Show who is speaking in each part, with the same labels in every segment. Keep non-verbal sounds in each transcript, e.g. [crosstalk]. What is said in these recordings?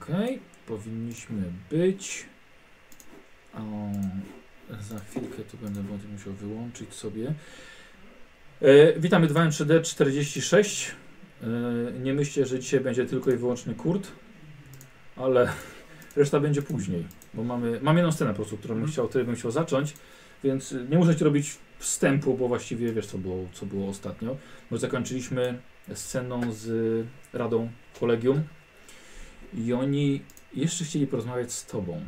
Speaker 1: Okej, powinniśmy być. O, za chwilkę to będę wody musiał wyłączyć sobie. E, witamy 2M3D46. E, nie myślcie, że dzisiaj będzie tylko i wyłącznie kurt, ale [laughs] reszta będzie później, bo mamy, mam jedną scenę po prostu, którą bym chciał, której bym chciał zacząć, więc nie możecie robić wstępu, bo właściwie wiesz co było, co było ostatnio, bo zakończyliśmy sceną z Radą Kolegium i oni jeszcze chcieli porozmawiać z tobą.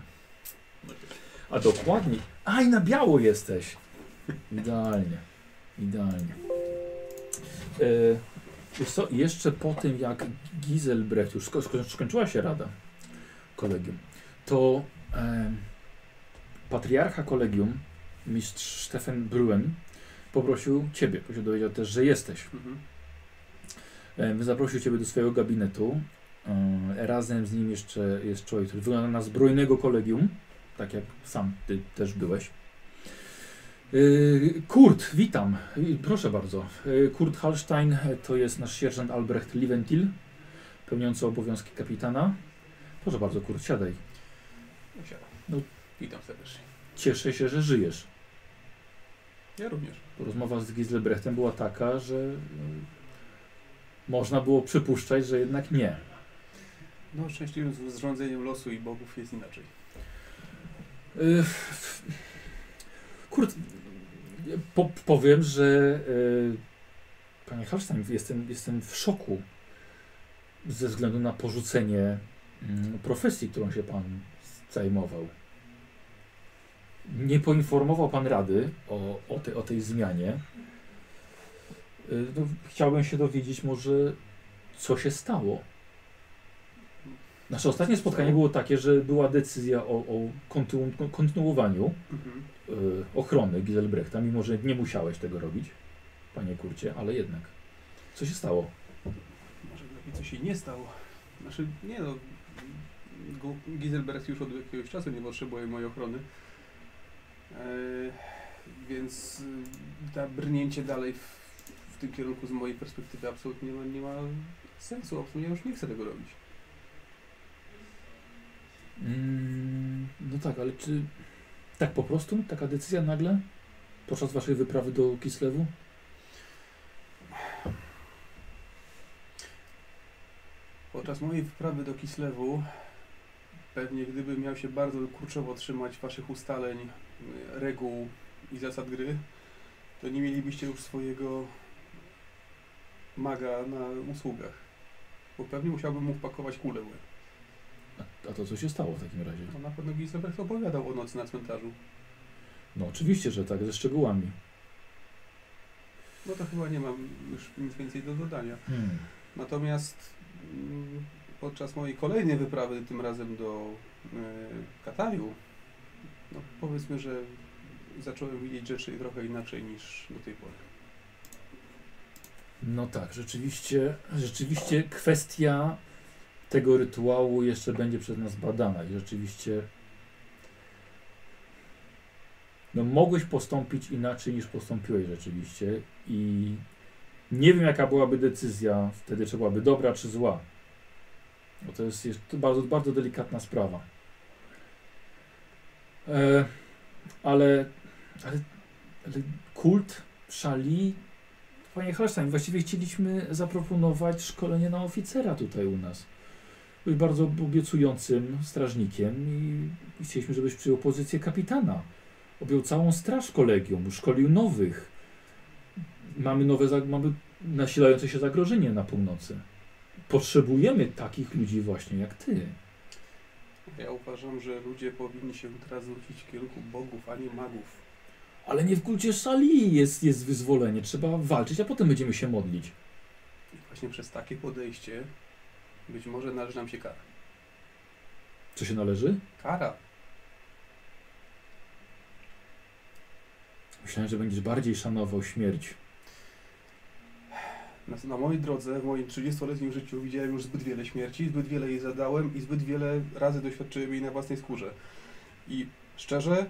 Speaker 1: A dokładnie. Aj, na biało jesteś. Idealnie. Idealnie. Yy, wiesz co, jeszcze po tym jak Giselbrecht już sko- sko- skończyła się rada kolegium, to em, patriarcha kolegium, mistrz Stefan Bruen, poprosił ciebie, bo się dowiedział też, że jesteś.
Speaker 2: Mhm.
Speaker 1: E, Zaprosił Ciebie do swojego gabinetu. E, Razem z nim jeszcze jest człowiek, który wygląda na zbrojnego kolegium, tak jak sam Ty też byłeś. E, Kurt, witam. E, Proszę bardzo. E, Kurt Hallstein e, to jest nasz sierżant Albrecht Liventil, pełniący obowiązki kapitana. Proszę bardzo, Kurt, siadaj.
Speaker 2: Siadam.
Speaker 1: No.
Speaker 2: Witam serdecznie.
Speaker 1: Cieszę się, że żyjesz.
Speaker 2: Ja również.
Speaker 1: Rozmowa z Giselbrechtem była taka, że e, można było przypuszczać, że jednak nie.
Speaker 2: No, szczęśliwym z- zrządzeniem losu i bogów jest inaczej.
Speaker 1: Y, Kurde, po, powiem, że y, panie Halstein, jestem, jestem w szoku ze względu na porzucenie mm, profesji, którą się pan zajmował. Nie poinformował pan rady o, o, tej- o tej zmianie. Y, No, chciałbym się dowiedzieć może, co się stało. Nasze ostatnie spotkanie było takie, że była decyzja o, o kontynu, kontynuowaniu
Speaker 2: Mhm.
Speaker 1: y, ochrony Giselbrechta, mimo że nie musiałeś tego robić, panie Kurcie, ale jednak. Co się stało?
Speaker 2: Może lepiej coś się nie stało. Znaczy, nie no. Gu- Giselbert już od jakiegoś czasu nie potrzebuje mojej ochrony. Eee, więc y, ta brnięcie dalej w, w tym kierunku z mojej perspektywy absolutnie no, nie ma, nie ma sensu. Absolutnie ja już nie chcę tego robić.
Speaker 1: Mm, no tak, ale czy tak po prostu? Taka decyzja nagle? Podczas waszej wyprawy do Kislewu?
Speaker 2: Podczas mojej wyprawy do Kislewu, pewnie gdybym miał się bardzo kurczowo trzymać waszych ustaleń, y, reguł i zasad gry, to nie mielibyście już swojego maga na usługach. Bo pewnie musiałbym mu wpakować kulę w łeb.
Speaker 1: A, a to co się stało w takim razie?
Speaker 2: To na pewno Giselbrecht opowiadał o nocy na cmentarzu.
Speaker 1: No oczywiście, że tak, ze szczegółami.
Speaker 2: No to chyba nie mam już nic więcej do dodania.
Speaker 1: Hmm.
Speaker 2: Natomiast mm, podczas mojej kolejnej wyprawy, tym razem do e, Kataju, no powiedzmy, że zacząłem widzieć rzeczy trochę inaczej niż do tej pory.
Speaker 1: No tak, rzeczywiście, rzeczywiście kwestia tego rytuału jeszcze będzie przez nas badana i rzeczywiście no mogłeś postąpić inaczej niż postąpiłeś rzeczywiście i nie wiem jaka byłaby decyzja wtedy, czy byłaby dobra czy zła. Bo to jest, jest to bardzo, bardzo delikatna sprawa. E, ale, ale, ale kult szali Panie Holstein, właściwie chcieliśmy zaproponować szkolenie na oficera tutaj u nas. Był bardzo obiecującym strażnikiem i i chcieliśmy, żebyś przyjął pozycję kapitana. Objął całą straż kolegium, szkolił nowych. Mamy nowe, zag- mamy nasilające się zagrożenie na północy. Potrzebujemy takich ludzi właśnie jak ty.
Speaker 2: Ja uważam, że ludzie powinni się teraz zwrócić w kierunku bogów, a nie magów.
Speaker 1: Ale nie w kulcie szali jest, jest wyzwolenie. Trzeba walczyć, a potem będziemy się modlić.
Speaker 2: I właśnie przez takie podejście być może należy nam się kara.
Speaker 1: Co się należy?
Speaker 2: Kara?
Speaker 1: Myślałem, że będziesz bardziej szanował śmierć.
Speaker 2: Na, na mojej drodze, w moim 30-letnim życiu widziałem już zbyt wiele śmierci, zbyt wiele jej zadałem i zbyt wiele razy doświadczyłem jej na własnej skórze. I szczerze,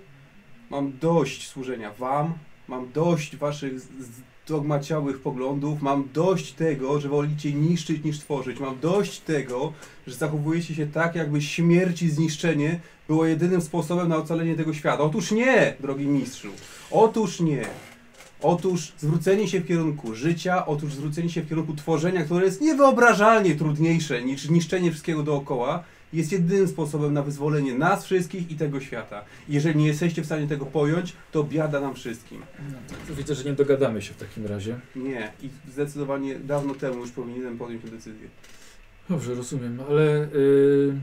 Speaker 2: mam dość służenia wam, mam dość waszych z, z, dogmaciałych poglądów, mam dość tego, że wolicie niszczyć niż tworzyć, mam dość tego, że zachowujecie się tak, jakby śmierć i zniszczenie było jedynym sposobem na ocalenie tego świata. Otóż nie, drogi mistrzu, otóż nie. Otóż zwrócenie się w kierunku życia, otóż zwrócenie się w kierunku tworzenia, które jest niewyobrażalnie trudniejsze niż niszczenie wszystkiego dookoła, jest jedynym sposobem na wyzwolenie nas wszystkich i tego świata. Jeżeli nie jesteście w stanie tego pojąć, to biada nam wszystkim.
Speaker 1: To widzę, że nie dogadamy się w takim razie.
Speaker 2: Nie, i zdecydowanie dawno temu już powinienem podjąć tę decyzję.
Speaker 1: Dobrze, rozumiem, ale yy,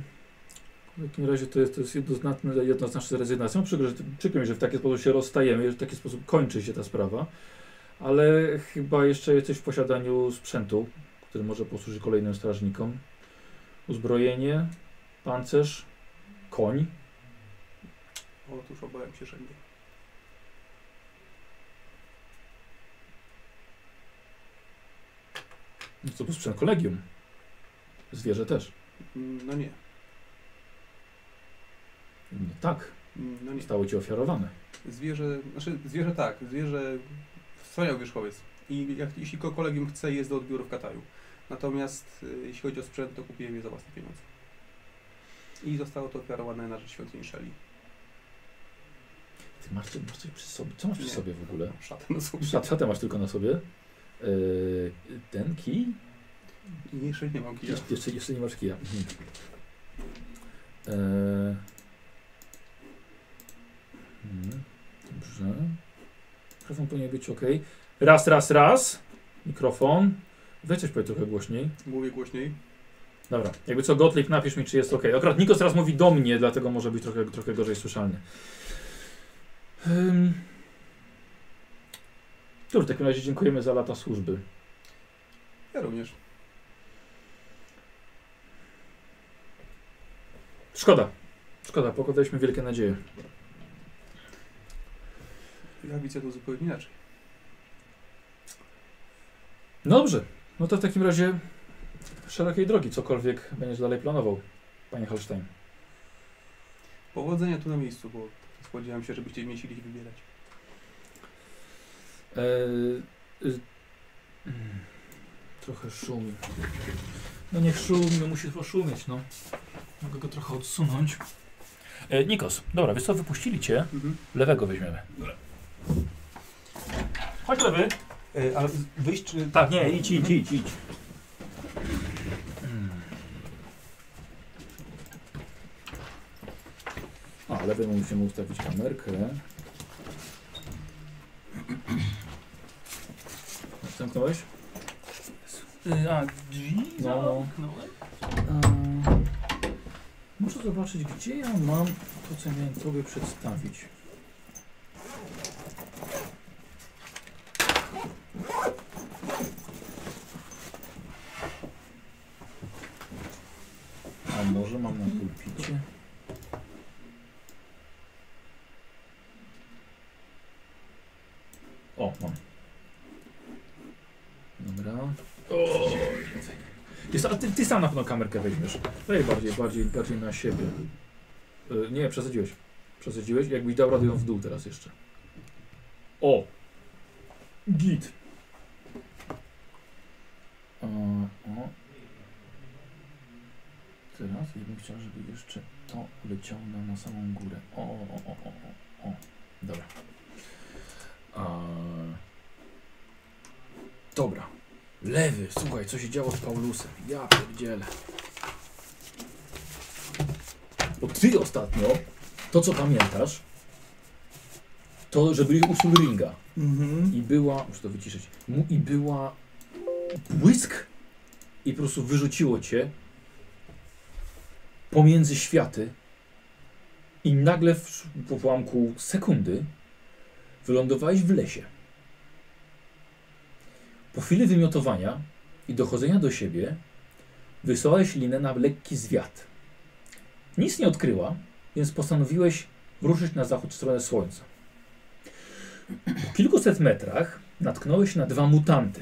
Speaker 1: w takim razie to jest, to jest jednoznaczne, jednoznaczna rezygnacja. No, Przykro, że, przykro mi, że w taki sposób się rozstajemy, że w taki sposób kończy się ta sprawa, ale chyba jeszcze jesteś w posiadaniu sprzętu, który może posłużyć kolejnym strażnikom. Uzbrojenie, pancerz, koń.
Speaker 2: Otóż obawiam się, że nie.
Speaker 1: No to był sprzęt kolegium. Zwierzę też.
Speaker 2: Mm, No nie,
Speaker 1: No tak,
Speaker 2: Mm, no nie.
Speaker 1: zostało ci ofiarowane.
Speaker 2: Zwierzę, znaczy zwierzę tak, zwierzę wspaniały wierzchowiec. I jak, jeśli ko- kolegium chce, jest do odbioru w Kataju. Natomiast y, jeśli chodzi o sprzęt, to kupiłem je za własne pieniądze. I zostało to ofiarowane na rzecz świątyni Szeli.
Speaker 1: Ty masz, masz coś przy sobie. Co masz przy
Speaker 2: Nie.
Speaker 1: sobie w ogóle?
Speaker 2: Szatę na sobie.
Speaker 1: Szat- Szatę masz tylko na sobie. Yy, ten kij?
Speaker 2: I jeszcze nie mam kija.
Speaker 1: Jeszcze- Jeszcze, jeszcze nie masz kija. Mhm. Eee. Mhm. Dobrze. Mikrofon powinien być ok. Raz, raz, raz. Mikrofon. Weź coś powiedz trochę głośniej.
Speaker 2: Mówię głośniej.
Speaker 1: Dobra, jakby co, Gottlieb, napisz mi, czy jest ok. Akurat Nikos teraz mówi do mnie, dlatego może być trochę, trochę gorzej słyszalny. Um. Dobrze, w takim razie dziękujemy za lata służby.
Speaker 2: Ja również.
Speaker 1: Szkoda. Szkoda, pokładaliśmy wielkie nadzieje.
Speaker 2: Ja widzę to zupełnie inaczej.
Speaker 1: No dobrze, no to w takim razie szerokiej drogi, cokolwiek będziesz dalej planował, panie Holstein.
Speaker 2: Powodzenia tu na miejscu, bo spodziewałem się, że będziecie mieli ich wybierać.
Speaker 1: Eee, y, mm, trochę szumi. No niech szumi, no musi poszumieć, no. Mogę go trochę odsunąć. E, Nikos, dobra, wiesz co, wypuścili cię,
Speaker 2: Mhm.
Speaker 1: lewego weźmiemy. Chodź lewy.
Speaker 2: E, ale wyjść czy...
Speaker 1: Tak, nie, idź, idź, idź, idź. A, lewy musimy ustawić kamerkę. Zamknąłeś? Y,
Speaker 3: A, drzwi
Speaker 1: No.
Speaker 3: zamknąłem?
Speaker 1: Eee, Muszę zobaczyć, gdzie ja mam to, co miałem tobie przedstawić. A może mam na pulpicie? O, mam. Dobra. O, więcej. Jest, a ty, ty sam na pewno kamerkę weźmiesz. Daj bardziej, bardziej, bardziej na siebie. Y, nie, przesadziłeś. Przesadziłeś. Jakbyś dał radę ją w dół teraz jeszcze. O! Git. O, o. Teraz ja bym chciał, żeby jeszcze to leciało nam na samą górę. O, o, o, o, o, o. Dobra. A... Dobra. Lewy, słuchaj, co się działo z Paulusem. Ja pierdzielę. Bo No ty ostatnio, to co pamiętasz, to, że byli u Sulringa
Speaker 3: Mhm.
Speaker 1: i była, muszę to wyciszyć, mu- i była błysk i po prostu wyrzuciło cię pomiędzy światy i nagle w po ułamku sekundy wylądowałeś w lesie. Po chwili wymiotowania i dochodzenia do siebie wysłałeś linę na lekki zwiat. Nic nie odkryła, więc postanowiłeś ruszyć na zachód w stronę słońca. W kilkuset metrach natknąłeś na dwa mutanty.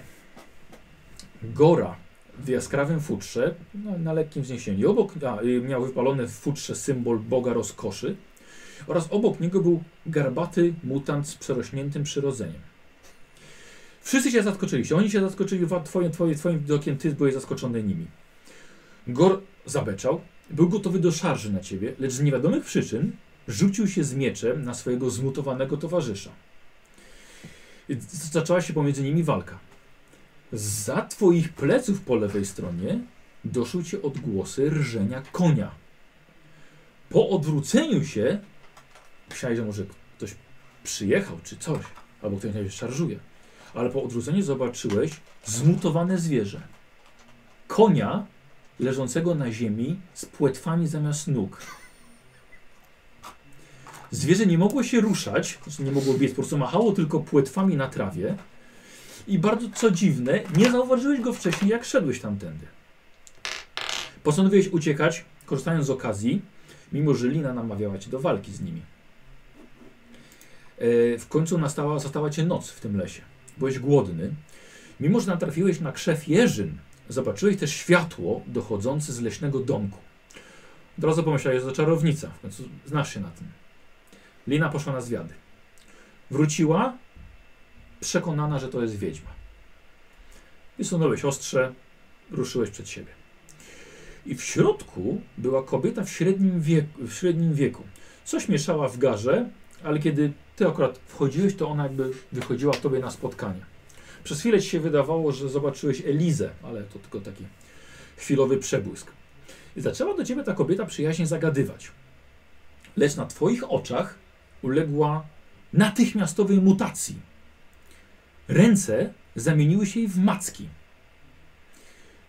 Speaker 1: Gora w jaskrawym futrze, no, na lekkim wzniesieniu. Obok a, y, miał wypalony w futrze symbol Boga rozkoszy oraz obok niego był garbaty mutant z przerośniętym przyrodzeniem. Wszyscy cię zaskoczyliście. Oni cię zaskoczyli wa- twoim, twoim, twoim widokiem, ty byłeś zaskoczony nimi. Gor zabeczał, był gotowy do szarży na ciebie, lecz z niewiadomych przyczyn rzucił się z mieczem na swojego zmutowanego towarzysza. I z- zaczęła się pomiędzy nimi walka. Za twoich pleców po lewej stronie doszły cię odgłosy rżenia konia. Po odwróceniu się myślałeś, że może ktoś przyjechał czy coś, albo ktoś na ciebie szarżuje. Ale po odwróceniu zobaczyłeś zmutowane zwierzę. Konia leżącego na ziemi z płetwami zamiast nóg. Zwierzę nie mogło się ruszać, znaczy nie mogło biec, po prostu machało tylko płetwami na trawie. I bardzo co dziwne, nie zauważyłeś go wcześniej, jak szedłeś tamtędy. Postanowiłeś uciekać, korzystając z okazji, mimo że Lina namawiała cię do walki z nimi. E, W końcu nastała, zastała cię noc w tym lesie. Byłeś głodny. Mimo, że natrafiłeś na krzew jeżyn, zobaczyłeś też światło dochodzące z leśnego domku. Od razu pomyślałeś, że to czarownica. W końcu znasz się na tym. Lina poszła na zwiady. Wróciła, przekonana, że to jest wiedźma. Wysunąłeś ostrze, ruszyłeś przed siebie. I w środku była kobieta w średnim wieku. W średnim wieku. Coś mieszała w garze, ale kiedy ty akurat wchodziłeś, to ona jakby wychodziła tobie na spotkanie. Przez chwilę ci się wydawało, że zobaczyłeś Elizę, ale to tylko taki chwilowy przebłysk. I zaczęła do ciebie ta kobieta przyjaźnie zagadywać. Lecz na twoich oczach uległa natychmiastowej mutacji. Ręce zamieniły się jej w macki.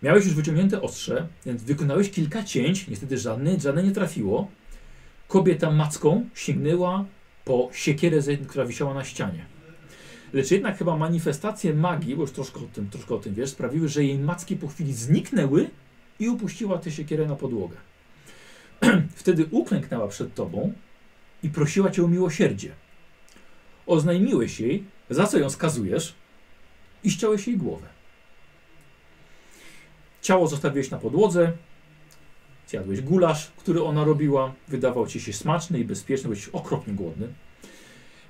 Speaker 1: Miałeś już wyciągnięte ostrze, więc wykonałeś kilka cięć, niestety żadne, żadne nie trafiło. Kobieta macką sięgnęła po siekierę, z- która wisiała na ścianie. Lecz jednak chyba manifestacje magii, bo już troszkę o tym, troszkę o tym wiesz, sprawiły, że jej macki po chwili zniknęły i upuściła tę siekierę na podłogę. [clears throat] Wtedy uklęknęła przed tobą i prosiła cię o miłosierdzie. Oznajmiłeś jej, za co ją skazujesz i ściąłeś jej głowę. Ciało zostawiłeś na podłodze, zjadłeś gulasz, który ona robiła, wydawał ci się smaczny i bezpieczny, byłeś okropnie głodny.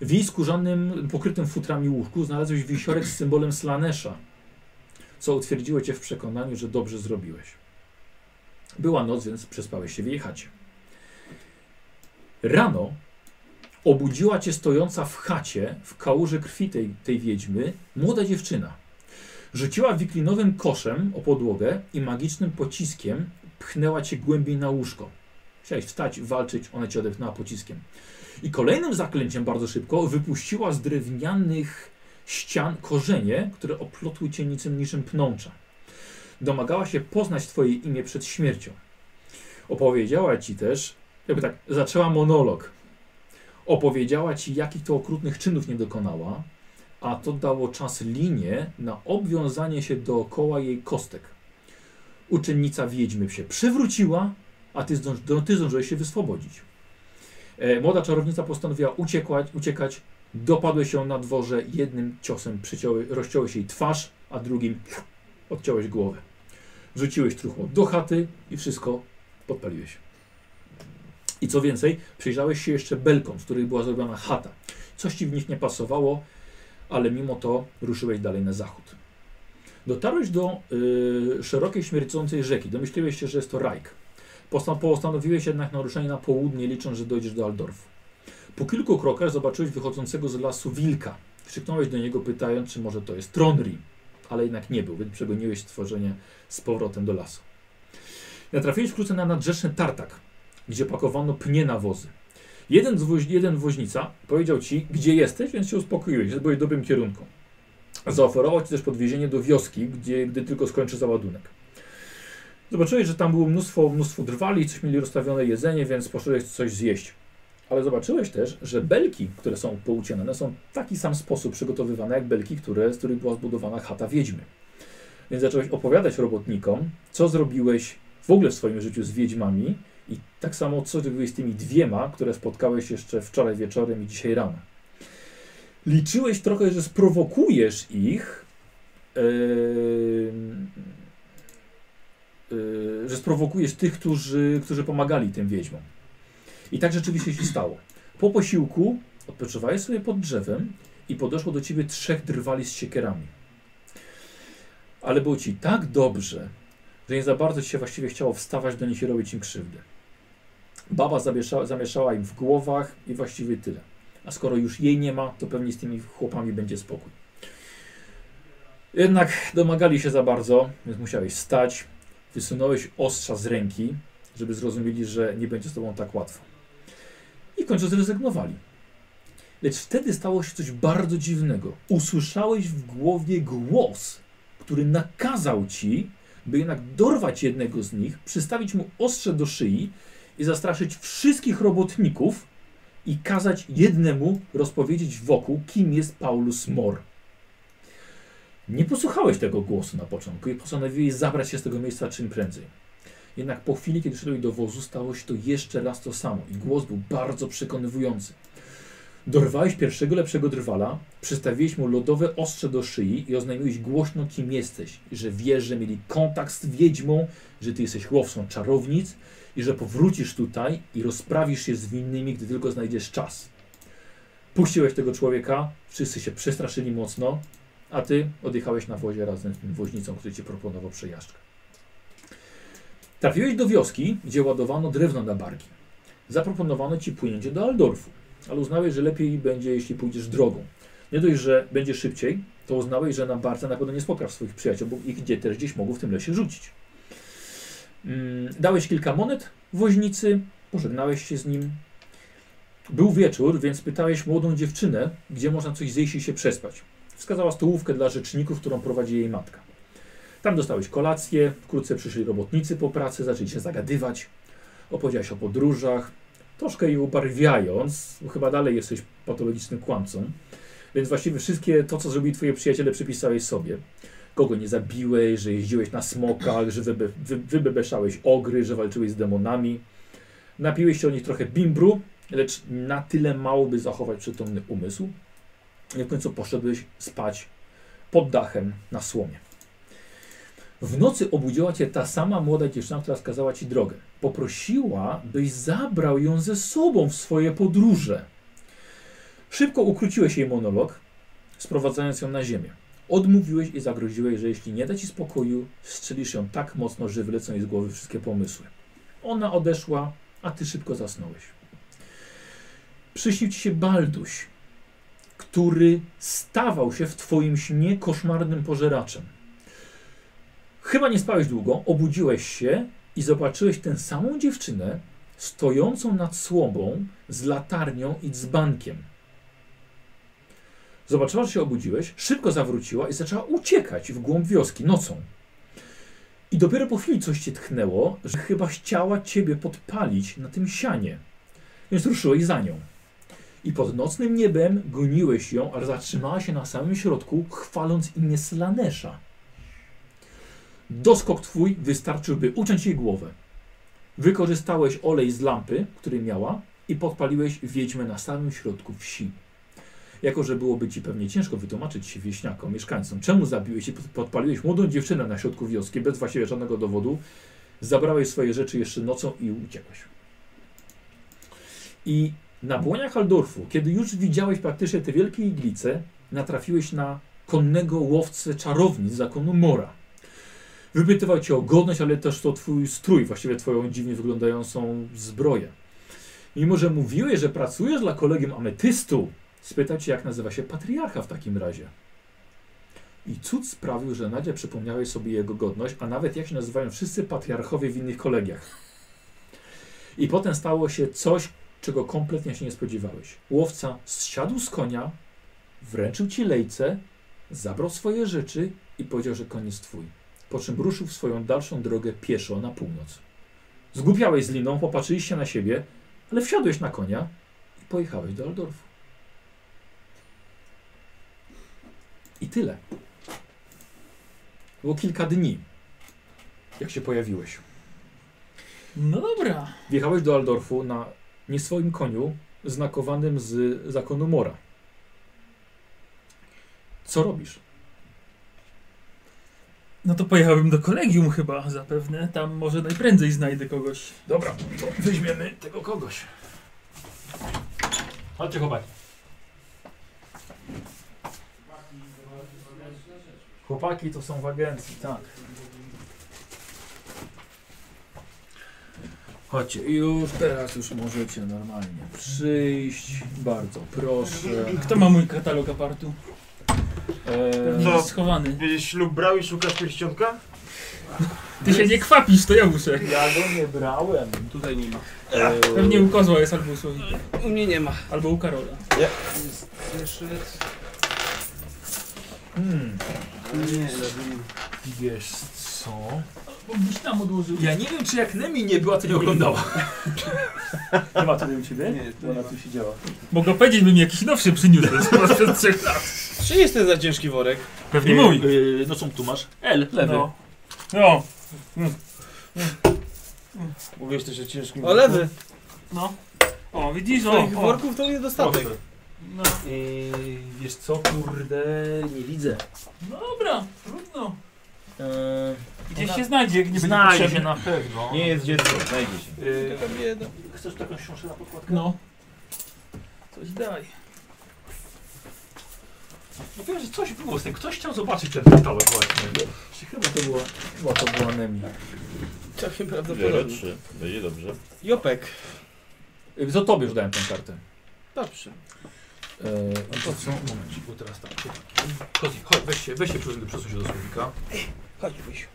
Speaker 1: W jej skórzanym, pokrytym futrami łóżku znalazłeś wisiorek z symbolem slanesza, co utwierdziło cię w przekonaniu, że dobrze zrobiłeś. Była noc, więc przespałeś się w jej chacie. Rano obudziła cię stojąca w chacie, w kałuży krwi tej, tej wiedźmy, młoda dziewczyna. Rzuciła wiklinowym koszem o podłogę i magicznym pociskiem pchnęła cię głębiej na łóżko. Chciałeś wstać, walczyć, ona cię odepchnęła pociskiem. I kolejnym zaklęciem bardzo szybko wypuściła z drewnianych ścian korzenie, które oplotły cię niczym, niczym pnącza. Domagała się poznać twoje imię przed śmiercią. Opowiedziała ci też, jakby tak, zaczęła monolog. Opowiedziała ci, jakich to okrutnych czynów nie dokonała, a to dało czas linie na obwiązanie się dookoła jej kostek. Uczennica wiedźmy się przywróciła, a ty, zdąż, do- ty zdążyłeś się wyswobodzić. E, młoda czarownica postanowiła uciekać, uciekać. Dopadłeś ją na dworze, jednym ciosem przyciąłeś, rozciąłeś jej twarz, a drugim odciąłeś głowę. Rzuciłeś truchło do chaty i wszystko podpaliłeś. I co więcej, przyjrzałeś się jeszcze belkom, z których była zrobiona chata. Coś ci w nich nie pasowało, ale mimo to ruszyłeś dalej na zachód. Dotarłeś do y, szerokiej, śmiercącej rzeki. Domyśliłeś się, że jest to Rajk. Postan postanowiłeś jednak na ruszenie na południe, licząc, że dojdziesz do Aldorfu. Po kilku krokach zobaczyłeś wychodzącego z lasu wilka. Krzyknąłeś do niego, pytając, czy może to jest Tronri, ale jednak nie był, więc przegoniłeś stworzenie z powrotem do lasu. Natrafiłeś wkrótce na nadrzeczny tartak, gdzie pakowano pnie na wozy. Jeden, z woź jeden woźnica powiedział ci, gdzie jesteś, więc się uspokoiłeś, że byłeś w dobrym kierunku. Zaoferował ci też podwiezienie do wioski, gdzie, gdy tylko skończy załadunek. Zobaczyłeś, że tam było mnóstwo, mnóstwo drwali, coś mieli rozstawione jedzenie, więc poszedłeś coś zjeść. Ale zobaczyłeś też, że belki, które są poucinane, są w taki sam sposób przygotowywane jak belki, które, z których była zbudowana chata wiedźmy. Więc zacząłeś opowiadać robotnikom, co zrobiłeś w ogóle w swoim życiu z wiedźmami i tak samo, co zrobiłeś z tymi dwiema, które spotkałeś jeszcze wczoraj wieczorem i dzisiaj rano. Liczyłeś trochę, że sprowokujesz ich, em, y, że sprowokujesz tych, którzy, którzy pomagali tym wiedźmom. I tak rzeczywiście się stało. Po posiłku odpoczywałeś sobie pod drzewem i podeszło do ciebie trzech drwali z siekierami. Ale było ci tak dobrze, że nie za bardzo ci się właściwie chciało wstawać do nich i robić im krzywdę. Baba zamieszała, zamieszała im w głowach i właściwie tyle. A skoro już jej nie ma, to pewnie z tymi chłopami będzie spokój. Jednak domagali się za bardzo, więc musiałeś stać. Wysunąłeś ostrza z ręki, żeby zrozumieli, że nie będzie z tobą tak łatwo. I w końcu zrezygnowali. Lecz wtedy stało się coś bardzo dziwnego. Usłyszałeś w głowie głos, który nakazał ci, by jednak dorwać jednego z nich, przystawić mu ostrze do szyi i zastraszyć wszystkich robotników i kazać jednemu rozpowiedzieć wokół, kim jest Paulus Mor. Nie posłuchałeś tego głosu na początku i postanowiłeś zabrać się z tego miejsca czym prędzej. Jednak po chwili, kiedy szedłeś do wozu, stało się to jeszcze raz to samo i głos był bardzo przekonywujący. Dorwałeś pierwszego lepszego drwala, przystawiłeś mu lodowe ostrze do szyi i oznajmiłeś głośno, kim jesteś, i że wiesz, że mieli kontakt z wiedźmą, że ty jesteś łowcą czarownic i że powrócisz tutaj i rozprawisz się z winnymi, gdy tylko znajdziesz czas. Puściłeś tego człowieka, wszyscy się przestraszyli mocno, a ty odjechałeś na wozie razem z tym woźnicą, który ci proponował przejażdżkę. Trafiłeś do wioski, gdzie ładowano drewno na barki. Zaproponowano ci płynięcie do Aldorfu, ale uznałeś, że lepiej będzie, jeśli pójdziesz drogą. Nie dość, że będzie szybciej, to uznałeś, że na barce na pewno nie spotkasz swoich przyjaciół, bo ich gdzie też gdzieś mogą w tym lesie rzucić. Mm, Dałeś kilka monet woźnicy, pożegnałeś się z nim. Był wieczór, więc pytałeś młodą dziewczynę, gdzie można coś zjeść i się przespać. Wskazała stołówkę dla rzeczników, którą prowadzi jej matka. Tam dostałeś kolację, wkrótce przyszli robotnicy po pracy, zaczęli się zagadywać. Opowiedziałeś o podróżach, troszkę je ubarwiając, bo chyba dalej jesteś patologicznym kłamcą. Więc właściwie wszystkie to, co zrobili twoi przyjaciele, przypisałeś sobie. Kogo nie zabiłeś, że jeździłeś na smokach, że wybe, wy, wybebeszałeś ogry, że walczyłeś z demonami. Napiłeś się o nich trochę bimbru, lecz na tyle mało, by zachować przytomny umysł. I w końcu poszedłeś spać pod dachem na słomie. W nocy obudziła cię ta sama młoda dziewczyna, która wskazała ci drogę. Poprosiła, byś zabrał ją ze sobą w swoje podróże. Szybko ukróciłeś jej monolog, sprowadzając ją na ziemię. Odmówiłeś i zagroziłeś, że jeśli nie da ci spokoju, strzelisz ją tak mocno, że wylecą jej z głowy wszystkie pomysły. Ona odeszła, a ty szybko zasnąłeś. Przyśnił ci się Balduś, który stawał się w twoim śnie koszmarnym pożeraczem. Chyba nie spałeś długo, obudziłeś się i zobaczyłeś tę samą dziewczynę stojącą nad słobą z latarnią i dzbankiem. Zobaczyła, że się obudziłeś, szybko zawróciła i zaczęła uciekać w głąb wioski nocą. I dopiero po chwili coś cię tchnęło, że chyba chciała ciebie podpalić na tym sianie. Więc ruszyłeś za nią. I pod nocnym niebem goniłeś ją, aż zatrzymała się na samym środku, chwaląc imię Slanesza. Doskok twój wystarczyłby uciąć jej głowę. Wykorzystałeś olej z lampy, który miała i podpaliłeś wiedźmę na samym środku wsi. Jako, że byłoby ci pewnie ciężko wytłumaczyć się wieśniakom, mieszkańcom, czemu zabiłeś i pod- podpaliłeś młodą dziewczynę na środku wioski bez właściwie żadnego dowodu, zabrałeś swoje rzeczy jeszcze nocą i uciekłeś. I na błoniach Aldorfu, kiedy już widziałeś praktycznie te wielkie iglice, natrafiłeś na konnego łowcę czarownic zakonu Mora. Wypytywał cię o godność, ale też to twój strój, właściwie twoją dziwnie wyglądającą zbroję. Mimo, że mówiłeś, że pracujesz dla kolegium ametystu, spytał cię, jak nazywa się patriarcha w takim razie. I cud sprawił, że nagle przypomniałeś sobie jego godność, a nawet jak się nazywają wszyscy patriarchowie w innych kolegiach. I potem stało się coś, czego kompletnie się nie spodziewałeś. Łowca zsiadł z konia, wręczył ci lejce, zabrał swoje rzeczy i powiedział, że koniec twój po czym ruszył w swoją dalszą drogę pieszo na północ. Zgłupiałeś z liną, popatrzyliście na siebie, ale wsiadłeś na konia i pojechałeś do Aldorfu. I tyle. Było kilka dni, jak się pojawiłeś.
Speaker 4: No dobra.
Speaker 1: Wjechałeś do Aldorfu na nie swoim koniu, znakowanym z zakonu Mora. Co robisz?
Speaker 4: No to pojechałbym do kolegium chyba zapewne. Tam może najprędzej znajdę kogoś.
Speaker 1: Dobra, to weźmiemy tego kogoś. Chodźcie, chłopaki. Chłopaki to są w agencji, tak. Chodźcie, już teraz już możecie normalnie przyjść. Bardzo proszę.
Speaker 4: Kto ma mój katalog apartu? Pewnie
Speaker 1: Eee,
Speaker 5: Co?
Speaker 4: jest schowany.
Speaker 5: Będziesz ślub brał i szukasz pierścionka?
Speaker 4: Ty się nie kwapisz, to ja muszę.
Speaker 1: ja go nie brałem.
Speaker 6: Tutaj nie ma.
Speaker 1: Eee,
Speaker 4: Pewnie u kozła jest albo u słowika,
Speaker 6: U mnie nie ma.
Speaker 4: albo u Karola.
Speaker 6: Zeszyt.
Speaker 1: hmm,
Speaker 6: Nie,
Speaker 1: wiesz co?
Speaker 4: Albo gdzieś tam odłożył.
Speaker 7: Ja nie wiem, czy jak Nemi nie była, to nie oglądała.
Speaker 1: Nie ma tutaj u ciebie?
Speaker 6: nie, to nie ma.
Speaker 1: siedziała.
Speaker 4: Mogę powiedzieć, bym jakiś nowszy przyniósł, to jest chyba [laughs] sprzed trzech lat.
Speaker 7: Czy jest ten za ciężki worek?
Speaker 4: Pewnie mój.
Speaker 7: Yy, no co tu masz? L, lewy.
Speaker 4: No. No.
Speaker 5: Mówiłeś też o ciężkim...
Speaker 7: O, lewy.
Speaker 4: No. O, widzisz, o,
Speaker 7: Twoich
Speaker 4: o.
Speaker 7: worków to nie dostatek.
Speaker 5: Proszę.
Speaker 4: No.
Speaker 7: Yy, wiesz co, kurde, nie widzę.
Speaker 4: Dobra, trudno.
Speaker 7: Yy,
Speaker 4: Gdzieś się znajdzie, jak nie będzie
Speaker 7: Znajdzie
Speaker 4: potrzebny.
Speaker 7: na pewno.
Speaker 5: Nie jest dziecko, znajdzie się.
Speaker 7: Yy,
Speaker 6: Taka bieda.
Speaker 7: chcesz taką książkę na podkładkę?
Speaker 4: No. Coś daj.
Speaker 7: No wiem, że coś było z tym. Ktoś chciał zobaczyć ten katalog właśnie.
Speaker 1: Czy chyba to była, chyba to była Nemi.
Speaker 7: Całkiem
Speaker 2: Biorę
Speaker 7: prawdopodobnie.
Speaker 2: trzy. Będzie dobrze.
Speaker 7: Jopek.
Speaker 1: Eee,
Speaker 7: Y,
Speaker 1: To tobie już dałem tę kartę.
Speaker 7: Dobrze.
Speaker 1: Eee,
Speaker 7: No to co? Momencik, bo teraz tak. Chodź, chodź, weź się, weź się przesuń, przesuń się do słowika.
Speaker 6: Chodź, Wysiu.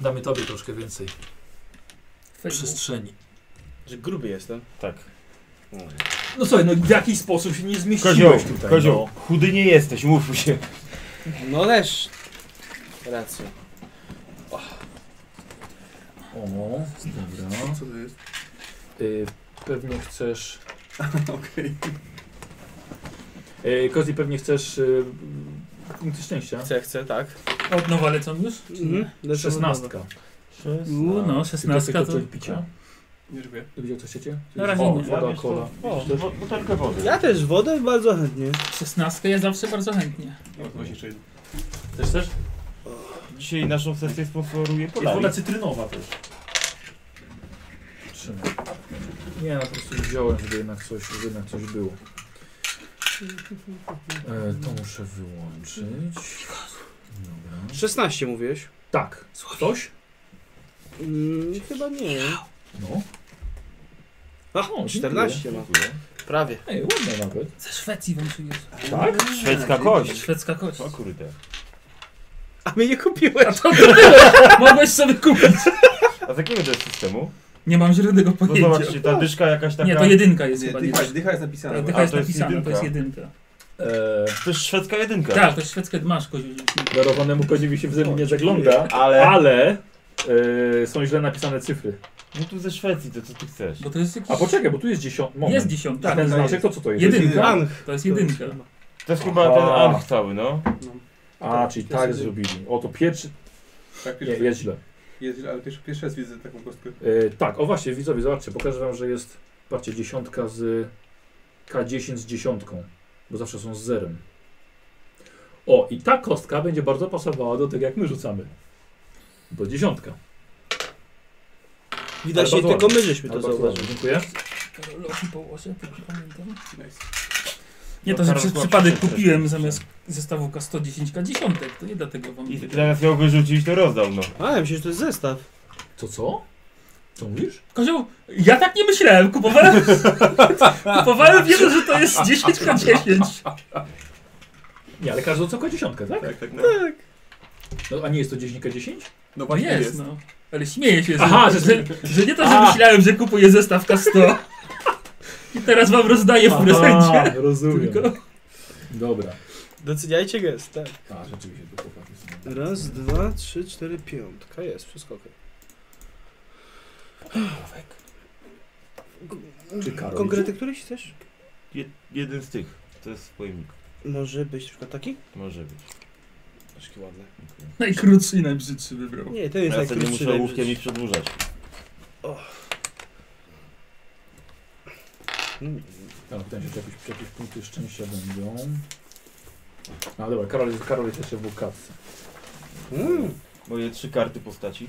Speaker 7: Damy tobie troszkę więcej
Speaker 4: Facebook.
Speaker 7: przestrzeni.
Speaker 5: Że gruby jestem.
Speaker 2: Tak.
Speaker 1: no słuchaj, no w jakiś sposób się nie zmieściłeś tutaj.
Speaker 5: kozioł, chudy nie jesteś, mów mu się.
Speaker 7: No też.
Speaker 5: Racja.
Speaker 1: No. O, dobra.
Speaker 6: Co to jest?
Speaker 1: Eee, pewnie chcesz...
Speaker 6: Okej.
Speaker 1: Eee, Kozi, pewnie chcesz... Eee, punkty szczęścia.
Speaker 5: Chcę, chcę, tak.
Speaker 4: Od nowa lecą już?
Speaker 6: Mm.
Speaker 5: Mhm.
Speaker 1: Szesnastka.
Speaker 4: U, no, szesnastka
Speaker 1: Tylko
Speaker 4: to...
Speaker 1: coś picia?
Speaker 6: Nie żywię.
Speaker 1: Widział coś chcecie?
Speaker 4: Na razie
Speaker 1: o,
Speaker 4: nie.
Speaker 1: woda, cola.
Speaker 5: O,
Speaker 1: Też?
Speaker 5: wo- butelkę wody.
Speaker 7: Ja też wodę bardzo chętnie.
Speaker 4: Szesnastkę ja zawsze bardzo chętnie.
Speaker 6: No, właśnie jeszcze jedno.
Speaker 5: Też chcesz? Dzisiaj naszą sesję sponsoruje
Speaker 2: Jest
Speaker 5: Polari.
Speaker 2: woda cytrynowa też.
Speaker 1: Trzymaj. Nie, no po prostu wziąłem, żeby jednak coś, żeby jednak coś było. E, to muszę wyłączyć. Dobra.
Speaker 7: 16 mówiłeś?
Speaker 1: Tak, ktoś?
Speaker 7: Mm, chyba nie.
Speaker 1: No.
Speaker 7: A,
Speaker 1: O,
Speaker 7: 14 ma.
Speaker 2: Dziękuję. Dziękuję.
Speaker 7: Prawie.
Speaker 1: Ej, ładna nawet.
Speaker 4: Ze Szwecji wam przyjeżdża.
Speaker 5: Tak? Szwedzka kość.
Speaker 4: Szwedzka kość.
Speaker 2: O kurde.
Speaker 7: A mnie nie kupiłeś.
Speaker 4: Mogłeś sobie kupić.
Speaker 5: A z jakiego to jest systemu?
Speaker 4: Nie mam żadnego
Speaker 5: Bo
Speaker 4: pojęcia.
Speaker 5: zobaczcie, ta dyszka jakaś taka...
Speaker 4: Nie, to jedynka jest
Speaker 6: Nie,
Speaker 4: chyba.
Speaker 6: dycha,
Speaker 4: nie?
Speaker 6: dycha jest
Speaker 4: Tak,
Speaker 6: napisana.
Speaker 4: dycha
Speaker 5: A,
Speaker 4: jest
Speaker 5: to jest
Speaker 4: napisana, to jest
Speaker 5: jedynka.
Speaker 4: jedynka.
Speaker 1: E,
Speaker 5: To jest szwedzka jedynka.
Speaker 4: Tak, to jest szwedzkie masz koziu.
Speaker 1: darowanemu koziowi się w zęby nie zagląda, ale, ale e, są źle napisane cyfry.
Speaker 5: No tu ze Szwecji, to co ty chcesz?
Speaker 4: Bo to jest jakiś...
Speaker 1: A poczekaj, bo tu jest dziesiątka.
Speaker 4: Jest dziesiątka.
Speaker 1: Ten
Speaker 2: no.
Speaker 6: tak,
Speaker 1: znaczek
Speaker 6: jest.
Speaker 1: to co to jest?
Speaker 4: Jedynka.
Speaker 7: Ang.
Speaker 4: To jest jedynka.
Speaker 5: To jest chyba ten
Speaker 1: Aha.
Speaker 5: Ang cały, no.
Speaker 6: No,
Speaker 1: A, czyli tak zrobili. O, to pierwszy...
Speaker 6: tak,
Speaker 1: Nie,
Speaker 6: pierwszy-
Speaker 1: jest źle.
Speaker 6: jest, ale pierwszy, pierwszy raz widzę taką kostkę.
Speaker 1: E, tak, o właśnie, widzowie, zobaczcie, pokażę wam, że jest, patrzcie, dziesiątka z K10 z dziesiątką, bo zawsze są z zerem. O, i ta kostka będzie bardzo pasowała do tego, jak my rzucamy. Bo dziesiątka.
Speaker 7: Widać,
Speaker 1: Ale
Speaker 7: że
Speaker 1: bardzo
Speaker 7: tylko my żeśmy to
Speaker 1: Ale bardzo dobrze,
Speaker 7: zauważyli.
Speaker 1: Dziękuję.
Speaker 4: Karolowi położę, to nie pamiętam.
Speaker 6: Nice.
Speaker 4: Nie, to
Speaker 5: No,
Speaker 4: że
Speaker 5: Karol
Speaker 4: przez
Speaker 5: była
Speaker 4: przypadek
Speaker 5: przecież-
Speaker 4: kupiłem zamiast zestawu K110 dziesiątek, to nie dlatego wam
Speaker 5: I
Speaker 4: mówię.
Speaker 5: zamiast ją wyrzucić, to rozdał, no.
Speaker 7: A, ja myślę, że to jest zestaw.
Speaker 1: To co? Co mówisz?
Speaker 4: Kozioł, ja tak nie myślałem, kupowałem... kupowałem wiedzę, że to jest 10 na 10.
Speaker 1: Nie, ale każdy co dziesiątkę, tak?
Speaker 6: Tak, tak, no.
Speaker 1: No, a nie jest to 10 K10?
Speaker 6: No
Speaker 4: No
Speaker 6: właśnie
Speaker 4: jest, no. Ale śmieję się, że,
Speaker 1: Aha,
Speaker 4: że,
Speaker 1: że-
Speaker 4: że, nie to, że
Speaker 1: A.
Speaker 4: myślałem, że kupuję zestaw K100 i teraz wam rozdaję w prezencie.
Speaker 1: rozumiem.
Speaker 4: Tylko...
Speaker 1: Dobra.
Speaker 7: Doceniajcie gest, tak.
Speaker 1: A, rzeczywiście, tu chłopaki są.
Speaker 7: Raz, dwa, trzy, cztery, piątka. Jest, wszystko okej.
Speaker 1: Czy Karol
Speaker 7: Konkrety któryś chcesz?
Speaker 5: Je, jeden z tych. To jest w pojemniku.
Speaker 7: Może być na przykład taki?
Speaker 5: Może być.
Speaker 7: Troszkę ładne.
Speaker 4: Najkrótszy i najbrzydszy wybrał.
Speaker 7: Nie, ten jest
Speaker 5: No. Ja sobie nie
Speaker 7: najkrótszy.
Speaker 5: muszę łówkiem
Speaker 7: najbrzydszy.
Speaker 5: ich przedłużać.
Speaker 7: Mm.
Speaker 1: Ale pytałem się, czy Tak, jakieś, czy jakieś punkty szczęścia będą. No dobra, Karol jest, Karol jest jeszcze w układce.
Speaker 7: Mm.
Speaker 5: Moje trzy karty postaci.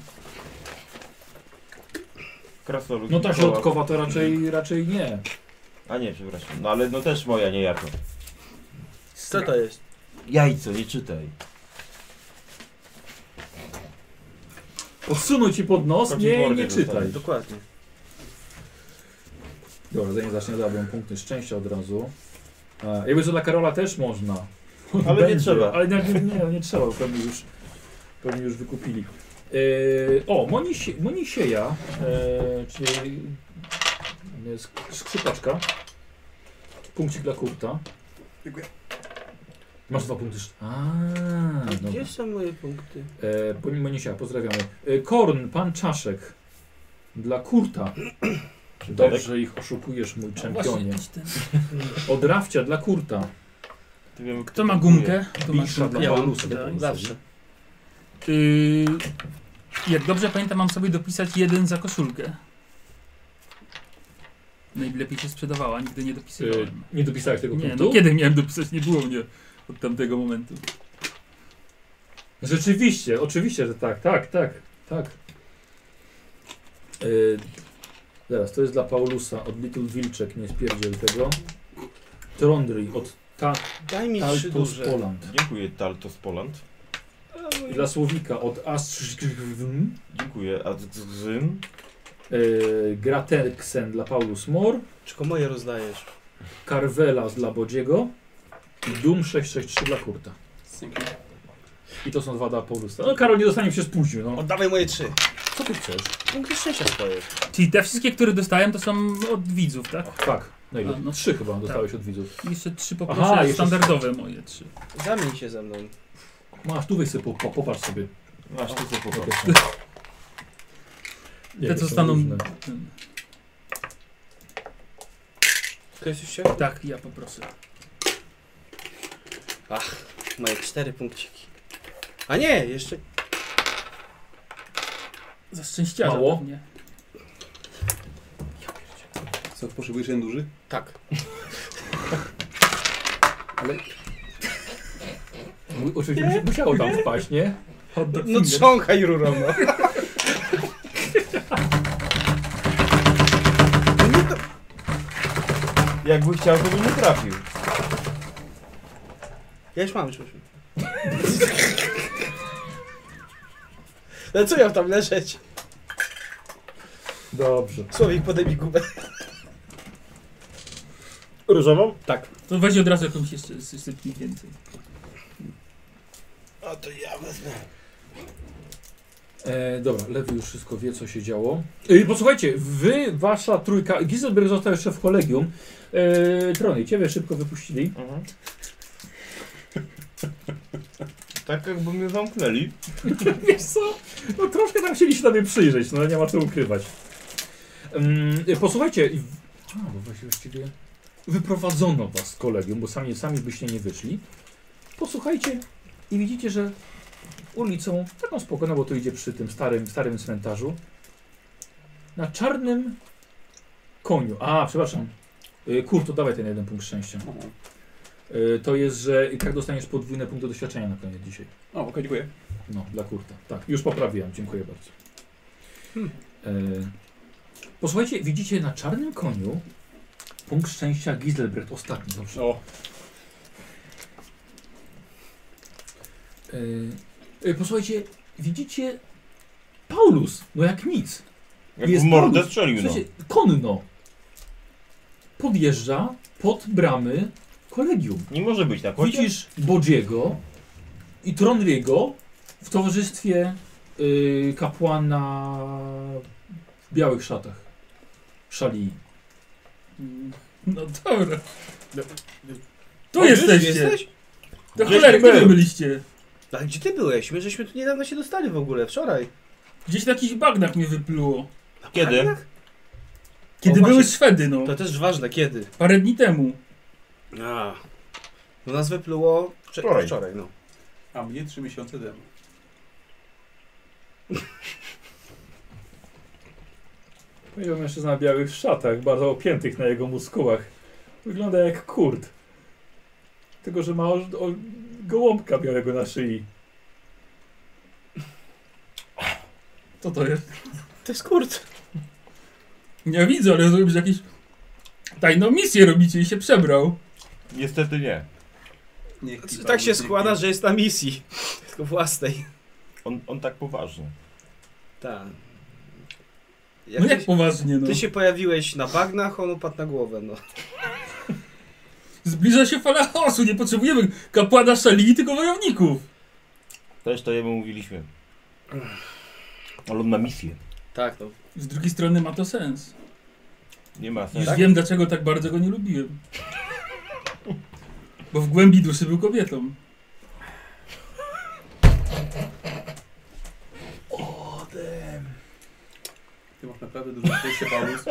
Speaker 5: Krasolud.
Speaker 1: No ta
Speaker 5: Mikołaj.
Speaker 1: środkowa to raczej, raczej nie.
Speaker 5: A nie, przepraszam. No ale no też moja, nie Jarko. Co to jest? Jajco, nie czytaj.
Speaker 1: Odsunął ci pod nos,
Speaker 5: Chodzi w
Speaker 1: nie,
Speaker 5: mordę
Speaker 1: nie czytaj.
Speaker 5: dostałem. Dokładnie.
Speaker 1: Dobra, zanim zacznę dałbym punkty szczęścia od razu. E, jakby co dla Karola też można.
Speaker 5: Ale nie trzeba.
Speaker 1: Ale nie, nie, nie, nie trzeba, bo pewnie już, pewnie już wykupili. E, o, Monisie, Monisieja, e, czyli e, sk- skrzypaczka. Punkcik dla Kurta.
Speaker 6: Dziękuję.
Speaker 1: Masz dwa punkty. szcz- A, dobra.
Speaker 5: Gdzie są moje punkty?
Speaker 1: E, po- Monisia, pozdrawiamy. E, Korn, pan Czaszek. Dla Kurta. Dobrze ich oszukujesz, mój
Speaker 4: No
Speaker 1: czempionie. Od Rafcia dla Kurta.
Speaker 5: Ty wiem,
Speaker 4: Kto ma gumkę? Kto ma
Speaker 1: Bisza dla
Speaker 5: Ja mam,
Speaker 1: Paulusa.
Speaker 5: tak, zawsze.
Speaker 4: Yy, jak dobrze pamiętam, mam sobie dopisać jeden za koszulkę. Najlepiej się sprzedawała, nigdy nie
Speaker 1: Yy,
Speaker 4: dopisywałem.
Speaker 1: nie dopisałeś tego
Speaker 4: Nie,
Speaker 1: punktu?
Speaker 4: no kiedy miałem dopisać? Nie było mnie od tamtego momentu.
Speaker 1: Rzeczywiście, oczywiście, że tak, tak, tak, tak. Yy, zaraz, to jest dla Paulusa od Little Wilczek, nie spierdziel tego. Trondry od Ta-
Speaker 5: Daj mi trzy
Speaker 1: Taltus
Speaker 5: duże.
Speaker 1: Poland.
Speaker 2: Dziękuję Taltos Poland.
Speaker 4: No
Speaker 1: I Dla Słowika od Astrz...
Speaker 2: Dziękuję. A z- z- z-
Speaker 1: Yy, Graterksen dla Paulus Mor,
Speaker 5: Tylko moje rozdajesz.
Speaker 1: Carvelas dla Bodziego i Doom 663 dla Kurta.
Speaker 6: Dzięki.
Speaker 1: I to są dwa dla Paulusa. No Karol nie dostanie się spóźnił, no.
Speaker 5: Oddawaj moje trzy.
Speaker 1: Co ty chcesz?
Speaker 5: Punkty szczęścia swoje.
Speaker 4: Czyli te wszystkie, które dostałem, to są od widzów, tak?
Speaker 1: Tak, najlepiej.
Speaker 4: A, no.
Speaker 1: Trzy chyba dostałeś od widzów.
Speaker 4: I Jeszcze trzy
Speaker 1: Aha,
Speaker 4: poproszę,
Speaker 1: jeszcze-
Speaker 4: standardowe moje trzy.
Speaker 5: Zamień się ze mną.
Speaker 1: Masz, tu weź sobie, po, po, popatrz sobie.
Speaker 2: Masz tu co
Speaker 1: Jakie
Speaker 2: popatrz.
Speaker 1: są-
Speaker 4: Te,
Speaker 1: jakie
Speaker 4: co
Speaker 1: są
Speaker 4: staną-
Speaker 1: różne.
Speaker 4: Hmm.
Speaker 5: Ktoś już się?
Speaker 4: Tak, ja poproszę.
Speaker 5: Moje cztery punkciki. A nie, jeszcze...
Speaker 4: Za szczęściarza
Speaker 1: Mało?
Speaker 4: pewnie.
Speaker 6: Co, potrzebujesz jeden duży?
Speaker 5: Tak.
Speaker 1: Mu- Oczywiście musi- musiało tam wpaść, nie?
Speaker 4: Hot dog
Speaker 5: No
Speaker 4: finger.
Speaker 5: trząchaj rurą, no. No
Speaker 2: Jakby chciał, to bym nie trafił.
Speaker 5: Ja już mam, już mam. No co miał tam leżeć?
Speaker 1: Dobrze.
Speaker 5: Słowik, podaj mi gubę.
Speaker 2: Różową?
Speaker 5: Tak.
Speaker 4: To weź od razu jakąś jeszcze sypnij więcej.
Speaker 5: A to ja wezmę.
Speaker 1: E, dobra, Lewy już wszystko wie, co się działo. E, posłuchajcie, wy, wasza trójka, Giselberg został jeszcze w kolegium. E, Trony, ciebie szybko wypuścili.
Speaker 2: Mhm. [laughs] Tak jakby mnie zamknęli.
Speaker 1: [laughs] Wiesz co, no troszkę tam chcieli się tobie przyjrzeć, no nie ma co ukrywać. Mm, e, posłuchajcie, i w- a, bo właśnie właściwie wyprowadzono was z kolegium, bo sami, sami byście nie wyszli. Posłuchajcie i widzicie, że ulicą, taką spokojną, bo to idzie przy tym starym, starym cmentarzu, na czarnym koniu, a przepraszam, Y, Kurto, dawaj ten jeden punkt szczęścia.
Speaker 6: Aha.
Speaker 1: Y, To jest, że i tak dostaniesz podwójne punkty doświadczenia na koniec dzisiaj.
Speaker 6: O, okej, dziękuję.
Speaker 1: No, dla kurta. Tak, już poprawiłem, dziękuję bardzo. E, posłuchajcie, widzicie na czarnym koniu punkt szczęścia Giselbrecht, ostatni, dobrze.
Speaker 6: O,
Speaker 1: E, e, posłuchajcie, widzicie Paulus, no jak nic.
Speaker 2: Jakby
Speaker 1: Jest
Speaker 2: w mordę
Speaker 1: Paulus.
Speaker 2: strzelił, no.
Speaker 1: Słuchajcie, konno podjeżdża pod bramy kolegium.
Speaker 2: Nie może być tak. na końcu.
Speaker 1: Widzisz Bodziego i Tronriego w towarzystwie y, kapłana w białych szatach. Szali.
Speaker 4: Mm, No dobra.
Speaker 5: No,
Speaker 4: Tu jesteście!
Speaker 5: Jesteś?
Speaker 4: Do
Speaker 2: Gdzieś
Speaker 4: cholery,
Speaker 2: tu
Speaker 4: gdzie wy
Speaker 2: był.
Speaker 4: byliście?
Speaker 5: A gdzie ty byłeś? My żeśmy tu niedawno się dostali w ogóle, wczoraj.
Speaker 4: Gdzieś na jakichś bagnach mnie wypluło.
Speaker 2: Kiedy?
Speaker 4: Kiedy
Speaker 5: O, właśnie.
Speaker 4: były Szwedy, no.
Speaker 5: To też ważne, kiedy.
Speaker 4: Parę dni temu.
Speaker 5: A. No nas wypluło wczor-
Speaker 2: Wczoraj.
Speaker 5: wczoraj, no.
Speaker 6: a mnie trzy miesiące temu.
Speaker 1: Pojawił mężczyzna w białych szatach, bardzo opiętych na jego muskułach. Wygląda jak kurd. Tylko, że ma o, o, gołąbka białego na szyi.
Speaker 4: Co to jest?
Speaker 5: To jest kurt.
Speaker 4: Nie widzę, ale rozumiem, że No jakieś tajną misję robicie i się przebrał.
Speaker 2: Niestety nie. Nie,
Speaker 5: C-
Speaker 2: klipa,
Speaker 5: Tak się
Speaker 2: nie
Speaker 5: składa, że jest na misji. Tylko własnej.
Speaker 8: On, on tak poważnie.
Speaker 5: Tak.
Speaker 4: No jak poważnie, no.
Speaker 5: Ty się pojawiłeś na bagnach, on upadł na głowę, no.
Speaker 4: Zbliża się fala chaosu, nie potrzebujemy kapłana szali, tylko wojowników.
Speaker 8: Też to jemu mówiliśmy. Ale on ma misję.
Speaker 5: Tak, no.
Speaker 4: Z drugiej strony ma to sens.
Speaker 8: Nie ma
Speaker 4: Już
Speaker 8: sensu.
Speaker 4: wiem, dlaczego tak bardzo go nie lubiłem. Bo w głębi duszy był kobietą.
Speaker 2: Ty masz naprawdę dużo szczęścia, Paulus,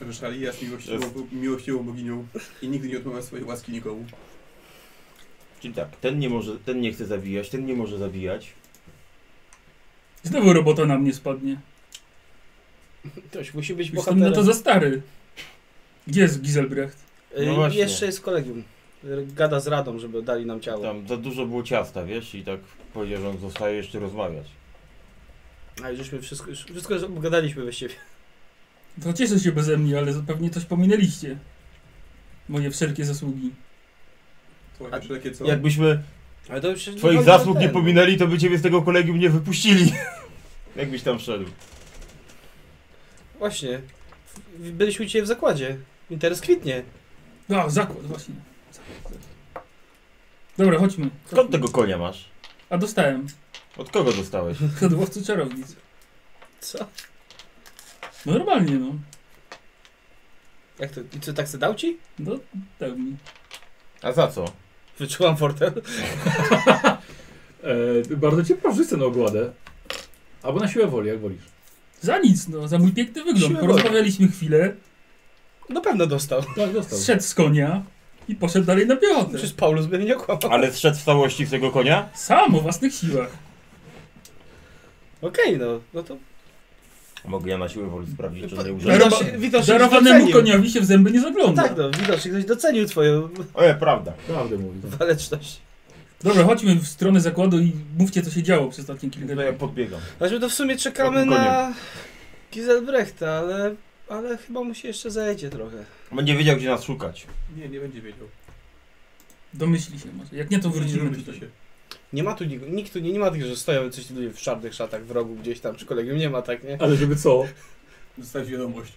Speaker 2: że Szali jest miłościwą, miłościwą boginią i nigdy nie odmawia swojej łaski nikomu.
Speaker 8: Czyli tak, ten nie może, ten nie chce zawijać, ten nie może zawijać.
Speaker 4: Znowu robota na mnie spadnie.
Speaker 5: Ktoś musi być
Speaker 4: Jestem na
Speaker 5: bohaterem.
Speaker 4: to za stary. Gdzie jest Giselbrecht?
Speaker 5: Y,
Speaker 8: No właśnie.
Speaker 5: Jeszcze jest kolegium. Y, Gada z radą, żeby dali nam ciało.
Speaker 8: Tam za dużo było ciasta, wiesz, i tak powiedział, że on zostaje jeszcze rozmawiać.
Speaker 5: A już żeśmy wszystko, już wszystko że- gadaliśmy właściwie.
Speaker 4: To cieszę się beze mnie, ale pewnie coś pominęliście. Moje wszelkie zasługi.
Speaker 2: Słuchaj, wszelkie co?
Speaker 8: Jakbyśmy
Speaker 5: Ale to no już
Speaker 8: twoich zasług nie pominęli, to by ciebie z tego kolegium nie wypuścili. [laughs] Jakbyś tam wszedł.
Speaker 5: Właśnie. W- Byliśmy u ciebie w zakładzie. I teraz kwitnie.
Speaker 4: No, zakład, właśnie. Zakład. Dobra, chodźmy.
Speaker 8: Skąd tego konia masz?
Speaker 4: A dostałem.
Speaker 8: Od kogo dostałeś?
Speaker 4: Od łowcy czarownic.
Speaker 5: Co?
Speaker 4: No normalnie, no.
Speaker 5: Jak to? I co, tak se dał ci?
Speaker 4: No, pełni.
Speaker 8: A za co?
Speaker 5: Wyczułam fortel.
Speaker 1: E, bardzo cię proszę, chcę na ogładę. Albo na siłę woli, jak wolisz.
Speaker 4: Za nic, no, za mój piękny wygląd.
Speaker 5: Siłę
Speaker 4: Porozmawialiśmy chwilę,
Speaker 5: Na pewno dostał.
Speaker 1: Tak, dostał.
Speaker 4: zszedł z konia i poszedł dalej na piechotę.
Speaker 5: Przecież Paulus by mnie nie okłamał.
Speaker 8: Ale zszedł w całości z tego konia?
Speaker 4: Sam o własnych siłach.
Speaker 5: Okej, no. No to...
Speaker 8: Mogę ja na siłę woli sprawdzić, czy
Speaker 5: Pa-
Speaker 8: nie użyłem.
Speaker 4: Darowa-
Speaker 5: Widocznie- widocznie
Speaker 4: Darowanemu
Speaker 5: docenił.
Speaker 4: koniowi się w zęby nie
Speaker 5: No
Speaker 4: zagląda.
Speaker 5: tak, no. Widocznie ktoś docenił twoją
Speaker 8: Oje, prawda.
Speaker 1: Prawdę mówi.
Speaker 5: waleczność.
Speaker 4: Dobra, chodźmy w stronę zakładu i mówcie, co się działo przez ostatnie kilka
Speaker 8: No
Speaker 4: dni.
Speaker 8: ja podbiegam.
Speaker 5: Znaczy, to w sumie czekamy
Speaker 8: Takim
Speaker 5: na Giselbrechta, ale... Ale chyba mu się jeszcze zajedzie trochę.
Speaker 8: Będzie wiedział, gdzie nas szukać.
Speaker 2: Nie, nie będzie wiedział.
Speaker 4: Domyśli się może. Jak nie, to
Speaker 2: Nie
Speaker 4: wrócimy
Speaker 2: lubi to
Speaker 4: tutaj.
Speaker 2: się.
Speaker 5: Nie ma tu nikt, nikt tu nie, nie ma tych, że stoją coś ludzie w czarnych szatach w rogu gdzieś tam, czy kolegium nie ma, tak, nie?
Speaker 1: Ale żeby co?
Speaker 2: Dostać wiadomość.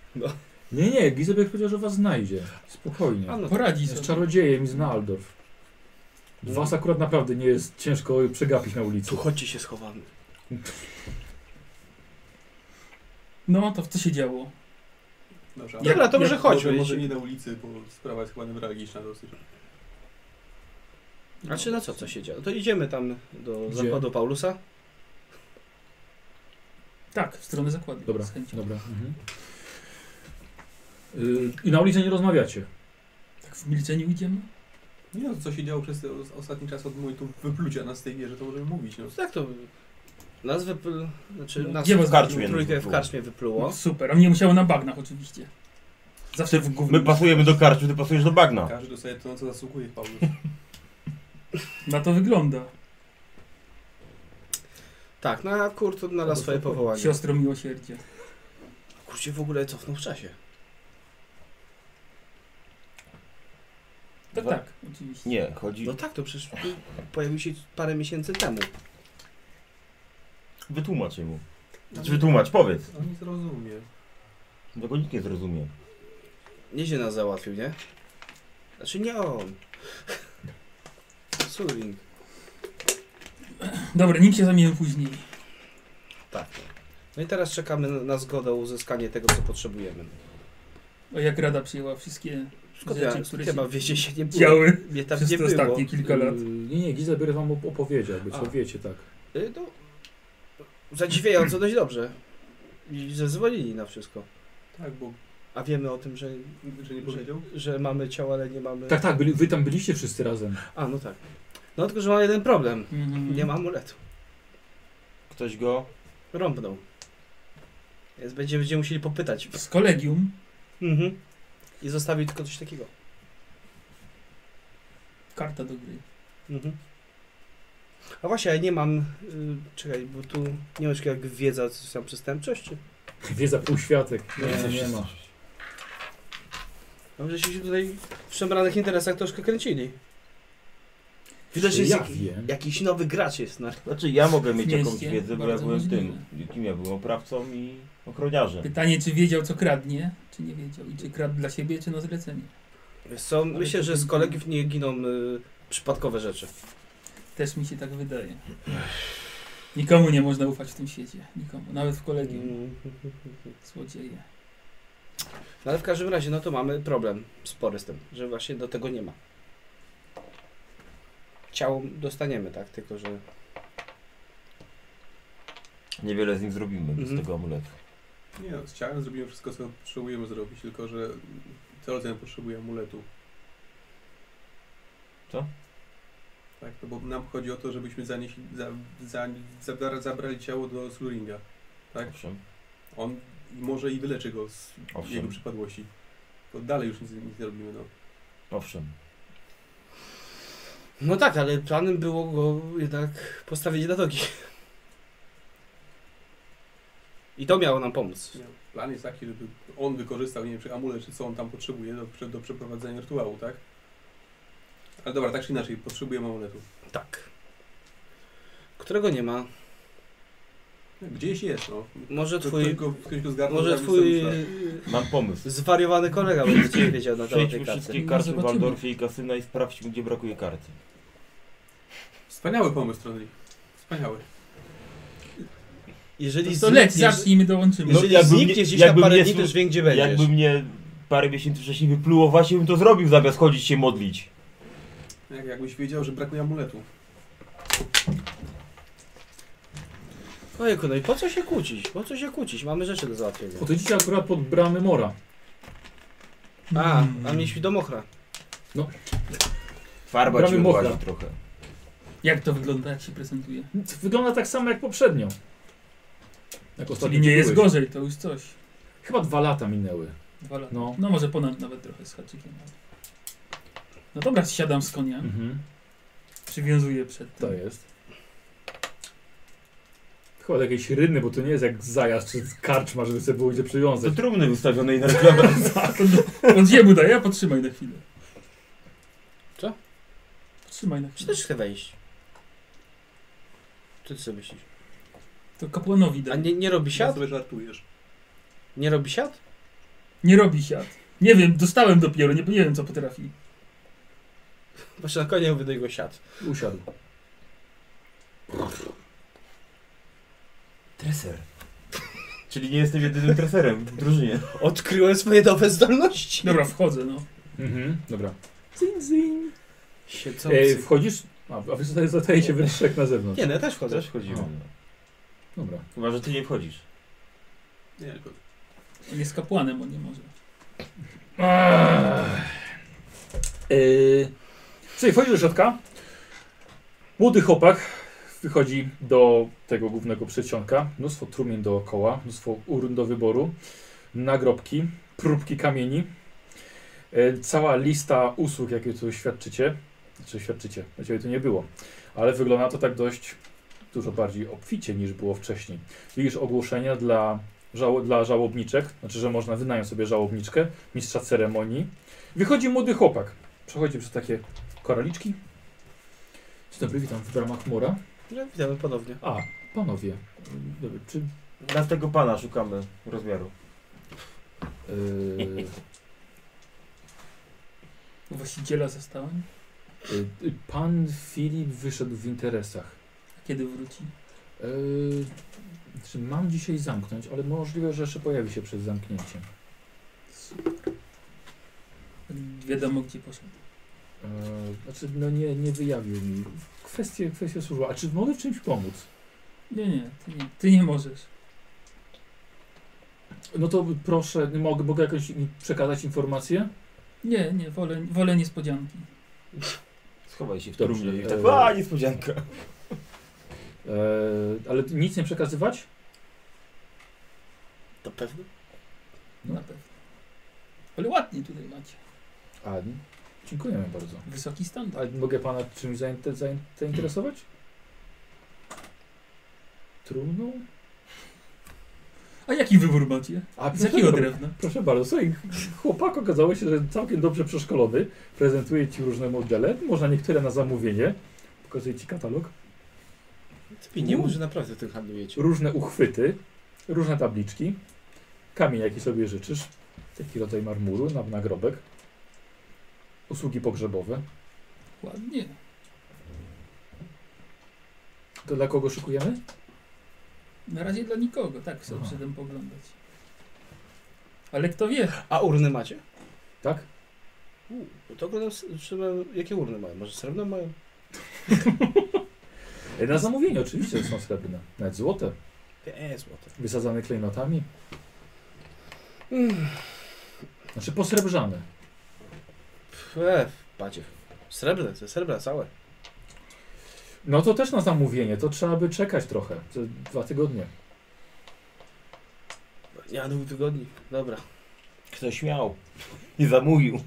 Speaker 1: Nie, nie, Gizebek powiedział, że was znajdzie. Spokojnie.
Speaker 5: A no,
Speaker 4: Poradzi
Speaker 1: Z
Speaker 4: sobie.
Speaker 1: czarodziejem i z Naldorf.
Speaker 4: No.
Speaker 1: Was akurat naprawdę nie jest ciężko przegapić na
Speaker 5: tu
Speaker 1: ulicy.
Speaker 5: chodźcie się schowamy.
Speaker 4: No, to co się działo?
Speaker 2: Dobrze,
Speaker 4: Dobra,
Speaker 2: ale-
Speaker 5: to może
Speaker 2: Dobrze,
Speaker 5: chodźmy,
Speaker 2: Może
Speaker 5: jeśli-
Speaker 2: nie na ulicy, bo sprawa jest chyba newralgiczna dosyć.
Speaker 5: Znaczy, no co, co się dzieje? To idziemy tam do
Speaker 1: Gdzie?
Speaker 5: zakładu Paulusa.
Speaker 4: Tak, w stronę zakładu.
Speaker 1: Dobra,
Speaker 4: Z chęcią.
Speaker 1: dobra. Mhm. Y, I na ulicy nie rozmawiacie.
Speaker 4: Tak w milczeniu idziemy?
Speaker 2: Nie no, co się działo przez te os- ostatni czas od momentu wyplucia nas z tej wieży, to możemy mówić. No.
Speaker 5: No tak to... Nas wypl... Znaczy, nas
Speaker 4: Gdzie was
Speaker 5: w
Speaker 8: wypluło?
Speaker 5: trójkę w karczmie wypluło.
Speaker 4: Super, a mnie musiało na bagnach oczywiście. Zawsze w gówno.
Speaker 8: My pasujemy do karczmy, ty pasujesz do bagna.
Speaker 2: Każdy dostaje to, na co zasługuje, Paulus.
Speaker 4: Na to wygląda.
Speaker 5: Tak, no a Kurt odnalazł swoje powołanie.
Speaker 4: Siostro miłosierdzia.
Speaker 5: Kurt się w ogóle cofnął w czasie.
Speaker 4: Tak,
Speaker 8: Dwa-
Speaker 4: tak, oczywiście.
Speaker 8: Nie, chodzi...
Speaker 5: No tak, to przecież pojawił się parę miesięcy temu.
Speaker 8: Wytłumacz mu.
Speaker 4: No.
Speaker 8: Znaczy wytłumacz, powiedz.
Speaker 2: On nie zrozumie.
Speaker 8: Tego nikt nie zrozumie.
Speaker 5: Nieźle nas załatwił, nie? Znaczy nie on. Suring.
Speaker 4: Dobra, nim się zamieniłem później.
Speaker 5: Tak. No i teraz czekamy na- na zgodę uzyskanie tego, co potrzebujemy.
Speaker 4: O jak Rada przyjęła wszystkie
Speaker 5: Szkoda,
Speaker 4: rzeczy, które
Speaker 5: chyba
Speaker 4: się
Speaker 5: w wiezie się nie było.
Speaker 4: działy
Speaker 5: Mnie tam
Speaker 4: przez
Speaker 5: Tak nie
Speaker 4: te
Speaker 5: było. Mm.
Speaker 4: ostatnie kilka lat.
Speaker 1: Y, Nie, nie, Gizebek wam op- opowiedział, jakby co
Speaker 5: A.
Speaker 1: wiecie, tak.
Speaker 5: Y, No, zadziwiająco dość dobrze. I zezwolili na wszystko.
Speaker 2: Tak, bo
Speaker 5: A wiemy o tym, że,
Speaker 2: że nie powiedział.
Speaker 5: że mamy ciała, ale nie mamy...
Speaker 1: Tak, tak, byli, wy tam byliście wszyscy razem.
Speaker 5: A, no tak. No tylko, że mam jeden problem.
Speaker 4: Mhm.
Speaker 5: Nie ma amuletu.
Speaker 8: Ktoś go...
Speaker 5: Rąbnął. Więc będziemy, będziemy musieli popytać.
Speaker 4: Z kolegium
Speaker 5: Mhm. I zostawił tylko coś takiego.
Speaker 4: karta do gry.
Speaker 5: Mhm. A właśnie, ja nie mam. y, czekaj, bo tu nie wiem, czy jak wiedza, coś tam przestępczość, czy.
Speaker 1: Wiedza półświatek.
Speaker 5: Nie,
Speaker 1: Nie, nie ma.
Speaker 5: no, Mam, żeśmy się tutaj w szemranych interesach troszkę kręcili. Widać, że
Speaker 1: Czy
Speaker 5: jest
Speaker 1: ja
Speaker 5: jak,
Speaker 1: wiem?
Speaker 5: jakiś nowy gracz jest. no. Na...
Speaker 8: Znaczy ja mogę mieć
Speaker 4: Mieście,
Speaker 8: jakąś wiedzę, bo ja
Speaker 4: bardzo
Speaker 8: byłem
Speaker 4: możliwe.
Speaker 8: tym. Kim ja byłem? Oprawcą i ochroniarzem.
Speaker 4: Pytanie, czy wiedział, co kradnie, czy nie wiedział. I czy kradł dla siebie, czy no na zlecenie.
Speaker 5: Są, myślę, że z kolegów nie giną y, przypadkowe rzeczy.
Speaker 4: Też mi się tak wydaje. Nikomu nie można ufać w tym świecie. Nikomu. Nawet w kolegium.
Speaker 5: Mm.
Speaker 4: Złodzieje.
Speaker 5: No ale w każdym razie, no to mamy problem spory z tym, że właśnie do tego nie ma. Ciało dostaniemy, tak? Tylko, że
Speaker 8: Niewiele z nim zrobimy
Speaker 5: Mhm.
Speaker 8: z tego amuletu.
Speaker 2: Nie no, z ciałem zrobimy wszystko, co potrzebujemy zrobić, tylko że teoretycznie potrzebuje amuletu.
Speaker 8: Co?
Speaker 2: Tak, no bo nam chodzi o to, żebyśmy zanieśli, za, za, zabra, zabrali ciało do Sluringa. Tak?
Speaker 8: Owszem.
Speaker 2: On może i wyleczy go z
Speaker 8: Owszem.
Speaker 2: jego przypadłości. To dalej już nic, nic nie robimy, no.
Speaker 8: Owszem.
Speaker 5: No tak, ale planem było go jednak postawienie na nogi. I to miało nam pomóc.
Speaker 2: Nie, Plan jest taki, żeby on wykorzystał, nie wiem, czy amulet, czy co on tam potrzebuje do, prze- do przeprowadzenia rytuału, tak? Ale dobra, tak czy inaczej, potrzebujemy amuletu.
Speaker 5: Tak. Którego nie ma.
Speaker 2: Gdzieś jest, no.
Speaker 5: Może
Speaker 2: Kto- Ktoś
Speaker 5: twój,
Speaker 2: go, ktoś go zgarnął,
Speaker 5: może
Speaker 2: zabił,
Speaker 5: twój
Speaker 2: zabił,
Speaker 8: Mam pomysł.
Speaker 5: zwariowany kolega będzie cię wiedział na temat tej
Speaker 8: Przejdźmy
Speaker 5: karty.
Speaker 8: wszystkie
Speaker 4: No,
Speaker 8: karty w
Speaker 4: zobaczymy.
Speaker 8: Waldorfie i kasyna i sprawdźmy, gdzie brakuje karty.
Speaker 2: Wspaniały pomysł, Tronli. Wspaniały.
Speaker 5: Jeżeli
Speaker 4: To leć,
Speaker 5: znikniesz,
Speaker 4: zacznijmy, dołączymy.
Speaker 5: jeżeli
Speaker 8: No, jakby mnie-
Speaker 5: znikniesz gdzieś na
Speaker 8: jakby
Speaker 5: parę
Speaker 8: mnie
Speaker 5: dni,
Speaker 8: slu-
Speaker 5: to już wiem, gdzie będziesz.
Speaker 8: Jakby mnie parę miesięcy wcześniej wypluło, właśnie bym to zrobił, zamiast chodzić się modlić.
Speaker 2: Jak, jakbyś wiedział, że brakuje amuletu.
Speaker 5: Ojejku, no i po co się kłócić? Po co się kłócić? Mamy rzeczy do załatwienia.
Speaker 1: O, to dzisiaj akurat pod bramy mora.
Speaker 5: A,
Speaker 4: Hmm.
Speaker 5: a mieliśmy domochra.
Speaker 8: Farba
Speaker 1: Bramy
Speaker 8: ci
Speaker 1: mokra.
Speaker 8: odłazi trochę.
Speaker 4: Jak to wygląda, jak się prezentuje?
Speaker 1: Wygląda tak samo jak poprzednio. Jak ostatnio
Speaker 4: Czyli nie jest
Speaker 1: byłeś.
Speaker 4: gorzej, to już coś.
Speaker 1: Chyba dwa lata minęły.
Speaker 4: Dwa lata.
Speaker 1: No.
Speaker 4: No, może ponad nawet trochę z haczykiem. No dobra, siadam z konia.
Speaker 1: Mhm.
Speaker 4: Przywiązuję przed tym.
Speaker 1: To jest. Chyba do jakiejś rynny, bo to nie jest jak zajazd czy karczma, żeby sobie było gdzie
Speaker 8: Do
Speaker 1: przywiązać.
Speaker 8: trumny wystawionej na reklamę.
Speaker 4: On jemu daje, a potrzymaj na chwilę.
Speaker 5: Co?
Speaker 4: Potrzymaj na
Speaker 5: Czy
Speaker 4: chwilę.
Speaker 5: też chcę wejść? Co ty sobie myślisz?
Speaker 4: To kapłanowi
Speaker 5: A
Speaker 4: daje. Nie...
Speaker 5: nie, nie robi
Speaker 2: Ja
Speaker 5: siat?
Speaker 2: sobie żartujesz.
Speaker 5: Nie robi siat?
Speaker 4: robi siat. Nie wiem, dostałem dopiero, nie, nie wiem co potrafi.
Speaker 5: Właśnie na koniec wydaj go siat.
Speaker 1: Usiadł.
Speaker 8: Treser. Czyli nie jestem jedynym treserem w drużynie.
Speaker 5: Odkryłem swoje nowe zdolności.
Speaker 4: Dobra, wchodzę, no.
Speaker 1: Mhm. Dobra.
Speaker 5: Siedzący.
Speaker 1: E, wchodzisz? A, a wy zostaje- zostajecie we trzech na zewnątrz.
Speaker 5: Nie, no ja też wchodzę.
Speaker 8: Też wchodzimy.
Speaker 1: O. Dobra.
Speaker 8: Chyba, że ty nie wchodzisz.
Speaker 2: Nie, tylko
Speaker 4: On jest kapłanem, on nie może.
Speaker 1: Yy, Słuchaj, wchodzi do środka. Młody chłopak wychodzi do tego głównego przedsionka. Mnóstwo trumien dookoła, mnóstwo urn do wyboru, nagrobki, próbki kamieni. Yy, Cała lista usług, jakie tu świadczycie. Znaczy świadczycie, na ciebie tu nie było. Ale wygląda to tak dość dużo bardziej obficie niż było wcześniej. Widzisz ogłoszenia dla, żało, dla żałobniczek, znaczy, że można wynająć sobie żałobniczkę, mistrza ceremonii. Wychodzi młody chłopak. Przechodzi przez takie koraliczki. Dzień dobry, witam w bramach mora.
Speaker 5: No, Witamy ponownie.
Speaker 1: A, panowie, dobry, czy...
Speaker 8: Dla tego pana szukamy rozmiaru.
Speaker 1: Yy,
Speaker 4: Właściciela zastałem.
Speaker 1: yy, pan Filip wyszedł w interesach.
Speaker 4: A kiedy wróci?
Speaker 1: Yy, czy mam dzisiaj zamknąć, ale możliwe, że jeszcze pojawi się przed zamknięciem.
Speaker 4: Wiadomo, gdzie poszedł.
Speaker 1: Yy, znaczy, no nie, nie wyjawił mi. Kwestie, kwestie służą. A czy mogę w czymś pomóc?
Speaker 4: Nie, nie, ty nie, ty nie możesz.
Speaker 1: No to proszę, mogę, mogę jakąś przekazać informację?
Speaker 4: Nie, nie, wolę, wolę niespodzianki.
Speaker 8: Schowaj się w
Speaker 1: Dobrze,
Speaker 8: trumnie i
Speaker 1: e,
Speaker 8: tak. A, niespodzianka.
Speaker 1: Yy, ale nic nie przekazywać?
Speaker 5: To pewne.
Speaker 1: No.
Speaker 4: Na pewno. Ale ładnie tutaj macie.
Speaker 1: A, dziękujemy bardzo.
Speaker 4: Wysoki standard.
Speaker 1: A mogę pana czymś zainte- zain- zainteresować? Trumną?
Speaker 4: A jaki wybór macie?
Speaker 1: A
Speaker 4: Z jakiego
Speaker 1: proszę-
Speaker 4: drewna?
Speaker 1: Proszę bardzo, słuchaj, chłopak okazało się, że całkiem dobrze przeszkolony. Prezentuje ci różne modele, można niektóre na zamówienie. Pokazuję ci katalog.
Speaker 9: Ty nie mów, że naprawdę tym handlujecie.
Speaker 1: Różne uchwyty, różne tabliczki, kamień jaki sobie życzysz, taki rodzaj marmuru na nagrobek, usługi pogrzebowe.
Speaker 4: Ładnie.
Speaker 1: To dla kogo szykujemy?
Speaker 4: Na razie dla nikogo, tak sobie
Speaker 1: Aha.
Speaker 4: przyszedłem poglądać. Ale kto wie?
Speaker 5: A urny macie?
Speaker 1: Tak?
Speaker 5: U, no to oglądam, s- trzymam, jakie urny mają? Może srebrne mają?
Speaker 1: E, Na zamówienie oczywiście są srebrne, nawet złote,
Speaker 5: Nie, E, złote.
Speaker 1: wysadzane klejnotami. Znaczy posrebrzane.
Speaker 5: Pff, pacie. e, Srebrne, to jest srebrne całe.
Speaker 1: No to też na zamówienie, to trzeba by czekać trochę, ze dwa tygodnie.
Speaker 5: Ja dwóch tygodni. Dobra.
Speaker 2: Ktoś miał. Nie zamówił.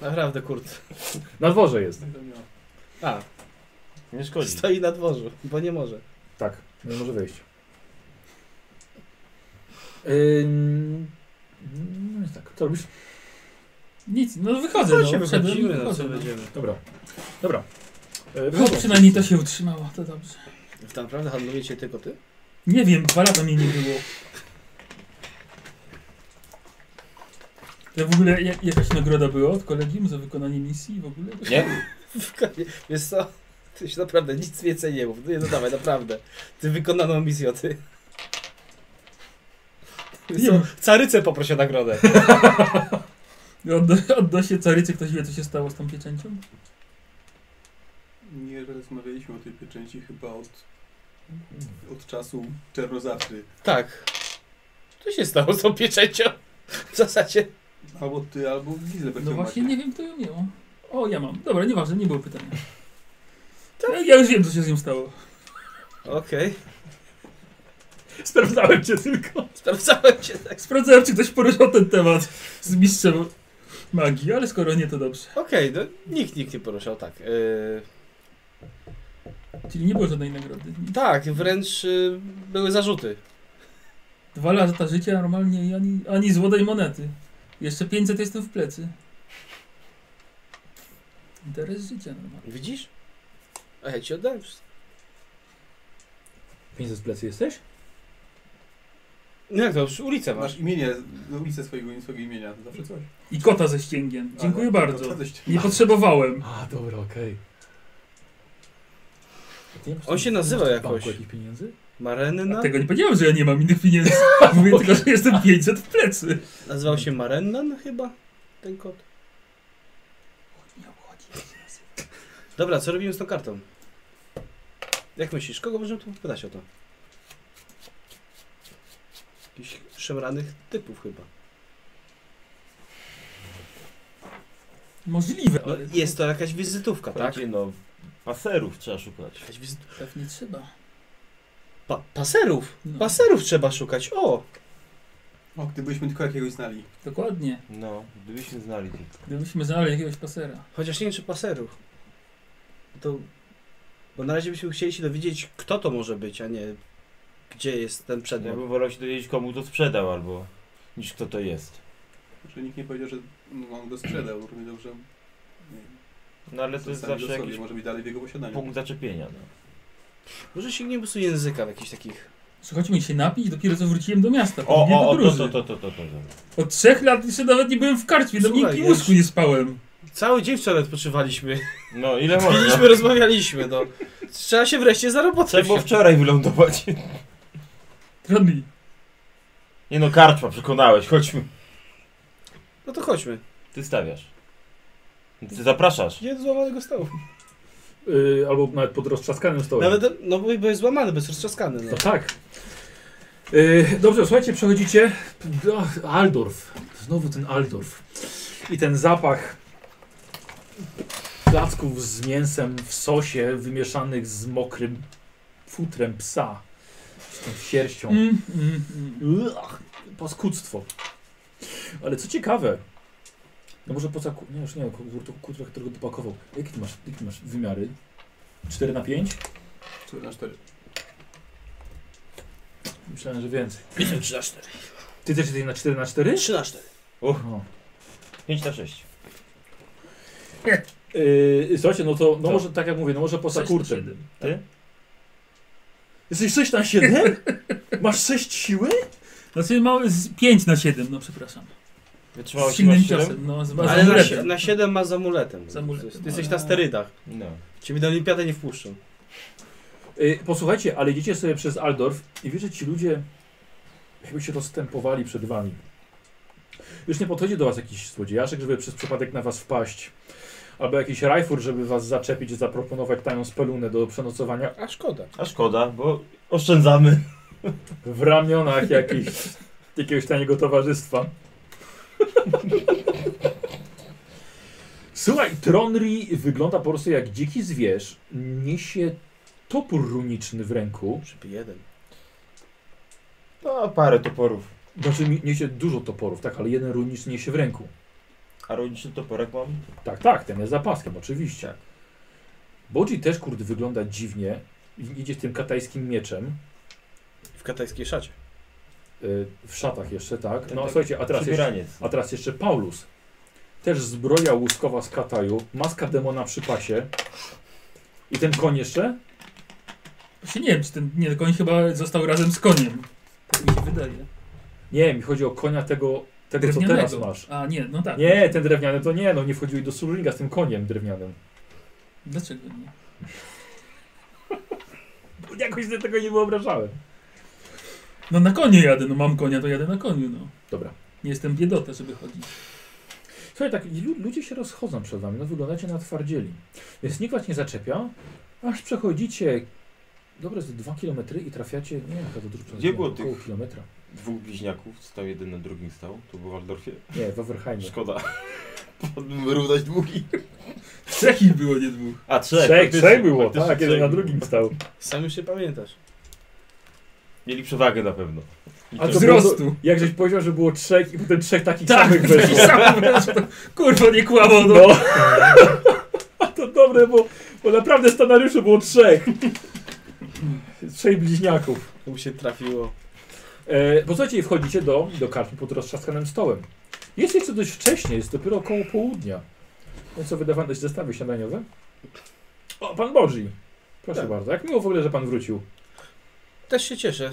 Speaker 5: Naprawdę, kurt.
Speaker 1: Na dworze jest.
Speaker 6: tak
Speaker 5: A,
Speaker 2: Nie szkodzi.
Speaker 5: stoi na dworzu, bo nie może.
Speaker 1: Tak, nie może wejść. Yy, no więc tak, to robisz?
Speaker 4: Nic, no wychodzę. no, wszedłem i
Speaker 5: no, co
Speaker 4: wychodzę, no.
Speaker 5: będziemy.
Speaker 1: Dobra, dobra. E,
Speaker 4: No, przynajmniej to się utrzymało, to dobrze.
Speaker 5: Wy naprawdę handlujecie tylko ty?
Speaker 4: Nie wiem, dwa lata mnie nie było. To w ogóle jak, jakaś nagroda była od kolegium za wykonanie misji w ogóle?
Speaker 2: Nie?
Speaker 5: Wiesz co? Ty się naprawdę nic więcej nie mów. Nie, no dawaj, naprawdę. Ty wykonaną misję, ty. Wiesz
Speaker 4: Nie
Speaker 5: co?
Speaker 4: wiem.
Speaker 5: Carycę poprosi o nagrodę.
Speaker 4: Odda, odda się carycy, ktoś wie co się stało z tą pieczęcią?
Speaker 6: Nie rozmawialiśmy o tej pieczęci chyba od, od czasu czernozawcy.
Speaker 5: Tak. Co się stało z tą pieczęcią? W zasadzie.
Speaker 6: Albo ty, albo Gizelbert
Speaker 4: No
Speaker 6: ją
Speaker 4: właśnie
Speaker 6: macie.
Speaker 4: nie wiem kto ją miał. O, ja mam. Dobra, nieważne, nie było pytania. Ja, ja już wiem co się z nią stało.
Speaker 5: Okej.
Speaker 1: [laughs] Sprawdzałem cię tylko.
Speaker 5: Sprawdzałem cię tak.
Speaker 4: Sprawdzałem czy ktoś poruszał ten temat z mistrzem magii, ale skoro nie to dobrze.
Speaker 5: Okej, no nikt, nikt nie poruszał, tak. Yy,
Speaker 4: Czyli nie było żadnej nagrody.
Speaker 5: tak, wręcz yy, były zarzuty.
Speaker 4: Dwa lata życia normalnie i ani, ani złotej monety. Jeszcze 500 jestem w plecy. Interes życia normalnie.
Speaker 5: Widzisz? A ja ci oddałem wszystko.
Speaker 1: 500 z plecy jesteś?
Speaker 5: No jak to, już ulicę masz.
Speaker 6: Masz imienie, no, ulicę swojego, swojego imienia, zawsze coś.
Speaker 4: I kota ze ścięgiem. Dziękuję
Speaker 6: Ale-
Speaker 4: bardzo.
Speaker 6: No, to coś-
Speaker 4: Nie potrzebowałem.
Speaker 1: A, dobra, okej.
Speaker 5: On się nazywa jakoś.
Speaker 1: jakichś pieniędzy?
Speaker 5: Marenna?
Speaker 4: Tego nie powiedziałem, że ja nie mam innych pieniędzy. [laughs] Mówię tylko, że jestem 500 w plecy.
Speaker 5: Nazywał się Marennan chyba? Ten kot. Dobra, co robimy z tą kartą? Jak myślisz, kogo możemy tu pytać o to? Jakichś szemranych typów chyba.
Speaker 4: Możliwe,
Speaker 5: No,
Speaker 4: ale
Speaker 5: jest to jakaś wizytówka, tak?
Speaker 2: Takie no. Paserów trzeba szukać.
Speaker 5: Jakaś wizyt...
Speaker 4: pewnie trzeba.
Speaker 5: pa paserów!
Speaker 4: No.
Speaker 5: Paserów trzeba szukać, o!
Speaker 6: O, gdybyśmy tylko jakiegoś znali.
Speaker 4: Dokładnie.
Speaker 2: No, gdybyśmy znali tych.
Speaker 4: Gdybyśmy znali jakiegoś pasera.
Speaker 5: Chociaż nie wiem, czy paserów. To... Bo na razie byśmy chcieli się dowiedzieć, kto to może być, a nie gdzie jest ten
Speaker 2: Ja
Speaker 5: przedmiot.
Speaker 2: bym wolał się dowiedzieć komu to sprzedał albo niż kto to jest.
Speaker 6: Że nikt nie powiedział, że no, on go sprzedał. Równie dobrze. Nie, wiem,
Speaker 2: No ale to jest
Speaker 6: zostawił
Speaker 2: zawsze
Speaker 6: go sobie,
Speaker 2: jakiś
Speaker 6: Może być dalej w jego posiadaniu.
Speaker 2: punkt zaczepienia. No.
Speaker 5: Może sięgniemy po prostu języka w jakichś takich...
Speaker 4: Słuchajcie, mi się napić, dopiero co wróciłem do miasta.
Speaker 2: O,
Speaker 4: Po dwie
Speaker 2: o, o, to,
Speaker 4: podróży.
Speaker 2: to, to, to, to, to.
Speaker 4: Od trzech lat jeszcze nawet nie byłem w karczmie, do
Speaker 5: Słuchaj,
Speaker 4: miękkim
Speaker 5: ja już-
Speaker 4: łóżku nie spałem.
Speaker 5: Cały dzień wczoraj odpoczywaliśmy.
Speaker 2: No ile można?
Speaker 5: Piliśmy, rozmawialiśmy, no. Trzeba się wreszcie za robotę
Speaker 2: Trzeba było
Speaker 5: wziąć.
Speaker 2: wczoraj wylądować.
Speaker 4: Trudniej.
Speaker 2: Nie no, karczma, przekonałeś, chodźmy.
Speaker 5: No to chodźmy.
Speaker 2: Ty stawiasz. Ty zapraszasz.
Speaker 5: Nie do złamanego stołu.
Speaker 1: Yy, albo nawet pod roztrzaskanym stołem.
Speaker 5: Nawet, no bo bo jest złamany, bo jest roztrzaskany, no.
Speaker 1: No tak. Yy, dobrze, słuchajcie, przechodzicie. Ach, Aldorf. Znowu ten Aldorf. I ten zapach placków z mięsem w sosie wymieszanych z mokrym futrem psa. Z tą sierścią.
Speaker 4: Mm, mm, mm.
Speaker 1: Ugh, paskudztwo. Ale co ciekawe, no może poza... ku- Nie, już nie, kurwa, którego dopakował. Jakie ty masz, jakie ty masz wymiary? 4 na 5?
Speaker 6: 4 na 4.
Speaker 1: Myślałem, że więcej.
Speaker 5: 3 na 4.
Speaker 1: Ty też jesteś na 4 na 4?
Speaker 5: 3 na 4.
Speaker 1: No.
Speaker 2: 5 na 6.
Speaker 1: Yy, słuchajcie, no to, no
Speaker 8: Co?
Speaker 1: może tak jak mówię, no może poza
Speaker 10: Sześć na
Speaker 1: kurczem.
Speaker 10: siedem.
Speaker 8: Ty?
Speaker 1: Jesteś 6 na 7? Masz 6 siły?
Speaker 4: Znaczy mały z 5 na 7, no przepraszam.
Speaker 8: Wytrzymało
Speaker 4: Z
Speaker 8: się masz
Speaker 4: silnym
Speaker 8: siedem?
Speaker 4: ciosem, no z z
Speaker 5: Ale na, si-
Speaker 4: amuletem.
Speaker 5: na 7 ma z amuletem.
Speaker 4: Z amuletem.
Speaker 5: Ty jesteś na sterydach.
Speaker 8: No.
Speaker 5: Ciebie do olimpiady nie wpuszczą.
Speaker 1: Yy, posłuchajcie, ale idziecie sobie przez Aldorf i wiecie, ci ludzie jakby się rozstępowali przed wami. Już nie podchodzi do was jakiś słodziejaszek, żeby przez przypadek na was wpaść. Albo jakiś rajfur, żeby was zaczepić, zaproponować tajną spelunę do przenocowania
Speaker 11: A szkoda.
Speaker 8: A szkoda, bo oszczędzamy.
Speaker 1: w ramionach jakich,
Speaker 8: [laughs]
Speaker 1: jakiegoś taniego towarzystwa. Słuchaj, Tronri wygląda po prostu jak dziki zwierz. Niesie topór runiczny w ręku.
Speaker 5: Żeby jeden.
Speaker 8: No, parę toporów.
Speaker 1: Znaczy mi- niesie dużo toporów, tak, ale jeden runiczny niesie w ręku.
Speaker 8: A rodzinny toporek mam?
Speaker 1: Tak, tak, ten jest zapaskiem, oczywiście. Bodzi też, kurde, wygląda dziwnie. I- Idzie tym katajskim mieczem.
Speaker 5: W katajskiej szacie.
Speaker 1: y, W szatach jeszcze, tak.
Speaker 8: Ten
Speaker 1: No
Speaker 8: tak
Speaker 1: słuchajcie, a teraz jeszcze
Speaker 8: Przybieraniec.
Speaker 1: A teraz jeszcze Paulus. Też zbroja łuskowa z Kataju, maska demona przy pasie. I ten koń jeszcze?
Speaker 4: Właśnie nie wiem, czy ten nie, koń chyba został razem z koniem. Tak mi się wydaje.
Speaker 1: Nie, mi chodzi o konia tego, tego co
Speaker 4: Drewnianego.
Speaker 1: teraz masz.
Speaker 4: A nie, no tak.
Speaker 1: Nie, ten drewniany to nie, no nie wchodził do Surlinga z tym koniem drewnianym.
Speaker 4: Dlaczego nie?
Speaker 1: Jakoś sobie tego nie wyobrażałem.
Speaker 4: No na koniu jadę, no mam konia, to jadę na koniu, no.
Speaker 1: Dobra.
Speaker 4: Nie jestem biedota, żeby chodzić.
Speaker 1: Słuchaj, tak, lu- ludzie się rozchodzą przed wami, no wyglądacie na twardzieli. Więc nikt was nie zaczepia, aż przechodzicie dobre z dwa kilometry i trafiacie, nie wiem, to dużo
Speaker 8: Gdzie było
Speaker 1: około
Speaker 8: tych-
Speaker 1: kilometra.
Speaker 8: Dwóch bliźniaków, stał jeden na drugim stał. To był w Waldorfie.
Speaker 1: Nie, w Overheimie.
Speaker 8: Szkoda. [laughs] Wyrównać długi.
Speaker 4: Trzech ich było, nie dwóch.
Speaker 8: A trzech.
Speaker 1: Trzech,
Speaker 8: faktycznie,
Speaker 1: trzech było,
Speaker 8: faktycznie
Speaker 1: tak, jeden
Speaker 8: trzech
Speaker 1: na
Speaker 8: było.
Speaker 1: drugim stał.
Speaker 5: Sam już się pamiętasz.
Speaker 8: Mieli przewagę na pewno. I
Speaker 1: A
Speaker 8: to-
Speaker 1: co
Speaker 4: Wzrostu.
Speaker 1: Jak żeś powiedział, że było trzech i potem trzech takich samych
Speaker 4: Tak, taki [laughs]
Speaker 1: weszło.
Speaker 4: sam weszło. Kurwa, nie kłamał, no.
Speaker 1: No. A [laughs] to dobre, bo, bo naprawdę scenariuszy było trzech. Trzej bliźniaków.
Speaker 5: To mu się trafiło.
Speaker 1: E, posłuchajcie, i wchodzicie do, do karczmy pod roztrzaskanym stołem. Jest jeszcze dość wcześnie, jest dopiero około południa. No co, wydawano dość zestawy śniadaniowe? O, pan Boży. Proszę
Speaker 5: Tak.
Speaker 1: bardzo, jak miło w ogóle, że pan wrócił.
Speaker 5: Też się cieszę.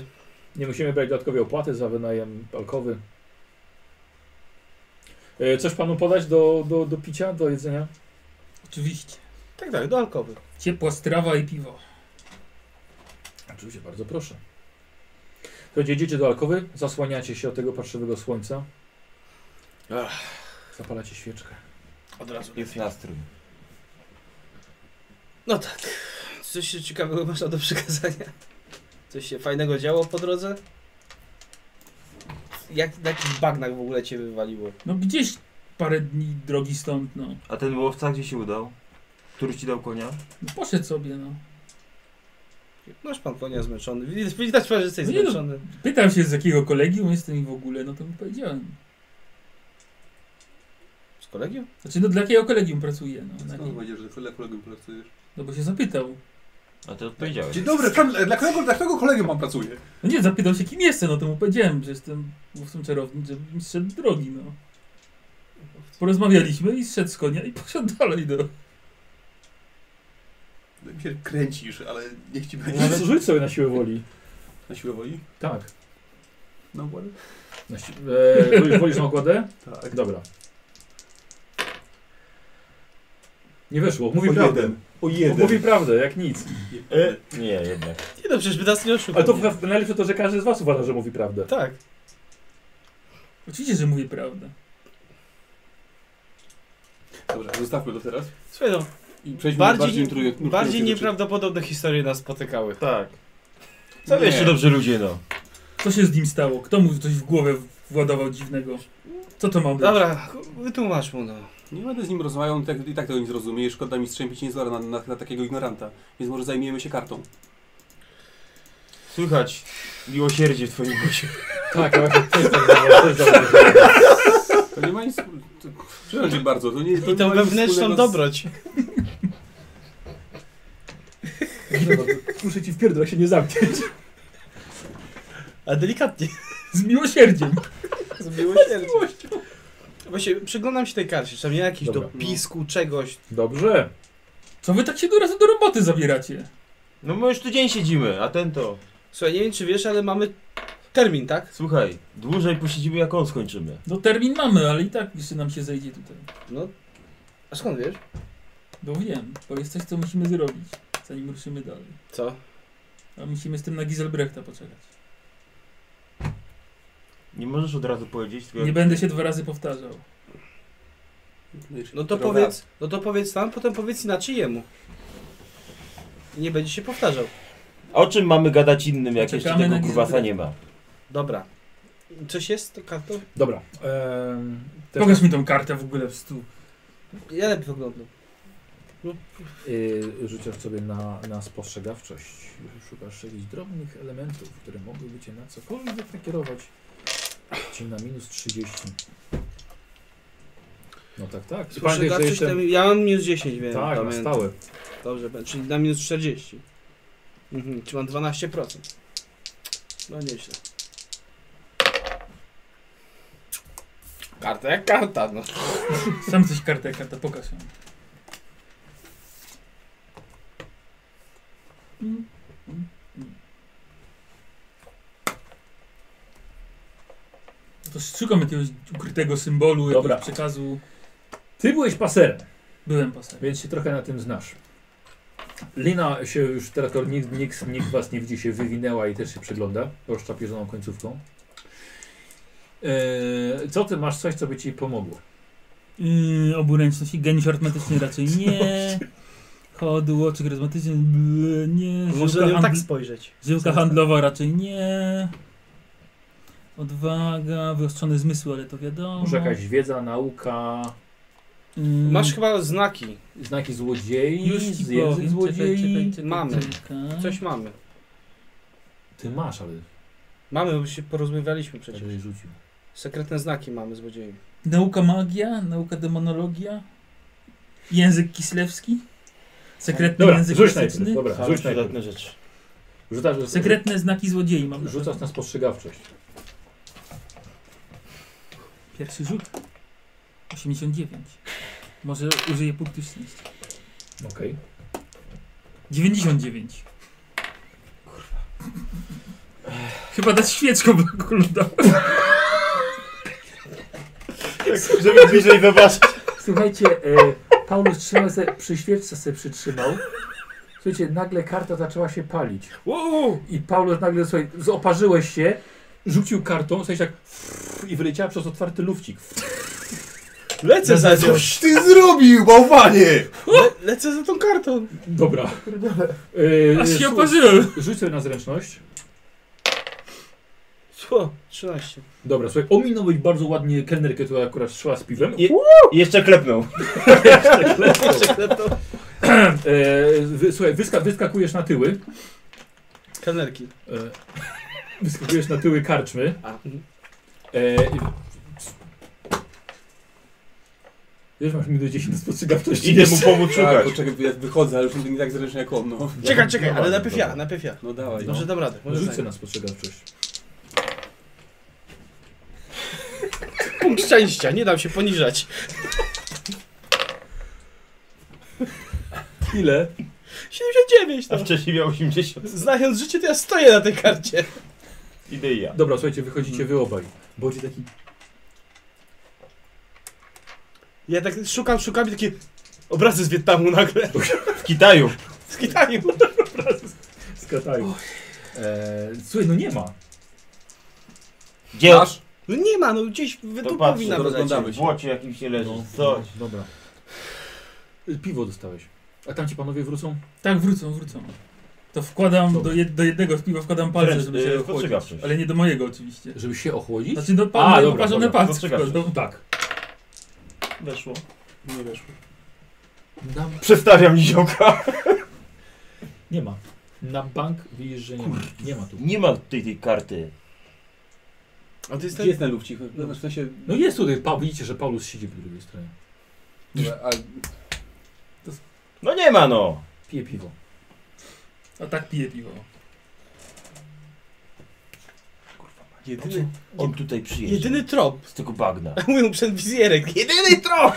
Speaker 1: Nie musimy brać dodatkowej opłaty za wynajem alkowy. E, Coś panu podać do, do, do picia, do jedzenia?
Speaker 4: Oczywiście.
Speaker 5: Tak, tak, do alkowy.
Speaker 4: Ciepła strawa i piwo.
Speaker 1: Oczywiście, bardzo proszę. Słuchajcie, jedziecie do alkowy, zasłaniacie się od tego parszywego słońca. Zapalacie świeczkę.
Speaker 5: Od razu.
Speaker 8: Jest nastrój.
Speaker 5: No tak. Coś się ciekawego masz do przekazania? Coś się fajnego działo po drodze? Jak, na jakich bagnach w ogóle cię wywaliło?
Speaker 4: No gdzieś parę dni drogi stąd, no.
Speaker 8: A ten łowca gdzie się udał? Który ci dał konia?
Speaker 4: no poszedł sobie, no.
Speaker 5: Masz pan konia zmęczony. Widać, widać że jesteś
Speaker 4: Nie no.
Speaker 5: zmęczony.
Speaker 4: Pytam się z jakiego kolegium jestem i w ogóle, no to mi powiedziałem.
Speaker 5: Z kolegium?
Speaker 4: Znaczy, no dla jakiego kolegium pracuję, no. Na
Speaker 2: Skąd
Speaker 4: jakim-
Speaker 2: powiedziesz, że dla kolegium pracujesz?
Speaker 4: No bo się zapytał.
Speaker 8: A ty odpowiedziałeś.
Speaker 2: Dzień dobry, pan, dla którego, dla którego kolegium pan pracuje?
Speaker 4: No nie, zapytał się kim jestem, no to mu powiedziałem, że jestem główcą czarownym, że mistrzem drogi, no. Porozmawialiśmy i zszedł z konia i [laughs] poszedł dalej, no.
Speaker 2: Mi się kręcisz, ale niech ci
Speaker 1: [laughs]
Speaker 2: będzie.
Speaker 1: Nawet... Rzuć sobie na siłę woli.
Speaker 2: Na siłę woli?
Speaker 1: Tak.
Speaker 2: No ładnie.
Speaker 1: Na si... e, wolisz na okładę?
Speaker 2: Tak.
Speaker 1: Dobra. Nie weszło, mówi
Speaker 2: O
Speaker 1: prawdę.
Speaker 2: jeden.
Speaker 8: O
Speaker 1: Mówi prawdę, jak nic.
Speaker 8: E, nie, jednak.
Speaker 5: Nie no, przecież by nas nie oszukał.
Speaker 1: Ale to w- najlepsze to, że każdy z was uważa, że mówi prawdę.
Speaker 5: Tak.
Speaker 4: Oczywiście, że mówię prawdę.
Speaker 2: Dobra, zostawmy to teraz.
Speaker 5: Słuchaj no,
Speaker 2: I przejdźmy
Speaker 5: Bardziej
Speaker 2: do bardziej,
Speaker 5: nie-
Speaker 2: trój- nurtujących
Speaker 5: bardziej
Speaker 2: rzeczy.
Speaker 5: nieprawdopodobne historie nas spotykały.
Speaker 8: Tak. Co
Speaker 2: Nie.
Speaker 8: jeszcze dobrze ludzie, no.
Speaker 4: Co się z nim stało? Kto mu coś w głowę władował dziwnego? Co to
Speaker 1: tak.
Speaker 4: ma być?
Speaker 5: Dobra, wytłumacz mu no.
Speaker 2: Nie będę z nim rozmawiał, on tak, i tak tego nie zrozumie. i Szkoda mi strzępić niezora na, na, na takiego ignoranta. Więc może zajmiemy się kartą.
Speaker 8: Słychać miłosierdzie w twoim głosie.
Speaker 1: Tak, ja właśnie też tak zauważyłem, też zauważyłem.
Speaker 2: To nie ma nic. To, przepraszam cię bardzo, to nie to
Speaker 5: I
Speaker 2: nie
Speaker 5: tą
Speaker 2: ma nic
Speaker 5: wewnętrzną
Speaker 2: wspólnego z-
Speaker 5: dobroć.
Speaker 1: no, Muszę ci w pierdol się nie zamknąć.
Speaker 5: A delikatnie.
Speaker 4: Z miłosierdziem.
Speaker 5: Z miłosierdzia. Właśnie przyglądam się tej karcie, czy tam nie jakiś
Speaker 1: Dobra.
Speaker 5: dopisku, czegoś.
Speaker 1: Dobrze.
Speaker 4: Co wy tak się do razu do roboty zabieracie?
Speaker 2: No my już tu dzień siedzimy, a ten to.
Speaker 5: Słuchaj, nie wiem czy wiesz, ale mamy termin, tak?
Speaker 2: Słuchaj, dłużej posiedzimy jak on skończymy.
Speaker 4: No termin mamy, ale i tak jeszcze nam się zejdzie tutaj.
Speaker 5: No. A skąd wiesz?
Speaker 4: Bo wiem, bo jest coś, co musimy zrobić, zanim ruszymy dalej.
Speaker 5: Co?
Speaker 4: A musimy z tym na Giselbrechta poczekać.
Speaker 2: Nie możesz od razu powiedzieć, tylko
Speaker 4: Nie
Speaker 2: jak-
Speaker 4: będę się dwa razy powtarzał.
Speaker 5: No to powiedz, no to powiedz nam, potem powiedz inaczej jemu. I nie będzie się powtarzał.
Speaker 2: O czym mamy gadać innym, jak jeszcze
Speaker 4: Czekamy
Speaker 2: tego
Speaker 4: na
Speaker 2: kurwasa
Speaker 4: gwizdek.
Speaker 2: nie ma?
Speaker 5: Dobra. Coś jest to kartą?
Speaker 1: Dobra. Ehm, te-
Speaker 4: Pokaż mi tą kartę w ogóle w stół.
Speaker 5: Ja lepiej wyglądam.
Speaker 1: Yy, rzucasz sobie na, na spostrzegawczość. Szukasz jakichś drobnych elementów, które mogłyby cię na cokolwiek nakierować. Cię na minus 30. No tak, tak. I pamiętaj, że
Speaker 5: Spostrzegawczość
Speaker 1: jestem...
Speaker 5: tam- Ja mam minus 10, wiem.
Speaker 1: Tak, na
Speaker 5: pamiętam.
Speaker 1: stałe.
Speaker 5: Dobrze, be- czyli na minus 40. Mhm, czy mam 12%. No nieźle.
Speaker 9: Karta jak karta, no.
Speaker 4: Sam coś kartę, karta, pokaż ją. Mm, mm, mm. No To szukam jakiegoś ukrytego symbolu,
Speaker 1: Dobra.
Speaker 4: jakiegoś przekazu.
Speaker 1: Ty byłeś paserem.
Speaker 4: Byłem paserem.
Speaker 1: Więc się trochę na tym znasz. Lina się już teraz, skoro nikt, nikt, nikt was nie widzi, się wywinęła i też się przygląda, rozczapieżoną końcówką. Eee, co ty masz coś, co by ci pomogło?
Speaker 4: Yy, oburęczność i geniusz arytmetyczny raczej [laughs] nie. Chodło, czy charyzmatyczny Bl- nie.
Speaker 5: Może
Speaker 4: Żyłka
Speaker 5: na nią tak
Speaker 4: handl-
Speaker 5: spojrzeć.
Speaker 4: Żyłka handlowa raczej nie. Odwaga, wyostrzone zmysły, ale to wiadomo.
Speaker 1: Może jakaś wiedza, nauka,
Speaker 4: Yy,
Speaker 5: Masz chyba znaki.
Speaker 1: znaki złodziei,
Speaker 4: Już ci
Speaker 1: język
Speaker 4: powiem. Czekaj, czekaj,
Speaker 1: złodziei?
Speaker 4: czekaj,
Speaker 5: Mamy.
Speaker 4: czekaj.
Speaker 5: Coś mamy.
Speaker 1: Ty masz, ale
Speaker 5: Mamy, bo się porozmawialiśmy przecież.
Speaker 1: ale rzucił.
Speaker 5: Sekretne znaki mamy złodziei.
Speaker 4: Nauka magia, nauka demonologia, język kislewski, sekretny
Speaker 1: Dobra,
Speaker 4: język
Speaker 1: rzuć najpierw,
Speaker 4: klasyczny,
Speaker 1: dobra,
Speaker 2: Same
Speaker 1: rzuć najpierw.
Speaker 2: przydatne rzeczy.
Speaker 1: Rzucasz,
Speaker 4: sekretne znaki złodziei mam.
Speaker 1: rzucasz na spostrzegawczość.
Speaker 4: Pierwszy rzut. 89. Może użyję punktu szczęścia.
Speaker 1: Okej.
Speaker 4: 99. Chyba dać świeczką do kulda.
Speaker 2: Tak, Żeby bliżej [laughs] zobaczyć.
Speaker 1: Słuchajcie, e, Paulus trzymał se, przy świeczce sobie przytrzymał. Słuchajcie, nagle karta zaczęła się palić. I Paulus nagle, słuchaj, zoparzyłeś się, rzucił kartą, słuchajcie, tak i wyleciała przez otwarty lufcik.
Speaker 5: Lecę za nią.
Speaker 9: Coś ty zrobił, bałwanie!
Speaker 5: Le [laughs] lecę za tą kartą.
Speaker 1: Dobra. E,
Speaker 4: Aż się
Speaker 1: słuchaj,
Speaker 4: oparzyłem.
Speaker 1: Rzuć sobie na zręczność.
Speaker 5: Szło. 13.
Speaker 1: Dobra, słuchaj, ominąłeś bardzo ładnie kelnerkę, która akurat szła z piwem.
Speaker 2: I- I jeszcze klepnął.
Speaker 1: Jeszcze klepnął.
Speaker 5: Sekretną.
Speaker 1: E, wy, słuchaj, wyska, wyskakujesz na tyły.
Speaker 5: Kanerki.
Speaker 1: E, wyskakujesz na tyły karczmy.
Speaker 5: A.
Speaker 1: E, i- Wiesz, masz minus 10 do spostrzegawczości.
Speaker 2: Idę mu pomóc
Speaker 9: Tak,
Speaker 2: szukać.
Speaker 9: poczekaj, bo ja wychodzę, ale już nie tak zręcznie jak on, no.
Speaker 5: Czekaj, czekaj,
Speaker 1: Dobra,
Speaker 5: ale najpierw
Speaker 1: dobra.
Speaker 5: ja, najpierw ja.
Speaker 9: No dawaj, no.
Speaker 5: Może dam radę. Może
Speaker 1: Rzucę
Speaker 5: zajmę.
Speaker 1: na spostrzegawczość.
Speaker 5: Punkt szczęścia, nie dam się poniżać.
Speaker 1: Ile?
Speaker 5: 79
Speaker 2: A
Speaker 5: tam.
Speaker 2: wcześniej miał 80.
Speaker 5: Znając życie, to ja stoję na tej karcie.
Speaker 2: Idę i ja.
Speaker 1: Dobra, słuchajcie, wychodzicie wy obaj. Bodzi taki...
Speaker 5: Ja tak szukam, szukam i takie obrazy z Wietnamu nagle. [laughs]
Speaker 2: W Kitaju.
Speaker 5: Z Kitaju.
Speaker 1: Skatają. E, słuchaj, no nie ma.
Speaker 2: Gdzie?
Speaker 9: Masz?
Speaker 5: No nie ma, no gdzieś
Speaker 2: To
Speaker 5: tu
Speaker 2: patrz,
Speaker 5: powinna
Speaker 2: to
Speaker 5: być.
Speaker 9: rozglądamy
Speaker 2: W
Speaker 9: się.
Speaker 2: błocie jakimś nie leży.
Speaker 1: No,
Speaker 2: Coś.
Speaker 1: dobra. Y, Piwo dostałeś. A tam ci panowie wrócą?
Speaker 4: Tak, wrócą, wrócą. To wkładam
Speaker 1: Dobra.
Speaker 4: do, jed, do jednego piwa wkładam palce,
Speaker 2: Wręcz,
Speaker 4: żeby
Speaker 2: y,
Speaker 4: się
Speaker 2: spostrzegawczość.
Speaker 4: ochłodzić. Ale nie do mojego oczywiście.
Speaker 1: Żeby się ochłodzić?
Speaker 4: Znaczy do
Speaker 1: A,
Speaker 4: pa-
Speaker 1: dobra,
Speaker 4: poparzone
Speaker 1: dobra,
Speaker 4: palce. No,
Speaker 2: spostrzegawczość.
Speaker 4: tylko, do-
Speaker 1: Tak.
Speaker 2: Weszło.
Speaker 9: Nie weszło.
Speaker 1: Na,
Speaker 2: Przestawiam niziołka.
Speaker 1: nie ma. Na bank widzisz, że nie ma. Nie ma tu.
Speaker 2: Nie ma tej, tej karty.
Speaker 5: A to jest
Speaker 9: Gdzie
Speaker 5: ten...
Speaker 9: jest ten lufcik? No, w sensie...
Speaker 1: No jest tutaj, pa, widzicie, że Paulus siedzi po drugiej stronie.
Speaker 9: A,
Speaker 2: No nie ma no.
Speaker 1: Pije piwo.
Speaker 4: A tak piję piwo.
Speaker 2: Znaczy,
Speaker 5: Jedyny,
Speaker 8: On tutaj przyjeżdża.
Speaker 5: jedyny trop. [laughs]
Speaker 8: Z tego bagna.
Speaker 5: Mówią przed wizjerek. Jedyny trop!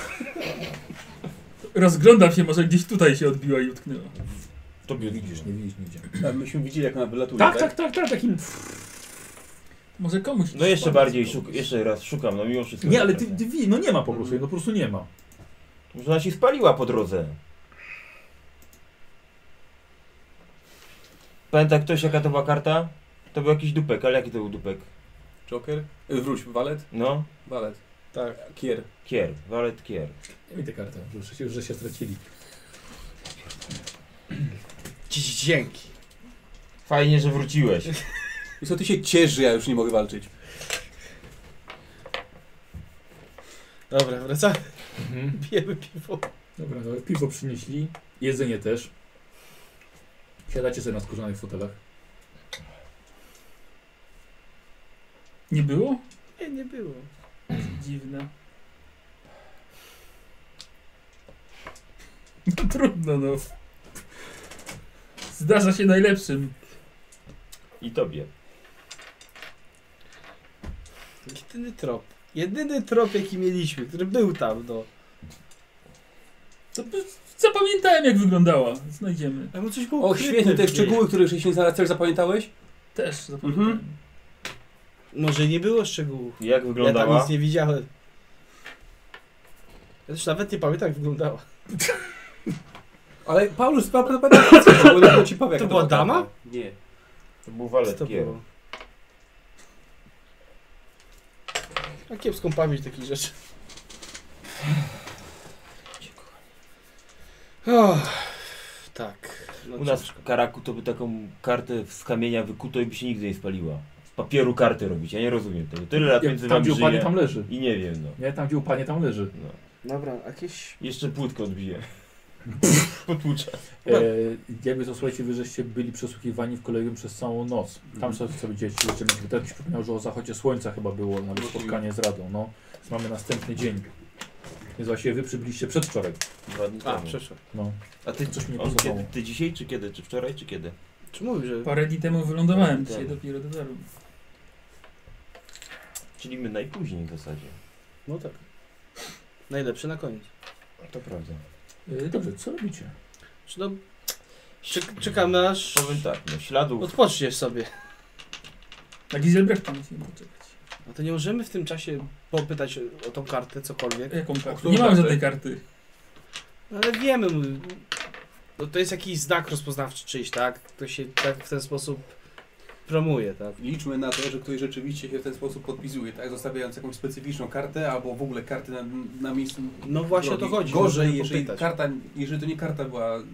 Speaker 4: Rozglądam się, może gdzieś tutaj się odbiła i utknęła.
Speaker 1: Tobie widzisz, nie widzisz nigdzie.
Speaker 2: A myśmy widzieli, jak ona wylatuje,
Speaker 12: Tak, tak, tak, tak, takim...
Speaker 4: Może komuś...
Speaker 8: No jeszcze bardziej, szuk jeszcze raz szukam, no mimo wszystko.
Speaker 1: Nie, ale ty, ty wi- no nie ma po prostu, no po prostu nie ma.
Speaker 8: Może ona się spaliła po drodze. Pamięta ktoś jaka to była karta? To był jakiś dupek, ale jaki to był dupek?
Speaker 2: Joker. Y, Wróć, walet?
Speaker 8: No,
Speaker 2: Walet. Tak. Kier.
Speaker 8: kier, walet kier.
Speaker 1: I te karty, już, się- już że się stracili.
Speaker 5: Dzięki.
Speaker 8: Fajnie, że wróciłeś.
Speaker 2: I co, ty się ciesz, że ja już nie mogę walczyć.
Speaker 5: Dobra, wracamy. [laughs]
Speaker 1: Mhm.
Speaker 5: Pijemy piwo.
Speaker 1: Dobra, to piwo przynieśli, jedzenie też. Siadacie sobie na skórzanych fotelach.
Speaker 4: Nie było?
Speaker 5: Nie, nie było.
Speaker 4: Dziwne. [laughs] No trudno, no. Zdarza się najlepszym.
Speaker 8: I tobie.
Speaker 5: Jedyny trop. Jedyny trop, jaki mieliśmy, który był tam, no.
Speaker 4: To by- zapamiętałem, jak wyglądała. Znajdziemy.
Speaker 5: Ale coś było
Speaker 2: O,
Speaker 5: ukryte
Speaker 2: świetnie, te
Speaker 5: gdzieś.
Speaker 2: szczegóły, których żeś nie znalazł, też zapamiętałeś?
Speaker 4: Też zapamiętałem.
Speaker 5: Może nie było szczegółów.
Speaker 8: Jak
Speaker 5: Ja tam
Speaker 8: wyglądała?
Speaker 5: nic nie widziałem. Ja też nawet nie pamiętam, jak wyglądała.
Speaker 2: Ale Paulus, pa- pa- pa- pa- co? Bo tylko ci powiem, jak
Speaker 5: To była
Speaker 2: karta.
Speaker 5: dama?
Speaker 2: Nie.
Speaker 8: To był
Speaker 5: Co
Speaker 8: walet
Speaker 5: to
Speaker 8: kier.
Speaker 5: było? A kiepską pamięć takich rzeczy. Och, tak. No
Speaker 8: U nas w Karaku to by taką kartę z kamienia wykuto i by się nigdy nie spaliła. Z papieru karty robić, ja nie rozumiem tego. Tyle lat między
Speaker 1: tam
Speaker 8: wami
Speaker 1: gdzie upanie,
Speaker 8: żyje
Speaker 1: tam leży.
Speaker 8: i nie wiem no.
Speaker 1: Nie, tam gdzie upanie, tam leży.
Speaker 8: no.
Speaker 5: Dobra, jakieś...
Speaker 8: Jeszcze płytko odbiję. Potłuczę.
Speaker 1: E, jakby to słuchajcie, wy żeście byli przesłuchiwani w kolegium przez całą noc. Tam sobie sobie dzieci, jeszcze Tak mi też przypomniał, że o zachodzie słońca chyba było nawet spotkanie z radą. No, Więc mamy następny dzień. Więc właściwie wy przybyliście przedwczoraj.
Speaker 8: Dwa dni
Speaker 5: A,
Speaker 8: temu.
Speaker 5: przeszło.
Speaker 1: No.
Speaker 8: A ty
Speaker 1: Coś
Speaker 8: coś
Speaker 1: mnie
Speaker 8: mnie on
Speaker 1: pozowało.
Speaker 8: kiedy, Ty dzisiaj czy kiedy? Czy wczoraj czy kiedy?
Speaker 5: Czy mówisz, że...
Speaker 4: Parę dni temu wylądowałem,
Speaker 8: Tak,
Speaker 4: dzisiaj
Speaker 8: tak.
Speaker 4: dopiero dotarłem.
Speaker 8: Czyli my najpóźniej w zasadzie.
Speaker 5: No tak. Najlepsze na koniec.
Speaker 8: To prawda.
Speaker 1: E, dobrze, co robicie?
Speaker 5: Czy no... Czek czekamy aż...
Speaker 8: Powiem tak, no śladów.
Speaker 5: Odpoczniesz sobie.
Speaker 4: Na Giselbrechta musimy poczekać.
Speaker 5: A to nie możemy w tym czasie popytać o tą kartę, cokolwiek.
Speaker 4: Jaką kartę?
Speaker 2: którą
Speaker 4: Nie
Speaker 8: tak.
Speaker 4: mam
Speaker 2: kartę?
Speaker 4: żadnej karty.
Speaker 5: No ale wiemy, m- no to jest jakiś znak rozpoznawczy czyjś, tak? To się tak w ten sposób promuje, tak?
Speaker 2: Liczmy na to, że ktoś rzeczywiście się w ten sposób podpisuje, tak? Zostawiając jakąś specyficzną kartę, albo w ogóle karty na, na miejscu.
Speaker 5: No właśnie o
Speaker 2: drogi.
Speaker 5: to chodzi.
Speaker 2: Gorzej,
Speaker 5: możemy
Speaker 2: jeżeli
Speaker 5: popytać.
Speaker 2: karta, jeżeli to nie karta była y,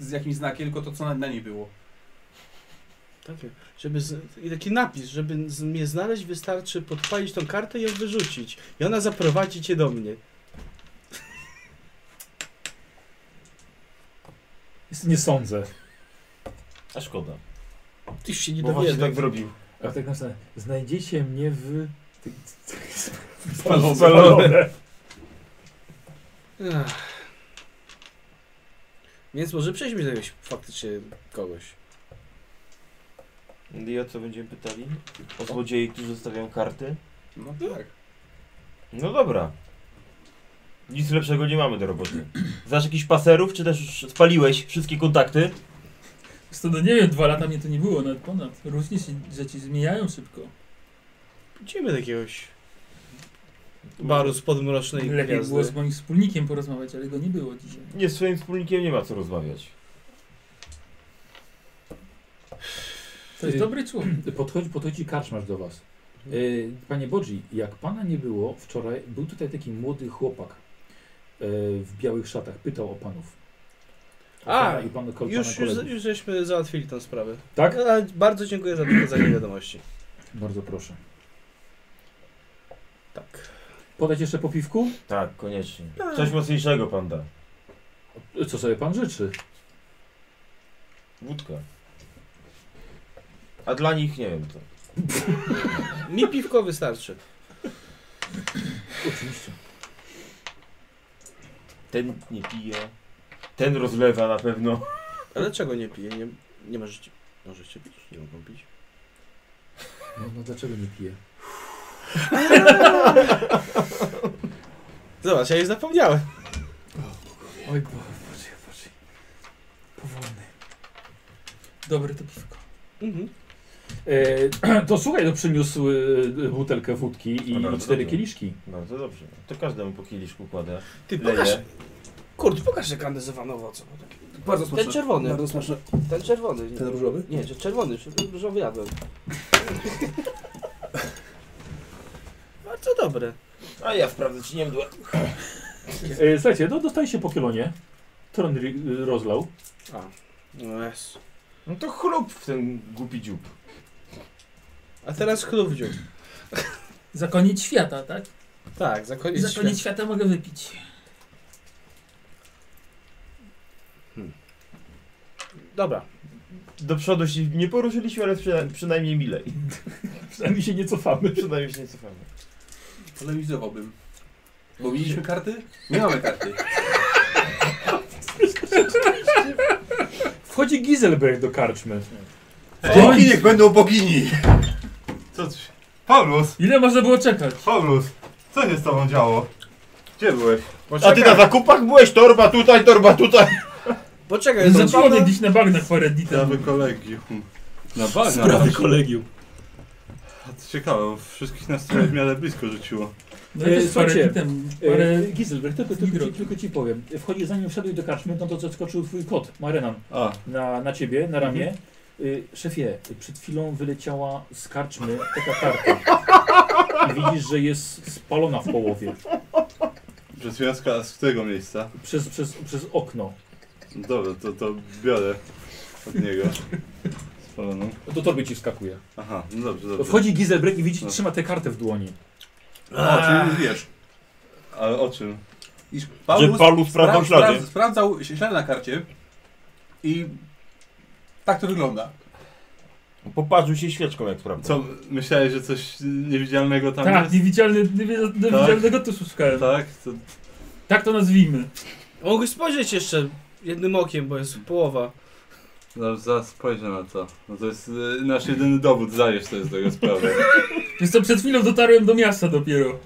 Speaker 2: z jakimś znakiem, tylko to, co na, na niej było.
Speaker 5: Takie, Tak, żeby z, i taki napis, żeby z, mnie znaleźć, wystarczy podpalić tą kartę i ją wyrzucić. I ona zaprowadzi cię do mnie.
Speaker 1: Nie sądzę.
Speaker 8: A szkoda.
Speaker 5: Ty już się nie
Speaker 8: Bo właśnie
Speaker 5: dowiesz.
Speaker 8: tak zrobił.
Speaker 1: A tak napisane, znajdziecie mnie w... ty- ty- ty-
Speaker 8: Spalone.
Speaker 5: Ach. Więc może przejdźmy do jakiegoś faktycznie kogoś.
Speaker 8: I o co będziemy pytali? O złodziei, którzy zostawiają karty?
Speaker 2: No tak.
Speaker 8: No dobra. Nic lepszego nie mamy do roboty. Znasz jakichś paserów, czy też już spaliłeś wszystkie kontakty?
Speaker 4: Stąd no nie wiem, dwa lata mnie to nie było, nawet ponad. Różnie się rzeczy zmieniają szybko.
Speaker 5: Idziemy do jakiegoś baru z podmrocznej
Speaker 4: Lepiej
Speaker 5: No gwiazdy.
Speaker 4: było z moim wspólnikiem porozmawiać, ale go nie było dzisiaj.
Speaker 8: Nie, z swoim wspólnikiem nie ma co rozmawiać.
Speaker 4: To jest
Speaker 1: Y-
Speaker 4: dobry człowiek.
Speaker 1: Podchodzi, podchodzi karczmarz do was. E, Panie Bodzi, jak pana nie było wczoraj, był tutaj taki młody chłopak e, w białych szatach, pytał o panów. O
Speaker 5: A,
Speaker 1: pana i pan, kol-
Speaker 5: Już,
Speaker 1: pana
Speaker 5: już,
Speaker 1: kolegów.
Speaker 5: już żeśmy załatwili tą sprawę.
Speaker 1: Tak?
Speaker 9: No,
Speaker 5: Ale bardzo dziękuję za przekazanie wiadomości.
Speaker 1: Bardzo proszę.
Speaker 5: Tak.
Speaker 1: Podać jeszcze po piwku?
Speaker 8: Tak, koniecznie. Coś mocniejszego pan da.
Speaker 1: Co sobie pan życzy?
Speaker 8: Wódka. A dla nich nie wiem co.
Speaker 5: Mi piwko wystarczy.
Speaker 1: Oczywiście.
Speaker 8: Ten nie pije. Ten rozlewa na pewno.
Speaker 5: Ale czego nie piję? Nie, nie możecie. Możecie pić? Nie mogą pić.
Speaker 13: No, no dlaczego nie piję?
Speaker 9: Zobacz, ja już zapomniałem.
Speaker 4: Oj, bo, boże, boże. Powolny. Dobre to piwko.
Speaker 9: Mhm.
Speaker 1: E, [clears throat] to słuchaj, to przyniósł e, butelkę wódki i
Speaker 8: No bardzo
Speaker 1: cztery
Speaker 8: dobrze.
Speaker 1: kieliszki.
Speaker 8: Bardzo dobrze. To każdemu po kieliszku kładę.
Speaker 9: Ty
Speaker 8: Leje.
Speaker 9: pokaż. Kurde, pokaż te kandyzowane owoce. bo takie-
Speaker 6: Bardzo smaczne.
Speaker 9: Ten czerwony.
Speaker 6: Bardzo smaczne.
Speaker 9: Ten czerwony. nie-
Speaker 13: Ten różowy?
Speaker 9: Nie, że czerwony, że różowy jadłem. [laughs] Bardzo dobre.
Speaker 8: A ja sprawdzę, czy nie mdłe.
Speaker 1: E, słuchajcie, no dostaliście po kielonie. Tron ri- rozlał. [laughs]
Speaker 9: No jest.
Speaker 8: No to chlup w ten głupi dziób.
Speaker 9: A teraz chlub wziął.
Speaker 4: Za koniec świata, tak?
Speaker 9: Tak, za koniec
Speaker 4: Za koniec świata mogę wypić.
Speaker 9: świata. Dobra.
Speaker 8: Do przodu się nie poruszyliśmy, ale przyna- przynajmniej milej.
Speaker 1: Przynajmniej się nie cofamy.
Speaker 8: [laughs] przynajmniej się nie cofamy.
Speaker 6: Polemizowałbym. Bo widzieliśmy karty? Nie mamy [laughs] karty.
Speaker 1: Wchodzi Giselberg do karczmy.
Speaker 2: Bogini niech będą bogini! Co ty? Paulus!
Speaker 4: Ile można było czekać?
Speaker 2: Paulus! Co się z tobą działo? Gdzie byłeś?
Speaker 8: A ty na zakupach byłeś? Torba tutaj, torba tutaj!
Speaker 9: Poczekaj, to
Speaker 4: Zaczęło mnie
Speaker 9: Paweł...
Speaker 4: dziś na bagnach parę dni temu.
Speaker 2: Sprawy kolegium. Na bagna.
Speaker 13: Sprawy kolegium.
Speaker 2: A to ciekawe, bo wszystkich nas trochę w miarę blisko rzuciło.
Speaker 4: No i
Speaker 1: E,
Speaker 4: też parę
Speaker 1: słuchajcie,
Speaker 4: dni temu. Parę...
Speaker 1: E, Giselberg, tylko, tylko,
Speaker 4: Mikro.
Speaker 1: ci, tylko ci powiem. Wchodzi, zanim wszedłeś do karczmy, no to zaskoczył twój kot, Marenan,
Speaker 2: A,
Speaker 1: na, na ciebie, na ramię. Y, szefie, przed chwilą wyleciała z karczmy taka karta. I widzisz, że jest spalona w połowie.
Speaker 2: że związka z którego miejsca?
Speaker 1: Przez, przez, przez okno.
Speaker 2: No Dobra, to, to biorę od niego. Spaloną.
Speaker 1: Do torby ci wskakuje.
Speaker 2: Aha, no dobrze, dobrze.
Speaker 1: Wchodzi Giselberg i widzisz,
Speaker 2: No.
Speaker 1: trzyma tę kartę w dłoni.
Speaker 2: O, czyli wiesz. Ale o czym?
Speaker 6: Iż
Speaker 8: Że [laughs] Paulus sprawdzał ślady.
Speaker 6: sprawdzał, sprawdzał ślady na karcie i tak to wygląda.
Speaker 8: Popatrzył się świeczką jak sprawdzał.
Speaker 2: Co, myślałeś, że coś niewidzialnego tam
Speaker 4: Tak,
Speaker 2: jest?
Speaker 4: niewidzialny, niewi- niewidzialnego tu szukałem.
Speaker 2: Tak, to
Speaker 4: Tak to nazwijmy.
Speaker 9: Mogę spojrzeć jeszcze jednym okiem, bo jest połowa.
Speaker 2: no, zaraz spojrzę na to. No to jest e, nasz jedyny dowód, zdajesz to jest tego sprawy.
Speaker 4: Wiesz co, przed chwilą dotarłem do miasta dopiero.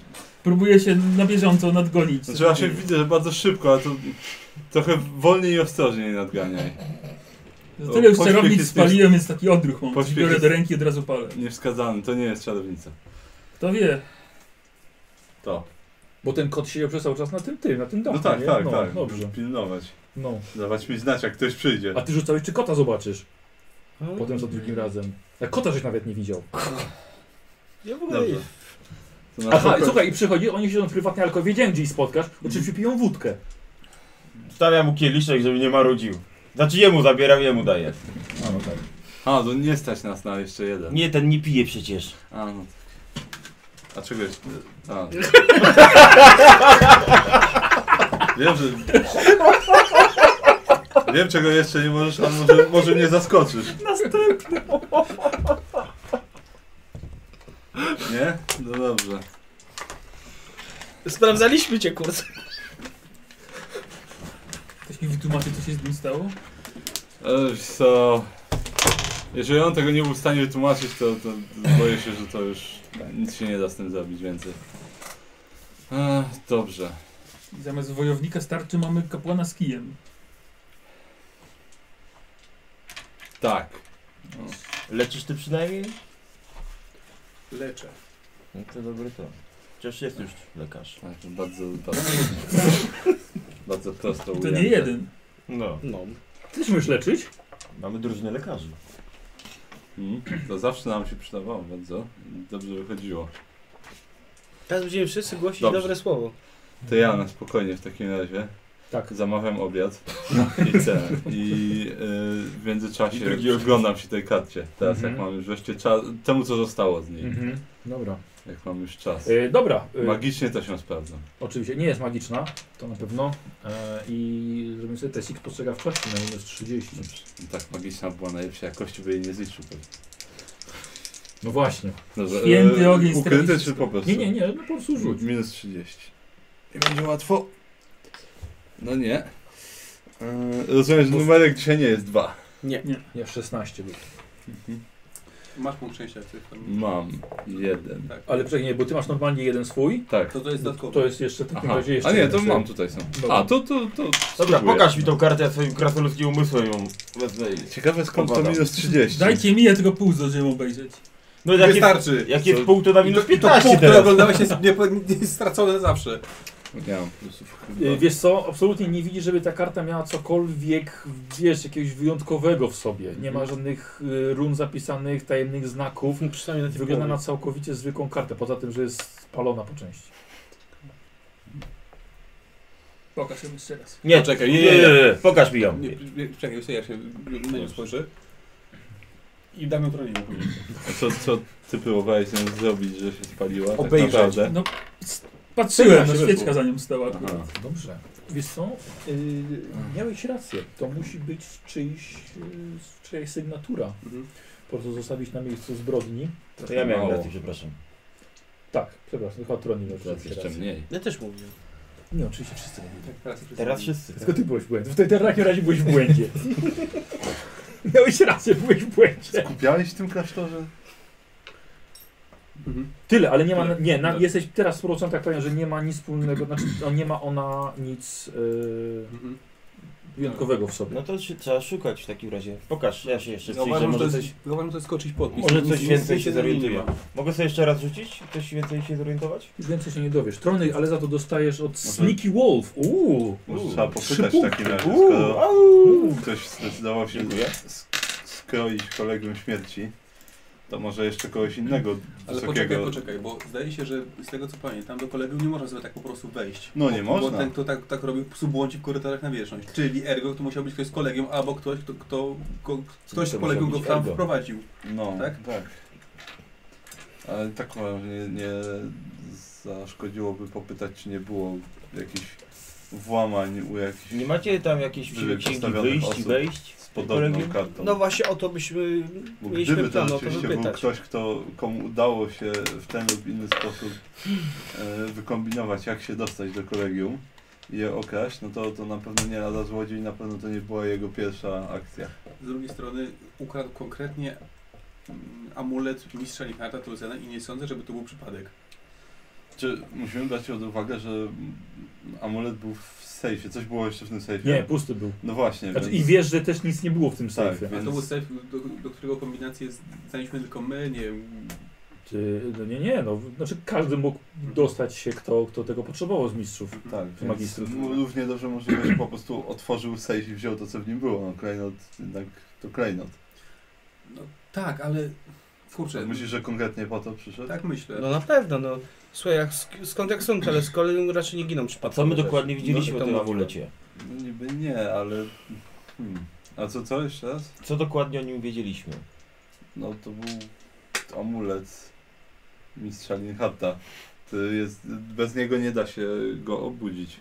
Speaker 4: Próbuję się na bieżąco nadgonić.
Speaker 2: Znaczy właśnie widzę, że bardzo szybko, ale to trochę wolniej i ostrożniej nadganiaj.
Speaker 4: Za tyle No już
Speaker 2: Pośpiech
Speaker 4: celownic
Speaker 2: jest-
Speaker 4: spaliłem, więc taki odruch mam.
Speaker 2: Pośpiech
Speaker 4: Biorę
Speaker 2: jest-
Speaker 4: do ręki i od razu palę.
Speaker 2: Niewskazany, to nie jest czarownica.
Speaker 4: Kto wie?
Speaker 2: To.
Speaker 1: Bo ten kot siedział przez cały czas na tym tym, na tym dachu,
Speaker 2: No tak,
Speaker 1: nie?
Speaker 2: tak,
Speaker 1: no,
Speaker 2: tak.
Speaker 1: Dobrze.
Speaker 2: Pilnować.
Speaker 1: No.
Speaker 2: Dawać mi znać, jak ktoś przyjdzie.
Speaker 1: A ty rzucałeś, czy kota zobaczysz?
Speaker 5: No
Speaker 1: Potem za drugim razem. A kota żeś nawet nie widział.
Speaker 9: Ja w ogóle
Speaker 2: Dobrze.
Speaker 9: nie.
Speaker 2: No, To na
Speaker 1: Aha,
Speaker 2: szybko-
Speaker 1: słuchaj, i przychodzi, oni siedzą prywatnie, ale wiedziałem, gdzie ich spotkasz, oczywiście piją wódkę.
Speaker 8: Stawiam mu kieliszek, żeby nie marudził. Znaczy jemu zabieram, jemu [laughs] daję.
Speaker 1: A, no tak.
Speaker 2: A, to nie stać nas na jeszcze jeden.
Speaker 8: Nie, ten nie pije przecież.
Speaker 2: A, no tak. A czego jest? A. Wiem, że... Wiem, czego jeszcze nie możesz, ale może, może mnie zaskoczysz.
Speaker 8: [laughs]
Speaker 2: Następny. Nie? No dobrze.
Speaker 9: Sprawdzaliśmy cię, kurde.
Speaker 4: Ktoś mi wytłumaczy, co się z nim stało?
Speaker 2: Ale wiesz co... Jeżeli on tego nie był w stanie wytłumaczyć, to, to, to boję się, że to już nic się nie da z tym zrobić więcej. Ech, dobrze.
Speaker 4: I zamiast wojownika starczy mamy kapłana z kijem.
Speaker 2: Tak.
Speaker 8: Leczysz ty przynajmniej?
Speaker 6: Leczę.
Speaker 8: No to dobry to. Chociaż jest już lekarz.
Speaker 2: Tak, to bardzo, bardzo,
Speaker 1: [laughs]
Speaker 2: bardzo prosto
Speaker 4: To
Speaker 2: ujęte.
Speaker 4: nie jeden.
Speaker 8: No.
Speaker 9: No.
Speaker 1: Ty też możesz leczyć?
Speaker 8: Mamy drużynę lekarzy.
Speaker 2: Mm, To zawsze nam się przydawało bardzo. Dobrze wychodziło.
Speaker 9: Teraz będziemy wszyscy głosić
Speaker 2: Dobrze.
Speaker 9: dobre słowo.
Speaker 2: To ja na spokojnie w takim razie
Speaker 1: Tak.
Speaker 2: zamawiam obiad No i cenę. I y, w
Speaker 8: I
Speaker 2: międzyczasie
Speaker 8: drugi
Speaker 2: przyglądam się tej karcie. Teraz
Speaker 1: Mhm.
Speaker 2: jak mam już wreszcie czas, temu co zostało z niej.
Speaker 1: Mhm. Dobra.
Speaker 2: Jak mam już czas.
Speaker 1: E, dobra, e,
Speaker 2: Magicznie to się sprawdza.
Speaker 1: oczywiście nie jest magiczna, to na pewno. E, I zrobimy sobie testik spostrzegawczości na minus 30.
Speaker 2: No Tak, magiczna była najlepsza jakości, by jej nie zliczył. pewnie.
Speaker 1: No właśnie.
Speaker 2: Dobrze,
Speaker 4: Święty
Speaker 2: e,
Speaker 4: ogień
Speaker 2: Ukryte
Speaker 4: strawiczny.
Speaker 2: czy po prostu?
Speaker 1: Nie, nie, nie, no po prostu rzuć.
Speaker 2: Minus 30. Nie będzie łatwo. No nie. Yy, rozumiem, że numerek dzisiaj nie jest dwa.
Speaker 1: Nie, 16 był.
Speaker 6: Masz punkt szczęścia, jak coś tam...
Speaker 2: Mam jeden.
Speaker 6: Tak.
Speaker 1: Ale przecież nie, bo ty masz normalnie jeden swój.
Speaker 2: Tak.
Speaker 6: To to jest dodatkowy.
Speaker 1: To jest jeszcze w takim
Speaker 2: Aha.
Speaker 1: razie jeszcze
Speaker 2: A nie,
Speaker 1: jeden
Speaker 2: to
Speaker 1: sobie.
Speaker 2: mam tutaj są.
Speaker 1: Dobra.
Speaker 2: A, to, to, to
Speaker 8: Dobra,
Speaker 2: spróbuję.
Speaker 8: pokaż mi tą kartę, ja swoim krasnoludzkim umysłem ją wezmę i...
Speaker 2: Ciekawe skąd to
Speaker 8: Obada.
Speaker 2: minus 30.
Speaker 4: Dajcie mi, ja tylko pół zdążyłem obejrzeć.
Speaker 8: No jak jest,
Speaker 6: Wystarczy.
Speaker 8: jak jest
Speaker 2: Co?
Speaker 8: pół, to na
Speaker 6: I to-
Speaker 8: minus
Speaker 6: i To
Speaker 8: 15
Speaker 6: punkt, który
Speaker 8: teraz.
Speaker 6: oglądałeś jest, nie, nie jest stracony na zawsze.
Speaker 2: Nie mam plusów. chyba.
Speaker 1: Y, Wiesz co, absolutnie nie widzisz, żeby ta karta miała cokolwiek, wiesz, jakiegoś wyjątkowego w sobie. Nie
Speaker 2: Mhm.
Speaker 1: ma żadnych y, run zapisanych, tajemnych znaków.
Speaker 9: Przynajmniej na tym
Speaker 1: Wygląda
Speaker 9: połowie.
Speaker 1: na całkowicie zwykłą kartę, poza tym, że jest spalona po części.
Speaker 4: Pokaż ją jeszcze raz.
Speaker 8: Nie,
Speaker 6: Czekaj,
Speaker 8: nie, nie, nie, pokaż mi ją.
Speaker 6: Nie, nie, czekaj, sobie ja się na nią spojrzę. I dam ją tronie.
Speaker 2: A Co, co ty próbowałeś ją zrobić, że się spaliła? Tak
Speaker 6: Obejrzeć.
Speaker 2: naprawdę?
Speaker 4: No, s- patrzyłem,
Speaker 1: Się
Speaker 4: no świeczka
Speaker 1: weszło.
Speaker 4: za nią stała.
Speaker 2: Aha.
Speaker 1: Dobrze. Wiesz co, y, miałeś rację. To musi być czyjś, y, czyjaś sygnatura.
Speaker 6: Mhm.
Speaker 1: Po prostu zostawić na miejscu zbrodni.
Speaker 8: To ja miałem
Speaker 2: Mało.
Speaker 8: rację, przepraszam.
Speaker 1: Tak, przepraszam, chyba Troni miał
Speaker 2: Teraz
Speaker 1: rację.
Speaker 2: jeszcze mniej.
Speaker 5: Ja też mówiłem.
Speaker 1: Nie, oczywiście wszyscy robili.
Speaker 6: Tak, teraz już
Speaker 8: Teraz
Speaker 6: jest-
Speaker 8: wszyscy.
Speaker 1: Tylko ty byłeś w błędzie. W tej- w takim razie byłeś w błędzie. [laughs] Miałeś rację, byłeś w błędzie.
Speaker 2: Kupiałeś w tym klasztorze?
Speaker 6: Mhm.
Speaker 1: Tyle, ale nie ma. Nie, na, jesteś teraz w 100% pewien, że nie ma nic wspólnego, znaczy o, nie ma ona nic yy,
Speaker 6: Mhm.
Speaker 1: wyjątkowego w sobie.
Speaker 8: No to się, trzeba szukać w takim razie. Pokaż, ja się
Speaker 2: No
Speaker 8: jeszcze przyjrzę,
Speaker 6: Zauważam, że to
Speaker 8: może
Speaker 6: jest,
Speaker 8: coś...
Speaker 6: zauważam, że to jest skoczyć podpis.
Speaker 8: Może
Speaker 6: Nic-
Speaker 8: coś
Speaker 6: nic-
Speaker 8: więcej
Speaker 6: nic
Speaker 8: się
Speaker 6: nie zmieni,
Speaker 8: zorientuje.
Speaker 6: nie ma.
Speaker 8: Mogę sobie jeszcze raz rzucić? Ktoś więcej się zorientować?
Speaker 1: Już więcej się nie dowiesz. Trony, ale za to dostajesz od Sneaky Wolf. Uuu.
Speaker 2: Może
Speaker 8: Uuu,
Speaker 2: trzeba popytać w
Speaker 1: punkty.
Speaker 2: takim razie,
Speaker 8: Uuu,
Speaker 2: skoro
Speaker 8: au!
Speaker 2: ktoś zdecydował się
Speaker 8: Dziękuję.
Speaker 2: sk- skroić kolegium śmierci, to może jeszcze kogoś innego
Speaker 6: Ale
Speaker 2: wysokiego.
Speaker 6: poczekaj, poczekaj, bo zdaje się, że z tego co pamiętam, do kolegium nie można sobie tak po prostu wejść.
Speaker 2: No,
Speaker 6: bo,
Speaker 2: nie można.
Speaker 6: Bo ten, kto tak, tak robił, psu błądzi w korytarzach na wierzchność. Czyli ergo to musiał być ktoś z kolegium, albo ktoś, kto, kto, ko, ktoś z
Speaker 8: musiał
Speaker 6: kolegium go
Speaker 8: być
Speaker 6: tam
Speaker 8: ergo.
Speaker 6: wprowadził.
Speaker 2: No,
Speaker 6: Tak?
Speaker 2: tak? tak. Ale tak uważam, że nie, nie zaszkodziłoby popytać, czy nie było jakichś włamań u jakichś
Speaker 8: Nie macie tam jakiejś
Speaker 2: Wyżej
Speaker 8: księgi
Speaker 2: postawionych
Speaker 8: wyjść i
Speaker 2: osób.
Speaker 8: wejść?
Speaker 2: z podobną
Speaker 8: Kolegium?
Speaker 2: kartą.
Speaker 5: No właśnie o to byśmy
Speaker 2: Bo
Speaker 5: mieliśmy
Speaker 2: gdyby to
Speaker 8: no
Speaker 5: plan o to
Speaker 2: rzeczywiście był
Speaker 5: wypytać.
Speaker 2: ktoś, kto, komu udało się w ten lub inny sposób e, wykombinować, jak się dostać do kolegium i je okraść, no to, to na pewno nie lada złodziej, na pewno to nie była jego pierwsza akcja.
Speaker 6: Z drugiej strony ukradł konkretnie mm, amulet mistrza Lichnarta Tulzena i nie sądzę, żeby to był przypadek.
Speaker 2: Czy musimy brać pod uwagę, że mm, amulet był w sejfie, coś było jeszcze w tym sejfie?
Speaker 1: Nie, pusty był.
Speaker 2: No właśnie,
Speaker 1: Znaczy, I
Speaker 2: więc... Tak,
Speaker 1: wiesz, że też nic nie było w tym sejfie.
Speaker 6: A
Speaker 2: Więc-
Speaker 6: to był sejf, do, do którego kombinację znaliśmy tylko my, nie wiem.
Speaker 1: Ty, no nie, nie, no, znaczy każdy mógł dostać się, kto, kto tego potrzebował z mistrzów.
Speaker 6: Mhm.
Speaker 2: Tak,
Speaker 1: Z
Speaker 2: więc
Speaker 1: magistrów.
Speaker 2: m- równie dobrze może być, po prostu otworzył sejf i wziął to, co w nim było. No, klejnot jednak to klejnot.
Speaker 6: No tak, ale kurczę,
Speaker 2: Myślisz, że konkretnie po to przyszedł?
Speaker 6: tak myślę.
Speaker 5: No na pewno, no. Słuchaj, jak, sk- skąd jak stąd, ale z kolegium raczej nie giną
Speaker 8: A
Speaker 5: przypadkowo.
Speaker 8: co my
Speaker 5: też.
Speaker 8: dokładnie widzieliśmy
Speaker 5: No,
Speaker 8: o
Speaker 5: to
Speaker 8: tym
Speaker 5: mówmy.
Speaker 8: amulecie?
Speaker 2: No niby nie, ale... Hmm. A co, co jeszcze raz?
Speaker 8: Co dokładnie o nim wiedzieliśmy?
Speaker 2: No to był amulet mistrza Linharta. To jest, bez niego nie da się go obudzić.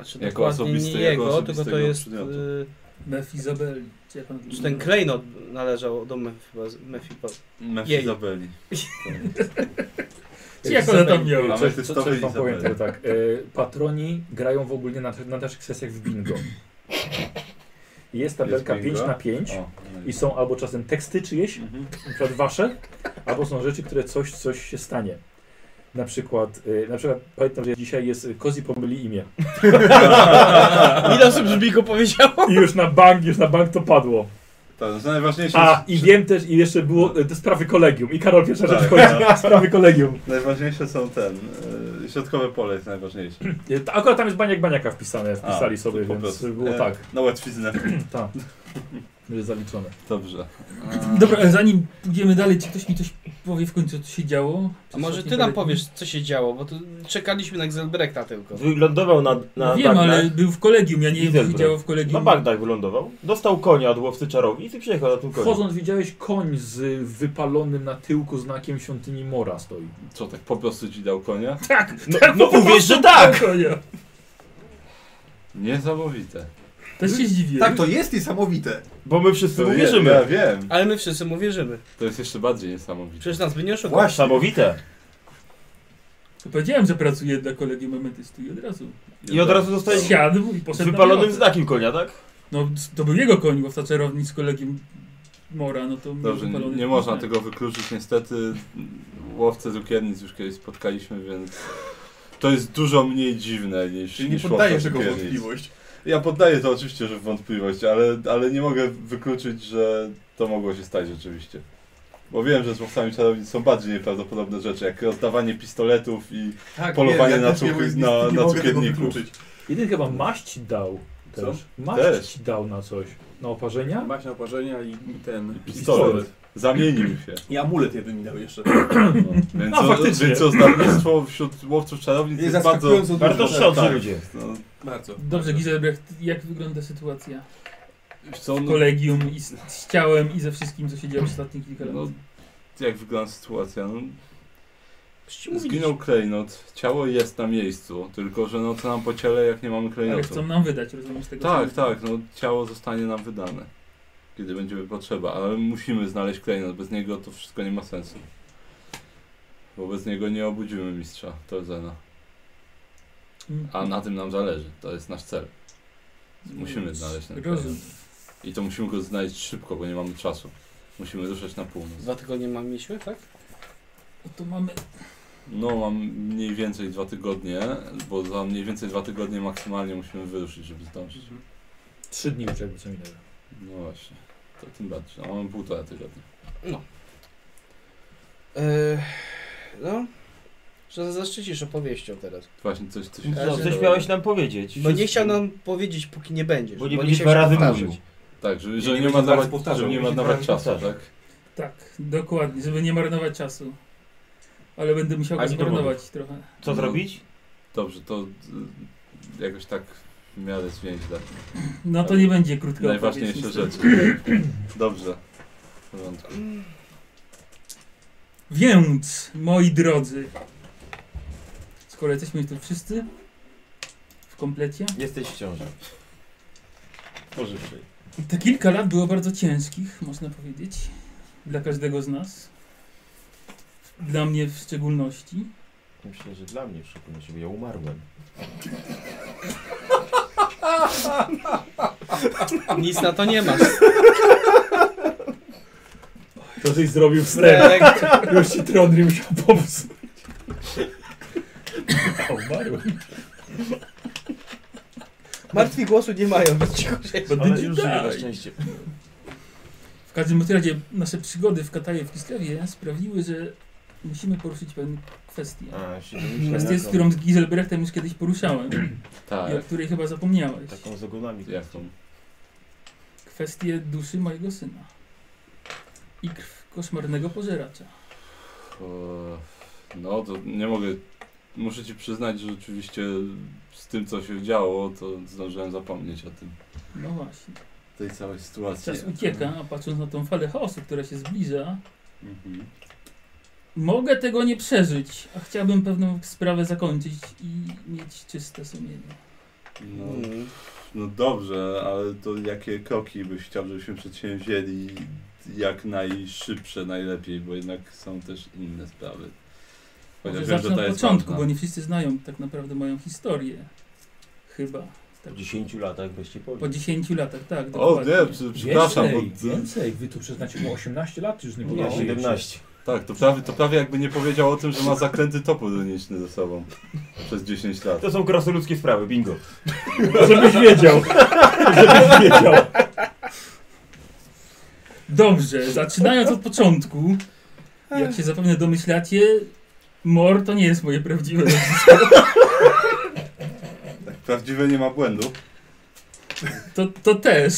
Speaker 5: A
Speaker 2: Jako
Speaker 5: czy Znaczy, dokładnie
Speaker 2: osobisty-
Speaker 5: nie
Speaker 2: jako
Speaker 5: jego, tylko to
Speaker 2: osobistego
Speaker 5: jest...
Speaker 2: przedmiotu.
Speaker 5: y,
Speaker 4: Mefizabeli. Czy jak on
Speaker 5: Czy ten klejnot należał do Mefi- [laughs] Mefibo?
Speaker 2: Mefizabeli.
Speaker 4: Czy jak ona tam
Speaker 2: A
Speaker 4: miała?
Speaker 1: Coś, coś,
Speaker 2: Ametystowe
Speaker 1: coś wam
Speaker 2: Izabela.
Speaker 1: powiem tylko tak. E, patroni grają w ogóle na, na naszych sesjach w bingo. Jest tabelka
Speaker 2: Jest bingo?
Speaker 1: 5 na 5
Speaker 2: O, no
Speaker 1: i są albo czasem teksty czyjeś,
Speaker 2: Mhm.
Speaker 1: na przykład wasze, albo są rzeczy, które coś, coś się stanie. Na przykład, e, na przykład pamiętam, że dzisiaj jest e, Kozi pomyli imię.
Speaker 5: Ile osób z Bigo powiedziało?
Speaker 1: I już na bank, już na bank to padło.
Speaker 2: Tak, no najważniejsze
Speaker 1: A,
Speaker 2: jest-
Speaker 1: i wiem też, i jeszcze było e, te sprawy kolegium. I Karol pierwsza
Speaker 2: [laughs] Tak,
Speaker 1: rzecz chodzi.
Speaker 2: no.
Speaker 1: Sprawy kolegium.
Speaker 2: Najważniejsze są ten. y, Środkowe pole jest najważniejsze.
Speaker 1: E, ta- Akurat tam jest baniak baniaka wpisane, wpisali
Speaker 2: A,
Speaker 1: sobie,
Speaker 2: to po
Speaker 1: więc
Speaker 2: prostu.
Speaker 1: było
Speaker 2: E,
Speaker 1: tak. [laughs]
Speaker 2: Na łatwiznę.
Speaker 1: Tak. Jest zaliczone.
Speaker 2: Dobrze.
Speaker 4: Dobra, ale zanim pójdziemy dalej, czy ktoś mi coś powie w końcu, co się działo?
Speaker 5: A może ty
Speaker 4: Ostatnie
Speaker 5: nam
Speaker 4: parę
Speaker 5: powiesz, co się działo, bo tu czekaliśmy na Xelbrekta tylko.
Speaker 8: Wylądował na, na
Speaker 4: No wiem,
Speaker 8: bagnach.
Speaker 4: ale był w kolegium, ja nie wiem, co się
Speaker 8: Heidelberg.
Speaker 4: działo w
Speaker 8: Na
Speaker 4: kolegium.
Speaker 8: bagnach wylądował. Dostał konia od łowcy czarownic i przyjechał na tym koniu.
Speaker 1: Wchodząc widziałeś koń z wypalonym na tyłku znakiem świątyni Mora stoi.
Speaker 2: Co tak, po prostu ci dał konia?
Speaker 4: Tak,
Speaker 8: No, no uwierz, że tak!
Speaker 4: Konia.
Speaker 2: Niesamowite.
Speaker 4: Też się zdziwiłem.
Speaker 6: Tak, to jest niesamowite.
Speaker 8: Bo my wszyscy mu wierzymy.
Speaker 2: Ja wiem.
Speaker 5: Ale my wszyscy mu wierzymy.
Speaker 2: To jest jeszcze bardziej niesamowite.
Speaker 5: Przecież nas by nie oszukał.
Speaker 8: Właśnie. Samowite.
Speaker 4: To Powiedziałem, że pracuję dla kolegium emetystu i od razu
Speaker 8: I od razu dostałeś
Speaker 4: siadł i
Speaker 8: z
Speaker 4: poszedł na
Speaker 8: wypalonym
Speaker 4: piechotę.
Speaker 8: znakiem konia, tak?
Speaker 4: No, to był jego koń, bo w ta czarownic z kolegium mora, no to
Speaker 2: Dobrze, nie,
Speaker 4: wypalony
Speaker 2: nie można
Speaker 4: tak.
Speaker 2: tego wykluczyć niestety. Łowcę cukiernic już kiedyś spotkaliśmy, więc to jest dużo mniej dziwne niż Czyli nie niż
Speaker 7: Poddaję
Speaker 2: łowca
Speaker 7: tego
Speaker 2: cukiernic.
Speaker 7: wątpliwość.
Speaker 2: Ja poddaję to oczywiście, że w wątpliwość, ale, ale nie mogę wykluczyć, że to mogło się stać rzeczywiście. Bo wiem, że z łowcami czarownic są bardziej nieprawdopodobne rzeczy, jak rozdawanie pistoletów i
Speaker 7: Tak,
Speaker 2: polowanie
Speaker 7: wiem,
Speaker 2: na,
Speaker 7: ja też nie
Speaker 2: cukier,
Speaker 7: mówię,
Speaker 2: na,
Speaker 7: nie
Speaker 2: na
Speaker 7: mogę tego
Speaker 2: cukierników.
Speaker 7: wykluczyć.
Speaker 1: Jeden chyba maść dał
Speaker 2: Mhm. Co?
Speaker 1: też. Maść
Speaker 2: Też.
Speaker 1: dał na coś. Na oparzenia?
Speaker 7: Maść na oparzenia i i ten...
Speaker 2: Pistolet. Zamienił się.
Speaker 7: I amulet jeden mi dał jeszcze.
Speaker 2: No, więc,
Speaker 1: A,
Speaker 2: o-
Speaker 1: faktycznie.
Speaker 2: więc ozdawnictwo wśród łowców czarownic jest bardzo...
Speaker 6: zaskakująco dużo.
Speaker 8: [laughs] Warto szczodrzy
Speaker 2: tak.
Speaker 8: ludzie.
Speaker 2: No,
Speaker 7: Bardzo.
Speaker 4: Dobrze, Giselbrecht, jak wygląda sytuacja?
Speaker 2: wiesz co, no,
Speaker 4: Kolegium i z, z ciałem i ze wszystkim, co się dzieje przez ostatnie kilka lat.
Speaker 2: No, jak wygląda sytuacja? No,
Speaker 5: Zginął.
Speaker 2: zginął klejnot, ciało jest na miejscu, tylko że no co nam po ciele, jak nie mamy
Speaker 4: Ale
Speaker 2: klejnotu?
Speaker 4: chcą nam wydać, rozumiem, z tego
Speaker 2: Tak,
Speaker 4: co-
Speaker 2: tak, no ciało zostanie nam wydane, kiedy będziemy potrzeba, ale musimy znaleźć klejnot, bez niego to wszystko nie ma sensu. Bo bez niego nie obudzimy mistrza Torzena,
Speaker 4: Mm.
Speaker 2: a na tym nam zależy, to jest nasz cel. Musimy znaleźć ten
Speaker 4: Rozumiem.
Speaker 2: I to musimy go znaleźć szybko, bo nie mamy czasu. Musimy ruszać na północ.
Speaker 5: Dwa tygodnie mam mieliśmy, tak?
Speaker 4: No to mamy
Speaker 2: No, mam mniej więcej dwa tygodnie, bo za mniej więcej dwa tygodnie maksymalnie musimy wyruszyć, żeby zdążyć.
Speaker 7: Mhm.
Speaker 1: Trzy dni już jakby co minęło.
Speaker 2: No właśnie, to tym bardziej. A mamy półtora tygodnia.
Speaker 5: Eee, no. Że zaszczycisz opowieścią teraz.
Speaker 2: Właśnie coś, coś
Speaker 5: Dobrze.
Speaker 8: Co- No, Coś miałeś nam powiedzieć.
Speaker 5: Bo nie chciał nam powiedzieć, póki nie będziesz.
Speaker 8: Bo nie
Speaker 5: nie
Speaker 8: będziesz
Speaker 5: chciał
Speaker 8: dwa
Speaker 5: się
Speaker 8: razy
Speaker 5: powtarzać.
Speaker 8: mówił.
Speaker 2: Tak, żeby,
Speaker 7: Nie,
Speaker 2: że
Speaker 7: nie
Speaker 2: nie,
Speaker 7: będzie
Speaker 2: ma
Speaker 7: dwa razy
Speaker 2: dawać,
Speaker 7: powtarzał,
Speaker 2: żeby nie
Speaker 7: nie
Speaker 2: ma
Speaker 7: będzie
Speaker 2: dawać
Speaker 8: dwa
Speaker 2: czasu,
Speaker 8: razy powtarzał.
Speaker 2: tak?
Speaker 4: Tak, dokładnie, żeby nie marnować czasu. Ale będę musiał
Speaker 8: A
Speaker 4: go
Speaker 8: nie
Speaker 4: zmarnować trochę.
Speaker 8: Co
Speaker 2: No.
Speaker 8: zrobić?
Speaker 2: Dobrze, to y, jakoś tak w miarę zwięźle.
Speaker 4: No to nie będzie krótka opowieść,
Speaker 2: Najważniejsze
Speaker 4: niestety.
Speaker 2: rzeczy. Dobrze. W porządku.
Speaker 4: Więc, moi drodzy, skoro jesteśmy tu wszyscy w komplecie,
Speaker 8: Jesteś w ciąży.
Speaker 2: Pożyczaj.
Speaker 4: te kilka lat było bardzo ciężkich, można powiedzieć, dla każdego z nas. Dla mnie w szczególności.
Speaker 8: Myślę, że dla mnie w szczególności, bo ja umarłem.
Speaker 5: Nic na to nie masz.
Speaker 1: To żeś zrobił wstęp. [laughs]
Speaker 5: Strek.
Speaker 1: Już ci Trondry musiał pomóc.
Speaker 5: [laughs]
Speaker 2: [laughs]
Speaker 5: Martwi głosu nie mają, więc cicho się.
Speaker 4: Bo
Speaker 8: Ale
Speaker 4: did you
Speaker 8: już żyję na
Speaker 4: die?
Speaker 8: szczęście.
Speaker 4: W każdym bądź razie nasze przygody w Kataje w Kislewie sprawiły, że musimy poruszyć pewne kwestie.
Speaker 8: A, się
Speaker 4: Kwestię, z którą z Giselbrechtem już kiedyś poruszałem i o
Speaker 2: Tak,
Speaker 4: której chyba zapomniałeś.
Speaker 8: Taką z ogonami.
Speaker 2: jaką?
Speaker 4: Kwestię duszy mojego syna i krw koszmarnego pożeracza.
Speaker 2: O, No to nie mogę. Muszę ci przyznać, że rzeczywiście z tym co się działo, to zdążyłem zapomnieć o tym.
Speaker 4: No właśnie.
Speaker 2: Tej całej sytuacji.
Speaker 4: Czas ucieka, a patrząc na tą falę chaosu, która się zbliża,
Speaker 2: Mhm.
Speaker 4: mogę tego nie przeżyć, a chciałbym pewną sprawę zakończyć i mieć czyste sumienie.
Speaker 2: No, no dobrze, ale to jakie kroki byś chciał, żebyśmy przedsięwzięli jak najszybsze, najlepiej, bo jednak są też inne sprawy.
Speaker 4: Może
Speaker 2: wiem,
Speaker 4: zacznę
Speaker 2: ta
Speaker 4: od
Speaker 2: jest
Speaker 4: początku,
Speaker 2: ważna.
Speaker 4: bo nie wszyscy znają tak naprawdę moją historię. Chyba.
Speaker 8: Po
Speaker 4: Tak.
Speaker 8: 10 latach weź ci
Speaker 4: Po
Speaker 8: powiem.
Speaker 4: 10 latach, tak.
Speaker 2: O
Speaker 4: dokładnie.
Speaker 2: nie, przy- przepraszam, bo...
Speaker 1: Więcej, więcej. Wy tu przyznacie mu 18 lat, już nie
Speaker 8: Nie,
Speaker 1: podajecie. [laughs]
Speaker 8: 17.
Speaker 2: Tak, to prawie, to prawie jakby nie powiedział o tym, że ma zaklęty topór runiczny ze sobą przez 10 lat.
Speaker 8: To są krasnoludzkie sprawy, bingo.
Speaker 13: Żebyś wiedział. Żebyś wiedział.
Speaker 4: Dobrze, zaczynając od początku, jak się zapewne domyślacie, Mor to nie jest moje
Speaker 2: [laughs]
Speaker 4: prawdziwe nazwisko.
Speaker 2: Prawdziwe nie ma błędu.
Speaker 4: To, to też.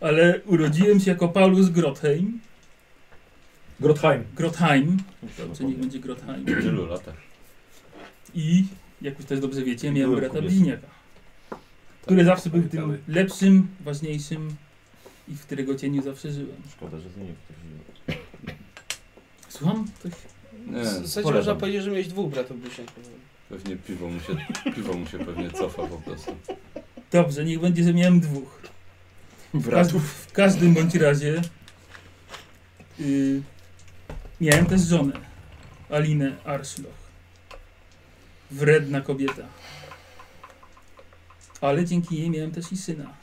Speaker 4: Ale urodziłem się jako Paulus Grotheim.
Speaker 1: Grotheim.
Speaker 4: Grotheim, czy niech będzie Grotheim.
Speaker 2: W tylu latach.
Speaker 4: I, jak już też dobrze wiecie, miałem
Speaker 8: Byłem
Speaker 4: brata
Speaker 8: kobietą.
Speaker 4: bliźniaka, który zawsze był
Speaker 7: pamiętamy.
Speaker 4: tym lepszym, ważniejszym i w którego cieniu zawsze żyłem.
Speaker 8: Szkoda, że to nie powtórzyłem.
Speaker 4: Słucham? Coś?
Speaker 2: Nie,
Speaker 5: W zasadzie można
Speaker 8: polecam.
Speaker 5: powiedzieć, że miałeś dwóch bratów bliźniaków.
Speaker 2: pewnie piwo mu się, piwo mu się pewnie cofa po prostu.
Speaker 4: Dobrze, niech będzie, że miałem dwóch. W, każd w każdym bądź razie y, miałem też żonę, Alinę Arszloch. Wredna kobieta. Ale dzięki niej miałem też i syna,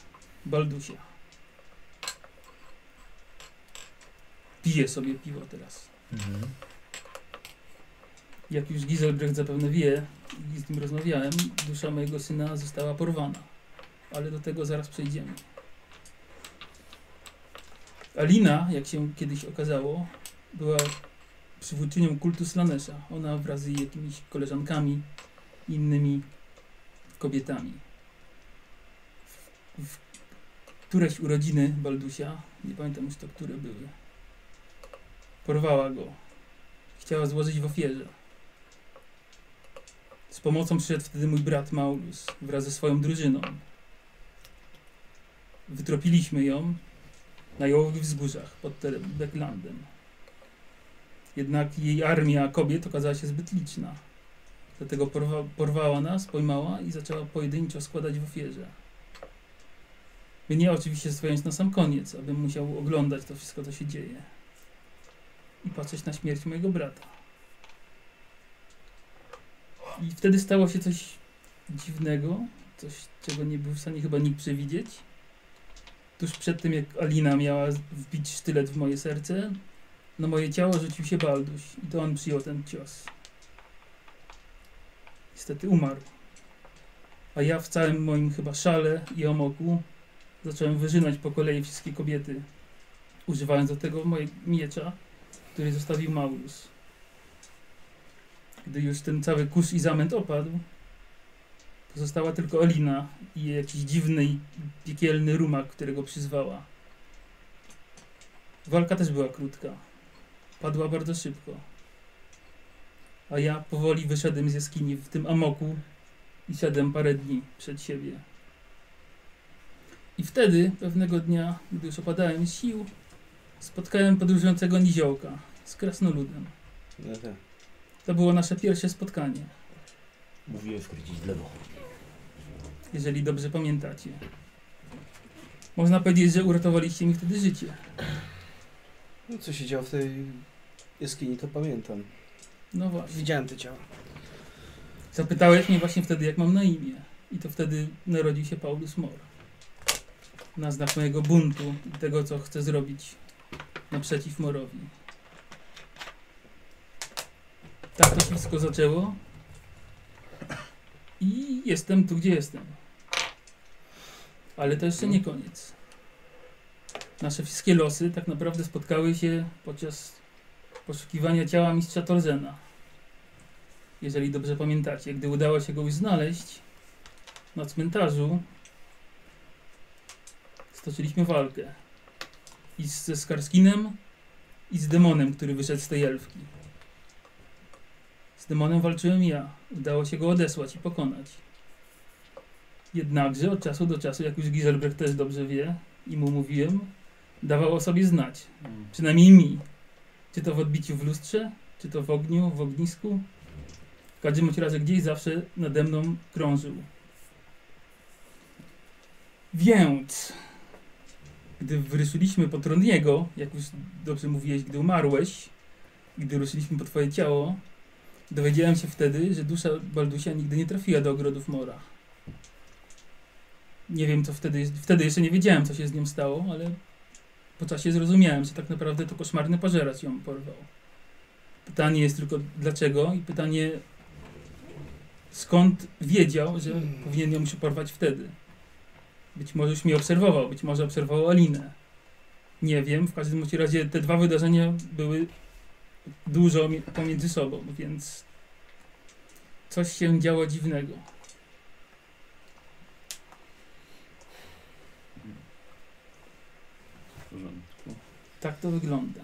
Speaker 4: Baldusia. Piję sobie piwo teraz. Jak już Giselbrecht zapewne wie, i z nim rozmawiałem, dusza mojego syna została porwana. Ale do tego zaraz przejdziemy. Alina, jak się kiedyś okazało, była przywódczynią kultu Slanesha. Ona wraz z jakimiś koleżankami, innymi kobietami. W, w któreś urodziny Baldusia, nie pamiętam już to, które były, porwała go. Chciała złożyć w ofierze. Z pomocą przyszedł wtedy mój brat Maulus wraz ze swoją drużyną. Wytropiliśmy ją na jałowych wzgórzach pod terem Becklandem. Jednak jej armia kobiet okazała się zbyt liczna. Dlatego porwa, porwała nas, pojmała i zaczęła pojedynczo składać w ofierze. Mnie oczywiście stojąc na sam koniec, abym musiał oglądać to wszystko, co się dzieje. I patrzeć na śmierć mojego brata. I wtedy stało się coś dziwnego, coś, czego nie był w stanie chyba nikt przewidzieć. Tuż przed tym, jak Alina miała wbić sztylet w moje serce, na moje ciało rzucił się Balduś i to on przyjął ten cios. Niestety umarł. A ja w całym moim chyba szale i omoku zacząłem wyrzynać po kolei wszystkie kobiety, używając do tego mojego miecza, który zostawił Maulus. Gdy już ten cały kurz i zamęt opadł, pozostała tylko Elina i jakiś dziwny i piekielny rumak, którego przyzwała. Walka też była krótka. Padła bardzo szybko. A ja powoli wyszedłem z jaskini w tym amoku i siadłem parę dni przed siebie. I wtedy, pewnego dnia, gdy już opadałem z sił, spotkałem podróżującego niziołka z krasnoludem.
Speaker 5: No tak.
Speaker 4: To było nasze pierwsze spotkanie,
Speaker 8: Mówiłem skręcić w lewo.
Speaker 4: jeżeli dobrze pamiętacie. Można powiedzieć, że uratowaliście mi wtedy życie.
Speaker 5: No co się działo w tej jaskini, to pamiętam.
Speaker 4: No właśnie.
Speaker 5: Widziałem te ciała.
Speaker 4: Zapytałeś mnie właśnie wtedy, jak mam na imię. I to wtedy narodził się Paulus Mor. Na znak mojego buntu i tego, co chcę zrobić naprzeciw Morowi. Tak to się wszystko zaczęło. I jestem tu, gdzie jestem. Ale to jeszcze nie koniec. Nasze wszystkie losy tak naprawdę spotkały się podczas poszukiwania ciała mistrza Torzena jeżeli dobrze pamiętacie, gdy udało się go już znaleźć na cmentarzu, stoczyliśmy walkę i z- ze Skarskinem i z demonem, który wyszedł z tej elfki. Z demonem walczyłem ja. Udało się go odesłać i pokonać. Jednakże od czasu do czasu, jak już Giselbrecht też dobrze wie i mu mówiłem, dawał o sobie znać. Przynajmniej mi. Czy to w odbiciu w lustrze, czy to w ogniu, w ognisku, w każdym bądź razie gdzieś zawsze nade mną krążył. Więc, gdy wyruszyliśmy po Trondiego, jak już dobrze mówiłeś, gdy umarłeś, gdy ruszyliśmy po twoje ciało, dowiedziałem się wtedy, że dusza Baldusia nigdy nie trafiła do ogrodów Mora. Nie wiem, co wtedy, wtedy jeszcze nie wiedziałem, co się z nią stało, ale po czasie zrozumiałem, że tak naprawdę to koszmarny pażerac ją porwał. Pytanie jest tylko dlaczego i pytanie skąd wiedział, że powinien ją się porwać wtedy. Być może już mnie obserwował, być może obserwował Alinę. Nie wiem, w każdym bądź razie te dwa wydarzenia były dużo mi- pomiędzy sobą, więc coś się działo dziwnego.
Speaker 2: W porządku.
Speaker 4: Tak to wygląda.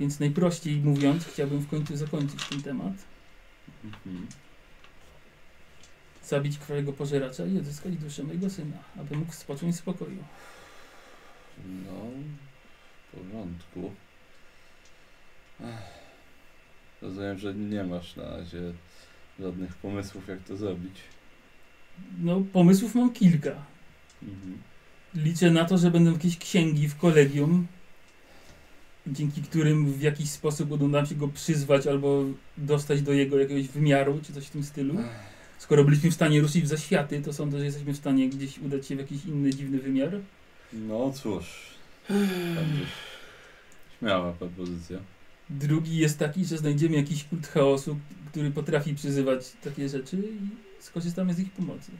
Speaker 4: Więc najprościej mówiąc, chciałbym w końcu zakończyć ten temat,
Speaker 2: Mhm.
Speaker 4: zabić krwawego pożeracza i odzyskać duszę mojego syna, aby mógł spocząć w spokoju.
Speaker 2: No, w porządku. Ech. Rozumiem, że nie masz na razie żadnych pomysłów, jak to zrobić.
Speaker 4: No, pomysłów mam kilka.
Speaker 2: Mhm.
Speaker 4: Liczę na to, że będą jakieś księgi w kolegium, dzięki którym w jakiś sposób uda nam się go przyzwać albo dostać do jego jakiegoś wymiaru czy coś w tym stylu. Skoro byliśmy w stanie ruszyć w zaświaty, to sądzę, że jesteśmy w stanie gdzieś udać się w jakiś inny dziwny wymiar.
Speaker 2: No cóż, Andrzej. Śmiała propozycja.
Speaker 4: Drugi jest taki, że znajdziemy jakiś kult chaosu, który potrafi przyzywać takie rzeczy i skorzystamy z ich pomocy.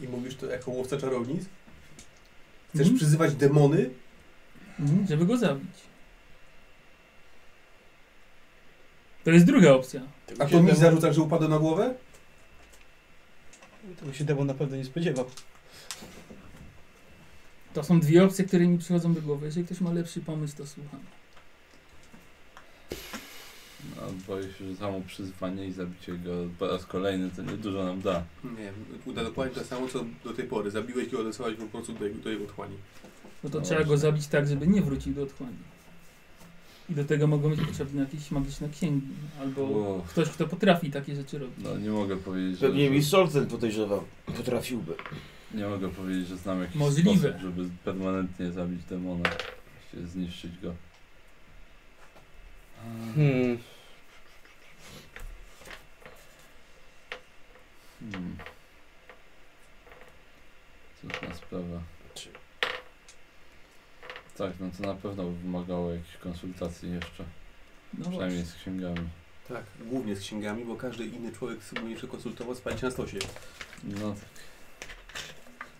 Speaker 8: I mówisz to jako łowca czarownic? Chcesz
Speaker 4: Mhm.
Speaker 8: przyzywać demony?
Speaker 4: Mhm, żeby go zabić. To jest druga opcja.
Speaker 8: A to mi zarzucasz, że upadł na głowę?
Speaker 5: Tego się demon na pewno nie spodziewał.
Speaker 4: To są dwie opcje, które mi przychodzą do głowy. Jeżeli ktoś ma lepszy pomysł, to słucham.
Speaker 2: A No, boję się, że samo przyzwanie i zabicie go po raz kolejny to nie dużo nam da.
Speaker 8: Nie, uda dokładnie to samo, co do tej pory. Zabiłeś go, odesłałeś go po prostu do jego, do jego otchłani.
Speaker 4: No to
Speaker 2: No
Speaker 4: trzeba go
Speaker 2: właśnie.
Speaker 4: zabić tak, żeby nie wrócił do otchłani. I do tego mogą być potrzebne jakieś magiczne księgi. Albo
Speaker 2: Wow.
Speaker 4: ktoś, kto potrafi takie rzeczy robić.
Speaker 2: No nie mogę powiedzieć, że,
Speaker 14: Pewnie
Speaker 2: że
Speaker 14: mistrz Olsen podejrzewał. Potrafiłby.
Speaker 2: nie mogę powiedzieć, że znam jakiś
Speaker 4: Możliwe.
Speaker 2: sposób, żeby permanentnie zabić demona. Właściwie Zniszczyć go.
Speaker 5: Hmm.
Speaker 2: Hmm. Cudna sprawa. Tak, no to na pewno wymagało jakichś konsultacji jeszcze.
Speaker 4: No
Speaker 2: przynajmniej
Speaker 4: właśnie.
Speaker 2: z księgami.
Speaker 8: Tak, głównie z księgami, bo każdy inny człowiek sobie jeszcze konsultował z pamięci na stosie.
Speaker 2: No tak.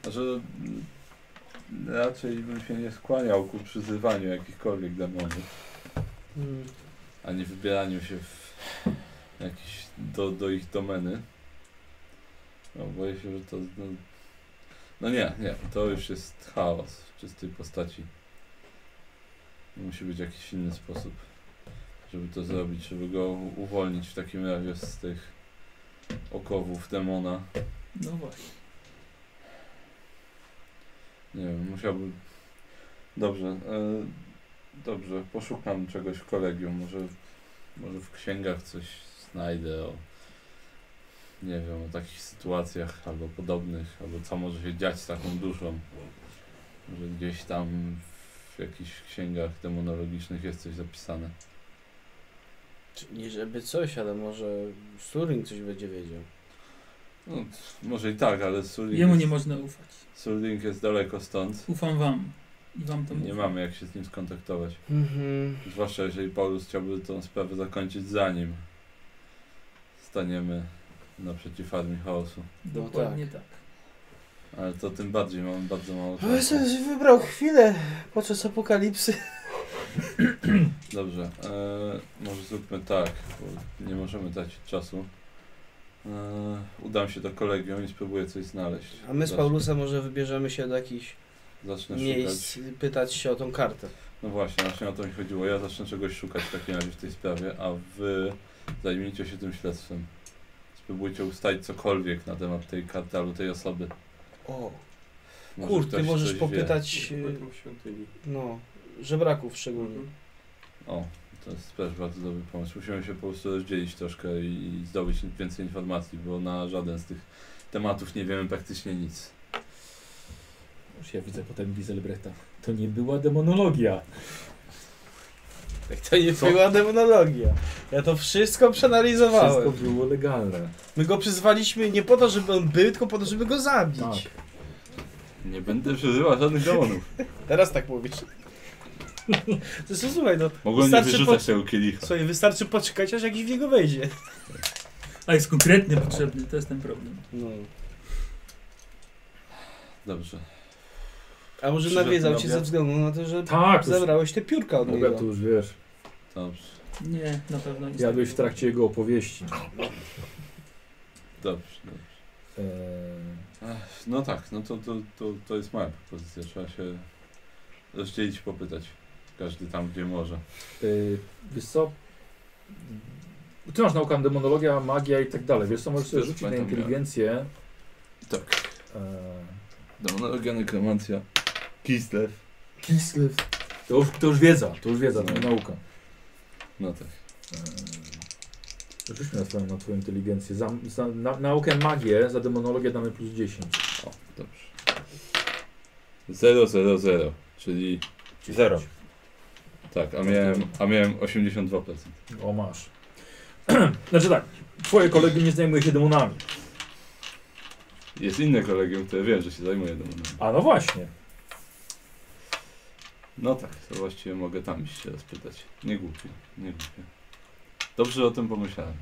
Speaker 2: Znaczy, mm, raczej bym się nie skłaniał ku przyzywaniu jakichkolwiek demonów,
Speaker 5: Hmm.
Speaker 2: a nie wybieraniu się w jakiś do, do ich domeny. No, boję się, że to. No, no nie, nie, to już jest chaos w czystej postaci. Musi być jakiś inny sposób, żeby to zrobić, żeby go uwolnić w takim razie z tych okowów demona.
Speaker 4: No właśnie.
Speaker 2: Nie wiem, musiałbym. Dobrze, e, dobrze, poszukam czegoś w kolegium. Może, może w księgach coś znajdę o. Nie wiem, o takich sytuacjach albo podobnych, albo co może się dziać z taką duszą. Może gdzieś tam w jakichś księgach demonologicznych jest coś zapisane.
Speaker 15: Czy- Nie żeby coś, ale może Surin coś będzie wiedział.
Speaker 2: No, t- może i tak, ale Surling
Speaker 4: Jemu
Speaker 2: jest,
Speaker 4: nie można ufać.
Speaker 2: Surling jest daleko stąd.
Speaker 4: Ufam wam. I wam to
Speaker 2: Nie
Speaker 4: ufam.
Speaker 2: mamy jak się z nim skontaktować.
Speaker 5: Mhm.
Speaker 2: Zwłaszcza jeżeli Paulus chciałby tą sprawę zakończyć zanim staniemy naprzeciw armii chaosu.
Speaker 1: No
Speaker 4: Dokładnie tak.
Speaker 2: Ale to tym bardziej mamy bardzo mało
Speaker 5: Ale
Speaker 2: czasu.
Speaker 5: sobie wybrał chwilę podczas apokalipsy.
Speaker 2: Dobrze, e, może zróbmy tak, bo nie możemy tracić czasu. E, udam się do kolegium i spróbuję coś znaleźć.
Speaker 15: A my z
Speaker 2: Zac-
Speaker 15: Paulusa może wybierzemy się do jakichś
Speaker 2: Zacznę szukać.
Speaker 15: miejsc, pytać się o tą kartę.
Speaker 2: No właśnie, właśnie o to mi chodziło. Ja zacznę czegoś szukać w takim razie w tej sprawie, a wy zajmijcie się tym śledztwem. Spróbujcie ustalić cokolwiek na temat tej karty albo tej osoby.
Speaker 5: O,
Speaker 2: Może
Speaker 5: kur, ty
Speaker 2: ktoś
Speaker 5: możesz
Speaker 2: coś wie.
Speaker 5: popytać, y,
Speaker 16: W świątyni.
Speaker 5: no, żebraków szczególnie.
Speaker 2: O, to jest też bardzo dobry pomysł. Musimy się po prostu rozdzielić troszkę i, i zdobyć więcej informacji, bo na żaden z tych tematów nie wiemy praktycznie nic.
Speaker 1: Już ja widzę potem Giselbrechta. To nie była demonologia.
Speaker 15: Tak to nie była demonologia.
Speaker 5: Ja to wszystko przeanalizowałem.
Speaker 1: Wszystko było legalne.
Speaker 5: My go przyzwaliśmy nie po to, żeby on był, tylko po to, żeby go zabić.
Speaker 1: Tak.
Speaker 2: Nie będę przeżywał żadnych demonów.
Speaker 5: Teraz tak mówisz. [laughs] Zresztą słuchaj, no,
Speaker 2: Mogłem nie
Speaker 5: Wystarczy
Speaker 2: wyrzucać tego kielicha.
Speaker 5: słuchaj, wystarczy poczekać, aż jakiś w niego wejdzie.
Speaker 4: tak. A jest konkretny potrzebny, to jest ten problem.
Speaker 5: No.
Speaker 2: Dobrze.
Speaker 5: A może
Speaker 2: Przyszedł
Speaker 5: nawiedzał
Speaker 2: na
Speaker 5: cię
Speaker 2: obiad?
Speaker 5: ze względu na to, że
Speaker 1: Tak, już,
Speaker 5: zabrałeś te piórka od
Speaker 1: Boga,
Speaker 5: niego.
Speaker 1: to już wiesz.
Speaker 2: Dobrze.
Speaker 4: Nie, na pewno nie.
Speaker 1: Jadłeś w trakcie jego opowieści.
Speaker 2: Dobrze. dobrze.
Speaker 1: Eee,
Speaker 2: Ech, no tak, no to, to, to, to jest moja propozycja. Trzeba się rozdzielić i popytać. Każdy tam, gdzie może.
Speaker 1: eee, wiesz co? Ty masz naukę demonologia, magia i tak dalej. Wiesz co, możesz sobie
Speaker 2: Też
Speaker 1: rzucić na
Speaker 2: pamiętam,
Speaker 1: inteligencję.
Speaker 2: Tak.
Speaker 1: Eee,
Speaker 2: Demonologia, nekromancja. Kislev.
Speaker 1: Kislev. To już, to już wiedza, to już wiedza, to
Speaker 2: No.
Speaker 1: nie nauka.
Speaker 2: No tak.
Speaker 1: Eee, Rzućmy na twoją, na twoją inteligencję. Za, za, na, naukę magię, za demonologię damy plus 10.
Speaker 2: O, dobrze. 0, 0, 0, czyli
Speaker 14: Zero.
Speaker 2: tak, a miałem, a miałem 82%.
Speaker 1: O, masz. [clears throat] znaczy tak, twoje kolegium nie zajmuje się demonami. no
Speaker 2: Jest inne kolegium, które wiem, że się zajmuje demonami.
Speaker 1: A no właśnie.
Speaker 2: No tak, to właściwie mogę tam iść się spytać. Nie głupie, nie głupie. Dobrze o tym pomyślałem.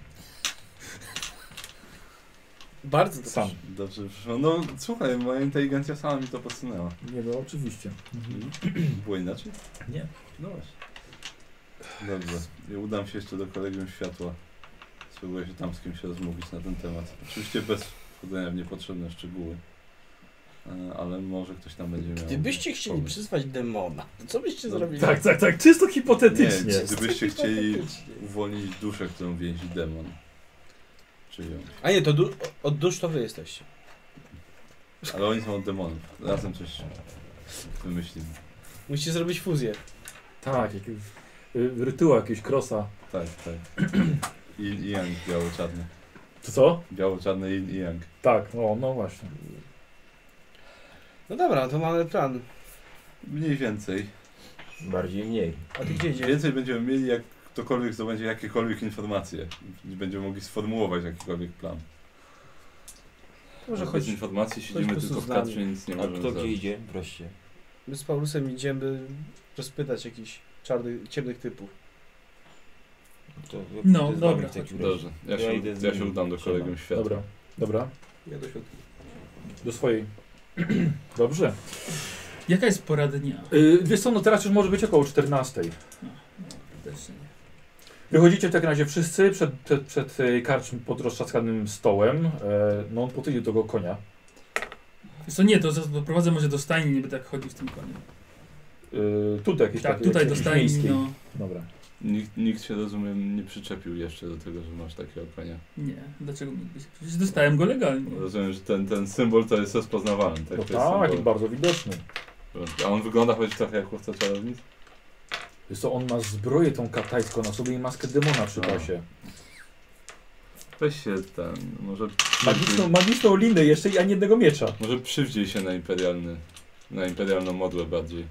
Speaker 17: Bardzo dobrze.
Speaker 1: Sam.
Speaker 2: Dobrze przyszło. No słuchaj, moja inteligencja sama mi to podsunęła.
Speaker 1: Nie, no oczywiście.
Speaker 2: Mhm. Było inaczej?
Speaker 1: Nie.
Speaker 2: No właśnie. Dobrze. Ja udam się jeszcze do kolegium światła. Spróbuję się tam z kimś rozmówić na ten temat. Oczywiście bez wchodzenia w niepotrzebne szczegóły. E, Ale może ktoś tam będzie miał.
Speaker 5: Gdybyście chcieli
Speaker 2: pomysł.
Speaker 5: przyzwać demona, to co byście
Speaker 2: No,
Speaker 5: zrobili?
Speaker 1: Tak, tak, tak. Czysto
Speaker 2: Nie,
Speaker 1: hipotetycznie.
Speaker 2: czy- gdybyście chcieli-
Speaker 5: Hipotetycznie.
Speaker 2: Uwolnić duszę, którą więzi demon. Czy ją.
Speaker 5: A nie, to du- od dusz to wy jesteście.
Speaker 2: Ale oni są od demonów. Razem coś wymyślimy.
Speaker 5: Musicie zrobić fuzję.
Speaker 1: Tak, jakiś y, rytuał, jakiegoś krosa.
Speaker 2: Tak, tak. Yin i Yang, biało-czarny.
Speaker 1: To co?
Speaker 2: Biało-czarny Yin i Yang.
Speaker 1: Tak, o, no właśnie.
Speaker 5: No dobra, to mamy plan.
Speaker 2: Mniej więcej.
Speaker 8: Bardziej mniej.
Speaker 5: A ty gdzie idziesz?
Speaker 2: Więcej będziemy mieli, jak ktokolwiek zdobędzie jakiekolwiek informacje. I Będziemy mogli sformułować jakikolwiek plan.
Speaker 5: Może
Speaker 2: Bez
Speaker 5: chodź.
Speaker 2: informacji
Speaker 5: po
Speaker 2: siedzimy
Speaker 5: prostu
Speaker 2: tylko
Speaker 5: z
Speaker 2: w
Speaker 5: nami.
Speaker 2: katrze, nic nie
Speaker 8: A
Speaker 2: możemy
Speaker 8: kto gdzie
Speaker 2: zrobić.
Speaker 8: idzie? Proście.
Speaker 5: My z Paulusem idziemy rozpytać jakichś czarnych, ciemnych typów.
Speaker 8: To,
Speaker 4: No,
Speaker 8: to jest
Speaker 4: dobra,
Speaker 8: wami w takim razie.
Speaker 2: Dobrze, ja się,
Speaker 8: idę z
Speaker 2: ja
Speaker 8: nimi.
Speaker 2: się udam do
Speaker 8: Trzeba.
Speaker 2: kolegium świata.
Speaker 1: Dobra, dobra.
Speaker 18: Ja do środka.
Speaker 1: Do swojej. [clears throat] Dobrze.
Speaker 4: Jaka jest pora dnia?
Speaker 1: Y, wiesz co, no teraz już może być około 14.
Speaker 4: Też nie.
Speaker 1: Wychodzicie w takim razie wszyscy przed, przed, przed y, karczm pod roztrzaskanym stołem. E, no on potylił tego konia.
Speaker 4: Wiesz Co nie, to zaraz doprowadzę może do stajni, niby tak chodził z tym koniem.
Speaker 1: Y, tutaj jakieś
Speaker 4: Tak,
Speaker 1: takie-
Speaker 4: tutaj do
Speaker 1: jakieś
Speaker 4: stajni,
Speaker 1: miejskie.
Speaker 4: no
Speaker 1: Dobra.
Speaker 2: Nikt, nikt się, rozumiem, nie przyczepił jeszcze do tego, że masz takiego konia.
Speaker 4: nie, dlaczego mógłbyś? Przecież dostałem go legalnie.
Speaker 2: Rozumiem, że ten, ten symbol to jest rozpoznawalny, tak?
Speaker 1: No
Speaker 2: To jest
Speaker 1: tak,
Speaker 2: symbol.
Speaker 1: bardzo widoczny.
Speaker 2: A on wygląda choć trochę jak chłopca czarownic?
Speaker 1: Wiesz co, on ma zbroję tą katajską na sobie i maskę demona przy
Speaker 2: A.
Speaker 1: pasie.
Speaker 2: Weź się ten, może...
Speaker 1: Magiczną, magiczną linę jeszcze i ani jednego miecza.
Speaker 2: Może przywdziej się na imperialny, na imperialną modłę bardziej.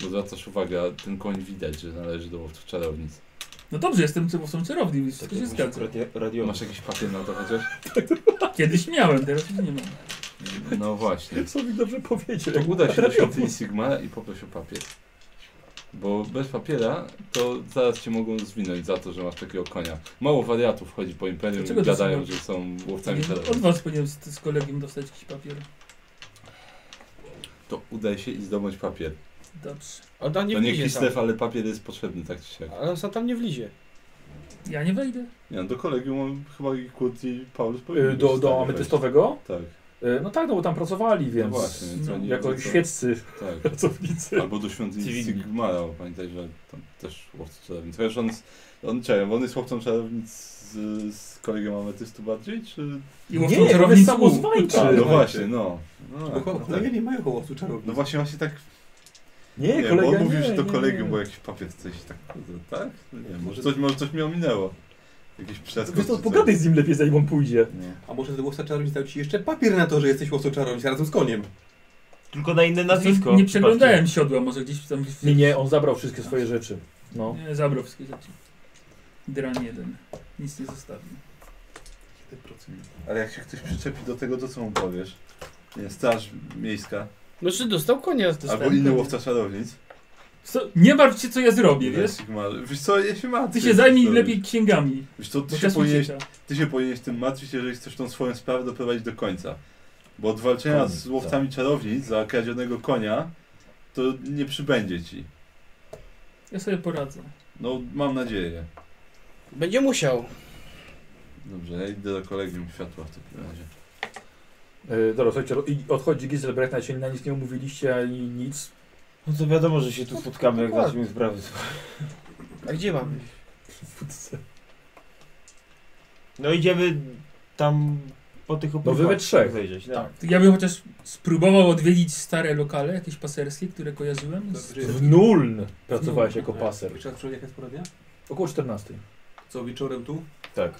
Speaker 2: Bo zwracasz uwagę, a ten koń widać, że należy do łowców czarownic.
Speaker 4: No dobrze, jestem cebowcą czarowni, więc
Speaker 8: Tak
Speaker 4: wszystko się
Speaker 8: jakbyś
Speaker 4: zgadza. Tak,
Speaker 8: radio- Radio.
Speaker 2: Masz jakiś papier na to chociaż?
Speaker 4: Kiedyś miałem, teraz już nie mam.
Speaker 1: Tak,
Speaker 2: No właśnie.
Speaker 1: Co mi dobrze powiedzieć?
Speaker 2: To uda się do świątyni Sigmara i poproś o papier. Bo bez papiera to zaraz cię mogą zwinąć za to, że masz takiego konia. Mało wariatów chodzi po imperium
Speaker 4: Dlaczego
Speaker 2: i
Speaker 4: to
Speaker 2: gadają,
Speaker 4: są- no,
Speaker 2: że są
Speaker 1: tak,
Speaker 2: łowcami
Speaker 4: Od
Speaker 2: czarownic.
Speaker 4: was powinienem z, z kolegiem dostać jakiś papier.
Speaker 2: To udaj się i zdobądź papier.
Speaker 4: Dobrze.
Speaker 5: A tam nie
Speaker 2: To nie
Speaker 5: wlizie tam.
Speaker 2: Krzysztof, ale papier jest potrzebny tak czy siak.
Speaker 5: Ale on sam tam nie wlizie.
Speaker 4: Ja nie wejdę.
Speaker 2: Nie, no, do kolegium chyba i Kurt i Paulus powinni
Speaker 1: Y,
Speaker 2: być w
Speaker 1: Do,
Speaker 2: stanie
Speaker 1: do
Speaker 2: wejść.
Speaker 1: ametystowego?
Speaker 2: Tak.
Speaker 1: Y, No tak, no bo tam pracowali,
Speaker 2: No
Speaker 1: więc
Speaker 2: właśnie, więc
Speaker 4: no,
Speaker 2: oni
Speaker 1: jako
Speaker 2: to-
Speaker 1: świeccy [laughs]
Speaker 2: Tak.
Speaker 1: pracownicy.
Speaker 2: Albo do świątyni
Speaker 8: Cywilni.
Speaker 2: Sigmara, bo pamiętaj, że tam też łowcy czarownic. Chociaż on, z- on, czekaj, on jest łowcą czarownic z, z kolegą ametystu bardziej, czy...
Speaker 4: I
Speaker 1: Nie,
Speaker 4: łowcą
Speaker 1: on
Speaker 4: czarownic
Speaker 1: jest
Speaker 4: łuk. Tak.
Speaker 1: samozwańczy.
Speaker 2: A, no
Speaker 1: Czy-
Speaker 2: właśnie, no. No,
Speaker 18: Bo
Speaker 2: tak.
Speaker 18: kolegia nie mają hołosu czarownic.
Speaker 2: no właśnie, właśnie tak...
Speaker 1: Nie,
Speaker 2: nie, bo
Speaker 1: kolega
Speaker 2: on mówił,
Speaker 1: nie,
Speaker 2: że to
Speaker 1: nie,
Speaker 2: kolegium,
Speaker 1: nie.
Speaker 2: bo jakiś papier coś tak... kurde, Tak? No nie, może coś, może coś mi ominęło. Jakiś przeskok
Speaker 1: No Wiesz
Speaker 2: czy
Speaker 1: to
Speaker 2: coś.
Speaker 1: pogadaj z nim lepiej, zanim on pójdzie.
Speaker 2: Nie.
Speaker 18: A może ten łowca czarownic dał ci jeszcze papier na to, że jesteś łowcą czarownic razem z koniem.
Speaker 8: Tylko na inne nazwisko.
Speaker 4: Nie
Speaker 8: Patrzcie.
Speaker 4: przeglądałem siodła, może gdzieś tam... w-
Speaker 1: Nie, nie, on zabrał wszystkie swoje rzeczy. No.
Speaker 4: Nie, zabrał wszystkie rzeczy. Dran jeden. Nic nie zostawił.
Speaker 2: 1%. Ale jak się ktoś przyczepi do tego, to co mu powiesz? Nie, straż miejska,
Speaker 17: No czy dostał konia?
Speaker 2: albo inny łowca czarownic.
Speaker 4: Co? Nie martw się, co ja zrobię, wiesz?
Speaker 2: Sigmar. Wiesz co, ja się martwię.
Speaker 4: Ty się
Speaker 2: co
Speaker 4: zajmij
Speaker 2: zrobisz.
Speaker 4: lepiej księgami,
Speaker 2: Wiesz co,
Speaker 4: bo
Speaker 2: ty się,
Speaker 4: czas
Speaker 2: powinieneś,
Speaker 4: ucieka.
Speaker 2: ty się powinieneś tym martwić, jeżeli chcesz tą swoją sprawę doprowadzić do końca. Bo od walczenia
Speaker 8: Koniec,
Speaker 2: z łowcami czarownic za kradzionego konia, to nie przybędzie ci.
Speaker 4: Ja sobie poradzę.
Speaker 2: No, mam nadzieję.
Speaker 17: Będzie musiał.
Speaker 2: Dobrze, ja idę do kolegium światła w takim razie.
Speaker 1: Yy, dobra, słuchajcie, ro- i odchodzi Giselbrecht, na się na nic nie umówiliście ani nic.
Speaker 8: No to wiadomo, że się tu spotkamy, jak
Speaker 5: dokładnie.
Speaker 8: zaczniemy sprawy.
Speaker 5: A gdzie mamy?
Speaker 8: No idziemy tam po tych opływach.
Speaker 1: No wy we trzech.
Speaker 8: Zajrzeć, no.
Speaker 4: To Ja bym chociaż spróbował odwiedzić stare lokale, jakieś paserskie, które kojarzyłem. Z...
Speaker 18: Dobrze,
Speaker 1: W Nuln pracowałeś
Speaker 18: No,
Speaker 1: jako
Speaker 18: dobra.
Speaker 1: paser.
Speaker 18: Czas przychodzi jaka jest pora dnia?
Speaker 1: Około 14.
Speaker 18: Co, wieczorem tu?
Speaker 8: Tak.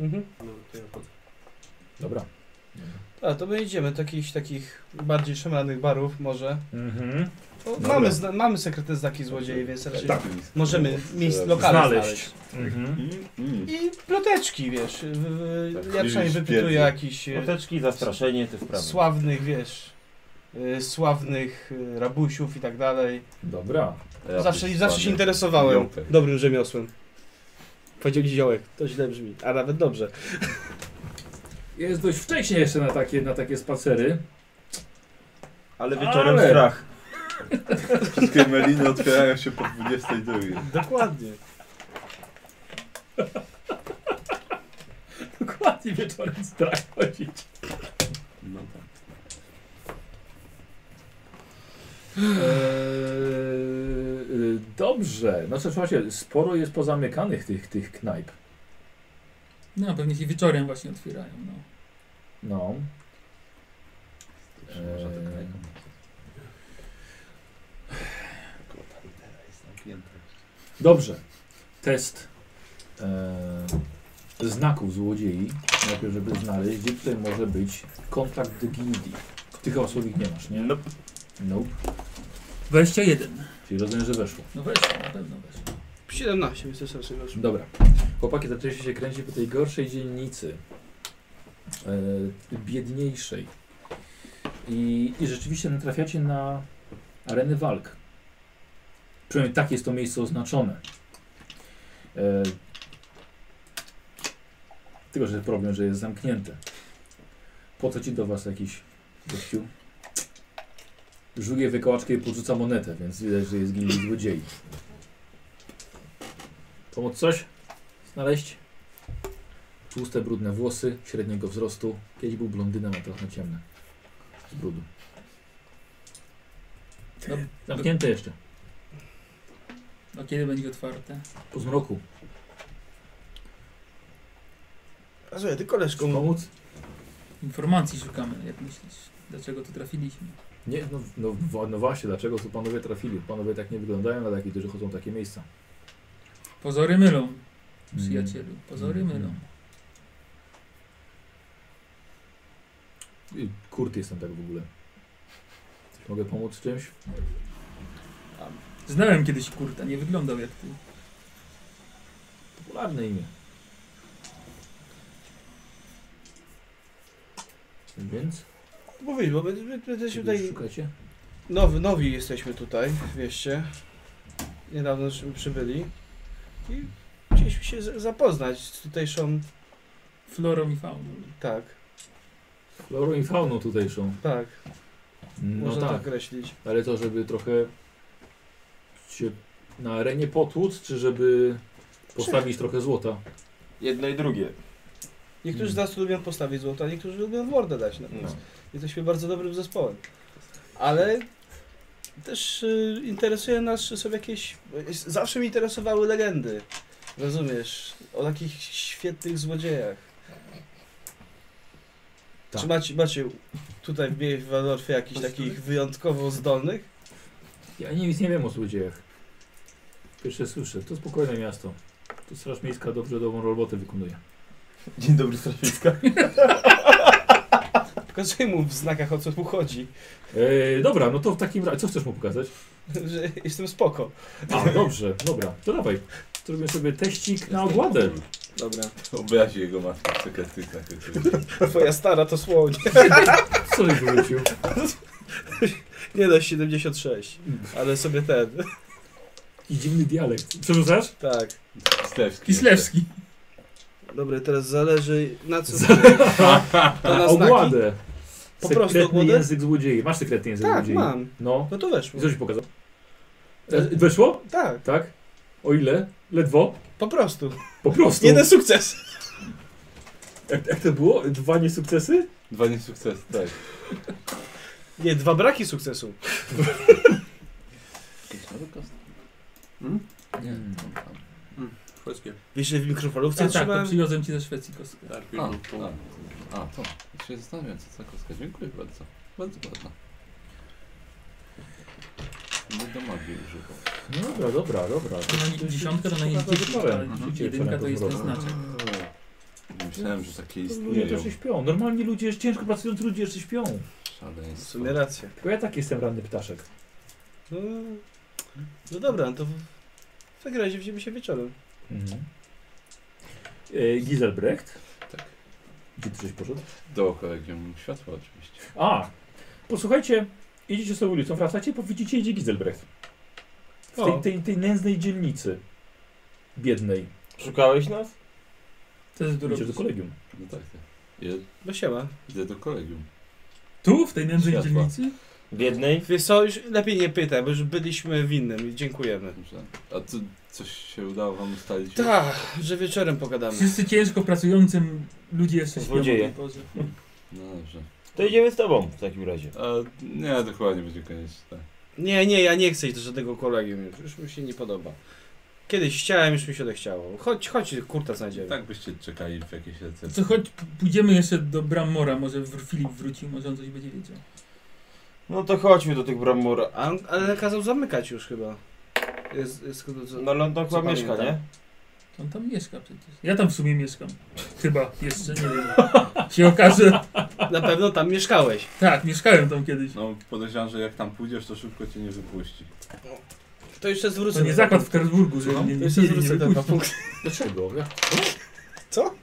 Speaker 5: Mhm.
Speaker 18: No, to ja wchodzę.
Speaker 1: Dobra.
Speaker 5: A to my idziemy do jakichś takich bardziej szemranych barów może.
Speaker 1: Mhm.
Speaker 5: Bo
Speaker 1: Dobra.
Speaker 5: mamy, zna, mamy sekretne znaki złodziei, więc raczej
Speaker 1: Tak.
Speaker 2: No,
Speaker 5: możemy miejsc lokale
Speaker 1: Znaleźć.
Speaker 5: znaleźć.
Speaker 1: Mhm.
Speaker 2: Mm, mm.
Speaker 5: I ploteczki, wiesz. W, w,
Speaker 2: Tak,
Speaker 5: ja przynajmniej
Speaker 2: liść
Speaker 5: wypytuję
Speaker 2: biedny.
Speaker 8: No
Speaker 5: jakichś e,
Speaker 8: Poteczki, zastraszenie, te sprawy.
Speaker 5: sławnych, wiesz, y, sławnych y, rabusiów i tak dalej.
Speaker 19: Dobra.
Speaker 5: Zawsze, zawsze się interesowałem
Speaker 2: Jołpek.
Speaker 5: dobrym rzemiosłem. Powiedział ziołek, to źle brzmi, a nawet dobrze.
Speaker 1: Jest dość wcześnie jeszcze na takie, na takie spacery. [laughs]
Speaker 20: Ale wieczorem
Speaker 1: Ale-
Speaker 20: strach.
Speaker 2: Wszystkie meliny otwierają się po 22.
Speaker 5: Dokładnie.
Speaker 1: Dokładnie wieczorem strach chodzić.
Speaker 2: No tak.
Speaker 1: Eee, dobrze. No co, słuchajcie, sporo jest pozamykanych tych, tych knajp.
Speaker 4: No, pewnie się wieczorem właśnie otwierają, no.
Speaker 1: No.
Speaker 2: Może to
Speaker 1: Eee.
Speaker 2: knajpa. Tylko pantera jest zamknięta.
Speaker 1: Dobrze. Test eee, znaków złodziei. Najpierw, żeby znaleźć, gdzie tutaj może być kontakt do gildii. Tych słowik nie masz, nie?
Speaker 20: Nope.
Speaker 1: Nope.
Speaker 4: 21.
Speaker 1: Czyli rozumiem, że weszło.
Speaker 4: No weszło, na pewno weszło.
Speaker 5: 17 jest strasznie dobrze.
Speaker 1: Dobra. Chłopaki zaczęliście się kręcić po tej gorszej dzielnicy. E, biedniejszej. I, I rzeczywiście natrafiacie na arenę walk. Przynajmniej tak jest to miejsce oznaczone. E, tylko, że problem, że jest zamknięte. Po co ci do was jakiś gościu? Żugie wykołaczkę i podrzuca monetę, więc widać, że jest gildii złodziei. Pomóc coś? Znaleźć? Tłuste, brudne włosy, średniego wzrostu. Kiedyś był blondynem, a trochę ciemny. Z brudu. No, zamknięte jeszcze.
Speaker 4: A kiedy będzie otwarte?
Speaker 1: Po zmroku.
Speaker 21: A słuchaj, ty koleżką.
Speaker 1: Pomóc?
Speaker 4: Informacji szukamy, jak myślisz. Dlaczego tu trafiliśmy?
Speaker 1: Nie, no, no, wa- no właśnie, dlaczego tu panowie trafili? Panowie tak nie wyglądają na takich, którzy chodzą w takie miejsca.
Speaker 4: Pozory mylą, przyjacielu. Pozory
Speaker 1: Mm.
Speaker 4: mylą.
Speaker 1: I Kurt jestem tak w ogóle. Mogę pomóc w czymś?
Speaker 4: Znałem kiedyś kurta, nie wyglądał jak ty.
Speaker 1: Popularne imię. Więc?
Speaker 5: Mówisz, bo będę- będę będę się
Speaker 1: Kogoś
Speaker 5: tutaj
Speaker 1: szukacie?
Speaker 5: Nowy, nowi jesteśmy tutaj, wieście. Niedawno żeśmy przybyli. I chcieliśmy się z- zapoznać z tutejszą...
Speaker 4: Florą i fauną.
Speaker 5: Tak,
Speaker 1: Florą i fauną tutejszą.
Speaker 5: tak,
Speaker 1: No
Speaker 5: można
Speaker 1: tak,
Speaker 5: to określić.
Speaker 1: ale to żeby trochę się na arenie potłuc, czy żeby postawić trochę złota?
Speaker 20: Jedno i drugie.
Speaker 5: Niektórzy z nas lubią postawić złoto, a niektórzy lubią w mordę dać na
Speaker 20: No.
Speaker 5: no. Jesteśmy bardzo dobrym zespołem. Ale też y, interesuje nas, czy są jakieś... Zawsze mi interesowały legendy. Rozumiesz? O takich świetnych złodziejach.
Speaker 1: Tak.
Speaker 5: Czy macie, macie tutaj w w Waldorfie jakichś takich wyjątkowo zdolnych?
Speaker 1: Ja nie, nic nie wiem o złodziejach. Pierwsze słyszę, to spokojne miasto. Tu Straż Miejska dobrze dobrą robotę wykonuje.
Speaker 20: Dzień dobry, Strafiska.
Speaker 5: Pokazuję mu w znakach o co tu chodzi, [laughs]
Speaker 1: E, dobra, no to w takim razie, co chcesz mu pokazać?
Speaker 5: że jestem spoko.
Speaker 1: A, dobrze, dobra, to dawaj. Zrobimy sobie teścik na ogładę.
Speaker 5: Dobra.
Speaker 2: Obrazi jego matkę w sekretykach.
Speaker 5: Twoja stara to słoń.
Speaker 1: [laughs] Co żeś wyrzucił?
Speaker 5: Nie no, 76. Ale sobie ten. [laughs]
Speaker 1: I dziwny dialekt. Przerzucasz?
Speaker 5: Tak.
Speaker 2: Kislewski.
Speaker 4: Kislewski.
Speaker 5: Dobra, teraz zależy na co. To na znaki.
Speaker 1: Ogładę.
Speaker 5: Po prostu
Speaker 1: Sekretny
Speaker 5: ogładę?
Speaker 1: język złodziei. Masz sekretny język
Speaker 5: Tak,
Speaker 1: złodziei?
Speaker 5: mam.
Speaker 1: No.
Speaker 5: No to
Speaker 1: I
Speaker 5: weszło.
Speaker 1: co ci pokazał? E, Weszło?
Speaker 5: Tak,
Speaker 1: Tak. O ile? Ledwo?
Speaker 5: po prostu.
Speaker 1: Po prostu.
Speaker 5: Jeden sukces.
Speaker 1: Jak, jak to było? Dwa niesukcesy?
Speaker 2: Dwa niesukcesy, tak.
Speaker 5: Nie, dwa braki sukcesu.
Speaker 2: Jakieś nowe kostki? Hmm?
Speaker 1: Nie.
Speaker 8: Szwedzkie.
Speaker 5: Wiesz, że w
Speaker 4: A
Speaker 5: mikrofalówce
Speaker 4: tak, to
Speaker 5: trzymałem?
Speaker 4: przywiozłem ci ze Szwecji kostkę.
Speaker 8: Tak,
Speaker 2: A,
Speaker 8: piękną tą-
Speaker 2: a, a, to. Ja się zastanawiam, co ta kostka. Dziękuję bardzo. Bardzo ładna. Będę do magii używał.
Speaker 1: No dobra, dobra, dobra.
Speaker 4: To na nie- dziesiątka to na
Speaker 1: Pokazałem.
Speaker 4: jeździecka,
Speaker 1: Mhm.
Speaker 4: jedynka to jest ten
Speaker 1: Dobra.
Speaker 4: znaczek.
Speaker 2: Myślałem, że takie
Speaker 1: Ludzie
Speaker 2: istnieją.
Speaker 1: też się śpią. Normalni ludzie, jeszcze ciężko pracujący ludzie jeszcze śpią.
Speaker 5: W
Speaker 2: Szaleństwo.
Speaker 5: sumie rację.
Speaker 1: Tylko ja tak jestem ranny ptaszek.
Speaker 5: No, no dobra, no to w, w takim razie widzimy się wieczorem.
Speaker 1: Mhm. E, Giselbrecht?
Speaker 2: Tak.
Speaker 1: Gdzie ty żeś poszedł?
Speaker 2: Dookoła, gdzie mam światło oczywiście.
Speaker 1: A, posłuchajcie, Idziecie sobie ulicą, wracacie, bo widzicie, idzie Gizelbrecht. W
Speaker 4: O.
Speaker 1: tej, tej, tej nędznej dzielnicy. Biednej.
Speaker 8: Szukałeś nas?
Speaker 4: Co ty tu
Speaker 1: Idziesz
Speaker 4: robisz?
Speaker 1: do kolegium.
Speaker 2: No tak. tak. Idę-
Speaker 5: No siema.
Speaker 2: Idę do kolegium.
Speaker 4: Tu, w tej nędznej
Speaker 8: Światła.
Speaker 4: dzielnicy?
Speaker 8: Biednej?
Speaker 5: Wiesz co, już lepiej nie pytaj, bo już byliśmy w innym i dziękujemy.
Speaker 2: Dobrze. A co, coś się udało wam ustalić?
Speaker 5: Tak, że wieczorem pogadamy.
Speaker 4: Wszyscy ciężko pracującym ludzie jeszcze śpią o
Speaker 8: Złodzieje.
Speaker 4: tej porze.
Speaker 2: No dobrze.
Speaker 8: To idziemy z tobą w takim razie.
Speaker 2: A, nie, to chyba nie będzie Tak. konieczne.
Speaker 5: Nie, nie, ja nie chcę iść do żadnego kolegium już, już mi się nie podoba. Kiedyś chciałem, już mi się odechciało. Chodź, chodź, kurta znajdziemy.
Speaker 2: Tak byście czekali w jakieś recepcje.
Speaker 4: Co choć p- pójdziemy jeszcze do Bramora, może wr- Filip wrócił, może on coś będzie wiedział.
Speaker 8: No to chodźmy do tych bramur.
Speaker 5: A, on- ale kazał zamykać już chyba. Jest, jest, co-
Speaker 8: No London
Speaker 5: Co
Speaker 8: chyba mieszka,
Speaker 5: pamiętam?
Speaker 8: nie?
Speaker 4: On tam mieszka przecież. Ja tam w sumie mieszkam. Chyba jeszcze, nie wiem. Się okaże.
Speaker 5: na pewno tam mieszkałeś.
Speaker 4: Tak, mieszkałem tam kiedyś.
Speaker 2: No podejrzewam, że jak tam pójdziesz, to szybko cię nie wypuści.
Speaker 5: To jeszcze zwrócę.
Speaker 4: To nie
Speaker 5: te
Speaker 4: zakład w
Speaker 5: papugi.
Speaker 4: Karlsburgu, że
Speaker 5: No,
Speaker 4: mnie
Speaker 5: to
Speaker 4: nie
Speaker 5: jeszcze
Speaker 4: mieli,
Speaker 5: zwrócę
Speaker 4: nie
Speaker 5: te
Speaker 4: wypuścił.
Speaker 5: papugi.
Speaker 1: [laughs] Dlaczego? Jak
Speaker 4: Co?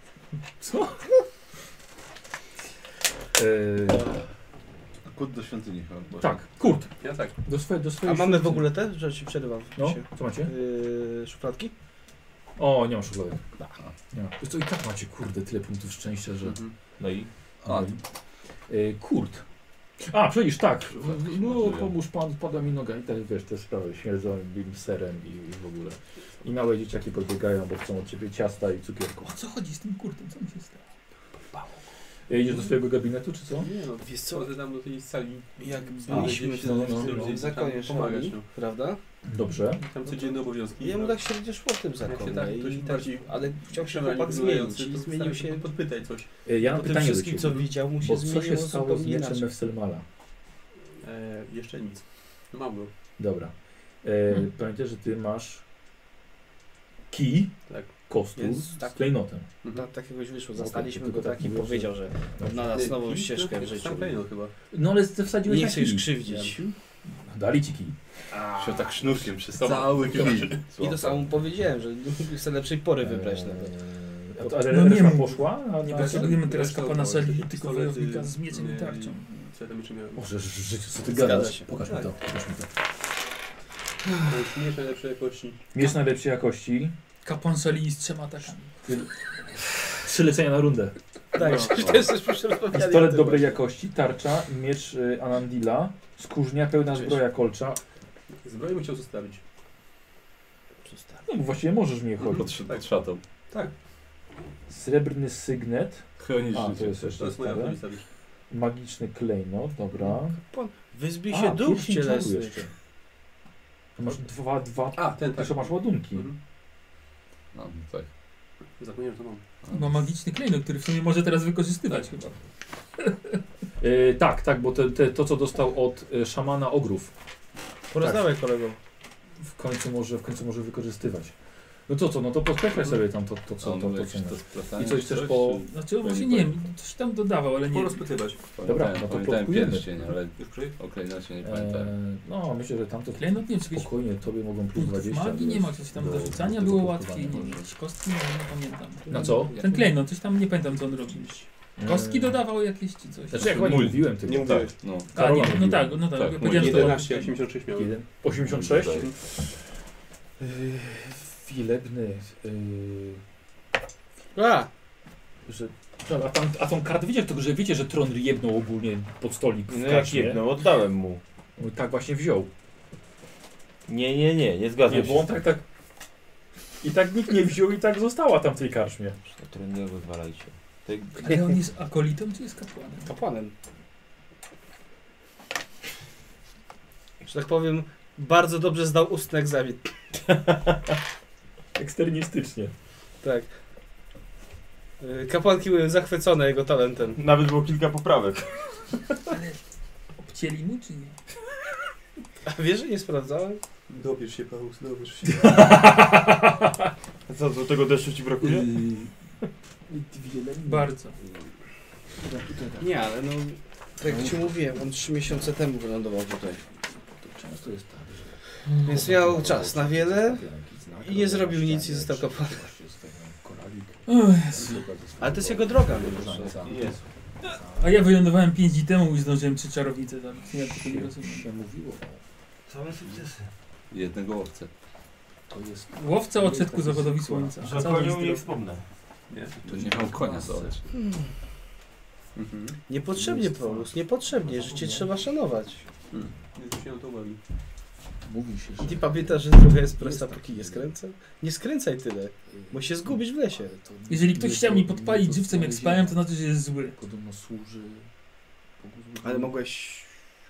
Speaker 1: E,
Speaker 2: Kut do świątyni chyba. bo-
Speaker 1: tak, Kurt,
Speaker 22: Ja tak.
Speaker 1: do, swe, do
Speaker 5: A
Speaker 1: swojej
Speaker 5: mamy w
Speaker 1: świątyni.
Speaker 5: ogóle te, że ci przerywam
Speaker 1: No,
Speaker 5: się.
Speaker 1: co macie?
Speaker 5: Yy, szufladki?
Speaker 1: O, nie mam szufladek. Nie ma. Wiesz co, i tak macie, kurde, tyle punktów szczęścia, że...
Speaker 2: Mhm.
Speaker 8: No i?
Speaker 2: A,
Speaker 1: Y, Kurt. A, przecież tak.
Speaker 2: Szufladki się
Speaker 1: No,
Speaker 2: marnują.
Speaker 1: pomóż pan, padła mi noga i tak, wiesz, te sprawy śmierdzą im serem i, i w ogóle. I małe dzieciaki podbiegają, bo chcą od ciebie ciasta i cukierku.
Speaker 4: O co chodzi z tym kurtem? Co mi się stało?
Speaker 1: Y, Idziesz do swojego gabinetu, czy co?
Speaker 22: Nie no,
Speaker 5: Wiesz co,
Speaker 22: wchodzę tam do tej sali.
Speaker 5: jak
Speaker 22: A,
Speaker 5: byliśmy
Speaker 22: gdzie
Speaker 5: w
Speaker 1: no,
Speaker 5: tym
Speaker 1: no,
Speaker 22: się
Speaker 1: no.
Speaker 22: ludzie
Speaker 5: zakonie
Speaker 22: tam pomagać,
Speaker 5: szamani,
Speaker 22: no.
Speaker 5: prawda?
Speaker 1: Dobrze.
Speaker 22: Tam codzienne obowiązki.
Speaker 5: No
Speaker 22: no.
Speaker 5: Ja mu tak się będzie szło w tym
Speaker 22: Jak się
Speaker 5: zakonie.
Speaker 22: tak,
Speaker 5: i
Speaker 22: ktoś
Speaker 5: tak-
Speaker 22: bardziej
Speaker 5: ale chciał się
Speaker 22: Przynajmniej
Speaker 5: chłopak
Speaker 22: wyglądający,
Speaker 5: zmienić i
Speaker 22: to
Speaker 5: zmienił
Speaker 22: staram
Speaker 5: się.
Speaker 22: Podpytaj coś.
Speaker 1: Y, Ja
Speaker 5: Po
Speaker 1: mam
Speaker 5: tym
Speaker 1: pytanie do
Speaker 5: wszystkim,
Speaker 1: ciebie.
Speaker 5: co widział, mu się
Speaker 1: Bo co się
Speaker 5: zmieniło
Speaker 1: stało z
Speaker 5: zupełnie
Speaker 1: mieczem
Speaker 5: inaczej.
Speaker 1: Mefselmala?
Speaker 22: E, jeszcze nic. No mam go.
Speaker 1: Dobra. E,
Speaker 4: Mhm.
Speaker 1: Pamiętaj, że ty masz kij
Speaker 22: Tak.
Speaker 1: kostu
Speaker 5: Jest,
Speaker 1: z
Speaker 5: tak.
Speaker 1: klejnotem.
Speaker 22: Mhm.
Speaker 5: Na takiegoś tak wyszło,
Speaker 1: Okej,
Speaker 5: zastaliśmy
Speaker 1: Mhm. tylko
Speaker 5: go
Speaker 1: tak
Speaker 5: tak i
Speaker 1: mówię, że-
Speaker 5: powiedział, że
Speaker 1: Dobrze.
Speaker 5: odnalazł nową
Speaker 22: Kij?
Speaker 5: ścieżkę w
Speaker 22: No,
Speaker 5: życiu.
Speaker 22: Sam Kejno chyba.
Speaker 1: No ale ty wsadziłeś
Speaker 5: Nie
Speaker 1: na
Speaker 5: chcę
Speaker 1: kij.
Speaker 5: już krzywdzić.
Speaker 1: Dali ci kij.
Speaker 2: Się tak sznurkiem przez
Speaker 5: Dobra.
Speaker 2: cały kij.
Speaker 5: I to samo mu powiedziałem, że [laughs] chcę lepszej pory wybrać.
Speaker 1: Eee,
Speaker 5: nawet.
Speaker 1: a to- Ale
Speaker 4: No nie
Speaker 1: reszta
Speaker 4: wiem.
Speaker 1: poszła? A nie
Speaker 4: Nie
Speaker 1: poszła?
Speaker 4: potrzebujemy teraz
Speaker 22: Reszta
Speaker 4: kapana
Speaker 22: odwołała się.
Speaker 4: sali, tylko
Speaker 22: Pistolety,
Speaker 4: wojownika z mieczem
Speaker 22: nie,
Speaker 4: i tarczą.
Speaker 22: Co ja tam jeszcze miałem?
Speaker 1: Boże, ży- życiu, co ty
Speaker 5: Zgadza
Speaker 1: gadasz?
Speaker 5: się. Tak.
Speaker 1: Pokaż mi to. Pokaż mi to.
Speaker 22: To jest mniejsze lepszej jakości.
Speaker 1: Miecz najlepszej jakości.
Speaker 4: Kapłan sali z trzema atakami.
Speaker 1: Trzy lecenia na rundę.
Speaker 2: No,
Speaker 5: Tak, że to jest coś przerozmawiali.
Speaker 1: Pistolet dobrej jakości, tarcza, miecz y, Anandila, skórznia, pełna
Speaker 22: Cześć.
Speaker 1: zbroja kolcza.
Speaker 22: Zbroję bym chciał zostawić.
Speaker 1: No bo właściwie możesz mnie chodzić.
Speaker 2: Pod, sz- pod szatą.
Speaker 22: Tak.
Speaker 1: Srebrny sygnet.
Speaker 2: Chronić
Speaker 1: A, to
Speaker 2: życie.
Speaker 1: jest
Speaker 22: To
Speaker 1: jeszcze
Speaker 22: jest moja
Speaker 1: stare.
Speaker 22: autonomia stawisz.
Speaker 1: Magiczny klejnot, dobra.
Speaker 5: Wyzbij
Speaker 1: A,
Speaker 5: się duch
Speaker 1: pierścień czaru
Speaker 5: cielesnych.
Speaker 1: To masz dwa, dwa.
Speaker 22: A, ten tak.
Speaker 1: Jeszcze masz ładunki.
Speaker 22: Mhm.
Speaker 2: A, no tak.
Speaker 22: Zapomniałem, że to mam.
Speaker 4: No, Ma magiczny klejnot, który w sumie może teraz wykorzystywać chyba.
Speaker 1: E, tak, tak, bo te, te, to co dostał od e, szamana ogrów Tak.
Speaker 5: Porozdawaj kolegom.
Speaker 1: w końcu może, w końcu może wykorzystywać. No to co, no to podkreślaj sobie tam to, to co,
Speaker 4: no,
Speaker 1: to,
Speaker 2: On
Speaker 1: to,
Speaker 2: jakieś
Speaker 1: co masz.
Speaker 2: to splatanie,
Speaker 1: I coś chcesz
Speaker 2: czy-
Speaker 1: po-
Speaker 4: Znaczy, właśnie nie wiem, coś tam dodawał, ale nie wiem.
Speaker 22: Porozpytywać.
Speaker 1: Dobra,
Speaker 2: Pamiętałem-
Speaker 1: no to
Speaker 2: Pamiętałem
Speaker 1: plotkujemy.
Speaker 2: pierścień, ale
Speaker 22: Już przy?
Speaker 2: o klejnocie nie pamiętałem.
Speaker 1: E, no myślę, że tamto
Speaker 4: Klejnot nie wiem, czy jakiś
Speaker 1: spokojnie tobie mogą plus
Speaker 4: punktów
Speaker 1: 20.
Speaker 4: magii nie ma, coś tam
Speaker 1: do-
Speaker 4: do rzucania
Speaker 1: do
Speaker 4: było
Speaker 1: wykorzystywania
Speaker 4: łatwiej, nie wiem,
Speaker 1: może.
Speaker 4: jakieś kostki, nie, nie pamiętam. No,
Speaker 1: Na co?
Speaker 4: Ten klejnot, coś tam nie pamiętam co on robił. Kostki
Speaker 1: E,
Speaker 4: dodawał jakieś czy coś.
Speaker 1: Znaczy jak ładnie
Speaker 2: Mul-
Speaker 1: mówiłem tylko.
Speaker 8: Nie mówiłeś.
Speaker 2: No.
Speaker 4: A, nie,
Speaker 1: Karola
Speaker 4: no
Speaker 1: mówiłem.
Speaker 4: tak, no tak,
Speaker 2: Tak,
Speaker 4: ja powiedziałem, że to
Speaker 22: 11, 86 miałem.
Speaker 1: tak, Jeden. 86?
Speaker 2: Tutaj.
Speaker 1: Yy, Wilebny. Yy,
Speaker 5: A,
Speaker 1: że, a, tam, a tą kartę wiecie, tylko że wiecie, że tron jebnął ogólnie pod stolik w
Speaker 8: No jak
Speaker 1: kaczmie.
Speaker 8: jedną, oddałem mu.
Speaker 1: No i Tak właśnie wziął.
Speaker 8: Nie, nie, nie, nie
Speaker 1: Nie,
Speaker 8: zgadzam się.
Speaker 1: bo on tak, tak. I tak nikt nie wziął i tak została tam w tej karczmie.
Speaker 8: Trennego zwalajcie. Ty...
Speaker 4: Ale on jest akolitą czy jest kapłanem?
Speaker 5: kapłanem. Że tak powiem, bardzo dobrze zdał ustny egzamin.
Speaker 1: Eksternistycznie.
Speaker 5: Tak. Yy, Kapłanki były zachwycone jego talentem.
Speaker 8: Nawet było kilka poprawek.
Speaker 4: Ale obcięli mu czy nie?
Speaker 5: A wiesz, że nie sprawdzałem?
Speaker 22: Dobierz się, Paulus, dobierz
Speaker 2: [laughs]
Speaker 22: się.
Speaker 8: Co, do tego deszczu ci brakuje?
Speaker 4: Bardzo.
Speaker 5: Nie, ale no... Tak jak ci mówiłem, on trzy miesiące temu wylądował tutaj.
Speaker 1: Często jest tak, że
Speaker 5: Więc miał czas na wiele i nie zrobił nic i został
Speaker 1: tak
Speaker 5: kapłanem.
Speaker 4: Ech,
Speaker 5: Ale to jest jego droga.
Speaker 2: Tak.
Speaker 8: Jest.
Speaker 4: A ja wylądowałem 5 dni temu i zdążyłem trzy czarownice zabić. Ja tego nie rozumiem.
Speaker 1: się mówiło.
Speaker 8: Same sukcesy.
Speaker 2: Jednego łowcę.
Speaker 1: To jest...
Speaker 4: Łowca odsetku zachodowi słońca.
Speaker 8: Że
Speaker 4: Cały
Speaker 8: koniu nie
Speaker 4: zdrowy.
Speaker 8: wspomnę.
Speaker 6: Nie.
Speaker 2: To nie miał konia zabrać.
Speaker 22: Hmm.
Speaker 2: Mhm.
Speaker 5: Niepotrzebnie, Paulus, niepotrzebnie. Życie trzeba szanować.
Speaker 6: Więc mi się na to uwagi.
Speaker 1: Mówi się,
Speaker 5: I
Speaker 1: że...
Speaker 5: ty pamiętasz, że droga jest prosta, póki nie skręcę? Nie skręcaj tyle, bo się zgubić w lesie.
Speaker 1: Ale to
Speaker 4: Jeżeli
Speaker 1: nie
Speaker 4: ktoś
Speaker 1: jest
Speaker 4: chciał
Speaker 1: to-
Speaker 4: mi
Speaker 1: nie
Speaker 4: podpalić
Speaker 1: jest
Speaker 4: żywcem jak spałem, to
Speaker 1: znalezienie.
Speaker 4: znaczy, że jest zły.
Speaker 1: Podobno służy... Bogu złego.
Speaker 5: Ale mogłeś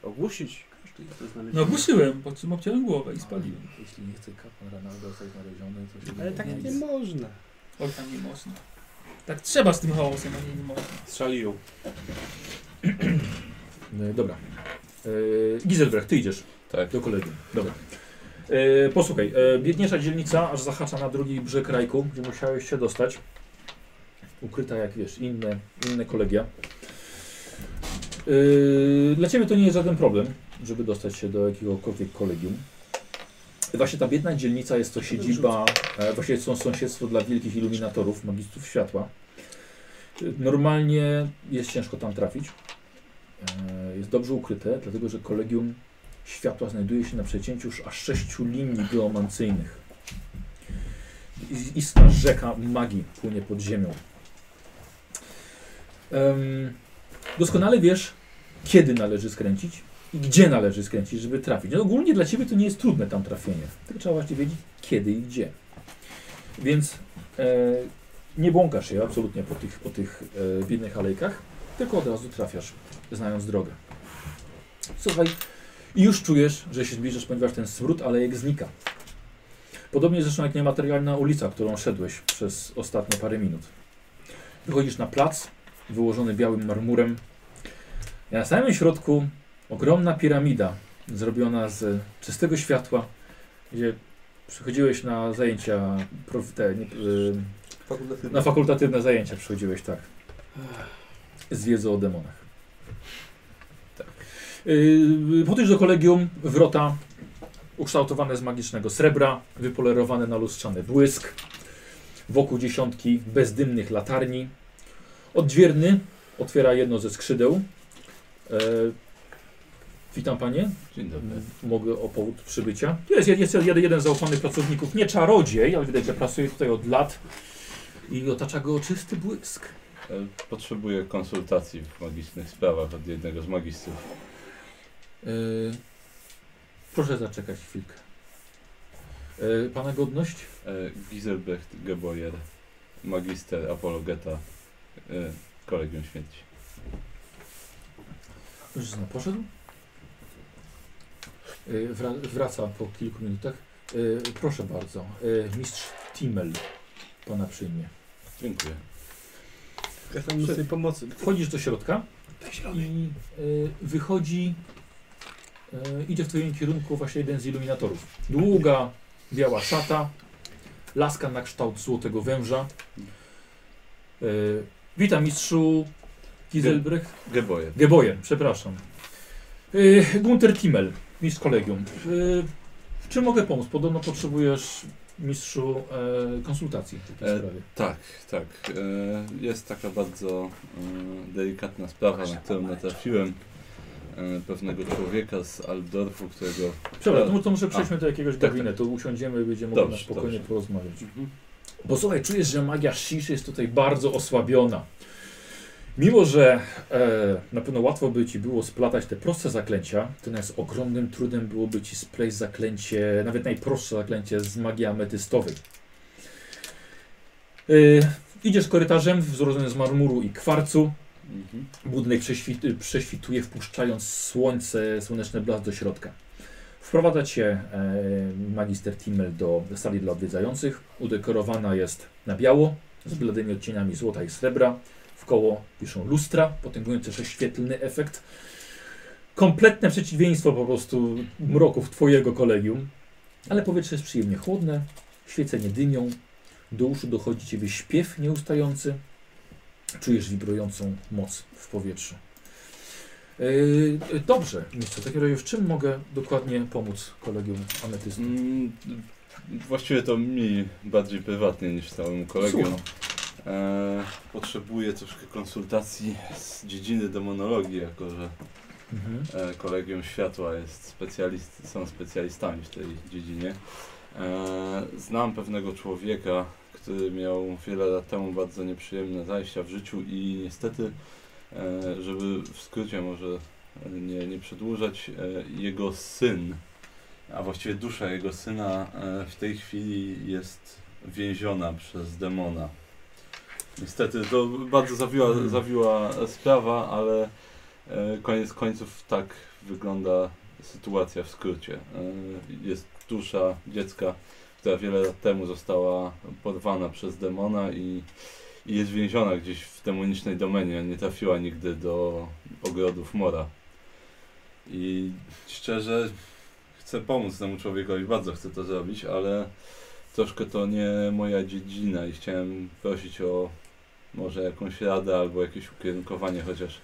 Speaker 5: ogłuszyć.
Speaker 6: Każdy jest do znalezienia.
Speaker 4: No ogłuszyłem, po czym obciąłem głowę i spaliłem.
Speaker 1: Ale Jeśli nie chce kapłan Ranaldo zostać znaleziony, to się
Speaker 5: Ale tak nie można.
Speaker 4: Oj, tam nie można. Tak trzeba z tym chaosem, a nie, nie można.
Speaker 6: Strzeli ją.
Speaker 1: [clears throat] E, Dobra. E, Giselbrecht, ty idziesz.
Speaker 2: Tak.
Speaker 1: Do kolegi. Dobra. E, posłuchaj, e, biedniejsza dzielnica aż zahacza na drugi brzeg rajku, gdzie musiałeś się dostać. Ukryta jak wiesz, inne, inne kolegia. E, dla ciebie to nie jest żaden problem, żeby dostać się do jakiegokolwiek kolegium. Właśnie ta biedna dzielnica jest to siedziba, e, właśnie są sąsiedztwo dla wielkich iluminatorów, magistrów światła. E, Normalnie jest ciężko tam trafić. E, Jest dobrze ukryte, dlatego że kolegium światła znajduje się na przecięciu sz- aż sześciu linii geomancyjnych. I- Istna rzeka magii płynie pod ziemią. Em, doskonale wiesz, kiedy należy skręcić i gdzie należy skręcić, żeby trafić. No, ogólnie dla ciebie to nie jest trudne tam trafienie, tylko trzeba właśnie wiedzieć, kiedy i gdzie. Więc e, nie błąkasz się absolutnie po tych, po tych e, biednych alejkach, tylko od razu trafiasz, znając drogę. Słuchaj, i już czujesz, że się zbliżasz, ponieważ ten smród alejek znika. Podobnie zresztą jak niematerialna ulica, którą szedłeś przez ostatnie parę minut. Wychodzisz na plac, wyłożony białym marmurem. A na samym środku ogromna piramida, zrobiona z czystego światła, gdzie przychodziłeś na zajęcia, prof, te, nie, y, na fakultatywne zajęcia przychodziłeś, tak. Z wiedzą o demonach. Yy, Podejść do kolegium, wrota ukształtowane z magicznego srebra, wypolerowane na lustrzany błysk. Wokół dziesiątki bezdymnych latarni. Odźwierny otwiera jedno ze skrzydeł. E, witam panie.
Speaker 2: Dzień dobry.
Speaker 1: Mogę o powód przybycia. Tu Jest, jest jeden, jeden z zaufanych pracowników, nie czarodziej, ale widać, że pracuje tutaj od lat. I otacza go czysty błysk.
Speaker 2: E, Potrzebuję konsultacji w magicznych sprawach od jednego z magistrów.
Speaker 1: Yy, proszę zaczekać chwilkę. Yy, pana godność?
Speaker 2: E, Giselbrecht Geboyer, magister apologeta e, Kolegium Śmierci.
Speaker 1: Mężczyzna poszedł. Yy, wra- wraca po kilku minutach. Yy, proszę bardzo, yy, mistrz Timmel pana przyjmie.
Speaker 2: Dziękuję.
Speaker 5: Ja tam nic tej pomocy.
Speaker 1: Wchodzisz do środka i yy, wychodzi, yy, idzie w twoim kierunku właśnie jeden z iluminatorów. Długa, biała szata, laska na kształt złotego węża. Yy, witam mistrzu Gizelbrecht.
Speaker 2: Geboyer.
Speaker 1: Geboje, przepraszam. Yy, Gunter Timmel, mistrz kolegium. Yy, w czym mogę pomóc? Podobno potrzebujesz, mistrzu, e, konsultacji w takiej
Speaker 2: E,
Speaker 1: sprawie.
Speaker 2: Tak, tak. E, Jest taka bardzo e, delikatna sprawa, na którą natrafiłem. E, Pewnego człowieka z Aldorfu, którego
Speaker 1: Przepraszam,
Speaker 2: e,
Speaker 1: to, mu- to może
Speaker 2: a,
Speaker 1: przejdźmy do jakiegoś
Speaker 2: tak,
Speaker 1: gabinetu, usiądziemy i będziemy mogli na
Speaker 2: Dobrze,
Speaker 1: spokojnie
Speaker 2: dobrze. Mhm.
Speaker 1: porozmawiać. Bo słuchaj, czujesz, że magia Shish jest tutaj bardzo osłabiona. Mimo, że e, na pewno łatwo by ci było splatać te proste zaklęcia, to z ogromnym trudem byłoby ci spleść zaklęcie, nawet najprostsze zaklęcie z magii ametystowej. E, idziesz korytarzem wzrodzony z marmuru i kwarcu.
Speaker 2: Mhm.
Speaker 1: Budynek prześwit, prześwituje, wpuszczając słońce, słoneczny blask do środka. Wprowadza cię e, magister Timmel do sali dla odwiedzających. Udekorowana jest na biało, z bladymi odcieniami złota i srebra. W koło wiszą lustra, potęgujące prześwietlny efekt. Kompletne przeciwieństwo po prostu mroków twojego kolegium. Ale powietrze jest przyjemnie chłodne, świecenie dynią. Do uszu dochodzi ciebie śpiew nieustający. Czujesz wibrującą moc w powietrzu. Yy, dobrze, mistrzu, w takim razie w czym mogę dokładnie pomóc kolegium ametystom?
Speaker 2: Mm, Właściwie to mi bardziej prywatnie niż całemu kolegium.
Speaker 1: Słucham.
Speaker 2: E, E, potrzebuję troszkę konsultacji z dziedziny demonologii, jako że
Speaker 1: Mhm.
Speaker 2: e, kolegium światła jest specjalist, są specjalistami w tej dziedzinie. E, znam pewnego człowieka, który miał wiele lat temu bardzo nieprzyjemne zajścia w życiu i niestety, e, żeby w skrócie może e, nie, nie przedłużać, e, jego syn, a właściwie dusza jego syna e, w tej chwili jest więziona przez demona. Niestety to bardzo zawiła, zawiła sprawa, ale E, Koniec końców tak wygląda sytuacja w skrócie. E, Jest dusza dziecka, która wiele lat temu została porwana przez demona i, i jest więziona gdzieś w demonicznej domenie. Nie trafiła nigdy do ogrodów mora. I szczerze chcę pomóc temu człowiekowi, bardzo chcę to zrobić, ale troszkę to nie moja dziedzina i chciałem prosić o może jakąś radę albo jakieś ukierunkowanie chociaż.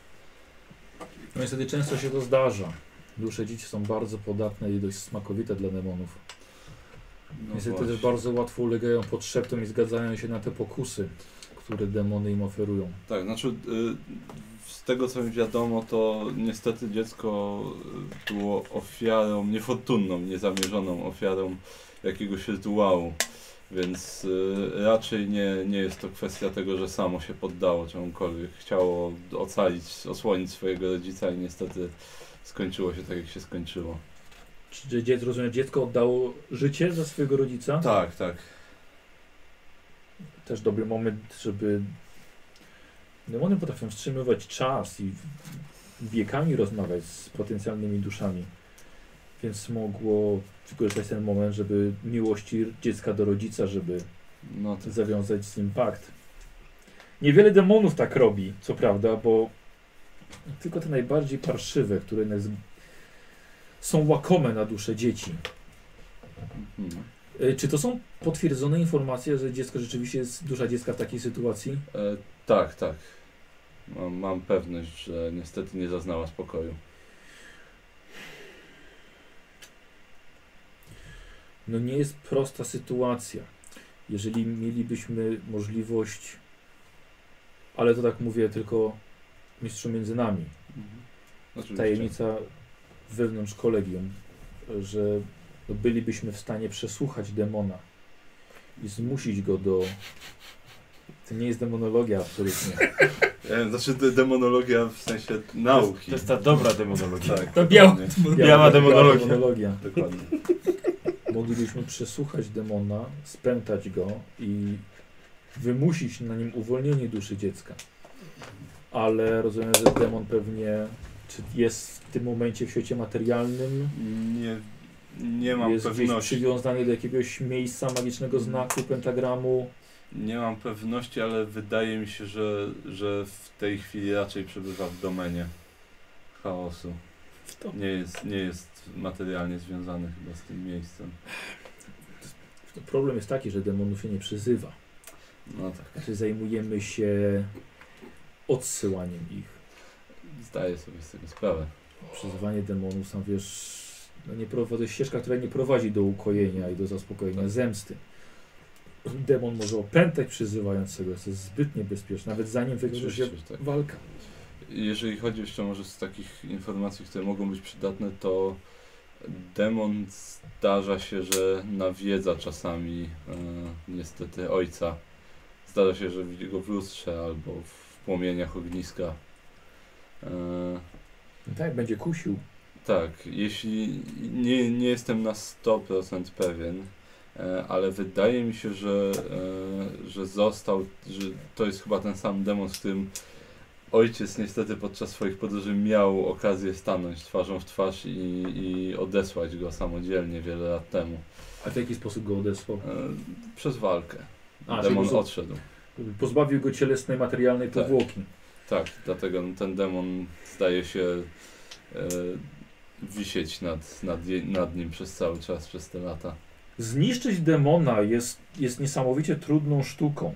Speaker 1: No niestety często się to zdarza. Dusze dzieci są bardzo podatne i dość smakowite dla demonów.
Speaker 2: No
Speaker 1: niestety
Speaker 2: właśnie.
Speaker 1: też bardzo łatwo ulegają podszeptom i zgadzają się na te pokusy, które demony im oferują.
Speaker 2: Tak, znaczy y, z tego co mi wiadomo, to niestety dziecko y, było ofiarą, niefortunną, niezamierzoną ofiarą jakiegoś rytuału. Więc y, raczej nie, nie jest to kwestia tego, że samo się poddało czemukolwiek. Chciało ocalić, osłonić swojego rodzica i niestety skończyło się tak, jak się skończyło.
Speaker 1: Czy dziecko, rozumiem, dziecko oddało życie za swojego rodzica?
Speaker 2: Tak, tak.
Speaker 1: Też dobry moment, żeby... Demony potrafią wstrzymywać czas i wiekami rozmawiać z potencjalnymi duszami. Więc mogło wykorzystać ten moment, żeby miłości dziecka do rodzica, żeby
Speaker 2: No to
Speaker 1: zawiązać z nim pakt. Niewiele demonów tak robi, co prawda, bo tylko te najbardziej parszywe, które nas- są łakome na duszę dzieci.
Speaker 2: mhm.
Speaker 1: E, Czy to są potwierdzone informacje, że dziecko rzeczywiście jest dusza dziecka w takiej sytuacji?
Speaker 2: E, tak, tak. Mam, mam pewność, że niestety nie zaznała spokoju.
Speaker 1: No nie jest prosta sytuacja. Jeżeli mielibyśmy możliwość, ale to tak mówię tylko mistrzu między nami,
Speaker 2: Oczywiście.
Speaker 1: tajemnica wewnątrz kolegium, że bylibyśmy w stanie przesłuchać demona i zmusić go do. To nie jest demonologia absolutnie.
Speaker 2: E, Znaczy de- demonologia w sensie nauki.
Speaker 8: To jest ta dobra demonologia.
Speaker 2: tak,
Speaker 4: To biała
Speaker 2: dokładnie,
Speaker 8: Biała demonologia.
Speaker 1: demonologia.
Speaker 2: Dokładnie.
Speaker 1: Moglibyśmy przesłuchać demona, spętać go i wymusić na nim uwolnienie duszy dziecka. Ale rozumiem, że demon pewnie czy jest w tym momencie w świecie materialnym.
Speaker 2: Nie, nie mam
Speaker 1: jest gdzieś
Speaker 2: pewności.
Speaker 1: przywiązany do jakiegoś miejsca magicznego znaku, pentagramu.
Speaker 2: Nie mam pewności, ale wydaje mi się, że, że w tej chwili raczej przebywa w domenie chaosu. Nie jest, nie jest materialnie związany chyba z tym miejscem.
Speaker 1: Problem jest taki, że demonów się nie przyzywa.
Speaker 2: No tak,
Speaker 1: Znaczy zajmujemy się odsyłaniem ich.
Speaker 2: zdaję sobie z tego sprawę.
Speaker 1: Przyzywanie demonów, sam wiesz, no nie prowadzi, to jest ścieżka, która nie prowadzi do ukojenia i do
Speaker 2: Tak.
Speaker 1: zaspokojenia zemsty. Demon może opętać przyzywającego, co jest zbyt niebezpieczne, nawet zanim wykorzy się
Speaker 2: Oczywiście, że tak.
Speaker 1: walka.
Speaker 2: Jeżeli chodzi jeszcze może z takich informacji, które mogą być przydatne, to demon zdarza się, że nawiedza czasami e, niestety ojca. Zdarza się, że widzi go w lustrze albo w płomieniach ogniska. E,
Speaker 1: No tak, będzie kusił.
Speaker 2: tak, jeśli nie, nie jestem na 100% pewien, e, ale wydaje mi się, że, e, że został, że to jest chyba ten sam demon, z którym ojciec niestety podczas swoich podróży miał okazję stanąć twarzą w twarz i, i odesłać go samodzielnie wiele lat temu.
Speaker 1: A w jaki sposób go odesłał?
Speaker 2: E, Przez walkę.
Speaker 1: A,
Speaker 2: demon
Speaker 1: czyli po-
Speaker 2: odszedł.
Speaker 1: Pozbawił go cielesnej, materialnej
Speaker 2: Tak.
Speaker 1: powłoki.
Speaker 2: Tak, dlatego ten demon zdaje się e, wisieć nad, nad, je- nad nim przez cały czas, przez te lata.
Speaker 1: Zniszczyć demona jest, jest niesamowicie trudną sztuką.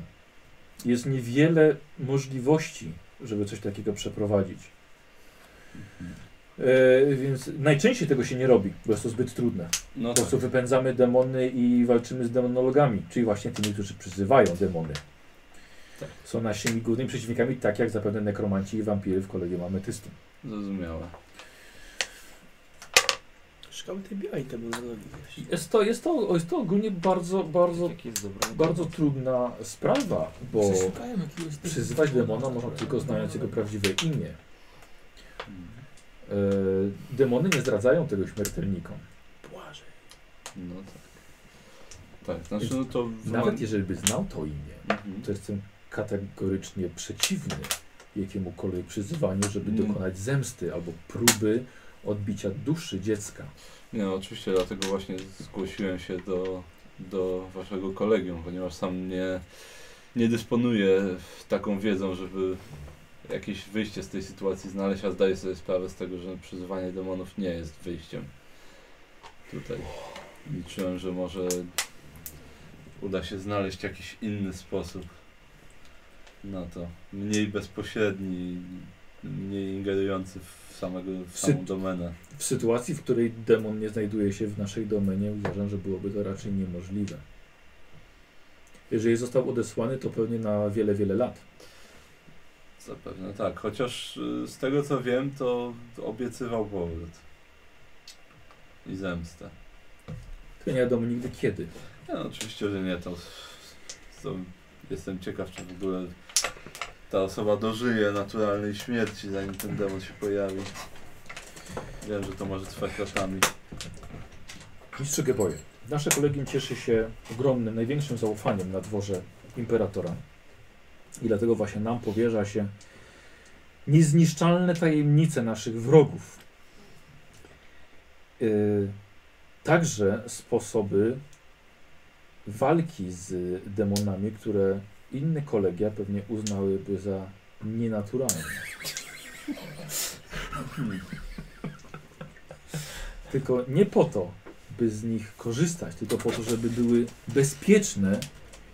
Speaker 1: Jest niewiele możliwości, żeby coś takiego przeprowadzić. E, więc najczęściej tego się nie robi, bo jest to zbyt trudne.
Speaker 2: No
Speaker 1: Po
Speaker 2: tak,
Speaker 1: prostu wypędzamy demony i walczymy z demonologami, czyli właśnie tymi, którzy przyzywają demony.
Speaker 23: są naszymi głównymi przeciwnikami, tak jak zapewne nekromanci i wampiry w kolegium ametystu.
Speaker 2: Zrozumiałe.
Speaker 5: Szukamy tej białej terminologii.
Speaker 1: Jest to, jest to, jest to ogólnie bardzo, bardzo, bardzo trudna sprawa, bo
Speaker 4: Szukałem jakiegoś...
Speaker 1: przyzywać demona można tylko znając jego prawdziwe imię. E, demony nie zdradzają tego śmiertelnikom.
Speaker 2: No tak. Tak, znaczy no to... w
Speaker 1: Nawet
Speaker 2: momen-
Speaker 1: jeżeli by znał to imię,
Speaker 2: Mhm.
Speaker 1: to jestem kategorycznie przeciwny jakiemukolwiek przyzywaniu, żeby
Speaker 2: Mm.
Speaker 1: dokonać zemsty albo próby odbicia duszy dziecka.
Speaker 2: Nie, no, oczywiście, dlatego właśnie zgłosiłem się do, do waszego kolegium, ponieważ sam nie, nie dysponuję taką wiedzą, żeby jakieś wyjście z tej sytuacji znaleźć, a zdaję sobie sprawę z tego, że przyzywanie demonów nie jest wyjściem tutaj. Liczyłem, że może
Speaker 24: Uda się znaleźć jakiś inny sposób na to. Mniej bezpośredni, mniej ingerujący w, samego, w
Speaker 1: Sy-
Speaker 24: samą domenę.
Speaker 1: W sytuacji, w której demon nie znajduje się w naszej domenie, uważam, że byłoby to raczej niemożliwe. Jeżeli został odesłany, to pewnie na wiele, wiele lat.
Speaker 24: Zapewne tak, chociaż y, z tego co wiem, to obiecywał powrót. I zemstę.
Speaker 1: To nie wiadomo nigdy kiedy.
Speaker 24: Nie, No, oczywiście, że nie, to, to jestem ciekaw, czy w ogóle ta osoba dożyje naturalnej śmierci, zanim ten demon się pojawi. Wiem, że to może trwać latami.
Speaker 1: Mistrzu Geboje, nasze kolegium cieszy się ogromnym, największym zaufaniem na dworze imperatora. I dlatego właśnie nam powierza się niezniszczalne tajemnice naszych wrogów. Yy, także sposoby walki z demonami, które inne kolegia pewnie uznałyby za nienaturalne. Tylko nie po to, by z nich korzystać, tylko po to, żeby były bezpieczne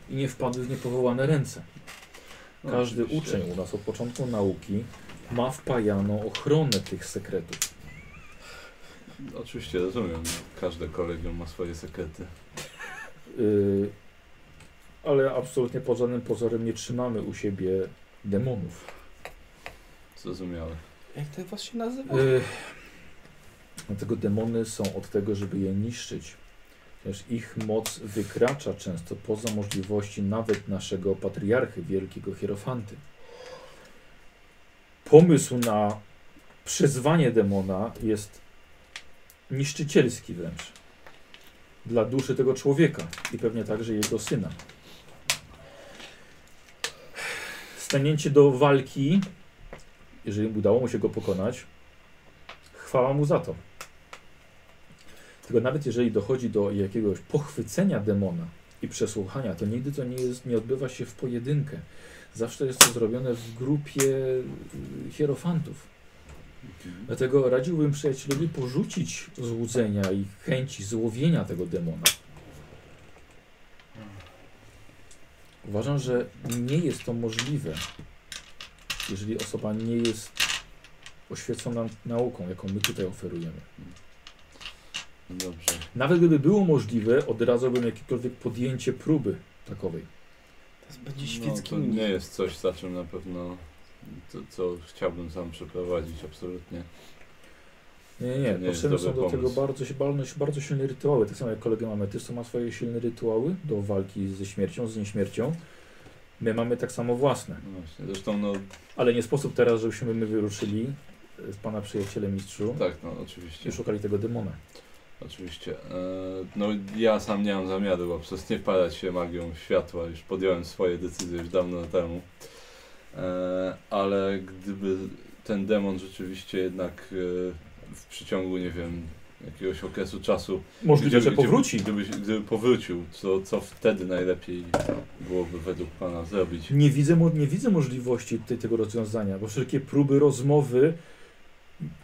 Speaker 1: i nie wpadły w niepowołane ręce.
Speaker 24: No,
Speaker 1: Każdy
Speaker 24: oczywiście.
Speaker 1: uczeń u nas od początku nauki ma wpajaną ochronę tych sekretów.
Speaker 2: Oczywiście rozumiem, każde kolegium ma swoje sekrety.
Speaker 1: Yy, ale absolutnie pod żadnym pozorem nie trzymamy u siebie demonów.
Speaker 2: Zrozumiałe.
Speaker 5: Jak to was się nazywa?
Speaker 1: Yy, dlatego demony są od tego, żeby je niszczyć. Ponieważ ich moc wykracza często poza możliwości nawet naszego patriarchy, wielkiego hierofanty. Pomysł na przyzwanie demona jest niszczycielski wręcz. Dla duszy tego człowieka i pewnie także jego syna. Stanięcie do walki, jeżeli udało mu się go pokonać, chwała mu za to. Tylko nawet jeżeli dochodzi do jakiegoś pochwycenia demona i przesłuchania, to nigdy to nie, jest, nie odbywa się w pojedynkę. Zawsze jest to zrobione w grupie y, hierofantów. Dlatego radziłbym przyjacielowi porzucić złudzenia i chęci złowienia tego demona. Uważam, że nie jest to możliwe, jeżeli osoba nie jest oświecona nauką, jaką my tutaj oferujemy.
Speaker 24: No
Speaker 2: Dobrze.
Speaker 1: Nawet gdyby było możliwe, odradzałbym jakiekolwiek podjęcie próby takowej.
Speaker 5: To będzie
Speaker 2: No, to
Speaker 5: świeckim.
Speaker 2: nie jest coś, za czym na pewno to, co chciałbym sam przeprowadzić, absolutnie.
Speaker 1: Nie, nie, nie.
Speaker 2: To nie jest
Speaker 1: Potrzebne są
Speaker 2: dobry
Speaker 1: do tego
Speaker 2: pomysł.
Speaker 1: bardzo, si- bardzo, bardzo silne rytuały. Tak samo jak kolega Ametystu ma swoje silne rytuały do walki ze śmiercią, z nieśmiercią. My mamy tak samo własne.
Speaker 2: No właśnie. Zresztą, no
Speaker 1: Ale nie sposób teraz, żebyśmy my wyruszyli e, z pana przyjacielem mistrzu
Speaker 2: tak, no oczywiście.
Speaker 1: i szukali tego demona.
Speaker 2: Oczywiście. E, No ja sam nie mam zamiaru po prostu nie padać się magią światła. Już podjąłem swoje decyzje już dawno temu. E, Ale gdyby ten demon rzeczywiście jednak e, w przeciągu, nie wiem, jakiegoś okresu czasu...
Speaker 1: Możliwe,
Speaker 2: gdzie-
Speaker 1: że
Speaker 2: gdzie-
Speaker 1: powróci.
Speaker 2: Gdyby, gdyby powrócił, co, co wtedy najlepiej byłoby według Pana zrobić?
Speaker 1: Nie widzę, mo- nie widzę możliwości tutaj tego rozwiązania, bo wszelkie próby rozmowy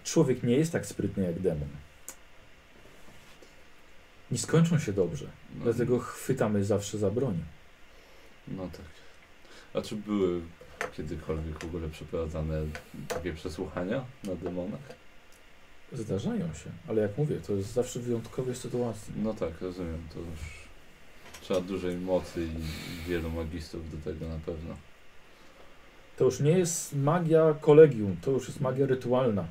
Speaker 1: człowiek nie jest tak sprytny jak demon. Nie skończą się dobrze,
Speaker 2: No,
Speaker 1: dlatego chwytamy zawsze za broń.
Speaker 2: No tak. A czy były kiedykolwiek w ogóle przeprowadzane takie przesłuchania na demonach?
Speaker 1: Zdarzają się, ale jak mówię, to jest zawsze wyjątkowe sytuacje.
Speaker 2: No tak, rozumiem. To już trzeba dużej mocy i wielu magistrów do tego na pewno.
Speaker 1: To już nie jest magia kolegium, to już jest magia rytualna,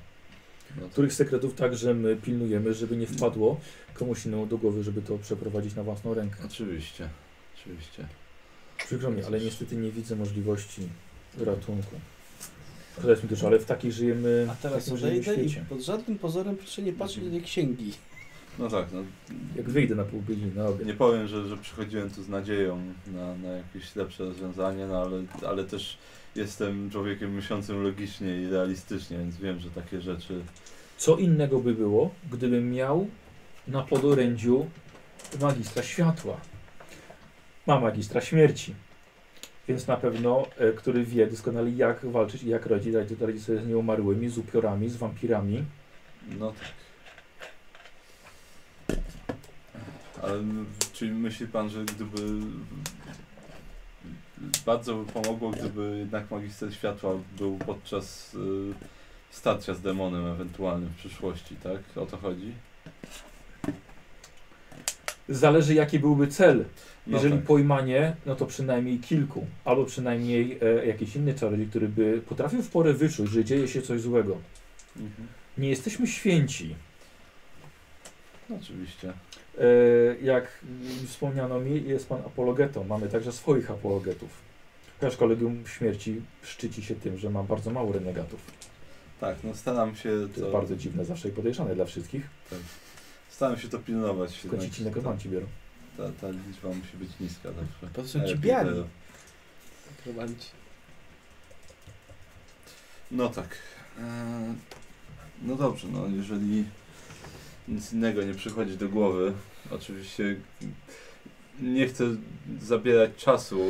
Speaker 7: No to,
Speaker 1: których sekretów także my pilnujemy, żeby nie wpadło komuś innemu do głowy, żeby to przeprowadzić na własną rękę.
Speaker 7: oczywiście, oczywiście.
Speaker 1: Przykro mi, ale niestety nie widzę możliwości ratunku. Powiedz mi też, ale w takiej żyjemy,
Speaker 5: A
Speaker 1: w
Speaker 2: Tak,
Speaker 5: teraz
Speaker 1: takim żyjemy
Speaker 5: odejdę i
Speaker 1: świecie.
Speaker 5: pod żadnym pozorem proszę nie patrzeć na te księgi.
Speaker 2: No tak, no,
Speaker 1: Jak wyjdę na pół godziny na obiad.
Speaker 2: nie powiem, że, że przychodziłem tu z nadzieją na, na jakieś lepsze rozwiązanie, no ale, ale też jestem człowiekiem myślącym logicznie i realistycznie, więc wiem, że takie rzeczy
Speaker 1: Co innego by było, gdybym miał na podorędziu magistra światła. Ma magistra śmierci. Więc na pewno, e, który wie doskonale jak walczyć i jak radzić, radzić radzić sobie z nieumarłymi, z upiorami, z wampirami.
Speaker 2: No tak. Ale m- czy myśli pan, że gdyby bardzo by pomogło, gdyby jednak magister światła był podczas y, starcia z demonem ewentualnym w przyszłości, tak? O to chodzi?
Speaker 1: Zależy jaki byłby cel.
Speaker 2: No
Speaker 1: Jeżeli
Speaker 2: tak.
Speaker 1: pojmanie, no to przynajmniej kilku. Albo przynajmniej e, jakiś inny czarodziej, który by potrafił w porę wyczuć, że dzieje się coś złego.
Speaker 2: Mhm.
Speaker 1: Nie jesteśmy święci.
Speaker 2: No, oczywiście.
Speaker 1: E, jak mm, wspomniano mi, jest pan apologetą. Mamy także swoich apologetów. Chociaż kolegium śmierci szczyci się tym, że ma bardzo mało renegatów.
Speaker 2: Tak, no staram się
Speaker 1: To
Speaker 2: to,
Speaker 1: jest bardzo dziwne zawsze i podejrzane dla wszystkich.
Speaker 2: staram się to pilnować.
Speaker 1: Tylko ci
Speaker 2: jednak.
Speaker 1: ci nekromanci biorą.
Speaker 2: ta, ta liczba musi być niska E, zawsze.
Speaker 5: Po co ci
Speaker 2: Najlepiej
Speaker 5: biali? tak
Speaker 2: zero. No tak. Eee,
Speaker 7: E, No dobrze, no jeżeli nic innego nie przychodzi do głowy, oczywiście nie chcę zabierać czasu,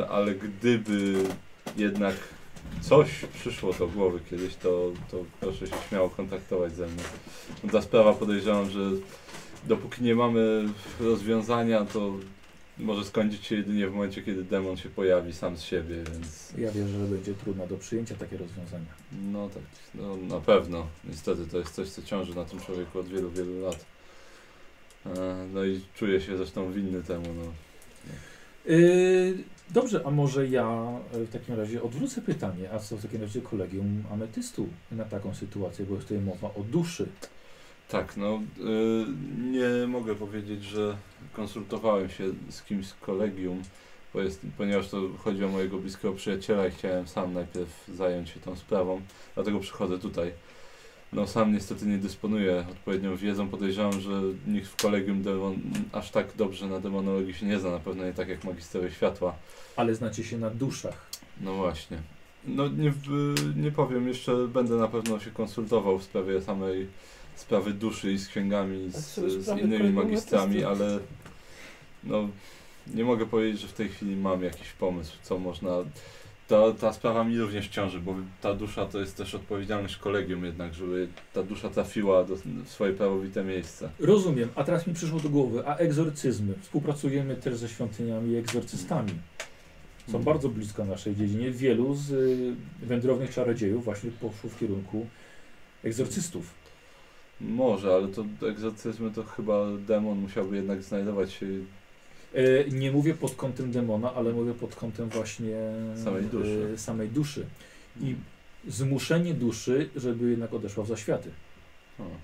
Speaker 7: e, ale gdyby jednak coś przyszło do głowy kiedyś, to, to proszę się śmiało kontaktować ze mną. No, Ta sprawa podejrzewam, że dopóki nie mamy rozwiązania, to może skończyć się jedynie w momencie, kiedy demon się pojawi sam z siebie, więc
Speaker 1: Ja wiem, że będzie trudno do przyjęcia takie rozwiązania.
Speaker 7: no tak, no na pewno. Niestety to jest coś, co ciąży na tym człowieku od wielu, wielu lat. E, No i czuję się zresztą winny temu, no.
Speaker 1: Yy, dobrze, a może ja e, w takim razie odwrócę pytanie, a co w takim razie kolegium ametystu na taką sytuację, bo jest tutaj mowa o duszy.
Speaker 7: Tak, no y, nie mogę powiedzieć, że konsultowałem się z kimś z kolegium, bo jest, ponieważ to chodzi o mojego bliskiego przyjaciela i chciałem sam najpierw zająć się tą sprawą, dlatego przychodzę tutaj. No sam niestety nie dysponuję odpowiednią wiedzą, podejrzewam, że nikt w kolegium demon, aż tak dobrze na demonologii się nie zna, na pewno nie tak jak magisterowie światła.
Speaker 1: Ale znacie się na duszach.
Speaker 7: No właśnie. No nie, w- nie powiem, jeszcze będę na pewno się konsultował w sprawie samej sprawy duszy i z księgami,
Speaker 5: A
Speaker 7: z,
Speaker 5: co do
Speaker 7: z
Speaker 5: sprawy
Speaker 7: innymi
Speaker 5: kolegów
Speaker 7: magistrami,
Speaker 5: artystów?
Speaker 7: ale no nie mogę powiedzieć, że w tej chwili mam jakiś pomysł, co można...
Speaker 2: Ta, ta sprawa mi również ciąży, bo ta dusza to jest też odpowiedzialność kolegium jednak, żeby ta dusza trafiła do, w swoje prawowite miejsce.
Speaker 1: Rozumiem, a teraz mi przyszło do głowy, a egzorcyzmy. Współpracujemy też ze świątyniami i egzorcystami. Są
Speaker 7: Mhm.
Speaker 1: bardzo blisko naszej dziedzinie. Wielu z y, wędrownych czarodziejów właśnie poszło w kierunku egzorcystów.
Speaker 7: Może, ale to egzorcyzmy to chyba demon musiałby jednak znajdować się
Speaker 1: E, nie mówię pod kątem demona, ale mówię pod kątem właśnie
Speaker 7: Samej duszy.
Speaker 1: e, samej duszy. I zmuszenie duszy, żeby jednak odeszła w zaświaty.
Speaker 7: O.
Speaker 2: Hmm.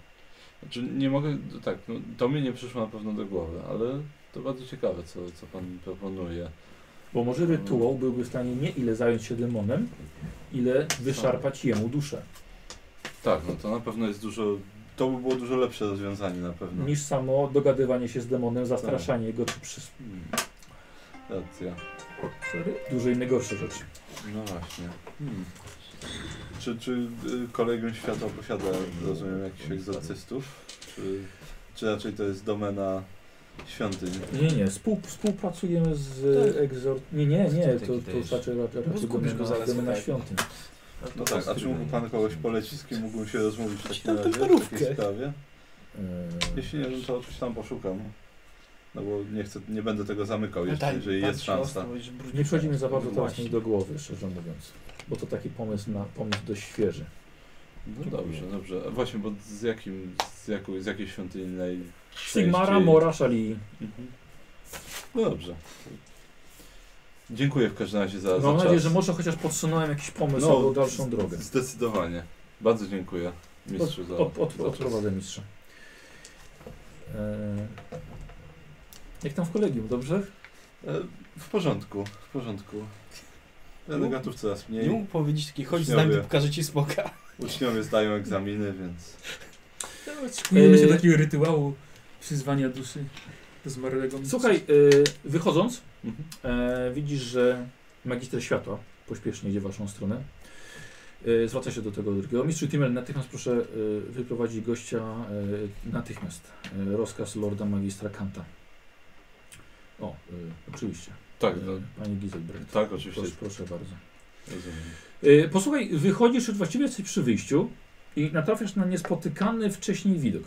Speaker 7: Znaczy nie mogę, tak, no, to mi nie przyszło na pewno do głowy, ale to bardzo ciekawe, co, co pan proponuje.
Speaker 1: Bo może rytuał byłby w stanie nie ile zająć się demonem, ile wyszarpać jemu duszę,
Speaker 7: Tak, no to na pewno jest dużo,
Speaker 2: To by było dużo lepsze rozwiązanie na pewno.
Speaker 1: niż samo dogadywanie się z demonem, zastraszanie go czy przy,
Speaker 2: Hmm. Racja.
Speaker 1: dużo innej gorsze rzeczy.
Speaker 2: No właśnie. Hmm. Czy, czy y, kolegium świata posiada, rozumiem, jakichś egzorcystów? Czy, czy raczej to jest domena świątyń?
Speaker 1: Nie, nie, współ, współpracujemy z
Speaker 5: Tak.
Speaker 1: egzor... Nie, nie, nie, to,
Speaker 8: Taki
Speaker 1: to
Speaker 8: to jest.
Speaker 1: raczej, raczej,
Speaker 5: No,
Speaker 1: raczej
Speaker 5: zgubisz
Speaker 1: domena-
Speaker 5: go zaraz,
Speaker 1: domena
Speaker 5: tak.
Speaker 1: świątyń.
Speaker 2: No tak, a czy mógł pan kogoś polecić, z kim mógłbym się rozmówić w takim
Speaker 5: Tam tę
Speaker 2: razie w
Speaker 5: parówkę.
Speaker 2: takiej sprawie?
Speaker 1: Yy,
Speaker 2: Jeśli nie, no to oczywiście tam poszukam. No bo nie chcę, nie będę tego
Speaker 1: No
Speaker 2: zamykał, jeszcze,
Speaker 1: tak,
Speaker 5: Daj,
Speaker 2: jeżeli jest
Speaker 5: patrz,
Speaker 2: szansa.
Speaker 5: ostro, będziesz brudzić.
Speaker 1: Nie przychodzi mi za bardzo
Speaker 5: No
Speaker 1: teraz nic
Speaker 5: właśnie.
Speaker 1: do głowy, szczerze mówiąc. Bo to taki pomysł, na, pomysł dość świeży.
Speaker 7: No dobrze, dobrze. A Właśnie, bo z jakim, z, jaką, z jakiej świątyni Mhm. naj...
Speaker 1: Sigmara,
Speaker 7: częściej-
Speaker 1: Mora, Szali.
Speaker 7: Mhm. No dobrze. Dziękuję w każdym razie za, za
Speaker 1: Mam
Speaker 7: czas.
Speaker 1: nadzieję, że może chociaż podsunąłem jakiś pomysł
Speaker 7: No,
Speaker 1: albo dalszą drogę.
Speaker 7: Zdecydowanie. Bardzo dziękuję mistrzu za...
Speaker 1: Od, od, od,
Speaker 7: za czas.
Speaker 1: odprowadzę mistrza. E, jak tam w kolegium, dobrze?
Speaker 2: E, W porządku, w porządku. Elegantów coraz
Speaker 5: Nie
Speaker 2: mniej.
Speaker 5: mógł powiedzieć taki, chodź z nami, to
Speaker 2: Uczniowie.
Speaker 5: pokażę ci smoka.
Speaker 2: [laughs] Uczniowie zdają egzaminy, więc
Speaker 4: No, Szykujemy się
Speaker 1: Yy.
Speaker 4: do takiego rytuału przyzwania duszy do zmarłego mistrza.
Speaker 1: Słuchaj, y, wychodząc,
Speaker 7: Mhm.
Speaker 1: e, widzisz, że magister światła pośpiesznie idzie w waszą stronę. E, zwraca się do tego drugiego. Mistrzu Timmel, natychmiast proszę y, wyprowadzić gościa e, natychmiast. E, rozkaz lorda magistra Kanta. O, e, oczywiście.
Speaker 7: Tak,
Speaker 1: E,
Speaker 7: no,
Speaker 1: Pani Giselbrecht.
Speaker 7: tak, oczywiście.
Speaker 1: Proszę, proszę bardzo.
Speaker 7: Rozumiem.
Speaker 1: E, posłuchaj, wychodzisz, właściwie jesteś przy wyjściu i natrafiasz na niespotykany wcześniej widok.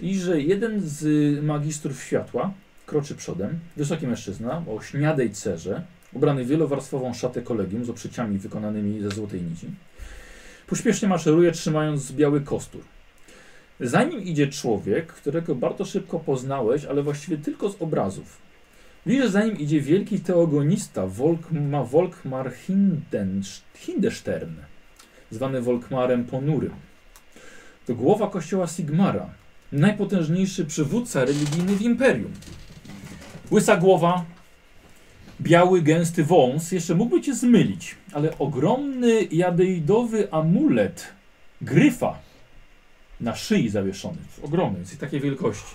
Speaker 1: I że jeden z y, magistrów światła kroczy przodem, wysoki mężczyzna o śniadej cerze, ubrany w wielowarstwową szatę kolegium z oprzyciami wykonanymi ze złotej nici. Pośpiesznie maszeruje, trzymając biały kostur. Za nim idzie człowiek, którego bardzo szybko poznałeś, ale właściwie tylko z obrazów. Widzisz, za nim idzie wielki teogonista Wolkma, Wolkmar Hinden, Hindestern, zwany Wolkmarem Ponurym. To głowa kościoła Sigmara, najpotężniejszy przywódca religijny w imperium. Łysa głowa, biały, gęsty wąs, jeszcze mógłby cię zmylić, ale ogromny jadeidowy amulet gryfa na szyi zawieszony, ogromny, jest takiej wielkości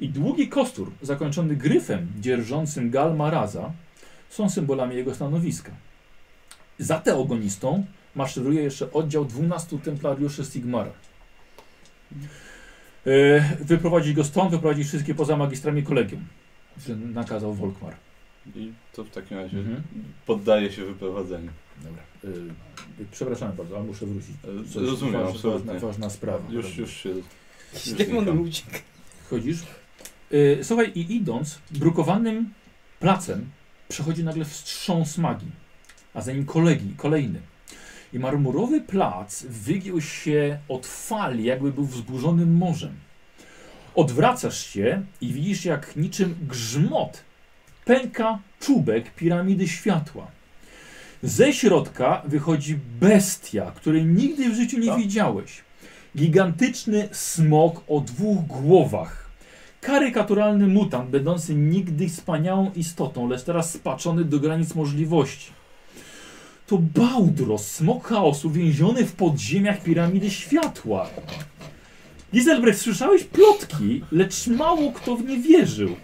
Speaker 1: i długi kostur zakończony gryfem dzierżącym gal Maraza są symbolami jego stanowiska. Za teogonistą maszeruje jeszcze oddział 12 templariuszy Sigmara. E, Wyprowadzić go stąd, wyprowadzić wszystkie poza magistrami kolegium. że Nakazał Wolkmar.
Speaker 7: I to w takim razie
Speaker 1: Mhm.
Speaker 7: poddaje się wyprowadzeniu.
Speaker 1: Dobra. E, Przepraszam bardzo, ale muszę wrócić.
Speaker 7: E,
Speaker 1: Coś-
Speaker 7: Rozumiem,
Speaker 1: ważna,
Speaker 7: absolutnie.
Speaker 1: Ważna, ważna sprawa.
Speaker 7: Już, już się... Już
Speaker 5: Demon
Speaker 7: znikam.
Speaker 5: uciekł.
Speaker 1: Chodzisz. Y, słuchaj, i idąc brukowanym placem, przechodzi nagle wstrząs magii, a za nim kolegi, kolejny. I marmurowy plac wygiął się od fali, jakby był wzburzony morzem. Odwracasz się i widzisz, jak niczym grzmot pęka czubek piramidy światła. Ze środka wychodzi bestia, której nigdy w życiu nie
Speaker 7: Co?
Speaker 1: widziałeś. Gigantyczny smok o dwóch głowach. Karykaturalny mutant, będący nigdy wspaniałą istotą, lecz teraz spaczony do granic możliwości. To Baldros, smok chaosu, więziony w podziemiach piramidy światła. Giselbrecht, słyszałeś plotki, lecz mało kto w nie wierzył.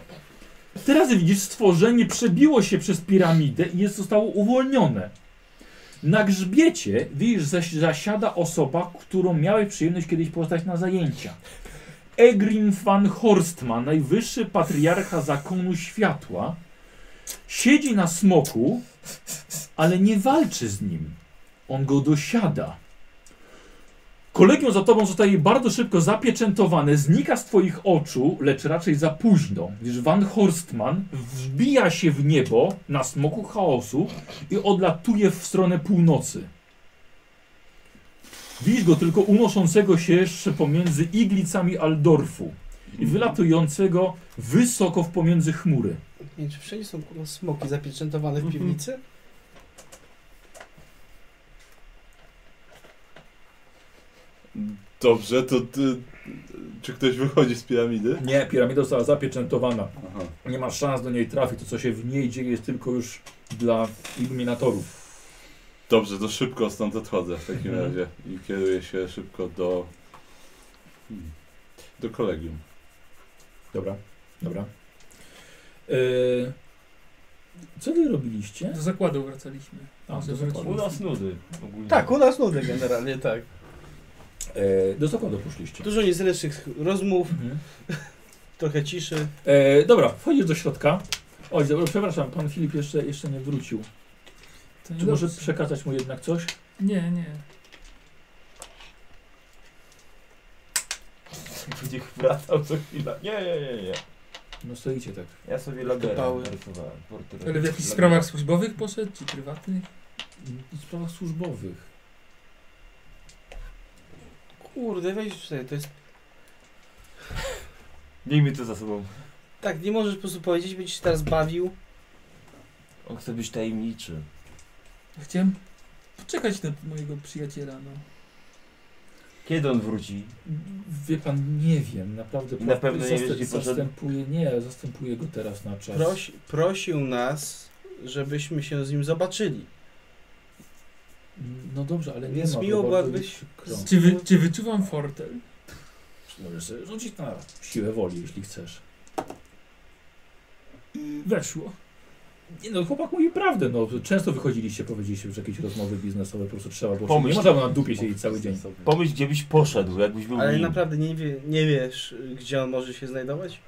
Speaker 1: Teraz widzisz, stworzenie przebiło się przez piramidę i jest zostało uwolnione. Na grzbiecie widzisz, zas- zasiada osoba, którą miałeś przyjemność kiedyś poznać na zajęcia. Egrin van Horstman, najwyższy patriarcha zakonu światła, siedzi na smoku, ale nie walczy z nim. On go dosiada. Kolegium za tobą zostaje bardzo szybko zapieczętowane, znika z twoich oczu, lecz raczej za późno, gdyż Van Horstman wbija się w niebo na smoku chaosu i odlatuje w stronę północy. Widzisz go tylko unoszącego się jeszcze pomiędzy iglicami Aldorfu i wylatującego wysoko w pomiędzy chmury.
Speaker 5: Nie, czy wszędzie są kurwa smoki zapieczętowane w piwnicy?
Speaker 7: Dobrze, to ty... Czy ktoś wychodzi z piramidy?
Speaker 1: Nie, piramida została zapieczętowana.
Speaker 7: Aha.
Speaker 1: Nie ma szans do niej trafić. To, co się w niej dzieje, jest tylko już dla iluminatorów.
Speaker 7: Dobrze, to szybko stąd odchodzę w takim
Speaker 1: Mhm.
Speaker 7: razie i kieruję się szybko do... hmm, do kolegium.
Speaker 1: Dobra, dobra. Yy, co wy robiliście?
Speaker 4: Do zakładu wracaliśmy.
Speaker 1: A, do
Speaker 4: Że
Speaker 1: zakładu.
Speaker 8: U nas nudy ogólnie.
Speaker 5: Tak, u nas nudy generalnie, tak.
Speaker 1: Yy, do zakładu poszliście.
Speaker 5: Dużo niezręcznych rozmów,
Speaker 1: Mhm.
Speaker 5: trochę ciszy.
Speaker 1: E, dobra, wchodzisz do środka. Oj, dobra, przepraszam, pan Filip jeszcze, jeszcze nie wrócił.
Speaker 4: To nie
Speaker 1: Czy może
Speaker 4: No dobrze.
Speaker 1: przekazać mu jednak coś?
Speaker 4: Nie, nie.
Speaker 8: Będzie wracał co chwila. Nie, nie, nie, nie.
Speaker 1: No stoicie tak.
Speaker 8: Ja sobie lagera
Speaker 6: Dopały.
Speaker 8: narysowałem. portret.
Speaker 4: Ale w jakichś
Speaker 8: Lagera.
Speaker 4: sprawach służbowych poszedł, czy prywatnych?
Speaker 1: W sprawach służbowych.
Speaker 5: Kurde, weź tutaj, to jest...
Speaker 8: Miejmy to za sobą.
Speaker 5: Tak, nie możesz po prostu powiedzieć, będziesz się teraz bawił.
Speaker 8: On chce być tajemniczy.
Speaker 4: Chciałem poczekać na mojego przyjaciela, no.
Speaker 8: Kiedy on wróci?
Speaker 1: Wie pan, nie wiem, naprawdę.
Speaker 8: Na pewno nie wiesz, gdzie poszedł?
Speaker 1: zastępuje, nie, zastępuje go teraz na czas.
Speaker 5: Prosi, prosił nas, żebyśmy się z nim zobaczyli.
Speaker 1: No dobrze, ale nie
Speaker 5: Więc
Speaker 1: ma go,
Speaker 5: miło
Speaker 1: bardzo
Speaker 5: byłabyś-
Speaker 1: mi przykro.
Speaker 4: Czy, wy, czy wyczuwam fortel?
Speaker 1: Możesz sobie rzucić na siłę woli, jeśli chcesz.
Speaker 4: Weszło.
Speaker 1: Nie, no chłopak mówi prawdę, no często wychodziliście, powiedzieliście, że jakieś rozmowy biznesowe po prostu trzeba było.
Speaker 8: Pomyśl-
Speaker 1: Nie można było na dupie siedzieć cały dzień.
Speaker 8: Pomyśl, gdzie byś poszedł, jakbyś
Speaker 1: No
Speaker 8: był
Speaker 5: Ale
Speaker 8: nim.
Speaker 5: naprawdę nie, wie, nie wiesz, y, gdzie on może się znajdować?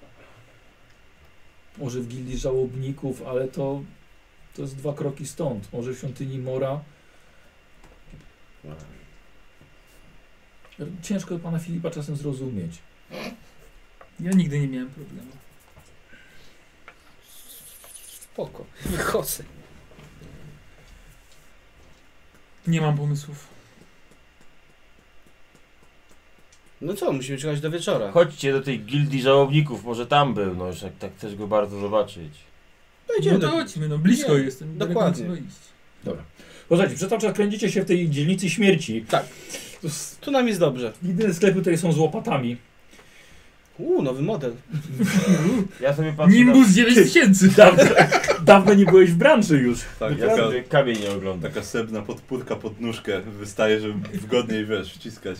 Speaker 1: Może w gildii żałobników, ale to, to jest dwa kroki stąd. Może w świątyni Mora. Ciężko pana Filipa czasem zrozumieć.
Speaker 4: Ja nigdy nie miałem problemu. [laughs]
Speaker 5: Spoko. Wychodzę.
Speaker 4: Nie mam pomysłów.
Speaker 5: No co, musimy czekać do wieczora.
Speaker 8: Chodźcie do tej gildii żałobników, może tam był, no już jak tak chcesz go bardzo zobaczyć.
Speaker 5: Dojdziemy
Speaker 4: No to
Speaker 5: do-
Speaker 4: chodźmy, no blisko
Speaker 5: Nie,
Speaker 4: jestem.
Speaker 5: dokładnie.
Speaker 4: Daleko nie trzeba iść.
Speaker 1: Dobra. Posłuchajcie, przez cały czas kręcicie się w tej dzielnicy śmierci.
Speaker 5: Tak.
Speaker 1: To jest
Speaker 5: Tu nam jest dobrze.
Speaker 1: jedyne sklepy tutaj są z łopatami.
Speaker 5: Uuu, nowy model.
Speaker 8: Ja sobie patrzę
Speaker 4: Nimbus 9000!
Speaker 1: Dawno, dawno nie byłeś w branży już.
Speaker 2: Tak,
Speaker 8: na...
Speaker 2: jaka,
Speaker 8: Naprawdę kamień nie ogląda.
Speaker 2: taka srebrna podpórka pod nóżkę wystaje, żeby wygodniej wiesz, wciskać.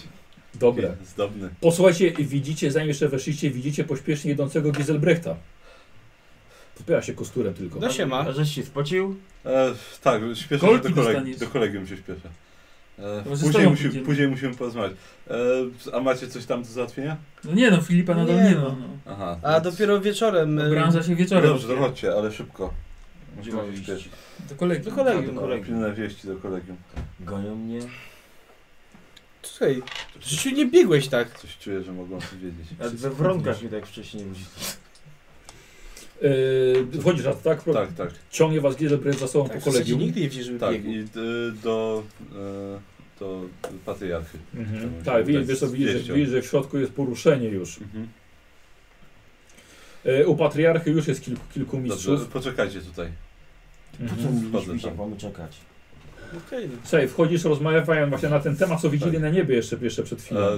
Speaker 1: Dobre.
Speaker 2: Zdobny.
Speaker 1: Posłuchajcie, widzicie, zanim jeszcze weszliście, widzicie pośpiesznie jedącego Giselbrechta. Podpiera się kosturem tylko.
Speaker 5: No siema.
Speaker 8: A żeś się spocił?
Speaker 2: E, tak, śpieszę się
Speaker 4: Kolki
Speaker 2: do, koleg-
Speaker 4: dostaniesz.
Speaker 2: do kolegium się śpieszę. E,
Speaker 4: To może z
Speaker 2: później,
Speaker 4: tobą
Speaker 2: musi,
Speaker 4: pójdziemy.
Speaker 2: później musimy porozmawiać. E, a macie coś tam do załatwienia?
Speaker 4: No nie no, Filipa nadal
Speaker 5: Nie
Speaker 4: nie,
Speaker 5: no.
Speaker 4: ma. No.
Speaker 2: Aha.
Speaker 5: A dopiero wieczorem.
Speaker 4: No,
Speaker 5: y,
Speaker 4: Branża się wieczorem.
Speaker 2: Dobrze, to chodźcie, ale szybko.
Speaker 8: Gdzie
Speaker 2: Musimy
Speaker 8: mam
Speaker 2: się
Speaker 8: iść?
Speaker 2: śpieszyć.
Speaker 4: Do kolegi.
Speaker 5: Do kolegium.
Speaker 8: Do
Speaker 2: No,
Speaker 8: kolegium.
Speaker 2: Pilne wieści do kolegium.
Speaker 8: Gonią mnie?
Speaker 5: Słuchaj, w życiu nie biegłeś tak.
Speaker 2: Coś czuję, że mogą coś wiedzieć.
Speaker 8: A we wronkach mi tak wcześniej mówili.
Speaker 1: Yy, wchodzisz raz, tak? Pro-
Speaker 2: Tak, tak.
Speaker 1: Ciągnie was Giselbrecht za sobą
Speaker 5: tak w
Speaker 1: po
Speaker 5: zasadzie
Speaker 1: kolegium.
Speaker 5: nigdy nie widzisz, żeby
Speaker 2: Tak,
Speaker 5: biegł.
Speaker 2: i y, do, y, do patriarchy.
Speaker 1: Mhm.
Speaker 2: Czemu
Speaker 1: Tak,
Speaker 2: się
Speaker 1: widzisz,
Speaker 2: udać
Speaker 1: wiesz, co,
Speaker 2: z
Speaker 1: widzisz, że,
Speaker 2: wieścią?
Speaker 1: widzisz, że w środku jest poruszenie już.
Speaker 2: Mhm.
Speaker 1: E, u patriarchy już jest kilku, kilku
Speaker 2: Dobrze,
Speaker 1: mistrzów.
Speaker 2: poczekajcie tutaj.
Speaker 8: Po co
Speaker 1: Mhm.
Speaker 8: mieliśmy
Speaker 2: Wchodzę
Speaker 8: się
Speaker 2: tam.
Speaker 8: mamy czekać?
Speaker 5: Okej, no.
Speaker 1: Słuchaj, wchodzisz, rozmawiają właśnie na ten temat, co widzieli
Speaker 2: Tak.
Speaker 1: na niebie jeszcze, jeszcze przed chwilą.
Speaker 2: E,
Speaker 1: Właśnie...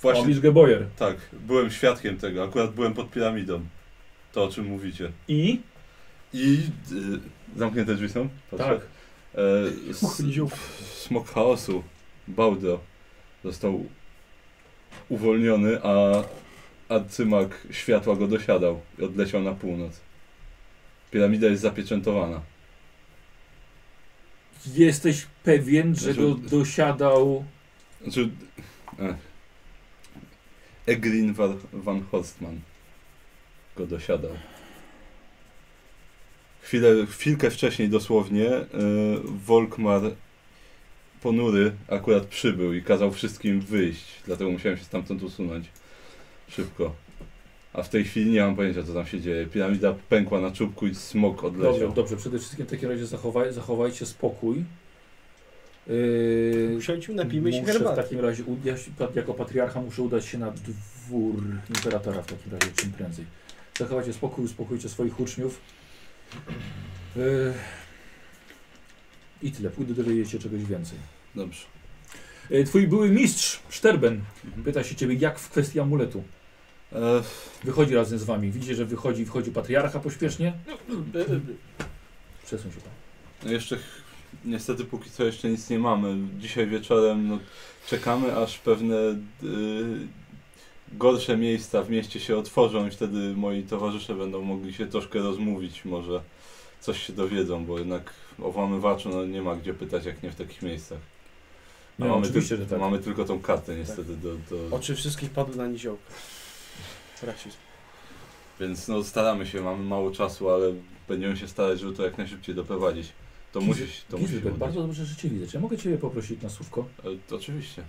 Speaker 1: O
Speaker 2: właśnie
Speaker 1: Liczbę Boyer.
Speaker 2: tak, byłem świadkiem tego, akurat byłem pod piramidą. To o czym mówicie.
Speaker 1: I?
Speaker 2: I y, zamknięte drzwi są? Patrzę.
Speaker 1: Tak.
Speaker 2: E, s- smok chaosu, Baudo, został uwolniony, a arcymak światła go dosiadał i odleciał na północ. Piramida jest zapieczętowana.
Speaker 1: Jesteś pewien, że
Speaker 2: Znaczy-
Speaker 1: go dosiadał...
Speaker 2: Znaczy... E, Egrin van, van Horstman go dosiadał. Chwilę, chwilkę wcześniej dosłownie e, Volkmar ponury akurat przybył i kazał wszystkim wyjść, dlatego musiałem się stamtąd usunąć szybko. A w tej chwili nie mam pojęcia co tam się dzieje. Piramida pękła na czubku i smok odleciał.
Speaker 1: Dobrze, dobrze, przede wszystkim w takim razie zachowaj, zachowajcie spokój. Yy,
Speaker 5: Usiądźmy, napijmy się
Speaker 1: muszę tak- w
Speaker 5: herbaty.
Speaker 1: takim razie, u- ja się, pa- jako patriarcha muszę udać się na dwór imperatora w takim razie czym prędzej. Zachowajcie spokój, uspokójcie swoich uczniów. Yy, I tyle, pójdę dowiedzieć się czegoś więcej.
Speaker 2: Dobrze.
Speaker 1: Yy, twój były mistrz, Szterben,
Speaker 2: Mhm.
Speaker 1: pyta się ciebie jak w kwestii amuletu.
Speaker 2: E,
Speaker 1: Wychodzi razem z wami, widzicie, że wychodzi, wychodzi patriarcha pośpiesznie.
Speaker 5: No,
Speaker 1: Przesuń się tam.
Speaker 2: No jeszcze ch- niestety póki co jeszcze nic nie mamy. Dzisiaj wieczorem no, czekamy aż pewne y, gorsze miejsca w mieście się otworzą i wtedy moi towarzysze będą mogli się troszkę rozmówić może. Coś się dowiedzą, bo jednak o włamywaczu no, nie ma gdzie pytać jak nie w takich miejscach. A
Speaker 1: No,
Speaker 2: mamy,
Speaker 1: oczywiście,
Speaker 2: tyl-
Speaker 1: że tak.
Speaker 2: mamy tylko tą kartę niestety do, do...
Speaker 5: Oczy wszystkich padły na niziołka. Rasizm.
Speaker 2: Więc no staramy się, mamy mało czasu, ale będziemy się starać, żeby to jak najszybciej doprowadzić. To
Speaker 1: Giz-
Speaker 2: musi, to musi
Speaker 1: Gizbert,
Speaker 2: się udać.
Speaker 1: tak bardzo dobrze, że Cię widzę. Czy ja mogę Cię poprosić na słówko?
Speaker 2: E, to Oczywiście.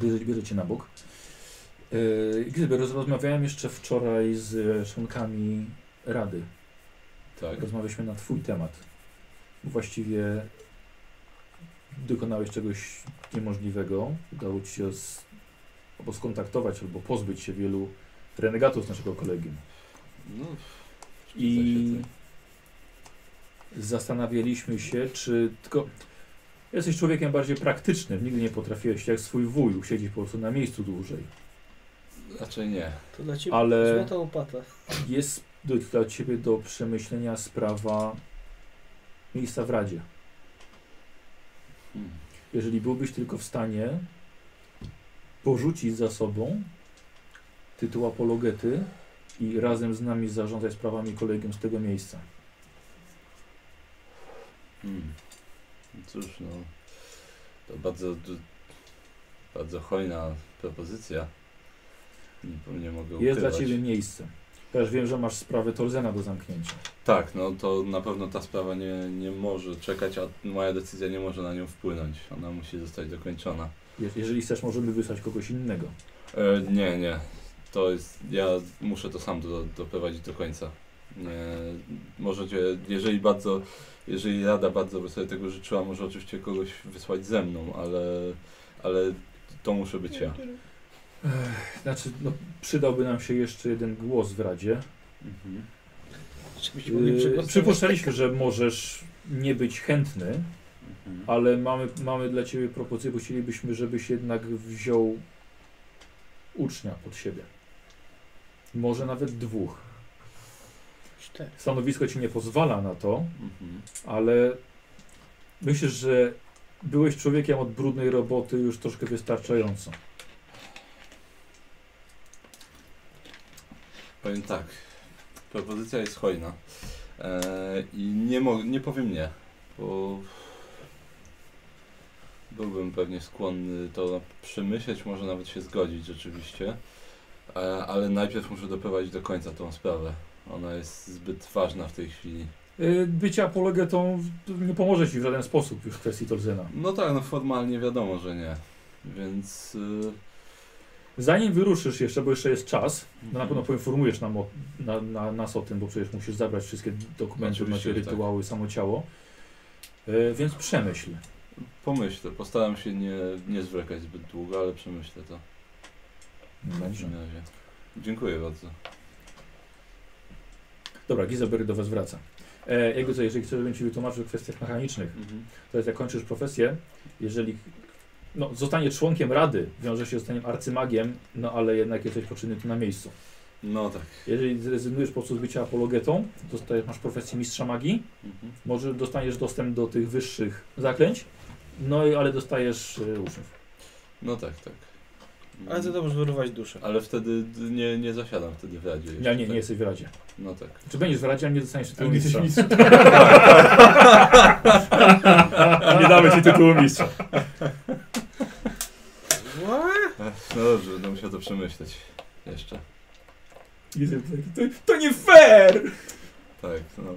Speaker 1: Bierze, bierze Cię na bok. Yy, Gilbert, roz- rozmawiałem jeszcze wczoraj z e, członkami Rady.
Speaker 2: Tak.
Speaker 1: Rozmawialiśmy na Twój temat. Właściwie dokonałeś czegoś niemożliwego. Udało Ci się z, albo skontaktować, albo pozbyć się wielu renegatów z naszego kolegium.
Speaker 2: No,
Speaker 1: I
Speaker 2: zgadza się, tak.
Speaker 1: zastanawialiśmy się, czy tylko jesteś człowiekiem bardziej praktycznym, nigdy nie potrafiłeś jak swój wuj usiedzieć po prostu na miejscu dłużej.
Speaker 2: Raczej nie.
Speaker 5: To dla ciebie
Speaker 1: Ale-
Speaker 5: złota łopata.
Speaker 1: Jest do, dla ciebie do przemyślenia sprawa miejsca w Radzie.
Speaker 2: Hmm.
Speaker 1: Jeżeli byłbyś tylko w stanie porzucić za sobą tytuł apologety i razem z nami zarządzać sprawami kolegium z tego miejsca.
Speaker 2: Hmm. No Cóż, no. To bardzo, d- bardzo hojna propozycja. Nie, nie mogę ukrywać.
Speaker 1: Jest dla ciebie miejsce. Też wiem, że masz sprawę Torzena do zamknięcia.
Speaker 2: Tak, no to na pewno ta sprawa nie, nie może czekać, a moja decyzja nie może na nią wpłynąć. Ona musi zostać dokończona.
Speaker 1: Je- Jeżeli chcesz, możemy wysłać kogoś innego.
Speaker 2: E, nie, nie. To jest. Ja muszę to sam do, doprowadzić do końca. Nie, możecie, jeżeli bardzo, jeżeli Rada bardzo by sobie tego życzyła, może oczywiście kogoś wysłać ze mną, ale, ale to muszę być ja.
Speaker 1: Znaczy, no, przydałby nam się jeszcze jeden głos w Radzie.
Speaker 2: Mhm.
Speaker 5: Żebyśmy mogli
Speaker 1: Yy,
Speaker 5: przegłosować.
Speaker 1: przypuszczaliśmy, że możesz nie być chętny,
Speaker 25: Mhm.
Speaker 1: ale mamy, mamy dla Ciebie propozycję, bo chcielibyśmy, żebyś jednak wziął ucznia pod siebie. Może nawet dwóch.
Speaker 5: Cztery.
Speaker 1: Stanowisko Ci nie pozwala na to,
Speaker 2: Mhm.
Speaker 1: ale myślę, że byłeś człowiekiem od brudnej roboty już troszkę wystarczająco.
Speaker 2: Powiem tak. Propozycja jest hojna. E, I nie, mo- nie powiem nie, bo byłbym pewnie skłonny to przemyśleć, może nawet się zgodzić rzeczywiście. E, ale najpierw muszę doprowadzić do końca tą sprawę. Ona jest zbyt ważna w tej chwili.
Speaker 1: Yy, Bycie apologetą nie pomoże Ci w żaden sposób już w kwestii Tolzena.
Speaker 2: No tak, no formalnie wiadomo, że nie. Więc. y,
Speaker 1: Zanim wyruszysz jeszcze, bo jeszcze jest czas, no na pewno poinformujesz nam o, na, na, nas o tym, bo przecież musisz zabrać wszystkie dokumenty,
Speaker 2: Oczywiście,
Speaker 1: macie
Speaker 2: że tak.
Speaker 1: rytuały, samo ciało. E, więc przemyśl.
Speaker 2: Pomyślę, postaram się nie, nie zwlekać zbyt długo, ale przemyślę to.
Speaker 1: Dobrze.
Speaker 2: W takim razie. Dziękuję bardzo.
Speaker 1: Dobra, Gizelberg do Was wraca. E, jego co, jeżeli chcesz, żebym Ci wytłumaczył w kwestiach mechanicznych,
Speaker 2: Mhm.
Speaker 1: to jest jak kończysz profesję, jeżeli no, zostanie członkiem rady, wiąże się z zostaniesz arcymagiem, no ale jednak jesteś poczynny tu na miejscu.
Speaker 2: No tak.
Speaker 1: Jeżeli zrezygnujesz po prostu z bycia apologetą, dostajesz, masz profesję mistrza magii,
Speaker 2: Mhm.
Speaker 1: Może dostaniesz dostęp do tych wyższych zaklęć, no i ale dostajesz y, uczniów.
Speaker 2: No tak, tak.
Speaker 5: Ale to dobrze wyrywać duszę.
Speaker 2: Ale wtedy d- nie, nie zasiadam wtedy w radzie.
Speaker 1: Ja
Speaker 2: jeszcze,
Speaker 1: nie, nie
Speaker 2: tak?
Speaker 1: jesteś w Radzie.
Speaker 2: No
Speaker 5: [laughs]
Speaker 2: tak.
Speaker 1: Czy będziesz w Radzie, ale nie dostaniesz tytułu
Speaker 26: Ale nie jesteś
Speaker 1: mistrza.
Speaker 26: mistrzem.
Speaker 1: [laughs] nie damy Ci tytułu mistrza.
Speaker 2: Ech, No dobrze, będę musiał to przemyśleć. Jeszcze.
Speaker 4: Gizel taki, to, to nie fair!
Speaker 2: Tak, no.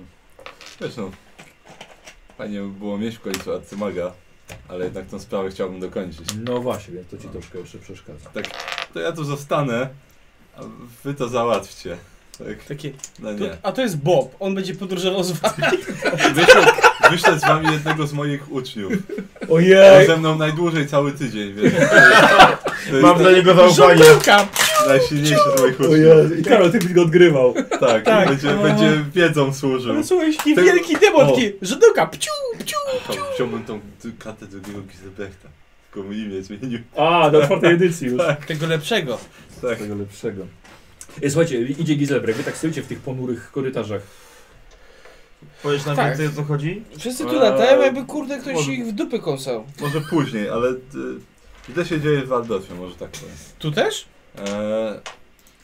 Speaker 2: Zresztą. Fajnie by było mieć w końcu arcymaga, ale jednak tą sprawę chciałbym dokończyć.
Speaker 1: No właśnie, więc to Ci
Speaker 2: No.
Speaker 1: troszkę jeszcze
Speaker 26: [laughs]
Speaker 1: przeszkadza.
Speaker 2: To ja tu zostanę, a wy to załatwcie. Tak,
Speaker 5: Takie,
Speaker 2: no
Speaker 5: tu,
Speaker 2: nie.
Speaker 5: a to jest Bob, on będzie podróżował z wami.
Speaker 2: Wyślę, wyślę z wami jednego z moich uczniów. On
Speaker 4: Ojej!
Speaker 2: ze mną najdłużej cały tydzień, więc... To jest
Speaker 8: Mam dla
Speaker 2: ten
Speaker 8: niego zaufanie.
Speaker 5: Żądełka!
Speaker 2: najsilniejszy z moich
Speaker 4: O
Speaker 2: uczniów.
Speaker 4: Jezu, I Karol, ty byś go odgrywał.
Speaker 2: Tak,
Speaker 5: Tak.
Speaker 2: Będzie, będzie wiedzą służył.
Speaker 5: No słuchaj, taki
Speaker 2: Ty-
Speaker 5: wielki demon,
Speaker 2: O.
Speaker 5: taki żądełka, pciu!
Speaker 2: Chciałbym- Chciałbym tą d- kartę drugiego Gizelbrechta. Tylko mu imię zmienił.
Speaker 1: A, do czwartej edycji już.
Speaker 5: Tego lepszego.
Speaker 2: Tak.
Speaker 1: Tego lepszego. E, Słuchajcie, idzie Gizelbrek, wy tak stoicie w tych ponurych korytarzach.
Speaker 8: Powiesz nam
Speaker 5: Tak.
Speaker 8: więcej o co chodzi?
Speaker 5: Wszyscy
Speaker 2: Eee,
Speaker 5: tu latają, jakby kurde ktoś
Speaker 2: może-
Speaker 5: ich w dupy kąsał.
Speaker 2: Może później, ale... y, Źle się dzieje w Waldorfie, może tak powiem.
Speaker 5: Tu też?
Speaker 2: Eee,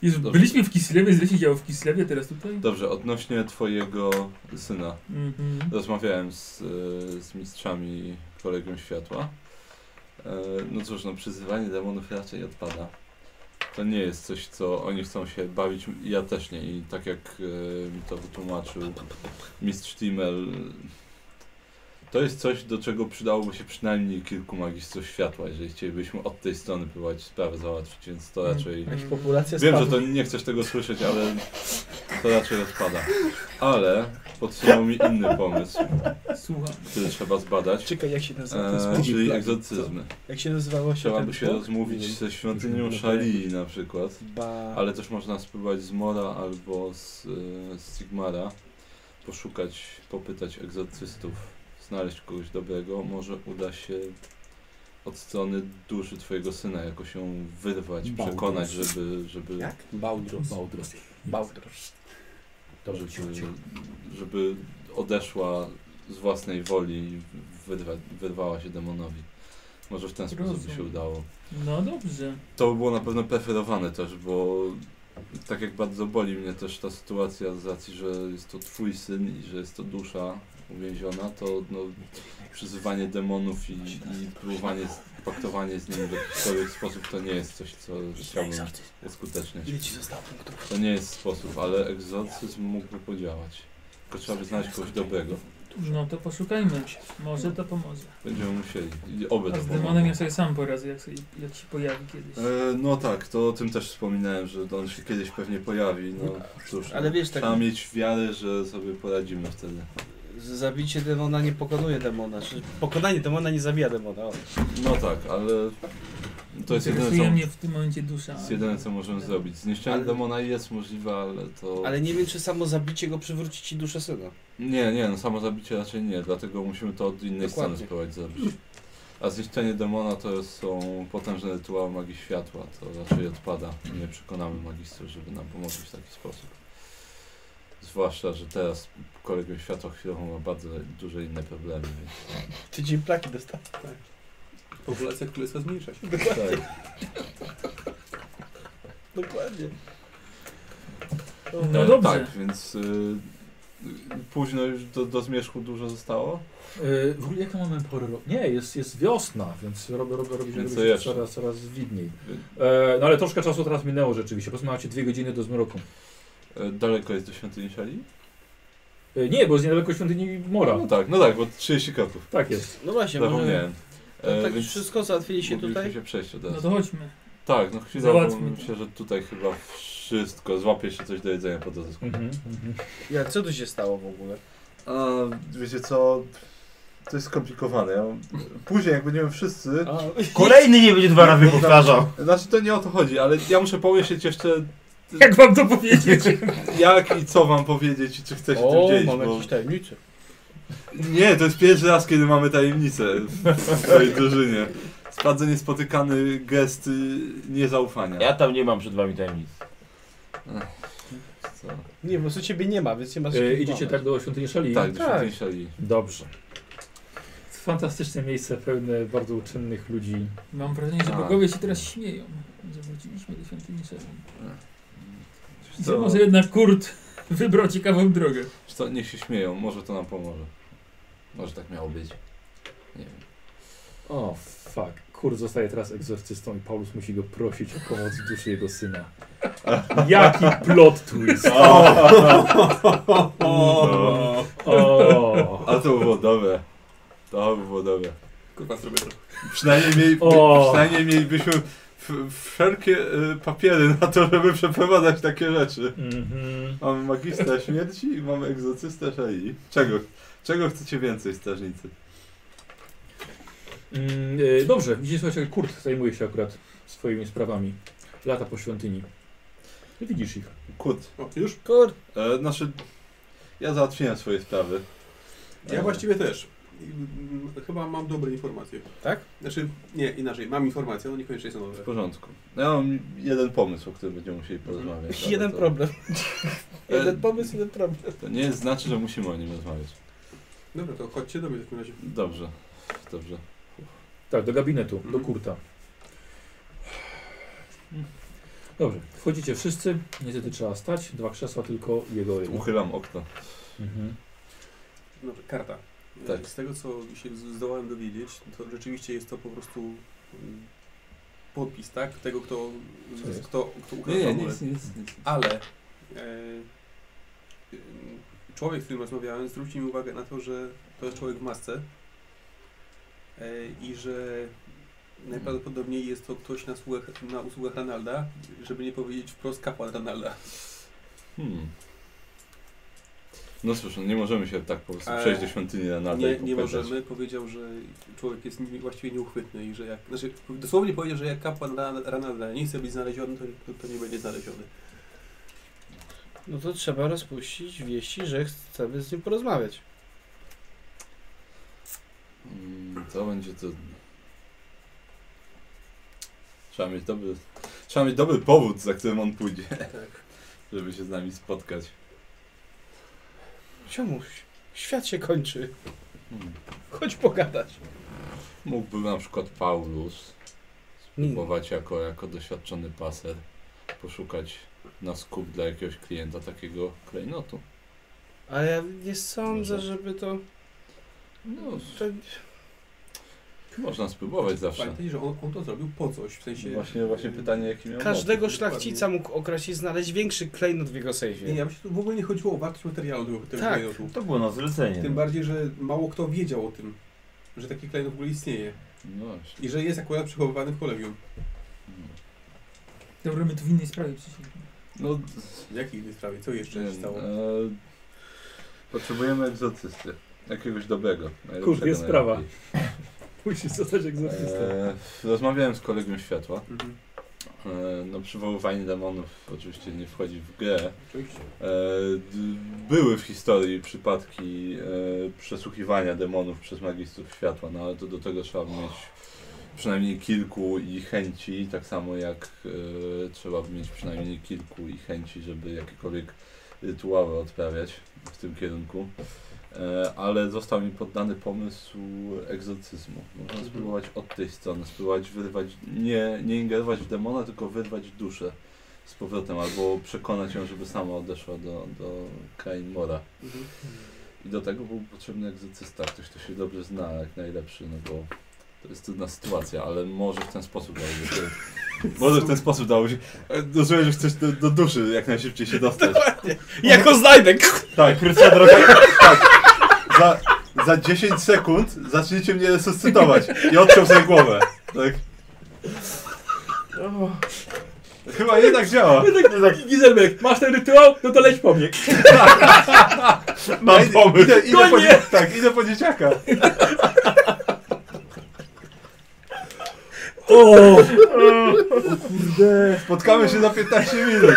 Speaker 4: Jezu,
Speaker 2: Dobrze.
Speaker 4: byliśmy w Kislewie, źle się działo w Kislewie, teraz tutaj?
Speaker 2: dobrze, odnośnie twojego syna.
Speaker 4: Mhm.
Speaker 2: Rozmawiałem z, y, z mistrzami kolegium światła. E, No cóż, no przyzywanie demonów raczej odpada. To nie jest coś, co oni chcą się bawić, ja też nie. I tak jak e, mi to wytłumaczył mistrz Timmel, to jest coś, do czego przydałoby się przynajmniej kilku magistrów światła, jeżeli chcielibyśmy od tej strony próbować sprawę załatwić, więc to
Speaker 4: Mhm.
Speaker 2: raczej...
Speaker 5: Jakaś populacja
Speaker 2: Wiem, że
Speaker 5: spadła.
Speaker 2: to nie chcesz tego słyszeć, ale to raczej odpada. Ale podsunął mi inny pomysł,
Speaker 4: Słucham.
Speaker 2: który trzeba zbadać,
Speaker 5: Czekaj, jak się nazywa ten
Speaker 2: e,
Speaker 5: spódnik?
Speaker 2: czyli
Speaker 5: Plug-
Speaker 2: egzotyzmy.
Speaker 5: co? Jak się nazywało się
Speaker 2: Trzeba
Speaker 5: ten
Speaker 2: by się
Speaker 5: blok?
Speaker 2: rozmówić ze świątynią Szalii na przykład,
Speaker 5: Ba...
Speaker 2: ale też można spróbować z Mora albo z, e, z Sigmara. poszukać, popytać egzorcystów, znaleźć kogoś dobrego. Może uda się od strony duszy twojego syna jakoś ją wyrwać,
Speaker 27: Bałdus.
Speaker 2: przekonać, żeby, żeby,
Speaker 27: Bałdros.
Speaker 1: Bałdrosz. Dobrze ci
Speaker 2: żeby,
Speaker 1: chodzi.
Speaker 2: żeby odeszła z własnej woli i wyrwa, wyrwała się demonowi. Może w ten sposób by się
Speaker 4: Rozumiem.
Speaker 2: udało.
Speaker 4: No dobrze.
Speaker 2: To by było na pewno preferowane też, bo tak jak bardzo boli mnie też ta sytuacja z racji, że jest to twój syn i że jest to dusza uwięziona, to no, przyzywanie demonów i, i próbowanie, z- paktowanie z nimi w jakikolwiek sposób to nie jest coś, co chciałbym uskuteczniać. To nie jest sposób, ale egzorcyzm mógłby podziałać. Tylko trzeba by znaleźć kogoś dobrego.
Speaker 4: No to poszukajmy. Może to pomoże.
Speaker 2: Będziemy musieli. I oby
Speaker 4: A
Speaker 2: to
Speaker 4: z
Speaker 2: pomogło.
Speaker 4: demonem ja sobie sam poradzę, jak, sobie, jak się pojawi kiedyś.
Speaker 2: E, No tak, to o tym też wspominałem, że on się kiedyś pewnie pojawi. No cóż,
Speaker 5: Ale wiesz, tak
Speaker 2: trzeba mieć wiarę, że sobie poradzimy wtedy.
Speaker 5: z- zabicie demona nie pokonuje demona. Czy pokonanie demona nie zabija demona. O.
Speaker 2: No tak, ale to jest jedyne,
Speaker 4: Interesuje
Speaker 2: co,
Speaker 4: mnie w tym momencie dusza.
Speaker 2: jest jedyne, co możemy zrobić. Zniszczenie
Speaker 5: Ale-
Speaker 2: demona jest możliwe, ale to...
Speaker 5: Ale nie wiem, czy samo zabicie go przywróci ci duszę syna.
Speaker 2: Nie, nie, no samo zabicie raczej nie, dlatego musimy to od innej
Speaker 5: Dokładnie.
Speaker 2: strony spróbować zrobić. A zniszczenie demona to są potężne rytuały magii światła, to raczej odpada. Nie przekonamy magistrów, żeby nam pomogli w taki sposób. Zwłaszcza, że teraz kolegium światła chwilowo ma bardzo duże inne problemy, więc
Speaker 5: Tydzień plaki dostał.
Speaker 28: Populacja królestwa zmniejsza się.
Speaker 2: tak.
Speaker 5: Dokładnie.
Speaker 4: No
Speaker 2: E,
Speaker 4: dobrze.
Speaker 2: Tak, więc y, późno już do, do zmierzchu dużo zostało.
Speaker 1: E, w ogóle jaką mamy porę roku? Nie, jest, jest wiosna, więc robię, robię, robię,
Speaker 2: Więc
Speaker 1: robię
Speaker 2: to
Speaker 1: się
Speaker 2: jeszcze.
Speaker 1: coraz, coraz widniej. E, no ale troszkę czasu teraz minęło rzeczywiście, bo macie dwie godziny do zmroku.
Speaker 2: E, Daleko jest do świątyni Szali?
Speaker 1: E, nie, bo jest niedaleko świątyni Mora.
Speaker 2: No tak, no tak, bo 30 kroków.
Speaker 1: Tak jest.
Speaker 5: No właśnie, może...
Speaker 2: Zapomniałem. E,
Speaker 5: To tak
Speaker 2: więc
Speaker 5: wszystko załatwili się
Speaker 2: mogliśmy
Speaker 5: tutaj?
Speaker 2: się przejść od razu.
Speaker 4: No to chodźmy.
Speaker 2: Tak, no chwilę,
Speaker 4: Załatwmy
Speaker 2: bo myślę, że tutaj chyba wszystko, złapie się coś do jedzenia po drodze.
Speaker 1: Mhm, mhm.
Speaker 5: Ja, co tu się stało w ogóle?
Speaker 29: A, wiecie co? To jest skomplikowane. Ja... Później, jak będziemy wszyscy.
Speaker 5: A,
Speaker 8: Kolejny nie będzie dwa razy powtarzał.
Speaker 2: Znaczy to nie o to chodzi, ale ja muszę pomyśleć jeszcze
Speaker 4: Jak wam to powiedzieć?
Speaker 2: jak i co wam powiedzieć i czy chcecie
Speaker 5: o,
Speaker 2: tym dzielić,
Speaker 5: mam
Speaker 2: bo...
Speaker 5: jakieś tajemnice.
Speaker 2: Nie, to jest pierwszy raz, kiedy mamy tajemnicę w swojej drużynie. Sprawdzę niespotykany gest y, niezaufania.
Speaker 8: Ja tam nie mam przed wami tajemnic.
Speaker 2: Co?
Speaker 5: Nie, po prostu ciebie nie ma, więc nie masz...
Speaker 1: E, idziecie tak do świątyni Szali?
Speaker 2: Tak, do świątyni szali.
Speaker 1: Dobrze. Fantastyczne miejsce, pełne bardzo uczynnych ludzi.
Speaker 4: [laughs] Mam wrażenie, że
Speaker 2: A.
Speaker 4: bogowie się teraz śmieją, że wróciliśmy do świątyni Szerem.
Speaker 2: Wiesz
Speaker 4: Co?
Speaker 2: Co?
Speaker 4: Może jednak Kurt [laughs] wybrał ciekawą drogę.
Speaker 2: Wiesz Co? Niech się śmieją, może to nam pomoże. Może tak miało być. Nie wiem.
Speaker 1: O, fuck. Kur zostaje teraz egzorcystą i Paulus musi go prosić o pomoc w duszy jego syna. Jaki plot twist!
Speaker 2: No.
Speaker 1: O,
Speaker 2: A to było dobre. To było dobre.
Speaker 28: Kurwa, zrobię to.
Speaker 2: Przynajmniej, mieli,
Speaker 1: O.
Speaker 2: przynajmniej mielibyśmy w- wszelkie y, papiery na to, żeby przeprowadzać takie rzeczy.
Speaker 1: Mhm.
Speaker 2: Mamy magistra śmierci i mamy egzorcystę szali. Czego? Czego chcecie więcej, strażnicy?
Speaker 1: Mm, e, dobrze, widzicie, słuchajcie, Kurt zajmuje się akurat swoimi sprawami. Lata po świątyni. Ty widzisz ich.
Speaker 2: Kut.
Speaker 28: O, już?
Speaker 5: Kurde.
Speaker 2: E, znaczy, ja załatwiłem swoje sprawy. E,
Speaker 28: Ja właściwie też. I, mm, Chyba mam dobre informacje.
Speaker 5: Tak?
Speaker 4: No
Speaker 28: Znaczy, nie, inaczej. Mam informacje, no niekoniecznie są
Speaker 2: W
Speaker 28: dobre.
Speaker 2: porządku. Ja mam jeden pomysł, o którym będziemy musieli porozmawiać. ale
Speaker 5: Jeden
Speaker 2: to-
Speaker 5: problem.
Speaker 2: E,
Speaker 5: Jeden pomysł, jeden problem.
Speaker 2: To nie znaczy, że musimy o nim rozmawiać.
Speaker 28: Dobra, to chodźcie do mnie w takim razie.
Speaker 2: Dobrze. Dobrze.
Speaker 1: Tak, do gabinetu, do
Speaker 28: Mhm.
Speaker 1: Kurta. Dobrze, wchodzicie wszyscy. Niestety trzeba stać. Dwa krzesła, tylko jego jedno.
Speaker 2: Uchylam okno.
Speaker 1: Mhm.
Speaker 28: Dobrze, karta.
Speaker 2: Tak.
Speaker 28: Z tego, co się z- zdołałem dowiedzieć, to rzeczywiście jest to po prostu mm, podpis, tak? Tego, kto,
Speaker 1: Co jest?
Speaker 28: kto, kto
Speaker 2: Nie,
Speaker 28: ukradł
Speaker 2: nie,
Speaker 28: amulet.
Speaker 2: nic, nic, nic.
Speaker 28: Ale e, y, człowiek, z którym rozmawiałem, zwrócił mi uwagę na to, że to jest człowiek w masce e, i że najprawdopodobniej jest to ktoś na usługach, na usługach Ranalda, żeby nie powiedzieć wprost kapłan Ranalda.
Speaker 2: Hmm. No cóż, no nie możemy się tak po prostu
Speaker 28: Ale
Speaker 2: przejść do świątyni na nadal
Speaker 28: E, nie,
Speaker 2: i
Speaker 28: nie
Speaker 2: popędzać.
Speaker 28: możemy. Powiedział, że człowiek jest nie- właściwie nieuchwytny i że jak... Znaczy, dosłownie powiedział, że jak kapłan Ra- Ranalda nie chce być znaleziony, to, to, to nie będzie znaleziony.
Speaker 5: No to trzeba rozpuścić wieści, że chcemy z nim porozmawiać.
Speaker 2: Mm, To będzie trudne. Trzeba mieć dobry, trzeba mieć dobry powód, za którym on pójdzie, żeby się z nami spotkać.
Speaker 5: Czemuś? Świat się kończy.
Speaker 2: Hmm.
Speaker 5: Chodź pogadać.
Speaker 2: Mógłby na przykład Paulus No
Speaker 5: Mm.
Speaker 2: spróbować jako, jako doświadczony paser poszukać na skup dla jakiegoś klienta takiego klejnotu.
Speaker 5: Ale ja nie sądzę,
Speaker 2: Może.
Speaker 5: żeby to...
Speaker 2: No,
Speaker 5: to...
Speaker 2: można spróbować zawsze.
Speaker 1: Pamiętaj, że on, on to zrobił po coś, w sensie...
Speaker 30: Właśnie, właśnie pytanie, jaki miał
Speaker 5: Każdego
Speaker 30: motyw.
Speaker 5: szlachcica mógł okraść i znaleźć większy klejnot w jego
Speaker 1: Nie,
Speaker 5: sejfie.
Speaker 1: ja myślę, że tu w ogóle nie chodziło o wartość materiału tego, tego
Speaker 5: Tak.
Speaker 1: klejnotu.
Speaker 8: To było na zlecenie.
Speaker 30: no.
Speaker 1: Tym bardziej, że mało kto wiedział o tym, że taki klejnot w ogóle istnieje.
Speaker 2: No właśnie.
Speaker 1: I że jest akurat przechowywany w kolegium.
Speaker 2: Mm.
Speaker 4: Dobra, my tu w innej sprawie przyszliśmy.
Speaker 2: No,
Speaker 1: W jakiej innej sprawie? Co jeszcze się
Speaker 2: Wiem,
Speaker 30: no.
Speaker 1: stało?
Speaker 2: e, potrzebujemy egzorcysty. Jakiegoś dobrego.
Speaker 31: Kurde, jest sprawa.
Speaker 2: najlepiej.
Speaker 31: Musisz zostać
Speaker 30: Eee.
Speaker 31: egzorcystą.
Speaker 2: E, rozmawiałem z kolegą światła.
Speaker 1: Mhm.
Speaker 2: E, no przywoływanie demonów oczywiście nie wchodzi w grę.
Speaker 1: Oczywiście.
Speaker 2: E, d- były w historii przypadki e, przesłuchiwania demonów przez magistrów światła, no ale to do tego trzeba mieć przynajmniej kilku i chęci, tak samo jak e, trzeba mieć przynajmniej kilku i chęci, żeby jakiekolwiek rytuały odprawiać w tym kierunku. E, ale został mi poddany pomysł egzorcyzmu. Można spróbować od tej strony, spróbować wyrwać, nie, nie ingerować w demona, tylko wyrwać duszę z powrotem, albo przekonać ją, żeby sama odeszła do, do krain mora.
Speaker 1: Mhm.
Speaker 2: I do tego był potrzebny egzorcysta, ktoś, kto się dobrze zna, jak najlepszy, no bo to jest trudna sytuacja, ale może w ten sposób dałoby się... Może w ten sposób dałoby się... e, Rozumiem, że chcesz do, do duszy jak najszybciej się dostać.
Speaker 5: Jako znajdę!
Speaker 2: Tak,
Speaker 8: Krótsza droga.
Speaker 30: Za, za 10 sekund zaczniecie mnie resuscytować i odciął sobie głowę. Tak. Chyba jednak działa.
Speaker 31: Gizelberg, masz ten rytuał? No to leć po mnie.
Speaker 30: Mam pomysł. Idę,
Speaker 31: No
Speaker 30: idę po, dzie- tak, idę po dzieciaka.
Speaker 31: O! o kurde.
Speaker 30: Spotkamy się za 15 minut.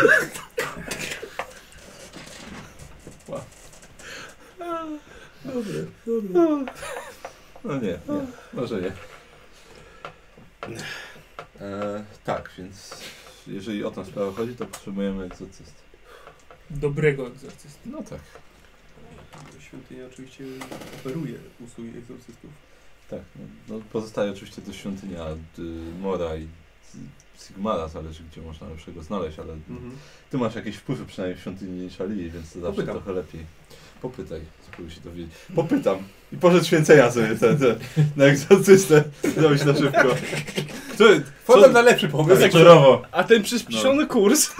Speaker 2: No nie, nie, może nie. E, tak, więc jeżeli o tę sprawę chodzi, to potrzebujemy egzorcysty.
Speaker 4: Dobrego egzorcysty.
Speaker 2: No tak.
Speaker 1: Świątynia oczywiście operuje usługi egzorcystów.
Speaker 2: Tak, no, no pozostaje oczywiście do świątynia y, Mora i y, Sigmara, zależy gdzie można lepszego znaleźć, ale
Speaker 1: Mhm.
Speaker 2: ty masz jakieś wpływy przynajmniej w świątyni niż Alii, więc to zawsze
Speaker 1: Popytam.
Speaker 2: trochę lepiej. Popytaj, spróbuj się dowiedzieć. Popytam i pożycz święcenia sobie te, te, na egzorcystę, zrobić na szybko. Który, co,
Speaker 1: Podam na lepszy pomysł.
Speaker 8: Wieczorowo.
Speaker 5: Tak, A ten przyspieszony kurs...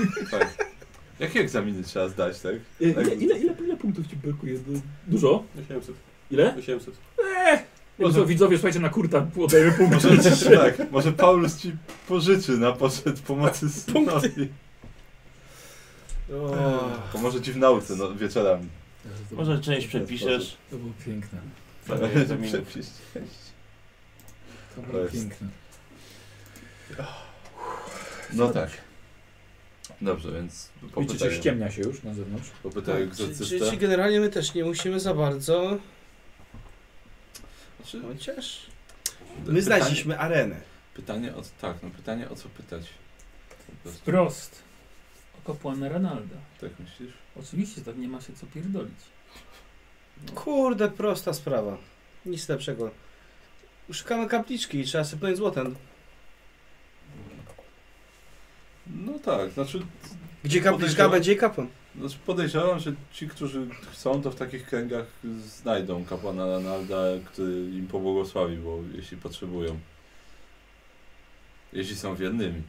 Speaker 2: jakie egzaminy trzeba zdać, tak?
Speaker 31: E, Ile, ile, ile, ile punktów ci brakuje? Du- Dużo?
Speaker 1: 800.
Speaker 31: Ile?
Speaker 1: 800.
Speaker 31: No to widzowie, słuchajcie, na kurta oddajemy punkty.
Speaker 1: [laughs]
Speaker 31: [laughs]
Speaker 2: Może, tak, może Paulus ci pożyczy na poczet pomocy synowi. Pomoże ci w nauce no, wieczorami.
Speaker 8: Może część przepiszesz.
Speaker 32: To było piękne.
Speaker 2: Przepisz.
Speaker 32: To
Speaker 2: To
Speaker 32: było
Speaker 2: jest-
Speaker 32: piękne.
Speaker 2: No tak. Dobrze, więc
Speaker 32: Widzicie, że
Speaker 1: tak.
Speaker 2: popytaj,
Speaker 32: ściemnia się już na zewnątrz.
Speaker 2: popytaj
Speaker 5: Czy,
Speaker 2: egzorcystę.
Speaker 5: czy, czy generalnie my też nie musimy za bardzo... Chociaż... My znaleźliśmy arenę.
Speaker 2: Pytanie o tak, no pytanie o co pytać. Po prostu.
Speaker 4: Wprost. O kapłana Ranalda.
Speaker 2: Tak myślisz?
Speaker 4: Oczywiście, tak nie ma się co pierdolić.
Speaker 5: Kurde, prosta sprawa. Nic lepszego. Szukamy kapliczki i trzeba sypnąć złotem.
Speaker 2: No tak, znaczy,
Speaker 5: Gdzie kapliczka
Speaker 2: Podejrzewam.
Speaker 5: będzie i kapłan.
Speaker 2: znaczy podejrzewam, że ci, którzy chcą, to w takich kręgach znajdą kapłana Ranalda, który im pobłogosławi, bo jeśli potrzebują. Jeśli są wiernymi.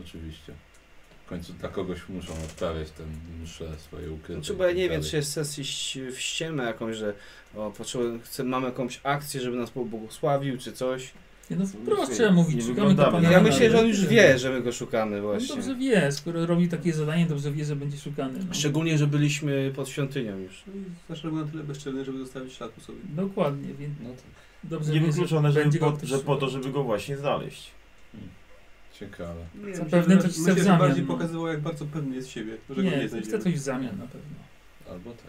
Speaker 2: Oczywiście. W końcu dla kogoś muszą odprawiać ten msze swoje ukryte.
Speaker 5: Znaczy,
Speaker 2: i
Speaker 5: bo ja
Speaker 2: tak
Speaker 5: nie wiem,
Speaker 2: dalej.
Speaker 5: czy jest sens iść w ściemę jakąś, że o, potrzebuję, chcę, mamy jakąś akcję, żeby nas pobłogosławił, czy coś.
Speaker 4: Nie no wprost
Speaker 8: Nie
Speaker 4: trzeba mówić, szukamy
Speaker 8: wyglądamy
Speaker 4: kapłana
Speaker 8: na-
Speaker 5: Ja
Speaker 4: Ranalda.
Speaker 5: myślę, że on już
Speaker 4: Tyle.
Speaker 5: wie, że my go szukamy
Speaker 4: On
Speaker 5: właśnie.
Speaker 4: No dobrze wie, skoro robi takie zadanie, dobrze wie, że będzie szukany. No.
Speaker 5: Szczególnie, że byliśmy pod świątynią już.
Speaker 1: No i zawsze był na tyle bezczelny, żeby zostawić ślad po sobie.
Speaker 4: Dokładnie, więc
Speaker 2: No tak.
Speaker 4: dobrze
Speaker 8: Nie
Speaker 4: wie, że
Speaker 8: wykluczone, że
Speaker 4: będzie go
Speaker 8: po,
Speaker 4: ktoś
Speaker 8: że po to,
Speaker 4: szukał.
Speaker 8: żeby go właśnie znaleźć.
Speaker 33: Ciekawe.
Speaker 34: Nie,
Speaker 4: Zapewne
Speaker 34: myślę,
Speaker 4: to
Speaker 34: że-
Speaker 4: ci chce w
Speaker 34: Myślę, że
Speaker 4: zamian,
Speaker 34: bardziej
Speaker 4: no.
Speaker 34: pokazywał, jak bardzo pewny jest siebie, że go
Speaker 4: Nie,
Speaker 34: nie
Speaker 4: chce
Speaker 34: znajdziemy.
Speaker 4: coś w zamian na pewno. No
Speaker 33: Albo tak,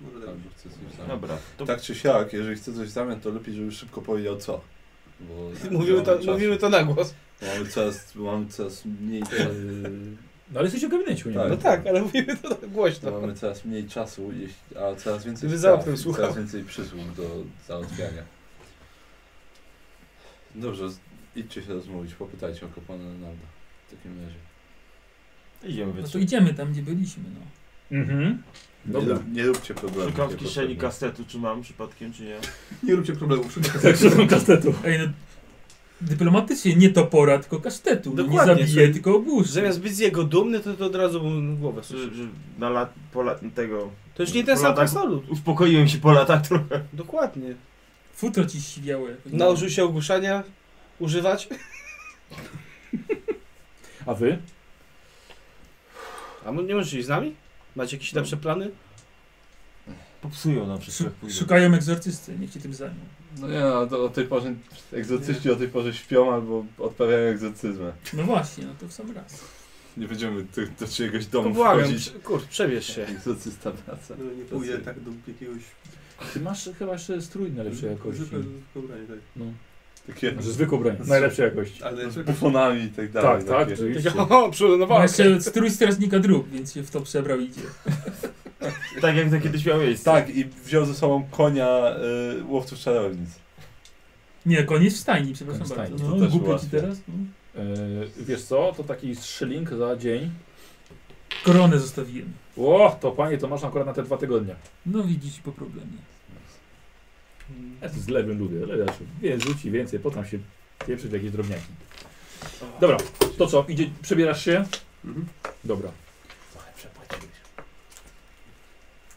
Speaker 34: Może tak.
Speaker 33: albo chce coś zamiast.
Speaker 8: Dobra, to
Speaker 2: Tak czy siak, jeżeli chce coś w zamian, to lepiej, żeby szybko powiedział co.
Speaker 5: [laughs]
Speaker 2: Bo
Speaker 5: Mówimy to,
Speaker 2: mamy czas-
Speaker 5: mówimy to na głos.
Speaker 2: Mamy coraz, mamy coraz mniej,
Speaker 5: [laughs]
Speaker 2: e,
Speaker 35: No ale jesteś w gabinecie u niego.
Speaker 2: Tak.
Speaker 5: No tak, ale mówimy to tak głośno.
Speaker 2: mamy coraz mniej czasu, jeśli- a coraz więcej
Speaker 5: Gdyby
Speaker 2: spraw
Speaker 5: za oknem
Speaker 2: i
Speaker 5: słuchał.
Speaker 2: coraz więcej przysług do załatwiania. Dobrze, z- idźcie się rozmówić, popytajcie o kopalnię Renalda. W takim razie.
Speaker 8: idziemy
Speaker 4: No
Speaker 8: więc.
Speaker 4: to idziemy tam, gdzie byliśmy, no.
Speaker 35: Mhm.
Speaker 2: Nie,
Speaker 35: Dobra.
Speaker 2: rób- nie róbcie problemu.
Speaker 8: Szukam w kieszeni kastetu, czy mam przypadkiem, czy nie.
Speaker 34: Nie róbcie problemów.
Speaker 1: [laughs]
Speaker 8: [laughs]
Speaker 1: Tak, szukam kastetu.
Speaker 4: Ej, no, dyplomatycznie nie topora, tylko kasztetu. No, nie
Speaker 5: Dokładnie,
Speaker 4: zabije,
Speaker 5: czyli-
Speaker 4: tylko ogłuszy.
Speaker 5: Zamiast być z jego dumny, to, to od razu mu głowę słyszy.
Speaker 8: Że, że na lat, po lat, tego...
Speaker 5: To już nie ten
Speaker 8: po
Speaker 5: sam
Speaker 8: latach-
Speaker 5: krasnolud.
Speaker 8: Uspokoiłem się po latach trochę.
Speaker 5: Dokładnie.
Speaker 4: Futro ci siwiało. jakoś.
Speaker 5: Nałożył się ogłuszania, używać.
Speaker 1: A wy?
Speaker 5: A mo- nie możesz iść z nami? Macie jakieś lepsze plany?
Speaker 8: Popsują nam wszystko,
Speaker 4: Szu-
Speaker 8: jak pójdą.
Speaker 4: Szukają egzorcysty, niech się tym zajmą.
Speaker 33: No nie, no, to o tej porze egzotyści o tej porze śpią albo odprawiają egzotyzmę.
Speaker 4: No właśnie, no to w sam raz.
Speaker 33: Nie będziemy do, do czyjegoś
Speaker 5: To
Speaker 33: domu
Speaker 5: błagam,
Speaker 33: wchodzić.
Speaker 5: kurde, przebierz się.
Speaker 33: Egzocysta wraca.
Speaker 34: No, nie pójdę tak do jakiegoś...
Speaker 1: Ty masz chyba jeszcze strój najlepszej jakości.
Speaker 34: Zwykłe- zwykłe ubranie, tak.
Speaker 1: No.
Speaker 2: Takie no,
Speaker 1: Że zwykłą broń, najlepszej jakości.
Speaker 34: Ale
Speaker 2: z bufonami i tak dalej.
Speaker 1: Tak, tak,
Speaker 2: takie.
Speaker 1: oczywiście.
Speaker 5: [laughs] O,
Speaker 4: Ma
Speaker 5: przelenowałem.
Speaker 4: jeszcze strój strażnika dróg, więc się w to przebrał i idzie.
Speaker 8: Tak jak to kiedyś miało miejsce.
Speaker 2: Tak, i wziął ze sobą konia y, łowców czarownic.
Speaker 4: Nie, koniec w stajni, przepraszam
Speaker 1: Koń w stajni,
Speaker 4: bardzo.
Speaker 2: to
Speaker 4: No,
Speaker 2: też
Speaker 4: głupio ci
Speaker 2: ułatwia.
Speaker 4: teraz. No.
Speaker 1: Yy, wiesz co, to taki strzelink za dzień.
Speaker 4: Koronę zostawiłem.
Speaker 1: O, to panie, to masz akurat na te dwa tygodnie.
Speaker 4: No widzisz po problemie.
Speaker 1: Ja to z lewym lubię, ale raczej. Więc rzuci więcej, potem się pieprzyć w jakieś drobniaki. Dobra, to co, idzie, przebierasz się?
Speaker 34: Mhm.
Speaker 1: Dobra.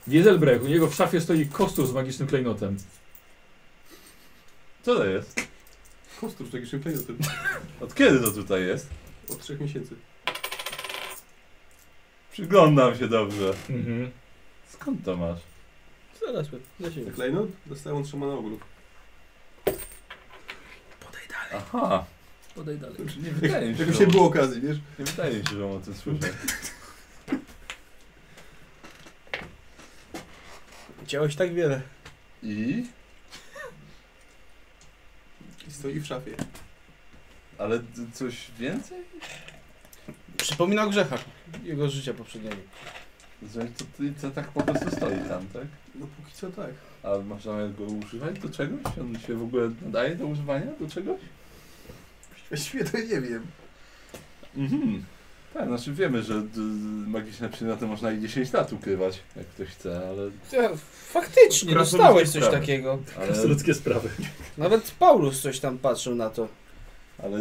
Speaker 1: Wieselbrek, u niego w szafie stoi kostur z magicznym klejnotem.
Speaker 2: Co to jest?
Speaker 34: Kostur z takim klejnotem.
Speaker 2: Od kiedy to tutaj jest?
Speaker 34: no Od trzech miesięcy.
Speaker 2: Przyglądam się dobrze.
Speaker 1: Mhm.
Speaker 2: Skąd to masz?
Speaker 5: Zaraz, na siebie.
Speaker 34: Klejnot dostałem od szamana ogród.
Speaker 2: Aha,
Speaker 4: Podaj dalej.
Speaker 2: to nie wydaje mi się,
Speaker 34: Jakoś
Speaker 2: że
Speaker 34: nie
Speaker 2: on-
Speaker 34: było okazji, wiesz?
Speaker 2: Nie wydaje mi się, że on o tym słyszał.
Speaker 5: Działo się tak wiele.
Speaker 2: I?
Speaker 34: I stoi w szafie.
Speaker 2: Ale d- coś więcej?
Speaker 5: Przypomina o grzechach jego życia poprzedniego.
Speaker 2: Znaczy, to, to, to tak po prostu stoi tam, tak?
Speaker 34: No póki co tak.
Speaker 2: A można go używać do czegoś? On się w ogóle nadaje do używania do czegoś?
Speaker 34: Właściwie to nie wiem.
Speaker 2: Mhm. Tak, znaczy wiemy, że d- d- magiczne przedmioty można i 10 lat ukrywać, jak ktoś chce, ale...
Speaker 5: faktycznie,
Speaker 8: Krasnoludzkie
Speaker 5: dostałeś coś
Speaker 8: sprawy.
Speaker 5: takiego.
Speaker 2: ale
Speaker 1: Ludzkie sprawy.
Speaker 5: Nawet Paulus coś tam patrzył na to.
Speaker 2: Ale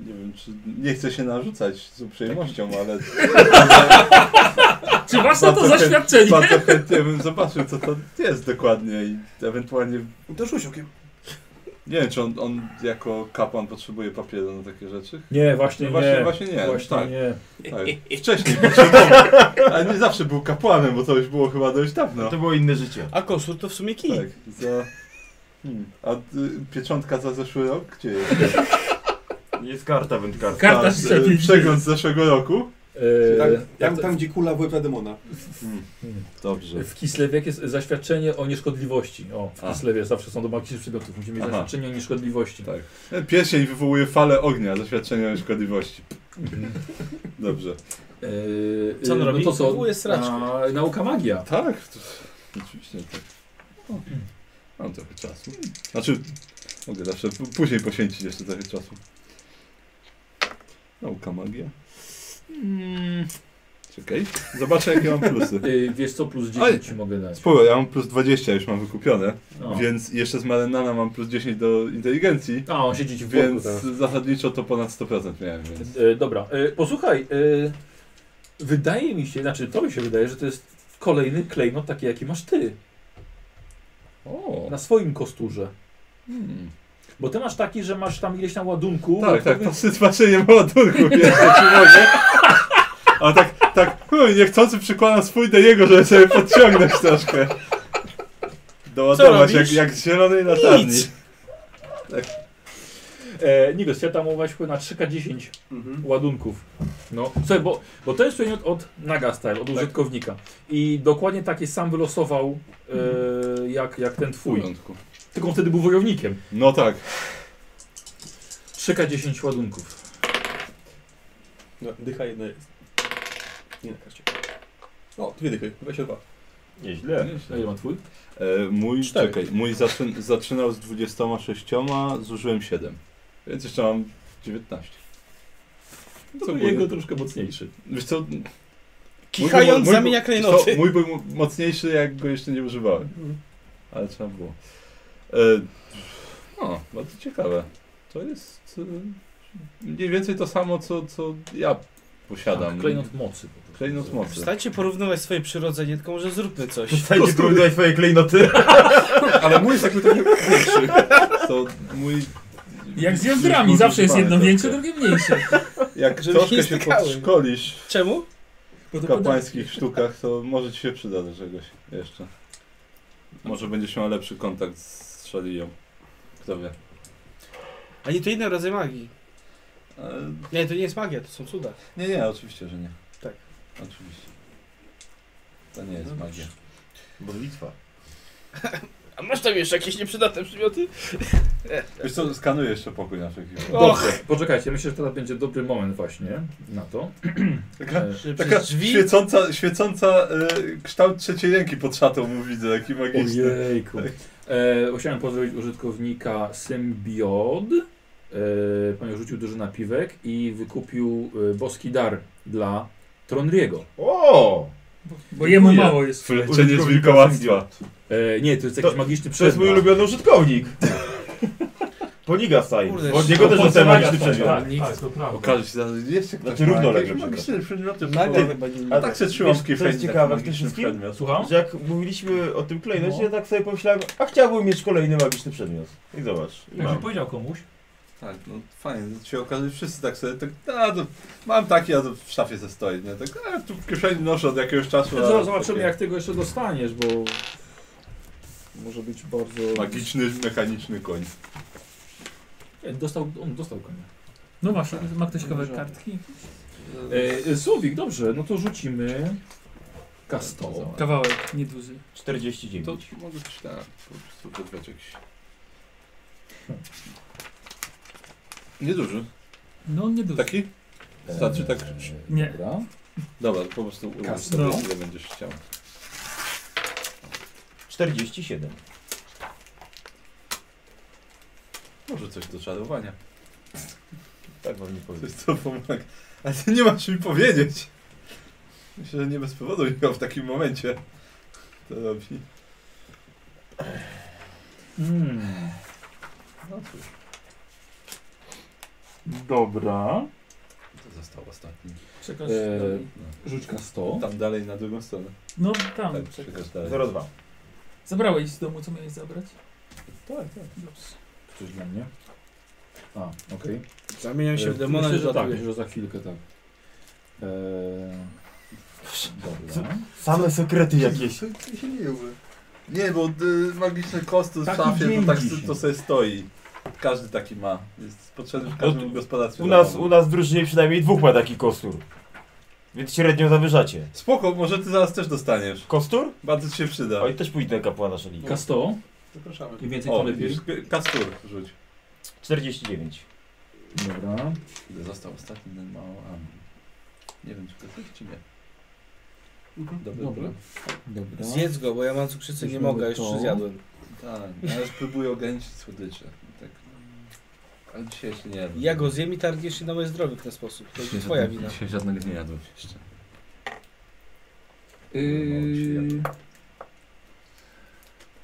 Speaker 2: nie wiem, czy nie chcę się narzucać z uprzejmością, ale
Speaker 4: Czy masz na to
Speaker 2: Bardzo chę-
Speaker 4: zaświadczenie?
Speaker 2: bardzo chętnie bym zobaczył, co to jest dokładnie i ewentualnie
Speaker 34: To rzuć okiem.
Speaker 2: nie wiem, czy on, on jako kapłan potrzebuje papieru na takie rzeczy.
Speaker 1: Nie, właśnie
Speaker 2: No
Speaker 1: nie.
Speaker 2: właśnie, właśnie nie,
Speaker 1: Właśnie
Speaker 2: tak.
Speaker 1: nie. E,
Speaker 2: Tak. Wcześniej potrzebował, ale nie zawsze był kapłanem, bo to już było chyba dość dawno.
Speaker 8: To było inne życie.
Speaker 5: A kosur to w sumie kij.
Speaker 2: Tak, za... Hmm. A y, pieczątka za zeszły rok? Gdzie jest?
Speaker 8: Jest karta, wędkarska.
Speaker 4: Karta
Speaker 2: Tak,
Speaker 4: z
Speaker 2: y,
Speaker 4: szczepień.
Speaker 2: przegląd z zeszłego roku? tak-
Speaker 34: Tam,
Speaker 1: Eee,
Speaker 34: tam, tam gdzie kula w łeb demona.
Speaker 2: Dobrze.
Speaker 1: W Kislewie jest zaświadczenie o nieszkodliwości. O, w
Speaker 2: A.
Speaker 1: Kislewie zawsze są do magicznych przedmiotów. Musimy mieć
Speaker 2: Aha.
Speaker 1: zaświadczenie o nieszkodliwości.
Speaker 2: Tak. Pierścień wywołuje falę ognia, zaświadczenie o szkodliwości.
Speaker 1: Mhm.
Speaker 2: Dobrze.
Speaker 1: Eee,
Speaker 5: Co on
Speaker 1: no
Speaker 5: robi?
Speaker 1: To co?
Speaker 5: Wywołuje straczkę.
Speaker 1: A, nauka magia.
Speaker 2: Tak, to, oczywiście tak. O, mam trochę czasu. Znaczy, mogę zawsze p- później poświęcić jeszcze trochę czasu. Nauka magia. Mm. Czekaj, zobaczę jakie mam plusy.
Speaker 1: [laughs] Eee, wiesz co, plus 10
Speaker 2: Oj.
Speaker 1: ci mogę dać. No.
Speaker 2: Spoko, ja mam plus 20, już mam wykupione,
Speaker 1: O.
Speaker 2: więc jeszcze z Marenana mam plus 10 do inteligencji,
Speaker 1: A, on siedzi ci w tak.
Speaker 2: więc
Speaker 1: worku,
Speaker 2: zasadniczo to ponad 100% miałem, więc...
Speaker 1: tak. Eee, Dobra, Eee, posłuchaj. eee, wydaje mi się, znaczy to mi się wydaje, że to jest kolejny klejnot taki jaki masz ty.
Speaker 2: O,
Speaker 1: Na swoim kosturze.
Speaker 2: hmm.
Speaker 1: Bo ty masz taki, że masz tam ileś na ładunku. No
Speaker 2: Tak, tak,
Speaker 1: wy-
Speaker 2: patrzę, patrzenie po ładunku pierwsze, czy mogę. A tak, tak,
Speaker 7: no
Speaker 2: chuj, niechcący przykładam swój do jego, żeby sobie podciągnąć troszkę. Doładować jak,
Speaker 5: robisz?
Speaker 2: jak z zielonej latarni.
Speaker 5: Nic.
Speaker 2: Tak.
Speaker 1: E, Nigos, ja tam właśnie na 3K10
Speaker 6: Mhm.
Speaker 1: ładunków. No, słuchaj, bo, bo to jest przedmiot od Naga Style, od użytkownika. I dokładnie takie sam wylosował e, jak, jak ten twój.
Speaker 2: No.
Speaker 7: Porządku.
Speaker 1: Tylko on wtedy był wojownikiem.
Speaker 7: No tak.
Speaker 1: 3K10 ładunków.
Speaker 36: No, dycha jedna jest. Nie na karcie. O, dwie dychy, 22.
Speaker 8: Nieźle.
Speaker 1: A ile ma twój?
Speaker 7: E, mój,
Speaker 36: Cztery.
Speaker 7: czekaj, mój zaczyn, zaczynał z 26, zużyłem 7. Więc jeszcze mam 19.
Speaker 1: To
Speaker 7: Co
Speaker 1: był
Speaker 7: było?
Speaker 1: jego troszkę mocniejszy.
Speaker 7: Wiesz co? mój był- mój
Speaker 5: Kichając
Speaker 7: był-
Speaker 5: zamienia
Speaker 7: co,
Speaker 5: klejnoty.
Speaker 7: Mój był mo- mocniejszy, jak go jeszcze nie używałem.
Speaker 4: Mhm.
Speaker 7: Ale trzeba było. E, no, bardzo ciekawe. To jest e, mniej więcej to samo, co, co ja posiadam.
Speaker 1: Tak, klejnot mocy. po prostu.
Speaker 7: Klejnot mocy.
Speaker 5: Przestańcie porównywać swoje przyrodzenie, tylko może zróbmy coś.
Speaker 8: Przestańcie porównywać swoje klejnoty.
Speaker 36: Ale mój jest jakby trochę większy.
Speaker 7: To mój...
Speaker 4: Jak z jądrami, zawsze jest jedno większe, drugie mniejsze.
Speaker 7: Jak
Speaker 5: Żeby się
Speaker 7: troszkę
Speaker 5: nie
Speaker 7: się
Speaker 5: stykały.
Speaker 7: podszkolisz
Speaker 5: Czemu?
Speaker 4: Bo
Speaker 7: w
Speaker 4: to
Speaker 7: kapłańskich sztukach, to może ci się przyda do czegoś jeszcze. Może będziesz miał lepszy kontakt z Shadią. Kto wie.
Speaker 5: A nie, to inny rodzaj magii.
Speaker 7: E,
Speaker 5: Nie, to nie jest magia, to są cuda.
Speaker 7: Nie, nie, oczywiście, że nie.
Speaker 5: Tak.
Speaker 7: Oczywiście. To nie jest
Speaker 5: No
Speaker 7: magia.
Speaker 8: Modlitwa.
Speaker 5: A masz tam jeszcze jakieś nieprzydatne przymioty? no,
Speaker 2: Wiesz co, skanuję jeszcze pokój na wszelki wypadek.
Speaker 1: [laughs] Dobrze, poczekajcie, myślę, że teraz będzie dobry moment właśnie na to.
Speaker 2: Taka,
Speaker 1: E,
Speaker 2: taka
Speaker 5: Przez drzwi?
Speaker 2: świecąca, świecąca e, kształt trzeciej ręki pod szatą mu widzę, jaki
Speaker 36: Tak
Speaker 2: magiczny.
Speaker 1: Ojejku. E, chciałem pozdrowić użytkownika Symbiod, e, ponieważ rzucił duży napiwek i wykupił e, boski dar dla Tronriego.
Speaker 8: O!
Speaker 4: Bo jemu mało jest.
Speaker 7: Wleczenie z wilkołactwa.
Speaker 1: E, nie, to jest jakiś magiczny
Speaker 8: To jest mój
Speaker 1: przedmiot.
Speaker 8: ulubiony użytkownik. Poniga staj.
Speaker 5: Kurde,
Speaker 8: Od niego też dostałem magiczny przedmiot.
Speaker 13: Tak, tak, to prawda.
Speaker 7: Okaże się, że jeszcze ktoś
Speaker 8: Znaczy
Speaker 7: ma
Speaker 8: równolegle
Speaker 7: jakieś
Speaker 8: przykład.
Speaker 7: magiczne przedmioty.
Speaker 2: No.
Speaker 5: Nagle chyba nie
Speaker 8: A
Speaker 7: A tak się trzymam
Speaker 8: wiesz,
Speaker 7: w kieszeni.
Speaker 8: co jest
Speaker 7: taki
Speaker 8: ciekawe w tym
Speaker 7: magiczny
Speaker 8: wszystkim?
Speaker 7: przedmiot.
Speaker 1: Słucham?
Speaker 8: Że jak mówiliśmy o tym klejnocie,
Speaker 1: No.
Speaker 8: ja tak sobie pomyślałem, a chciałbym mieć kolejny magiczny przedmiot. I zobacz.
Speaker 2: no.
Speaker 8: I
Speaker 1: Jakby
Speaker 8: mam.
Speaker 1: powiedział komuś.
Speaker 2: Tak, no fajnie, to się okaże, wszyscy tak sobie, tak, a, to, mam taki, a to w szafie ze stoi, nie? Tak, a, tu w kieszeni noszę od jakiegoś czasu. a
Speaker 1: Zaraz zobaczymy,
Speaker 2: takie
Speaker 1: jak tego jeszcze dostaniesz, bo może być bardzo...
Speaker 2: Magiczny, mechaniczny koń.
Speaker 1: Nie, E, Dostał, on dostał konia.
Speaker 4: No właśnie, ma ktoś kawałek kartki?
Speaker 1: E, Słowik, dobrze, no to rzucimy kasto.
Speaker 4: Kawałek, nieduży.
Speaker 8: 49.
Speaker 7: To ci mogę być tak, po prostu wydwać jakiś... Nieduży.
Speaker 4: No nieduży.
Speaker 2: Tak.
Speaker 7: Taki? Starczy tak...
Speaker 2: Eee,
Speaker 4: Nie.
Speaker 1: Dobra.
Speaker 7: Dobra, to po prostu ułóż
Speaker 1: Kasno.
Speaker 7: sobie, ile będziesz chciał.
Speaker 8: 47.
Speaker 7: Może coś do czarowania.
Speaker 8: Tak wam nie
Speaker 2: To
Speaker 8: powiem.
Speaker 2: jest to pomaga. Ale ty nie masz mi powiedzieć. Myślę, że nie bez powodu Michał w takim momencie to robi.
Speaker 1: Mm.
Speaker 7: No cóż,
Speaker 1: Dobra.
Speaker 7: to został ostatni.
Speaker 4: Przekaż
Speaker 1: Eee,
Speaker 2: E,
Speaker 4: dalej.
Speaker 1: Rzuć K100.
Speaker 2: Tam dalej na drugą stronę.
Speaker 4: No tam.
Speaker 2: Tak, przekaż dalej.
Speaker 8: 02.
Speaker 4: Zabrałeś z domu, co miałeś zabrać?
Speaker 2: Tak, tak.
Speaker 4: Dobrze.
Speaker 1: Coś dla mnie. A, okej.
Speaker 5: Zamieniam się
Speaker 1: E,
Speaker 5: w demona
Speaker 1: Myślę, że tak,
Speaker 5: tak.
Speaker 1: myślę, że za chwilkę tak. [laughs] Eee,
Speaker 8: Co?
Speaker 1: dobra.
Speaker 8: Same sekrety jakieś.
Speaker 2: Ty się nie umy. Nie, bo y, magiczne kosty w
Speaker 1: Taki
Speaker 2: szafie,
Speaker 1: dzień
Speaker 2: to tak
Speaker 1: dzisiaj.
Speaker 2: to sobie stoi. Każdy taki ma. Jest potrzebny w
Speaker 8: No
Speaker 2: każdym gospodarstwie.
Speaker 8: U nas,
Speaker 2: domowym.
Speaker 8: u nas w drużynie przynajmniej dwóch ma taki kostur. Więc średnio zawyżacie.
Speaker 2: Spoko, może ty zaraz też dostaniesz.
Speaker 8: Kostur?
Speaker 2: Bardzo ci się przyda.
Speaker 8: Oj, też pójdę na kapłana szalika.
Speaker 1: K100.
Speaker 6: Zapraszamy.
Speaker 1: Im więcej,
Speaker 2: O,
Speaker 1: tym lepiej.
Speaker 2: widzisz, k- kastur rzuć.
Speaker 8: 49.
Speaker 1: Dobra.
Speaker 2: Ile został ostatni ten mały Amri? Nie wiem, czy to jest, czy nie.
Speaker 6: Mhm.
Speaker 2: Dobry,
Speaker 1: Dobra.
Speaker 2: plan.
Speaker 1: Dobra.
Speaker 5: Zjedz go, bo ja mam cukrzycę, nie
Speaker 1: Weźmy
Speaker 5: mogę,
Speaker 1: to.
Speaker 5: jeszcze zjadłem.
Speaker 2: Tak, ja już próbuję ograniczyć słodycze. Tak. Ale dzisiaj jeszcze nie jadłem.
Speaker 5: Ja go zjem i targniesz się na moje zdrowie w ten sposób. To jest twoja wina.
Speaker 7: Dzisiaj żadnego nie jadłem jeszcze.
Speaker 1: Yy...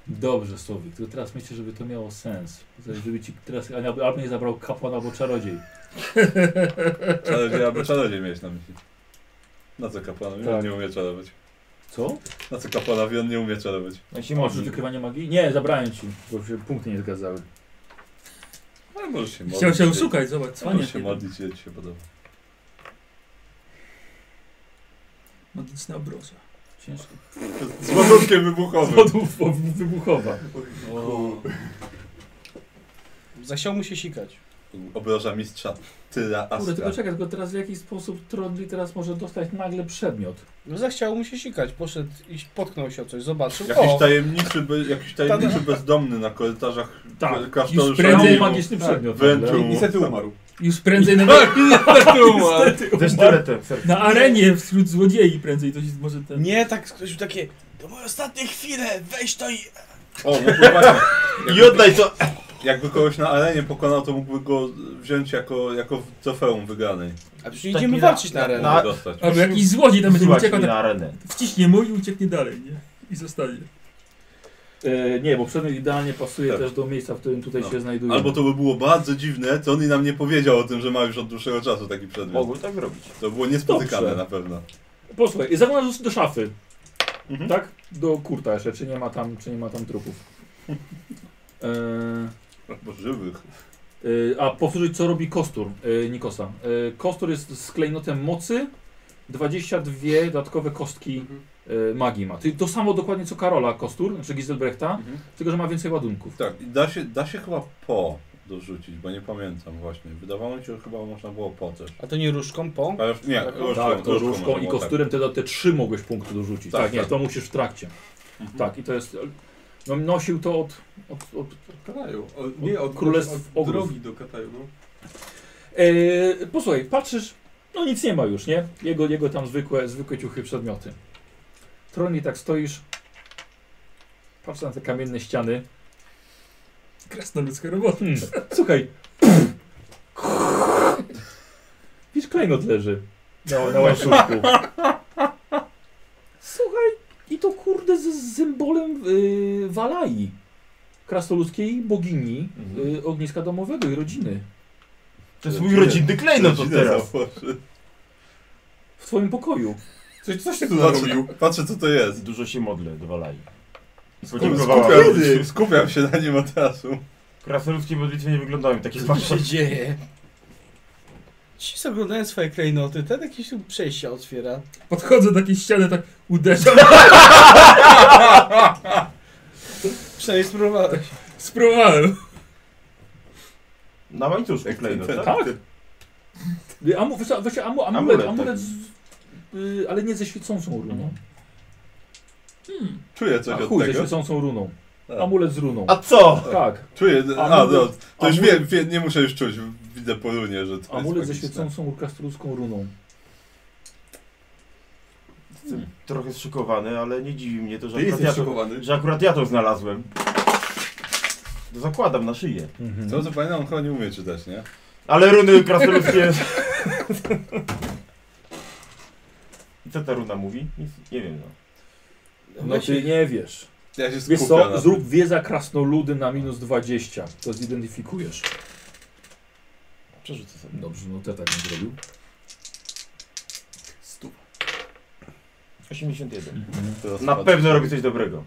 Speaker 1: Dobrze, Słowik, to teraz myślę, żeby to miało sens. Żeby ci teraz, albo, albo nie zabrał kapłan, albo czarodziej.
Speaker 2: Czarodziej, albo czarodziej miałeś na myśli. Na co kapłanowi? On
Speaker 1: Tak.
Speaker 2: nie umie czarować.
Speaker 1: Co?
Speaker 2: Na co kapłanowi? On nie umie czarować.
Speaker 8: No i się
Speaker 1: Może
Speaker 8: modli.
Speaker 1: wykrywanie magii? Nie, zabrałem ci, bo się punkty nie zgadzały.
Speaker 2: Ale No możesz się modlić.
Speaker 4: Chciał się
Speaker 2: jeżeli-
Speaker 4: oszukać, zobacz, cwanie.
Speaker 2: Możesz się modlić, jeżeli ci się podoba.
Speaker 4: Magiczna obroża.
Speaker 1: Ciężko.
Speaker 2: Z ładunkiem wybuchowym.
Speaker 1: Złodów wybuchowa.
Speaker 5: Zasiał mu się sikać.
Speaker 2: obraża mistrza Tyra
Speaker 1: Kurde,
Speaker 2: Astra.
Speaker 1: tylko czekaj, tylko teraz w jaki sposób Trondli teraz może dostać nagle przedmiot?
Speaker 5: No zachciało mu się sikać, poszedł i potknął się o coś, zobaczył.
Speaker 2: Jakiś
Speaker 5: o,
Speaker 2: tajemniczy, be, jakiś tajemniczy bezdomny na korytarzach
Speaker 1: Tak,
Speaker 2: klasztoru
Speaker 4: już prędzej
Speaker 2: szamaniu
Speaker 1: magiczny przedmiot.
Speaker 2: Tak. Wręczył mu.
Speaker 36: Niestety umarł.
Speaker 4: Już prędzej na, [laughs]
Speaker 8: Też tyle, tyle.
Speaker 4: na arenie wśród złodziei prędzej to się może ten...
Speaker 5: Nie, tak ktoś był takie, to moje ostatnie chwile, weź to i...
Speaker 2: O, mógłby właśnie.
Speaker 8: I oddaj to!
Speaker 2: Jakby kogoś na arenie pokonał, to mógłby go wziąć jako, jako trofeum wygranej.
Speaker 5: A przecież nie
Speaker 8: Taki
Speaker 5: idziemy
Speaker 8: na-
Speaker 5: walczyć na arenę.
Speaker 8: na-
Speaker 2: Mógłby dostać.
Speaker 4: Albo jakiś złodziej tam będzie
Speaker 8: Wysyłać
Speaker 4: uciekał,
Speaker 8: mnie
Speaker 4: tak
Speaker 8: na arenę.
Speaker 4: wciśnie mu i ucieknie dalej, nie? I zostanie.
Speaker 1: E, nie, bo przedmiot idealnie pasuje
Speaker 2: Tak.
Speaker 1: też do miejsca, w którym tutaj
Speaker 2: No.
Speaker 1: się znajduje.
Speaker 2: Albo to by było bardzo dziwne, to on i nam nie powiedział o tym, że ma już od dłuższego czasu taki przedmiot.
Speaker 8: Mogły tak robić.
Speaker 2: To było niespotykane
Speaker 1: Dobrze.
Speaker 2: na pewno.
Speaker 1: Posłuchaj, i zaglądasz do szafy,
Speaker 2: Mhm.
Speaker 1: tak? Do kurta jeszcze, czy nie ma tam, czy nie ma tam trupów. [laughs] E,
Speaker 2: Albo żywych.
Speaker 1: e, a powtórzyć, co robi Kostur e, Nikosa. E, Kostur jest z klejnotem mocy, 22 dodatkowe kostki
Speaker 6: Mhm.
Speaker 1: e, magii ma. Ty- To samo dokładnie co Karola Kostur, znaczy Giselbrechta,
Speaker 2: Mhm.
Speaker 1: tylko że ma więcej ładunków.
Speaker 2: Tak, i da się, da się chyba po dorzucić, bo nie pamiętam właśnie. Wydawało mi się, że chyba można było po też.
Speaker 5: A to nie różką, po?
Speaker 2: Ale nie,
Speaker 5: Tak,
Speaker 2: różką,
Speaker 1: tak, to różką
Speaker 2: można
Speaker 1: i
Speaker 2: było, tak.
Speaker 1: kosturem te, te trzy mogłeś punkty dorzucić. Tak,
Speaker 2: Tak,
Speaker 1: nie,
Speaker 2: tak.
Speaker 1: to musisz w trakcie.
Speaker 2: Mhm.
Speaker 1: Tak, i to jest. No, nosił to od. od, od
Speaker 6: Kataju. O, nie, od,
Speaker 1: Królestw
Speaker 6: od
Speaker 1: Ogrów.
Speaker 6: drogi do Kataju, no.
Speaker 1: Eee, posłuchaj, patrzysz, no nic nie ma już, nie? Jego, jego tam zwykłe, zwykłe ciuchy, przedmioty. Tronie tak stoisz, patrz na te kamienne ściany.
Speaker 4: Krasnoludzka robota.
Speaker 1: Hmm, słuchaj. Widzisz, klejnot leży
Speaker 2: No,
Speaker 1: na, na łańcuszku. Słuchaj, i to kurde z symbolem yy, Walai, krasnoludzkiej bogini
Speaker 8: Mhm.
Speaker 1: y, ogniska domowego i rodziny.
Speaker 8: To jest mój rodzinny klejnot od
Speaker 2: Rodzinę
Speaker 8: teraz.
Speaker 2: założy.
Speaker 1: W twoim pokoju.
Speaker 36: Coś, coś ty tu
Speaker 2: Patrzę,
Speaker 36: narobił.
Speaker 2: patrzę co to jest.
Speaker 8: Dużo się modlę do Walai.
Speaker 2: Skupiam,
Speaker 8: Podziękowała.
Speaker 2: skupiam się na nim od razu.
Speaker 8: Krasnoludzkie modlitwy nie wyglądają
Speaker 2: [laughs]
Speaker 8: takie
Speaker 5: Co się
Speaker 8: zwłaszcza.
Speaker 5: dzieje? Ci zaglądają swoje klejnoty, ten jakieś tu przejścia otwiera.
Speaker 4: Podchodzę do takiej ściany, tak uderzam.
Speaker 5: Przynajmniej spróbowałeś.
Speaker 4: Spróbowałem.
Speaker 8: Na łańcuszku klejnot,
Speaker 2: ten-
Speaker 8: tak?
Speaker 1: Tak? Y, Amu, wiesz co, wiesz, co, amu, amulet,
Speaker 8: Amulet,
Speaker 1: amulet,
Speaker 8: tak.
Speaker 1: z, y, ale nie ze świecącą runą.
Speaker 4: Hmm.
Speaker 2: Czuję
Speaker 1: A
Speaker 2: Mhm. coś od
Speaker 1: chuj, ze
Speaker 2: tego.
Speaker 1: świecącą runą.
Speaker 2: Tak.
Speaker 1: Amulet z runą.
Speaker 8: A co?
Speaker 1: tak,
Speaker 2: Czuję, a, no,
Speaker 1: Amulet-
Speaker 2: to już
Speaker 1: amulet-
Speaker 2: wiem, wiem, nie muszę już czuć, widzę po runie, że to
Speaker 1: amulet
Speaker 2: jest
Speaker 1: ze
Speaker 2: magiczne.
Speaker 1: świecącą kastruską runą.
Speaker 8: Jestem trochę zszokowany, ale nie dziwi mnie to, że
Speaker 36: Ty
Speaker 8: akurat,
Speaker 36: jesteś
Speaker 8: ja to,
Speaker 36: szokowany.
Speaker 8: że akurat ja to znalazłem. To zakładam na szyję.
Speaker 2: To co pamiętam, on chyba nie umie czytać, nie?
Speaker 8: Ale runy krasnoludzkie... [laughs] I co ta runa mówi? Nic, nie wiem no.
Speaker 1: No ty nie wiesz.
Speaker 2: Ja się skupiam
Speaker 1: Wiesz
Speaker 2: na
Speaker 1: co,
Speaker 2: tym.
Speaker 1: zrób wiedza krasnoludy na minus 20. To zidentyfikujesz.
Speaker 8: Przerzucę sobie.
Speaker 1: Dobrze, no te tak nie zrobił.
Speaker 6: Stu.
Speaker 8: 81.
Speaker 1: Mhm.
Speaker 2: Teraz
Speaker 8: Na
Speaker 2: patrzę.
Speaker 8: pewno robi coś dobrego.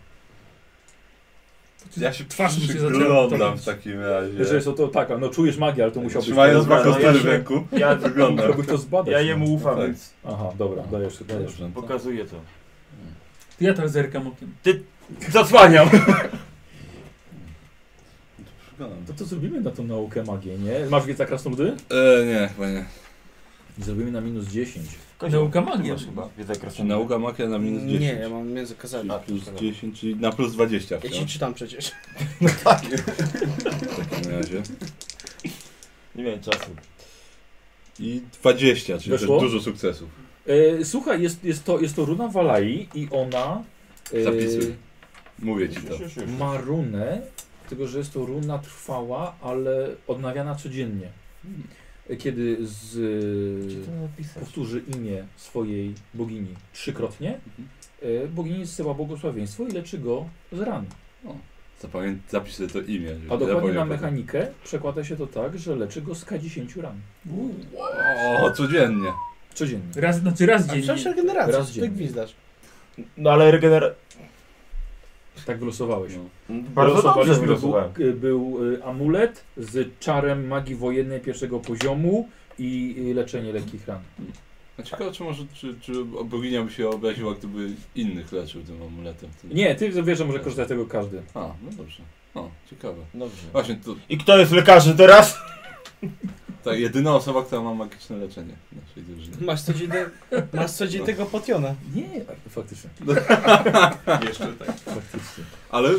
Speaker 2: Ja się
Speaker 4: Twarz mi się zaczęła
Speaker 2: przyglądam
Speaker 4: topić.
Speaker 2: w takim razie.
Speaker 1: Wiesz, jest to taka, no czujesz magię, ale to musiałbyś
Speaker 2: Trzymając
Speaker 8: Dobra,
Speaker 2: dwa
Speaker 8: no
Speaker 2: kostki
Speaker 8: ja
Speaker 2: w
Speaker 8: się-
Speaker 2: ręku,
Speaker 8: Ja,
Speaker 2: wyglądam.
Speaker 1: Musiałbyś to zbadać.
Speaker 8: ja
Speaker 1: no.
Speaker 8: jemu ufam,
Speaker 2: tak.
Speaker 8: więc
Speaker 1: Aha, dobra, dajesz, dajesz.
Speaker 2: Dobrze. no
Speaker 8: pokazuję to.
Speaker 4: To ja tak zerkam okiem.
Speaker 8: Zasłaniam!
Speaker 2: Przyglądam.
Speaker 1: To, to zrobimy na tą naukę magię, nie? Masz wiedza krasnoludy?
Speaker 7: E, nie, chyba nie.
Speaker 1: Zrobimy na minus 10.
Speaker 4: Nauka magia.
Speaker 8: Masz chyba wiedza krasnoludzka.
Speaker 7: Nauka makia na minus 10.
Speaker 5: Nie, ja mam między kazami.
Speaker 7: Czyli plus 10, czyli na plus 20
Speaker 5: Ja ci
Speaker 7: wciąż,
Speaker 5: czytam przecież.
Speaker 7: w takim razie.
Speaker 8: Nie miałem czasu.
Speaker 7: I 20, czyli
Speaker 1: Weszło?
Speaker 7: też dużo sukcesów.
Speaker 1: E, słuchaj, jest, jest, to, jest to runa Walai i ona e,
Speaker 7: Zapisuj. Mówię ci to.
Speaker 8: Już, już, już.
Speaker 1: ma runę, tylko że jest to runa trwała, ale odnawiana codziennie. E, Kiedy z,
Speaker 8: Gdzie to napisać?
Speaker 1: powtórzy imię swojej bogini trzykrotnie,
Speaker 8: Mhm.
Speaker 1: e, bogini zsyła błogosławieństwo i leczy go z ran.
Speaker 7: Zapamię- Zapisz sobie to imię. żeby
Speaker 1: A
Speaker 7: nie
Speaker 1: dokładnie na
Speaker 7: zapomniał potem.
Speaker 1: mechanikę przekłada się to tak, że leczy go z K10 ran.
Speaker 4: Uuu.
Speaker 7: O, codziennie.
Speaker 1: Codziennie.
Speaker 4: Raz, znaczy raz
Speaker 5: A
Speaker 4: dziennie.
Speaker 5: przecież regeneracja,
Speaker 1: Raz
Speaker 5: co ty
Speaker 1: dziennie.
Speaker 5: gwizdasz?
Speaker 8: No ale regener...
Speaker 1: Tak wylosowałeś.
Speaker 7: No.
Speaker 8: Bardzo dobrze
Speaker 1: Wylosowaliśmy,
Speaker 8: wylosowałem.
Speaker 1: Był, był y, amulet z czarem magii wojennej pierwszego poziomu i y, leczenie lekkich ran.
Speaker 2: No
Speaker 7: A ciekawe, czy może, czy, czy boginia by się obraziła, gdyby innych leczył tym amuletem. wtedy?
Speaker 1: Nie, ty wiesz, że może korzystać z tego każdy.
Speaker 7: A, no dobrze. O, ciekawe.
Speaker 8: Dobrze.
Speaker 7: Właśnie, to
Speaker 8: I kto jest lekarzem teraz?
Speaker 2: Tak, jedyna osoba, która ma magiczne leczenie w naszej drużynie.
Speaker 5: Masz codziennie, masz codziennie tego potiona.
Speaker 1: Nie, faktycznie.
Speaker 37: Jeszcze tak.
Speaker 1: faktycznie.
Speaker 2: Ale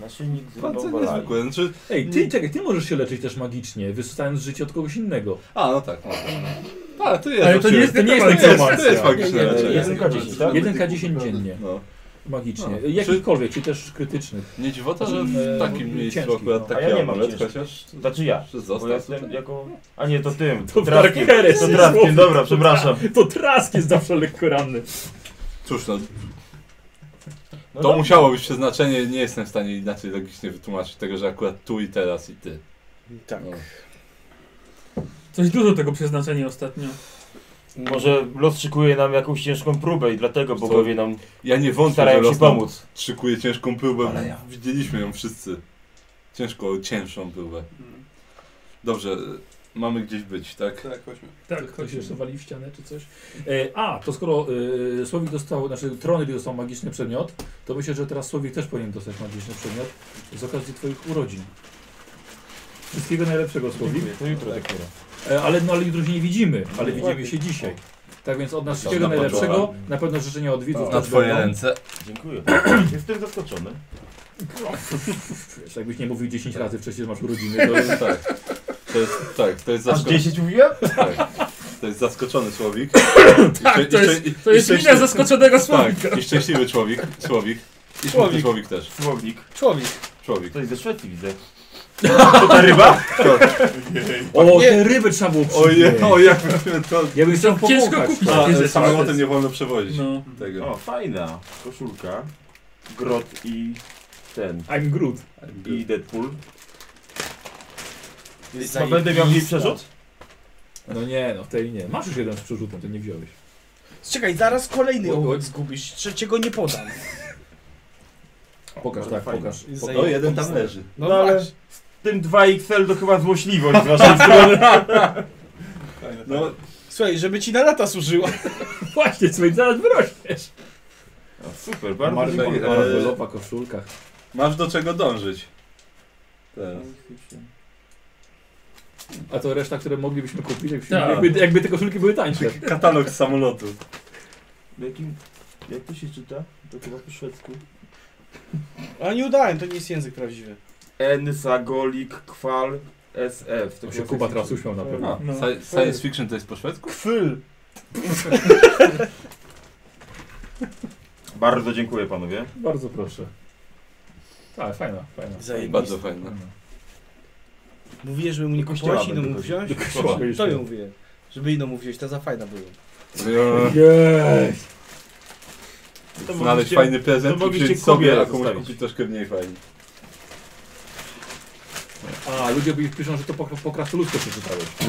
Speaker 8: Naszyjnik z
Speaker 2: bardzo
Speaker 8: rybą balami.
Speaker 2: niezwykłe. Znaczy,
Speaker 1: Ej, ty, czekaj, ty możesz się leczyć też magicznie, wysysając życie od kogoś innego.
Speaker 2: a, no tak. No, tak. A, to jest
Speaker 4: Ale to nie jest
Speaker 2: oczywiście-
Speaker 4: nekromancja.
Speaker 2: to jest, tak to jest
Speaker 8: Nie,
Speaker 2: magiczne
Speaker 8: nie,
Speaker 2: leczenie.
Speaker 8: jeden K10, tak?
Speaker 1: 1K10 dziennie,
Speaker 2: No.
Speaker 1: magicznie.
Speaker 2: No.
Speaker 1: Jakichkolwiek, czy też krytycznych.
Speaker 2: Nie dziwota, że w
Speaker 8: E,
Speaker 1: Eee,
Speaker 2: takim miejscu
Speaker 1: ciężki,
Speaker 2: akurat
Speaker 1: no.
Speaker 2: taki
Speaker 8: A ja nie mam
Speaker 2: amulet,
Speaker 8: ciężkich.
Speaker 2: chociaż...
Speaker 8: Znaczy ja.
Speaker 2: Że
Speaker 8: Bo ja
Speaker 2: został
Speaker 8: jestem
Speaker 2: tutaj.
Speaker 8: jako... A nie, to tym.
Speaker 1: To w Dark
Speaker 8: Draskiem.
Speaker 1: Heresy.
Speaker 8: To draskiem,
Speaker 1: słowo.
Speaker 8: dobra, przepraszam.
Speaker 1: To trask jest zawsze lekko ranny.
Speaker 2: Cóż, no,
Speaker 8: No
Speaker 2: to
Speaker 8: dobra.
Speaker 2: musiało być przeznaczenie, nie jestem w stanie inaczej logicznie wytłumaczyć tego, że akurat tu i teraz i ty.
Speaker 5: Tak.
Speaker 2: No.
Speaker 4: Coś dużo tego przeznaczenia ostatnio.
Speaker 8: Może los szykuje nam jakąś ciężką próbę i dlatego
Speaker 2: Co?
Speaker 8: bogowie nam
Speaker 2: Ja nie wątpię, że
Speaker 8: starają się
Speaker 2: los nam
Speaker 8: pomóc.
Speaker 2: szykuje ciężką próbę,
Speaker 8: Ale ja.
Speaker 2: widzieliśmy ją wszyscy. Ciężką, cięższą próbę.
Speaker 38: Mm,
Speaker 2: Dobrze, y, mamy gdzieś być, tak?
Speaker 38: Tak, chodźmy.
Speaker 4: Tak,
Speaker 1: Tak, ktoś jeszcze wali w ścianę czy coś. E, a, to skoro e, Słowik dostał, znaczy Tronyl dostał magiczny przedmiot, to myślę, że teraz Słowik też powinien dostać magiczny przedmiot z okazji Twoich urodzin. Wszystkiego najlepszego Słowik.
Speaker 8: To jutro tak dopiero.
Speaker 1: E, ale, no, ale jutro się nie widzimy, ale
Speaker 8: No,
Speaker 1: widzimy
Speaker 8: ładnie.
Speaker 1: się dzisiaj. Tak więc od nas
Speaker 2: To
Speaker 1: wszystkiego
Speaker 2: na
Speaker 1: najlepszego,
Speaker 2: poczora.
Speaker 1: na pewno życzenia od widzów.
Speaker 2: Na
Speaker 1: też
Speaker 2: twoje
Speaker 1: będą.
Speaker 2: ręce.
Speaker 8: Dziękuję. [clears throat] Jestem zaskoczony.
Speaker 1: Wiesz, jakbyś nie mówił 10 razy wcześniej, że masz urodziny,
Speaker 2: [laughs]
Speaker 1: to jest
Speaker 2: Tak. To jest, tak, to jest
Speaker 8: Aż
Speaker 2: zaskoczony.
Speaker 8: 10 mówiłem?
Speaker 2: Tak. To jest zaskoczony słowik. I
Speaker 4: Tak,
Speaker 2: szczę-
Speaker 4: to
Speaker 2: i szczę-
Speaker 4: jest,
Speaker 2: i-
Speaker 4: to
Speaker 2: i
Speaker 4: jest mina
Speaker 2: szczęśliwy-
Speaker 4: zaskoczonego słowika.
Speaker 2: Tak, i szczęśliwy człowiek. Słowik. I słowik. człowiek też.
Speaker 8: Słownik.
Speaker 5: Człowiek.
Speaker 2: Człowiek.
Speaker 8: Ktoś ze Szwecji widzę. To ta ryba?
Speaker 1: O, te ryby trzeba było
Speaker 2: Ojej,
Speaker 1: przyjąć.
Speaker 2: o jak myśmy to...
Speaker 1: Ja bym chciał
Speaker 4: Ciężko
Speaker 1: popłukać.
Speaker 4: kupić.
Speaker 2: A,
Speaker 4: takie
Speaker 2: ale
Speaker 4: rzeczy.
Speaker 2: samolotem nie wolno przewozić
Speaker 4: No.
Speaker 2: tego.
Speaker 8: O, fajna. Koszulka. Grot i ten.
Speaker 1: I'm Groot.
Speaker 8: I Deadpool.
Speaker 5: Zajebista.
Speaker 8: No, będę miał jej przerzut?
Speaker 1: No nie, no w tej nie. Masz już jeden z przerzutem, ty nie wziąłeś.
Speaker 5: Czekaj, zaraz kolejny
Speaker 1: Oj, oj.
Speaker 5: owoc zgubisz, trzeciego nie podam.
Speaker 1: Pokaż,
Speaker 8: no,
Speaker 1: tak,
Speaker 8: fajnie.
Speaker 1: pokaż. [laughs]
Speaker 2: O, jeden tam leży.
Speaker 8: No ale
Speaker 5: właśnie.
Speaker 8: z tym 2XL to chyba złośliwość z [laughs] waszej strony.
Speaker 2: No,
Speaker 5: Słuchaj, żeby ci na lata służyło.
Speaker 1: Właśnie, słuchaj, zaraz wyrośniesz.
Speaker 8: O, Super, bardzo
Speaker 2: Marta,
Speaker 8: dziękuję.
Speaker 2: e,
Speaker 1: Eee. Lopa, koszulkach.
Speaker 2: masz do czego dążyć. Tak. Teraz.
Speaker 1: A to reszta, które moglibyśmy kupić, jakbyśmy,
Speaker 4: Tak.
Speaker 1: jakby, jakby te koszulki były tańsze.
Speaker 2: Katalog z samolotu.
Speaker 8: Jakim, jak to się czyta? To chyba po szwedzku.
Speaker 5: Ale nie udałem, to nie jest język prawdziwy.
Speaker 8: Ensagolik kwal SF.
Speaker 1: To się
Speaker 8: chyba
Speaker 1: Kuba
Speaker 8: tak
Speaker 1: teraz
Speaker 8: czyta.
Speaker 1: uśmiał na pewno.
Speaker 2: A,
Speaker 4: No.
Speaker 2: sci- science fiction to jest po szwedzku?
Speaker 5: Kwyl.
Speaker 8: Bardzo dziękuję [laughs] panowie.
Speaker 1: Bardzo proszę. Tak, fajna, fajna.
Speaker 5: Zajebista.
Speaker 2: Bardzo fajne.
Speaker 5: Mówiłem, żeby mu nie
Speaker 8: Do
Speaker 5: kupować,
Speaker 8: kościoła
Speaker 5: inną mu
Speaker 8: będę
Speaker 5: wziąć.
Speaker 1: kościoła.
Speaker 5: To ją mówię. Żeby inną mu wziąć, ta za fajna była.
Speaker 2: Eee,
Speaker 1: Yes.
Speaker 8: To
Speaker 2: Znaleźć
Speaker 8: mogliście-
Speaker 2: fajny prezent
Speaker 8: to
Speaker 2: i
Speaker 8: mogliście
Speaker 2: wziąć sobie,
Speaker 8: Kubie
Speaker 2: a komuś
Speaker 8: zostawić.
Speaker 2: kupić troszkę mniej fajny.
Speaker 1: A, ludzie by- piszą, że to po, po krasnoludzku przeczytałeś.
Speaker 8: Tak.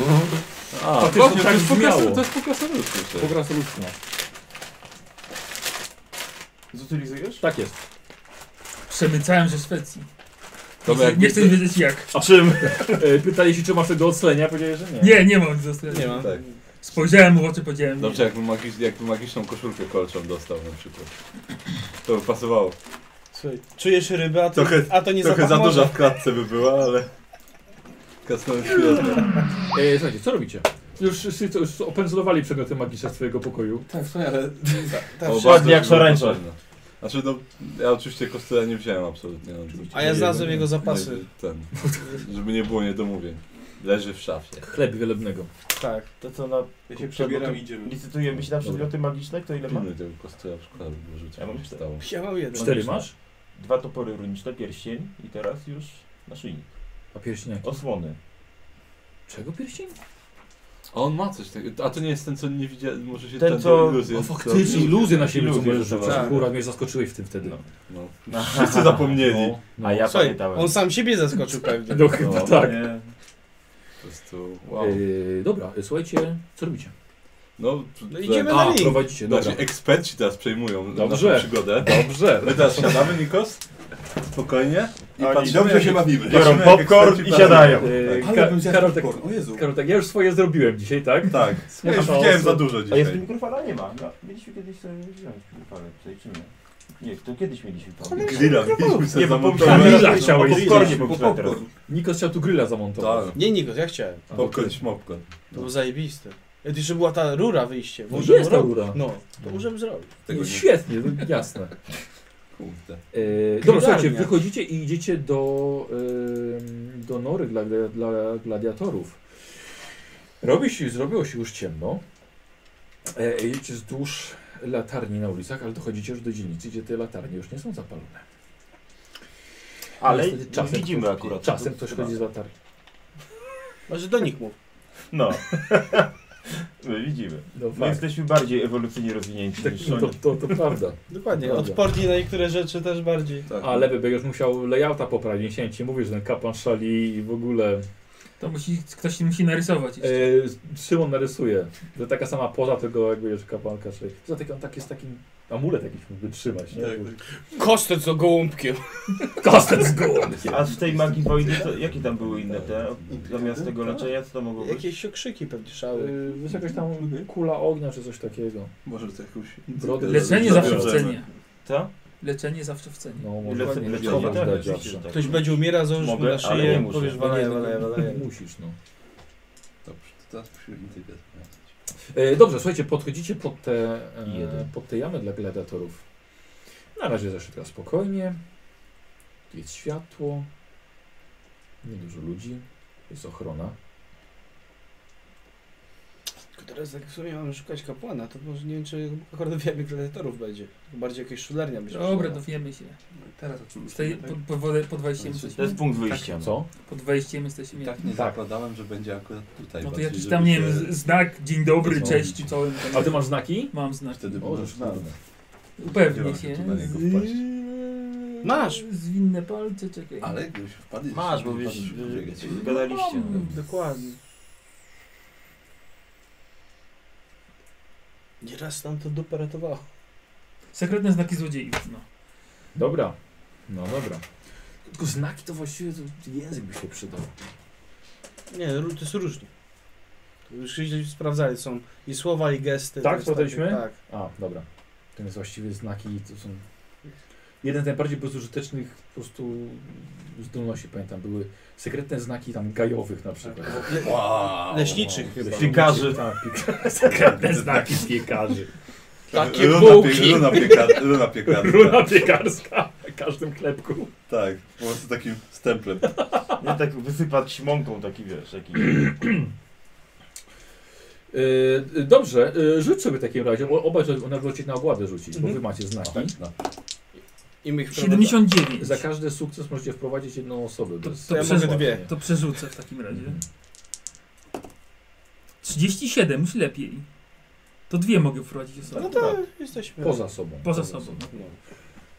Speaker 2: A,
Speaker 1: Faktycznie
Speaker 2: właśnie,
Speaker 1: tak
Speaker 2: to jest po
Speaker 1: brzmiało.
Speaker 2: krasu- to jest po krasnoludzku.
Speaker 1: Po
Speaker 2: przecież.
Speaker 1: krasnoludzku.
Speaker 8: Zutylizujesz?
Speaker 1: Tak jest.
Speaker 4: Przemycałem ze Szwecji.
Speaker 2: Dobra, jak
Speaker 4: nie chcę
Speaker 2: myślę-
Speaker 4: wiedzieć jak.
Speaker 1: A czym? E, pytali się, czy masz tego odslenia, powiedziałeś, że nie.
Speaker 4: Nie, nie mam zostawienia.
Speaker 5: ma.
Speaker 2: Tak.
Speaker 4: Spojrzałem mu w oczy, powiedziałem.
Speaker 2: Dobrze, jakby, magicz, jakby magiczną koszulkę kolczą dostał na przykład. To by pasowało.
Speaker 5: Słuchaj, czujesz rybę, a to,
Speaker 2: Trochę-
Speaker 5: a to nie
Speaker 2: Trochę
Speaker 5: zapach
Speaker 2: za
Speaker 5: morza.
Speaker 2: duża w klatce by była, ale... Kasnąłem chwilę.
Speaker 1: E, słuchajcie, co robicie? Już wszyscy to- już opędzlowali przedmioty magiczne z twojego pokoju.
Speaker 38: Tak, słuchaj, ale...
Speaker 5: [laughs] Tak,
Speaker 8: Ładnie jak szarańcza.
Speaker 2: Znaczy no, ja oczywiście kostela nie wziąłem absolutnie. No, to-
Speaker 5: A ja znalazłem jego zapasy.
Speaker 2: Nie, ten, żeby nie było niedomówień. Leży w szafie.
Speaker 1: Chleb wielebnego.
Speaker 8: Tak. To co na...
Speaker 38: Ja się
Speaker 8: Kurczę,
Speaker 38: przebieram
Speaker 8: bo
Speaker 38: i idziemy.
Speaker 8: Licytujemy się na przedmioty magiczne? Kto ile ma?
Speaker 2: Pilnuj tego kostela w szkole, bo rzucił.
Speaker 8: Ja mam
Speaker 2: mi
Speaker 8: cztery.
Speaker 2: stało.
Speaker 5: Ja mam jeden.
Speaker 1: Cztery masz?
Speaker 8: Dwa topory runiczne, pierścień i teraz już naszyjnik.
Speaker 1: A pierścień
Speaker 8: Osłony.
Speaker 1: Czego pierścień?
Speaker 2: A on ma coś takiego. A to nie jest ten, co nie widziałem. Może się
Speaker 8: Ten,
Speaker 2: ten,
Speaker 8: co-
Speaker 2: iluzję-
Speaker 1: O faktycznie, iluzję na siebie co
Speaker 8: Iluzję
Speaker 1: możesz rzucić.
Speaker 8: rzucałem.
Speaker 1: Akurat mnie zaskoczyłeś w tym wtedy.
Speaker 8: No.
Speaker 2: No. Wszyscy zapomnieli.
Speaker 1: No, no.
Speaker 8: A ja
Speaker 5: Słuchaj,
Speaker 8: pamiętałem.
Speaker 5: on sam siebie zaskoczył pewnie.
Speaker 1: No chyba
Speaker 2: No.
Speaker 1: tak.
Speaker 8: Nie.
Speaker 2: Po prostu, wow.
Speaker 1: Yy, dobra, y, słuchajcie, co robicie?
Speaker 2: No,
Speaker 5: No
Speaker 2: że-
Speaker 5: idziemy
Speaker 2: A,
Speaker 5: na link.
Speaker 1: Prowadzicie, dobra.
Speaker 2: Znaczy eksperci teraz przejmują
Speaker 1: Dobrze. [laughs]
Speaker 2: naszą przygodę.
Speaker 1: Dobrze.
Speaker 2: My teraz siadamy, Nikos? spokojnie i
Speaker 39: Oni
Speaker 2: patrzymy,
Speaker 39: dobrze
Speaker 2: jak-
Speaker 39: się bawimy.
Speaker 2: patrzymy,
Speaker 8: Biorą
Speaker 2: jak
Speaker 8: popcorn
Speaker 2: eksperci
Speaker 8: i siadają.
Speaker 2: planują.
Speaker 1: Yy,
Speaker 39: Ale
Speaker 1: Ka-
Speaker 39: bym zjadł
Speaker 1: Karol, tak,
Speaker 39: popcorn, o Jezu.
Speaker 1: Karol, tak, ja już swoje zrobiłem dzisiaj, tak?
Speaker 2: [laughs] Tak. Ja już widziałem za dużo
Speaker 8: A jest
Speaker 2: dzisiaj.
Speaker 8: mikrofala? Nie ma. No, mieliśmy kiedyś sobie wziąć mikrofalę, tutaj czy nie? Nie, to kiedyś mieliśmy to.
Speaker 2: Grilla mieliśmy sobie
Speaker 8: Nie, bo
Speaker 2: zamontować.
Speaker 8: pomyślałem, że
Speaker 1: chciałeś
Speaker 8: o popcornie
Speaker 39: Po
Speaker 8: pomyślałem teraz.
Speaker 39: popcorn.
Speaker 1: Nikos chciał tu grilla zamontować.
Speaker 2: Tak,
Speaker 5: Nie, Nikos, ja chciałem.
Speaker 1: A,
Speaker 2: popcorn,
Speaker 1: okej.
Speaker 2: śmopcorn.
Speaker 5: To było zajebiste. Jak jeszcze była ta rura wyjście.
Speaker 1: No
Speaker 5: Możemy
Speaker 1: jest ta
Speaker 5: robić.
Speaker 1: rura.
Speaker 5: No, to możemy zrobić.
Speaker 2: Tego
Speaker 1: No,
Speaker 2: nie-
Speaker 1: Świetnie, no, jasne.
Speaker 2: Kurde.
Speaker 1: Yy, dobra,
Speaker 5: Krygarnia.
Speaker 1: słuchajcie, wychodzicie i idziecie do, yy, do nory dla, dla, dla gladiatorów. Robi się, zrobiło się już ciemno. E, jedziecie wzdłuż latarni na ulicach, ale dochodzicie już do dzielnicy, gdzie te latarnie już nie są zapalone.
Speaker 8: Ale
Speaker 1: Niestety czasem
Speaker 8: widzimy akurat.
Speaker 1: Czasem ktoś chodzi z latarni.
Speaker 5: Może do nich mów.
Speaker 8: No. My widzimy.
Speaker 1: No,
Speaker 8: My
Speaker 1: fakt.
Speaker 8: jesteśmy bardziej ewolucyjnie rozwinięci
Speaker 1: Tak,
Speaker 8: niż
Speaker 1: no,
Speaker 8: oni.
Speaker 1: to, to, to prawda.
Speaker 5: Dokładnie,
Speaker 1: Dobra.
Speaker 5: odporni na niektóre rzeczy też bardziej.
Speaker 2: Tak.
Speaker 1: A lewy by już musiał layouta poprawić. Nie ci mówisz, że ten kapłan szali i w ogóle.
Speaker 4: To musi, ktoś musi narysować. jeszcze.
Speaker 1: E, Szymon narysuje. To taka sama poza tego, jakby już kapłanka szali. Za taki, on tak jest takim amulet jakiś mógłby trzymać, nie?
Speaker 5: Kostet z gołąbkiem.
Speaker 1: Kostet z
Speaker 2: [laughs]
Speaker 1: góry.
Speaker 8: Tak. A z tej magii wojny, to, jakie tam były inne te? Zamiast tego leczenia, co to mogło być?
Speaker 5: Jakieś okrzyki pewnie szały.
Speaker 1: Y, Wiesz, jakaś tam kula ognia czy coś takiego.
Speaker 39: Może to jakąś...
Speaker 1: Brody-
Speaker 4: Leczenie zawsze w cenie.
Speaker 8: Co?
Speaker 4: Zawsze zawsze w cenie.
Speaker 1: No, może
Speaker 8: Lece,
Speaker 1: nie
Speaker 8: leczenie,
Speaker 1: schować
Speaker 8: tak,
Speaker 1: dać
Speaker 8: oczywiście,
Speaker 1: zawsze.
Speaker 8: że tak.
Speaker 5: Ktoś będzie umierał, założysz mu
Speaker 8: Mogę,
Speaker 5: na
Speaker 8: ale nie
Speaker 5: szyję i
Speaker 8: muszę.
Speaker 5: powiesz
Speaker 1: Nie,
Speaker 5: walaję,
Speaker 1: no,
Speaker 5: walaję, walaję.
Speaker 1: Musisz, no.
Speaker 2: Dobrze, to teraz musimy integrać.
Speaker 1: E, dobrze, słuchajcie, podchodzicie pod te, e,
Speaker 8: Jeden.
Speaker 1: pod te jamy dla gladiatorów. Na razie zeszli teraz spokojnie. Jest światło. Nie dużo ludzi. Jest ochrona.
Speaker 5: Tylko teraz tak w sumie mamy szukać kapłana, to może nie wiem, czy akurat wiemy, gladiatorów będzie. Bardziej jakaś szulernia będzie.
Speaker 4: Dobra,
Speaker 5: potrzebna.
Speaker 4: dowiemy się.
Speaker 2: No
Speaker 39: Teraz o czym
Speaker 4: Z tej,
Speaker 39: myślimy, tak?
Speaker 4: po, po, wodę- pod wejściem
Speaker 8: To
Speaker 4: jesteśmy.
Speaker 8: jest punkt wyjścia.
Speaker 1: Co?
Speaker 4: Pod wejściem jesteśmy.
Speaker 2: Tak nie
Speaker 1: Tak.
Speaker 2: zakładałem, że będzie akurat tutaj.
Speaker 4: No to
Speaker 2: bardziej,
Speaker 4: jakiś
Speaker 2: żeby
Speaker 4: tam, nie
Speaker 2: się-
Speaker 4: wiem, z- znak, dzień dobry,
Speaker 1: Co?
Speaker 4: cześć czy co. tam-
Speaker 1: A ty masz znaki?
Speaker 4: Mam znak.
Speaker 2: Wtedy
Speaker 1: O,
Speaker 2: możesz nawet.
Speaker 4: Upewnię
Speaker 2: Działam
Speaker 4: się.
Speaker 2: tu na niego
Speaker 4: Z-
Speaker 2: wpaść.
Speaker 5: Masz!
Speaker 4: Zwinne palce, czekaj.
Speaker 2: Ale gdybyś wpadł...
Speaker 8: Masz, bo wiesz, y, gadaliście.
Speaker 4: Hmm.
Speaker 5: Dokładnie. Nieraz nam to dupę ratowało.
Speaker 4: Sekretne znaki złodziejów, no.
Speaker 1: Dobra. No dobra. Tylko znaki to właściwie to język by się przydał.
Speaker 5: Nie, ró- to jest różnie. To Już kiedyś sprawdzali, są i słowa, i gesty.
Speaker 1: Tak,
Speaker 5: to jest
Speaker 1: sprawdzaliśmy?
Speaker 5: takie- Tak.
Speaker 1: A, dobra. To jest właściwie znaki, to są... Jeden z najbardziej bezużytecznych po prostu zdolności, pamiętam, były sekretne znaki tam gajowych na przykład.
Speaker 5: Le-
Speaker 2: Wow.
Speaker 5: leśniczych chyba.
Speaker 8: Piekarzy.
Speaker 1: Tak, piek- sekretne znaki z piekarzy.
Speaker 5: Takie
Speaker 2: runa,
Speaker 5: bułki.
Speaker 2: pie, runa, pieka, runa piekarska.
Speaker 1: [laughs] Runa piekarska w każdym klepku.
Speaker 2: Tak, po prostu takim stemplem.
Speaker 8: Nie tak wysypać mąką taki, wiesz, [clears throat] taki...
Speaker 1: Yy, dobrze, yy, rzuć sobie w takim razie, o- obaj sobie na wrócić na ogładę rzucić, bo
Speaker 5: Mhm.
Speaker 1: wy macie znaki.
Speaker 2: no.
Speaker 5: I my ich wprowadzamy.
Speaker 4: 79.
Speaker 1: Za każdy sukces możecie wprowadzić jedną osobę.
Speaker 4: To-
Speaker 1: bez-
Speaker 4: to
Speaker 5: ja
Speaker 1: bez
Speaker 5: mogę
Speaker 1: płatnie.
Speaker 5: dwie.
Speaker 4: To przerzucę w takim razie.
Speaker 1: Mhm.
Speaker 4: 37, już lepiej. To dwie mogę wprowadzić
Speaker 5: No
Speaker 4: osoby.
Speaker 5: to jesteśmy.
Speaker 1: Poza sobą.
Speaker 4: Poza sobą.
Speaker 5: No.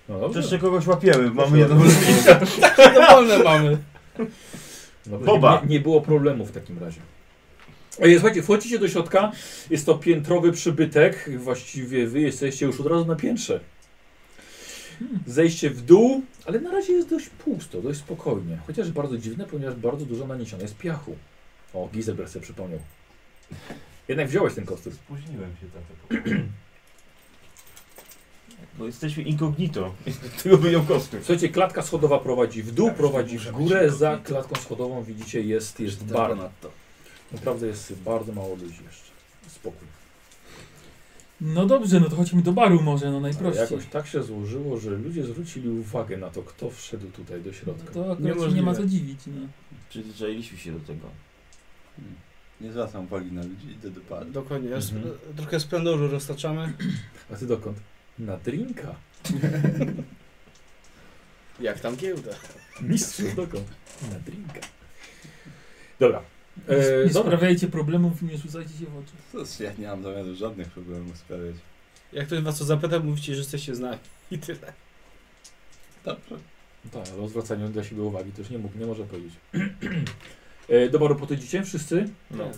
Speaker 1: No dobrze.
Speaker 8: Jeszcze kogoś łapiemy, mamy jedną ludzki.
Speaker 5: [laughs] To No, wolne mamy.
Speaker 1: Dobrze,
Speaker 8: Boba.
Speaker 1: No, Nie, nie było problemu w takim razie. E, Słuchajcie, wchodzicie do środka, jest to piętrowy przybytek, właściwie wy jesteście już od razu na piętrze.
Speaker 2: Hmm.
Speaker 1: Zejście w dół, ale na razie jest dość pusto, dość spokojnie. Chociaż bardzo dziwne, ponieważ bardzo dużo naniesione jest piachu. O, Gizelberg sobie przypomniał. Jednak wziąłeś ten kostium.
Speaker 8: Spóźniłem się tak. Bo jesteśmy incognito. [laughs] Tego wyjął kostium.
Speaker 1: Słuchajcie, klatka schodowa prowadzi w dół,
Speaker 2: Tak,
Speaker 1: prowadzi w
Speaker 2: muszę
Speaker 1: górę,
Speaker 2: być
Speaker 1: za klatką schodową widzicie jest, jest
Speaker 2: Też
Speaker 1: bar.
Speaker 2: ponadto.
Speaker 1: Naprawdę jest bardzo mało ludzi jeszcze. Spokój.
Speaker 4: No dobrze, no to chodźmy do baru może, no
Speaker 1: Ale
Speaker 4: najprościej.
Speaker 1: jakoś tak się złożyło, że ludzie zwrócili uwagę na to, kto wszedł tutaj do
Speaker 4: No
Speaker 1: środka.
Speaker 4: to akurat się nie
Speaker 5: Niemożliwe.
Speaker 4: ma co dziwić, no.
Speaker 8: Przyzwyczailiśmy się do tego.
Speaker 2: Nie zwracam uwagi na ludzi, idę do baru.
Speaker 5: Dokładnie. Raz-
Speaker 1: Mhm.
Speaker 5: Trochę splendoru roztaczamy.
Speaker 1: A ty dokąd? Na drinka.
Speaker 5: Jak tam giełda.
Speaker 1: Mistrz, dokąd? Na drinka. Dobra.
Speaker 4: Nie,
Speaker 1: E,
Speaker 4: nie
Speaker 1: dobra.
Speaker 4: sprawiajcie problemów i nie rzucajcie się w oczy.
Speaker 2: To jest- Ja nie mam zamiaru żadnych problemów sprawiać.
Speaker 5: Jak ktoś was o zapyta, mówicie, że jesteście znani. I tyle.
Speaker 2: Dobrze.
Speaker 1: Tak, ale o zwracaniu dla siebie uwagi też nie mógł, [clears throat]
Speaker 4: No.
Speaker 1: nie może powiedzieć. E, do baru podchodzicie wszyscy?
Speaker 8: No.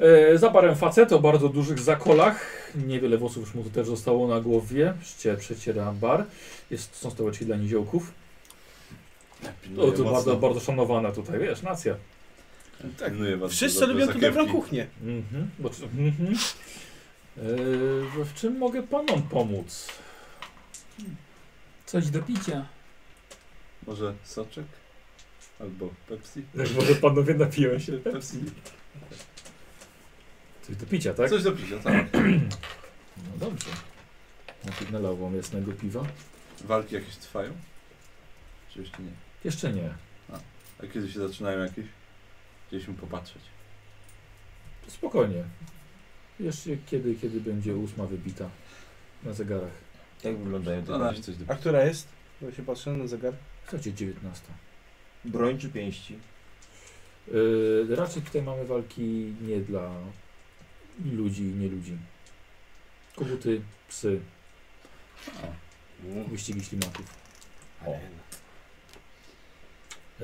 Speaker 1: E, za parę facet o bardzo dużych zakolach. Niewiele włosów już mu tu też zostało na głowie. Szcie przeciera bar. Jest, są stołeczki dla niziołków.
Speaker 2: No
Speaker 1: O, to bardzo, bardzo szanowana tutaj, wiesz, nacja.
Speaker 2: tak. pilnuję was
Speaker 5: Wszyscy
Speaker 2: za te
Speaker 5: lubią tu dobrą
Speaker 2: zakiewki.
Speaker 5: kuchnię.
Speaker 1: Mhm. Bo, czy- mhm. E, w czym mogę panom pomóc?
Speaker 4: Coś do picia.
Speaker 2: Może soczek? Albo Pepsi?
Speaker 1: Może panowie napiją się. tak?
Speaker 2: Pepsi.
Speaker 1: Coś do picia, tak?
Speaker 2: Coś do picia, tak.
Speaker 1: No dobrze. Najpierw nalał wam jasnego piwa.
Speaker 2: Walki jakieś trwają? Czy jeszcze nie?
Speaker 1: Jeszcze nie.
Speaker 2: A kiedy się zaczynają jakieś? Chcieliśmy popatrzeć.
Speaker 1: Spokojnie. Jeszcze kiedy, kiedy będzie ósma wybita na zegarach.
Speaker 8: Jak wyglądają
Speaker 2: To
Speaker 8: te
Speaker 2: na
Speaker 8: broń?
Speaker 2: razie coś do
Speaker 5: A która jest? Bo się patrzę na zegar.
Speaker 1: Słuchajcie, 19.
Speaker 8: broń czy pięści?
Speaker 1: Yy, raczej tutaj mamy walki nie dla ludzi i nie ludzi. Koguty, psy, wyścigi ślimaków.
Speaker 8: O.
Speaker 1: Yy,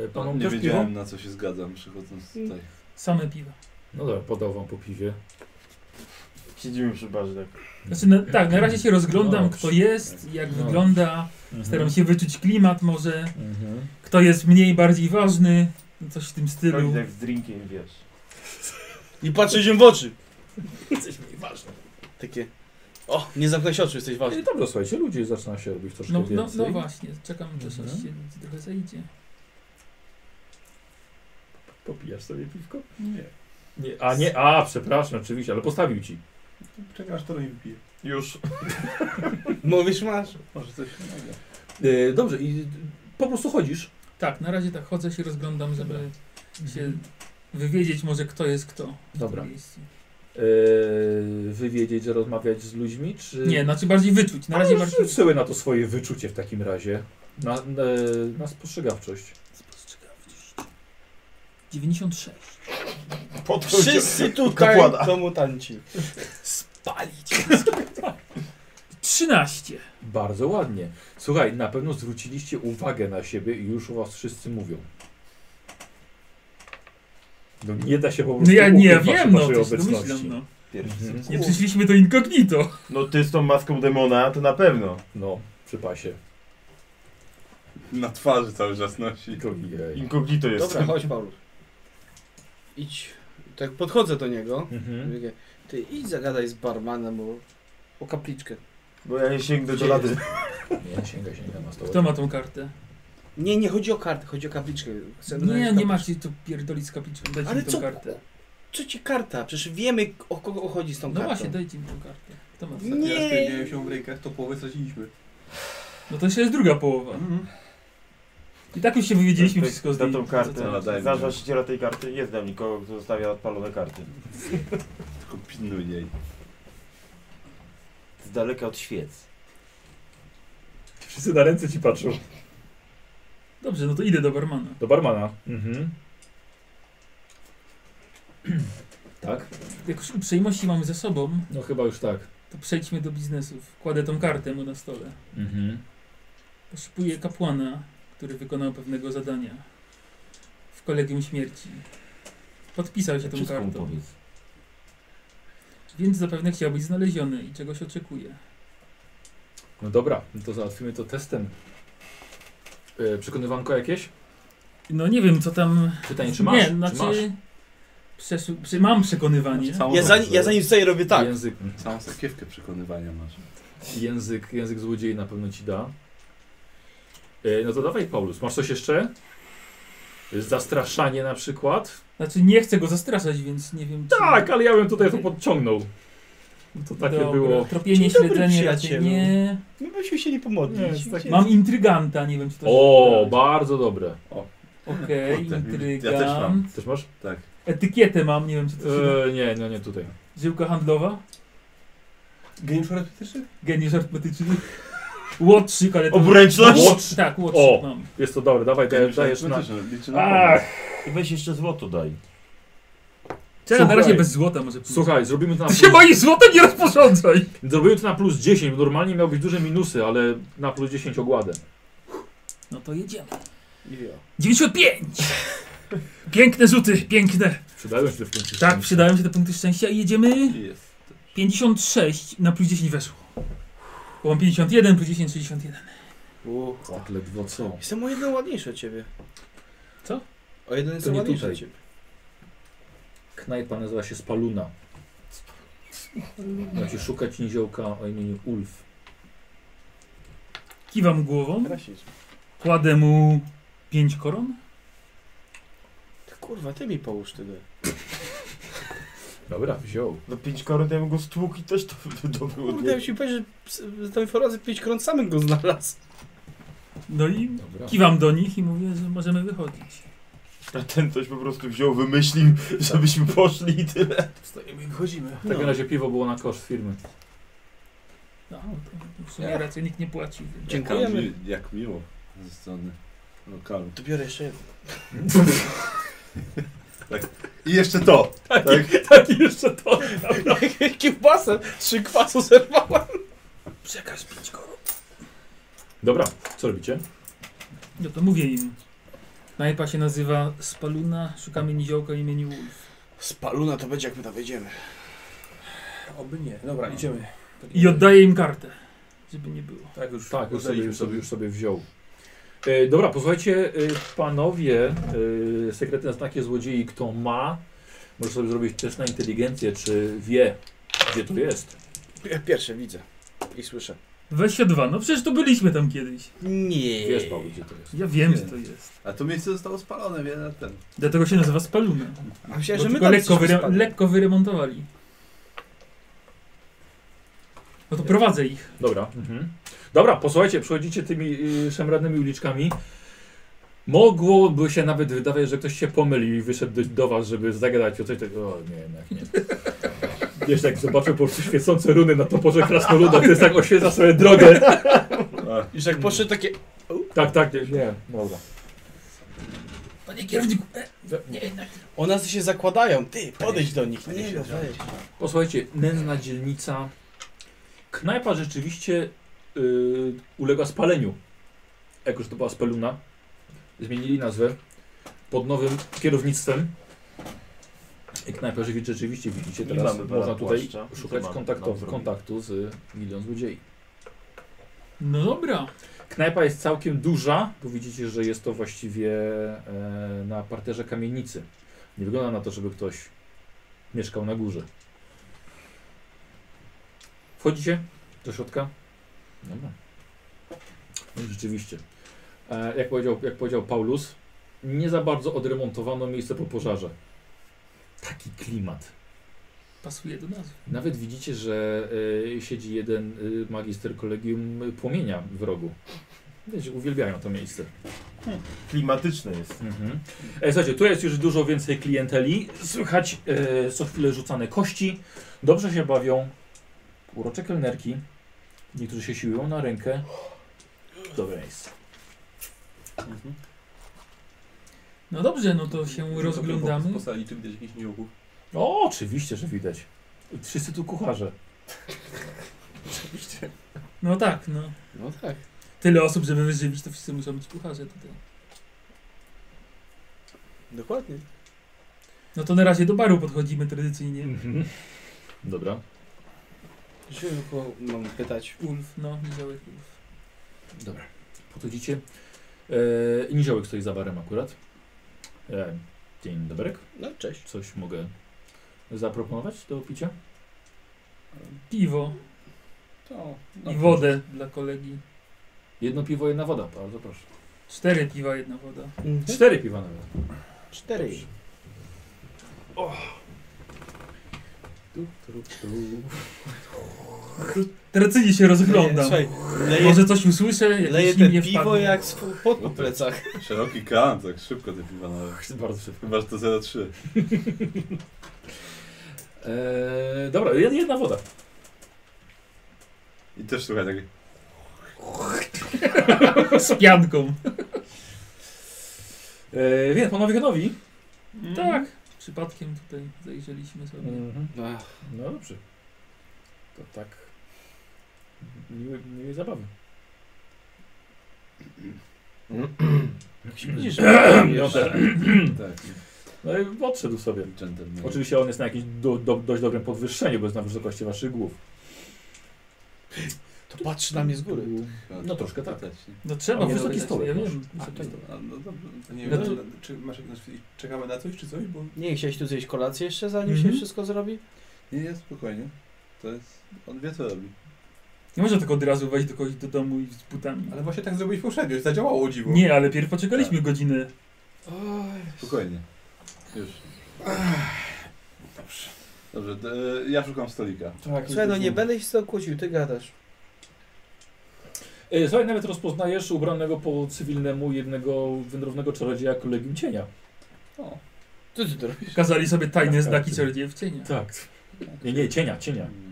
Speaker 2: No,
Speaker 1: panom
Speaker 2: nie
Speaker 1: też piwo?
Speaker 2: wiedziałem na co się zgadzam przychodząc tutaj.
Speaker 4: Same piwa.
Speaker 1: No dobra, podał wam po piwie.
Speaker 8: Siedzimy przy barze tak.
Speaker 4: Znaczy, na, tak, na razie się rozglądam,
Speaker 1: No,
Speaker 4: kto jest, jak
Speaker 1: No.
Speaker 4: wygląda.
Speaker 1: Mhm.
Speaker 4: Staram się wyczuć klimat może.
Speaker 1: Mhm.
Speaker 4: Kto jest mniej, bardziej ważny. No Coś w tym stylu.
Speaker 8: Chodzi tak z drinkiem, wiesz.
Speaker 5: I patrzę się w oczy.
Speaker 1: Jesteś mniej ważny.
Speaker 5: Takie. O, nie zamknąć oczu, jesteś ważny.
Speaker 1: Yy, dobra, słuchajcie, ludzi zaczyna się robić troszkę
Speaker 4: No, no,
Speaker 1: więcej.
Speaker 4: no właśnie, czekam, że coś
Speaker 1: Mhm.
Speaker 4: się trochę zejdzie.
Speaker 1: Popijasz sobie piwko?
Speaker 36: Nie.
Speaker 1: Nie, a nie, a przepraszam, oczywiście, ale postawił ci.
Speaker 36: Czekam aż to nie wypije.
Speaker 8: Już.
Speaker 5: Mówisz masz.
Speaker 36: Może coś się nagra.
Speaker 1: Yy, dobrze, i po prostu chodzisz.
Speaker 4: Tak, na razie tak chodzę się rozglądam, żeby się wywiedzieć może kto jest kto. w tym
Speaker 1: Dobra.
Speaker 4: miejscu.
Speaker 1: Yy, e, wywiedzieć, że rozmawiać z ludźmi, czy...
Speaker 4: Nie, znaczy bardziej wyczuć. Na razie bardziej
Speaker 1: Rzuć sobie na to swoje wyczucie w takim razie. Na, e, na spostrzegawczość.
Speaker 4: Spostrzegawczość. 96.
Speaker 5: Wszyscy tutaj
Speaker 8: Kapłana.
Speaker 5: to mutanci.
Speaker 4: Spalić. 13.
Speaker 1: Bardzo ładnie. Słuchaj, na pewno zwróciliście uwagę na siebie i już o was wszyscy mówią. No nie da się po
Speaker 4: No
Speaker 1: prostu
Speaker 4: ja nie
Speaker 1: ukryć
Speaker 4: wiem, no
Speaker 1: waszej
Speaker 4: to się
Speaker 1: obecności.
Speaker 4: domyślam, no.
Speaker 8: Pierwszy.
Speaker 1: Mhm.
Speaker 4: Nie przyszliśmy do incognito.
Speaker 8: No ty z tą maską demona, to na pewno.
Speaker 1: No, przy pasie.
Speaker 2: Na twarzy cały czas nosi.
Speaker 1: Ojej.
Speaker 8: Inkognito jest.
Speaker 5: Dobra, chodź Paulus. Idź. Tak podchodzę do niego.
Speaker 4: Hmm?
Speaker 1: Mhm.
Speaker 5: Mówię, Ty idź zagadaj z barmanem o, o kapliczkę.
Speaker 8: Bo ja nie sięgnę do
Speaker 1: Gdzie
Speaker 8: lady.
Speaker 1: Nie, sięga, sięga na stołek.
Speaker 4: Kto ma tą kartę?
Speaker 5: Nie, nie chodzi o kartę, chodzi o kapliczkę. Chcę znaleźć
Speaker 4: Nie, nie
Speaker 5: kapliczkę.
Speaker 4: macie tu pierdolić z kapliczką, dajcie
Speaker 5: Ale
Speaker 4: mi tą
Speaker 5: co?
Speaker 4: kartę.
Speaker 5: Co ci karta? Przecież wiemy o kogo chodzi z tą
Speaker 4: No
Speaker 5: kartą.
Speaker 4: właśnie, dajcie mi tą kartę. Kto ma
Speaker 5: Nie.
Speaker 4: tą?
Speaker 36: Ostatni raz, kiedy miałem się w rękach, to połowę straciliśmy.
Speaker 4: No to jeszcze jest druga połowa.
Speaker 36: Mhm.
Speaker 4: I tak już się wywiedzieliśmy
Speaker 8: Ktoś
Speaker 4: wszystko z
Speaker 8: da
Speaker 4: jej-
Speaker 8: tą
Speaker 4: co-
Speaker 8: kartę.
Speaker 2: Ale daj
Speaker 8: Znasz
Speaker 2: mi.
Speaker 8: właściciela tej karty? Nie znam nikogo, kto zostawia odpalone karty.
Speaker 2: Tylko pilnuj jej.
Speaker 8: Z daleka od świec.
Speaker 1: Wszyscy na ręce ci patrzą.
Speaker 4: Dobrze, no to idę do barmana.
Speaker 1: Do barmana. Mhm. [clears throat] tak?
Speaker 4: Jak już uprzejmości mamy ze sobą,
Speaker 1: No chyba już tak.
Speaker 4: to przejdźmy do biznesów. Kładę tą kartę mu na stole.
Speaker 1: Mhm.
Speaker 4: Poszukuję kapłana, który wykonał pewnego zadania w kolegium śmierci. Podpisał się tą
Speaker 8: Wszystko mu
Speaker 4: kartą,
Speaker 8: powiedz.
Speaker 4: więc zapewne chciał być znaleziony i czegoś oczekuje.
Speaker 1: No dobra, no to załatwimy to testem. E, przekonywanko jakieś?
Speaker 4: No nie wiem, co tam.
Speaker 1: Pytanie, czy masz?
Speaker 4: Nie, znaczy.
Speaker 1: czy masz?
Speaker 4: Przeszu- przy- mam przekonywanie.
Speaker 1: Znaczy, całą
Speaker 5: Ja za,
Speaker 1: tą-
Speaker 5: ja za nim tutaj robię tak.
Speaker 1: Język,
Speaker 2: Całą sakiewkę przekonywania masz.
Speaker 1: język, język złodziei na pewno ci da. E, no to dawaj, Paulus. Masz coś jeszcze? Zastraszanie na przykład?
Speaker 4: Znaczy, nie chcę go zastraszać, więc nie wiem. Czy...
Speaker 1: Tak, ale ja bym tutaj to podciągnął. No to takie
Speaker 4: Dobra,
Speaker 1: było.
Speaker 4: Tropienie,
Speaker 5: Dzień dobry,
Speaker 4: śledzenie raczej
Speaker 5: przyjacielu.
Speaker 4: nie.
Speaker 5: My byśmy chcieli pomodlić.
Speaker 1: Nie, tak-
Speaker 4: Mam intryganta, nie wiem, czy to
Speaker 1: O, bardzo dobre.
Speaker 4: Okej,
Speaker 2: Ja też
Speaker 4: intrygant.
Speaker 1: Też masz?
Speaker 2: Tak.
Speaker 4: Etykietę mam, nie wiem, czy to się da.
Speaker 1: E, nie, no nie tutaj.
Speaker 4: Żyłka handlowa?
Speaker 36: Geniusz artystyczny?
Speaker 4: Geniusz artystyczny? Łotrzyk, ale to...
Speaker 8: Obręczność?
Speaker 4: Łotrz, tak, łotrzyk
Speaker 1: O.
Speaker 4: mam.
Speaker 1: Jest to dobre, dawaj, daj, dajesz na...
Speaker 2: Liczę na
Speaker 1: Ach,
Speaker 2: pomoc.
Speaker 8: I weź jeszcze złoto daj.
Speaker 4: Czekaj, na
Speaker 1: Słuchaj.
Speaker 4: razie bez złota może pójść.
Speaker 1: Słuchaj, zrobimy to na
Speaker 4: Ty się moim złotem nie rozporządzaj!
Speaker 1: Zrobiłem to na plus 10, bo normalnie miał być duże minusy, ale na plus 10 ogładę.
Speaker 4: No to jedziemy.
Speaker 5: Nie wiem.
Speaker 4: 95! Piękne rzuty, piękne.
Speaker 1: Przydają się te punkty
Speaker 4: Tak,
Speaker 1: szczęścia.
Speaker 4: przydają się te punkty szczęścia i jedziemy
Speaker 2: Jest.
Speaker 4: 56 na plus 10 weszło. Bo mam 51, plus 10, 61.
Speaker 5: U.
Speaker 1: Tak, ledwo co.
Speaker 5: Jestem o jeden ładniejszy od ciebie.
Speaker 4: Co?
Speaker 5: O jeden jestem
Speaker 1: nie
Speaker 5: ładniejszy
Speaker 1: tutaj.
Speaker 5: od ciebie.
Speaker 1: Knajpa nazywa się Spaluna. Macie szukać niziołka o imieniu Ulf.
Speaker 4: Kiwam głową,
Speaker 5: Rasizm.
Speaker 4: kładę mu 5 koron.
Speaker 5: Ty kurwa, ty mi połóż tyle.
Speaker 13: Dobra, wziął.
Speaker 8: No pięć koron, to ja bym go stłukł i też to wydobył.
Speaker 5: Kurde, ja No, ci powiedzieć, że ps- z tą informacją 5 kron samym go znalazł.
Speaker 4: No i
Speaker 13: Dobra.
Speaker 4: kiwam do nich i mówię, że możemy wychodzić.
Speaker 8: A ten coś po prostu wziął, wymyślił, żebyśmy poszli i tyle.
Speaker 6: Wstajemy i wychodzimy.
Speaker 1: W
Speaker 5: No.
Speaker 1: takim Tak razie piwo było na koszt firmy.
Speaker 4: No, to w sumie rację, nikt nie płaci. więc-
Speaker 2: Jak,
Speaker 5: Dziękujemy.
Speaker 2: mi- jak miło ze strony lokalu.
Speaker 5: To biorę jeszcze jeden.
Speaker 2: I jeszcze to! Tak?
Speaker 4: Tak, jeszcze
Speaker 5: [laughs]
Speaker 4: to.
Speaker 5: Kiełbasę! Trzy kwasu zerwałem!
Speaker 4: Przekaż 5 koron.
Speaker 1: Dobra, co robicie?
Speaker 4: No to mówię im. Knajpa się nazywa Spaluna, szukamy niziołka o imieniu Wolf.
Speaker 5: Spaluna to będzie jak my tam wejdziemy. No.
Speaker 6: Oby nie. Dobra, idziemy.
Speaker 4: I oddaję im kartę, żeby nie było.
Speaker 6: Tak, już,
Speaker 1: Tak, już sobie,
Speaker 6: oddaliśmy
Speaker 1: już sobie, już sobie wziął. E, dobra, posłuchajcie, e, panowie, e, sekretne znaki złodziei, kto ma, może sobie zrobić test na inteligencję, czy wie, gdzie to jest.
Speaker 5: Ja pierwsze widzę i słyszę.
Speaker 4: 22, no przecież to byliśmy tam kiedyś.
Speaker 5: Nie.
Speaker 1: Wiesz, Paweł, gdzie to jest.
Speaker 4: Ja wiem,
Speaker 2: Nie.
Speaker 4: że to jest.
Speaker 2: A to miejsce zostało spalone wiele lat temu.
Speaker 4: Dlatego się nazywa Spaluna.
Speaker 5: A myślałem,
Speaker 4: Bo
Speaker 5: że my
Speaker 4: tylko
Speaker 5: tam
Speaker 4: lekko,
Speaker 5: jesteśmy
Speaker 4: wyre
Speaker 5: spadli.
Speaker 4: lekko wyremontowali. No to prowadzę ich.
Speaker 1: Dobra. Mhm. Dobra, posłuchajcie, przechodzicie tymi y, szemradnymi uliczkami. Mogłoby się nawet wydawać, że ktoś się pomylił i wyszedł do, do was, żeby zagadać o coś takiego. O, nie, jednak nie. Wiesz, jak zobaczę po prostu świecące runy na toporze krasnoluda, to jest tak oświeca sobie drogę.
Speaker 5: Już jak poszedł takie...
Speaker 1: Tak, tak, nie, nie. Dobra.
Speaker 4: Panie kierowniku, e, nie, jednak.
Speaker 5: O nas się zakładają. Ty, podejdź do nich. Nie, no weź.
Speaker 1: Posłuchajcie, nędzna dzielnica. Knajpa rzeczywiście y, uległa spaleniu. Jak już to była speluna. Zmienili nazwę. Pod nowym kierownictwem. I knajpa rzewi- rzeczywiście widzicie
Speaker 8: Nie
Speaker 1: teraz.
Speaker 8: mamy pana
Speaker 1: Można tutaj
Speaker 8: płaszcza. Co
Speaker 1: szukać
Speaker 8: mamy no,
Speaker 1: kontaktu,
Speaker 8: nam zrobić?
Speaker 1: kontaktu z milion złodziei.
Speaker 4: No dobra.
Speaker 1: Knajpa jest całkiem duża, bo widzicie, że jest to właściwie e, na parterze kamienicy. Nie wygląda na to, żeby ktoś mieszkał na górze. Wchodzicie do środka? Dobra. No i rzeczywiście. E, jak, powiedział, jak powiedział Paulus, nie za bardzo odremontowano miejsce po pożarze. Taki klimat.
Speaker 4: Pasuje do nazwy.
Speaker 1: Nawet widzicie, że y, siedzi jeden y, magister kolegium e, płomienia w rogu. Wiecie, uwielbiają to miejsce.
Speaker 8: Klimatyczne jest.
Speaker 1: E, słuchajcie, tu jest już dużo więcej klienteli. Słychać e, co chwilę rzucane kości. Dobrze się bawią urocze kelnerki. Niektórzy się siłują na rękę. Dobre miejsce.
Speaker 2: Mhm.
Speaker 4: No dobrze, no to się rozglądamy.
Speaker 36: Po sali, czy widać jakichś niołków?
Speaker 1: O, oczywiście, że widać. Wszyscy tu kucharze.
Speaker 36: Oczywiście.
Speaker 4: No tak, no.
Speaker 5: No tak.
Speaker 4: Tyle osób, żeby wyżywić, to wszyscy muszą być kucharze tutaj.
Speaker 5: Dokładnie.
Speaker 4: No to na razie do baru podchodzimy tradycyjnie.
Speaker 1: Mhm. Dobra.
Speaker 5: Się tylko mam pytać.
Speaker 4: Ulf, no, niziołek Ulf.
Speaker 1: Dobra. Podchodzicie. E, Niziołek stoi za barem akurat. E, dzień dobry.
Speaker 5: No cześć.
Speaker 1: Coś mogę zaproponować do picia?
Speaker 4: Piwo
Speaker 6: To.
Speaker 5: No. Tak.
Speaker 4: i wodę dla kolegi.
Speaker 1: Jedno piwo, jedna woda, bardzo proszę.
Speaker 4: Cztery piwa, jedna woda.
Speaker 1: Cztery piwa nawet.
Speaker 5: Mhm. Cztery.
Speaker 1: Tu, tu, tu.
Speaker 4: Tradycyjnie się rozglądam.
Speaker 5: Słuchaj, leje,
Speaker 4: Może coś usłyszę,
Speaker 5: leje
Speaker 4: jakieś
Speaker 5: te
Speaker 4: imię
Speaker 5: piwo
Speaker 4: wpadnie.
Speaker 5: jak z pod po plecach.
Speaker 2: Szeroki kran, tak szybko te piwa nawet.
Speaker 1: Bardzo szybko.
Speaker 2: Chyba, że to 03.
Speaker 1: E, dobra, jed- jedna woda.
Speaker 2: I też słuchaj tak- takie...
Speaker 4: Z pianką.
Speaker 1: E, więc panowie gotowi?
Speaker 5: Mm.
Speaker 4: Tak. Przypadkiem tutaj zajrzeliśmy sobie.
Speaker 1: Mm. No dobrze. To tak. Miłej, miłej zabawy.
Speaker 5: Widzisz,
Speaker 1: No,
Speaker 5: że
Speaker 2: [clears throat]
Speaker 5: [clears throat]
Speaker 1: tak.
Speaker 2: Tak.
Speaker 1: No i odszedł sobie.
Speaker 2: Gentleman.
Speaker 1: Oczywiście on jest na jakimś do, do, dość dobrym podwyższeniu, bo jest na wysokości waszych głów.
Speaker 5: To patrzy na mnie z góry.
Speaker 1: No troszkę tak.
Speaker 4: No trzeba
Speaker 1: A nie, wysoki
Speaker 4: wydać,
Speaker 1: stołek
Speaker 4: Ja
Speaker 1: masz.
Speaker 4: wiem,
Speaker 1: A,
Speaker 4: wysoki
Speaker 1: to-
Speaker 4: stołek.
Speaker 6: A, no dobra, to nie
Speaker 4: No
Speaker 2: Znaczy-
Speaker 6: wiem,
Speaker 4: to-
Speaker 6: czy masz jakąś... Czekamy na coś, czy coś? Bo
Speaker 5: Nie, chciałeś tu zjeść kolację jeszcze, zanim
Speaker 4: Mhm.
Speaker 5: się wszystko zrobi?
Speaker 2: Nie, nie, spokojnie. To jest... On wie co robi.
Speaker 4: Nie można tylko od razu wejść do kogoś do domu i z butami.
Speaker 6: Ale właśnie tak zrobiłeś poprzednio, i zadziałało o dziwo.
Speaker 4: Nie, ale pierw poczekaliśmy
Speaker 1: Tak.
Speaker 4: godziny.
Speaker 2: Spokojnie. Już. Dobrze. Dobrze, d- ja szukam stolika.
Speaker 6: Tak,
Speaker 5: Słuchaj, no nie będę się z tobą kłócił, ty gadasz.
Speaker 1: E, Słuchaj, nawet rozpoznajesz ubranego po cywilnemu jednego wędrownego czarodzieja kolegium cienia.
Speaker 5: Co ty to robisz?
Speaker 4: Kazali sobie tajne
Speaker 1: Tak,
Speaker 4: znaki
Speaker 1: tak.
Speaker 4: czarodzieje w cieniu.
Speaker 1: Tak. Nie, nie, cienia, cienia.
Speaker 2: Hmm.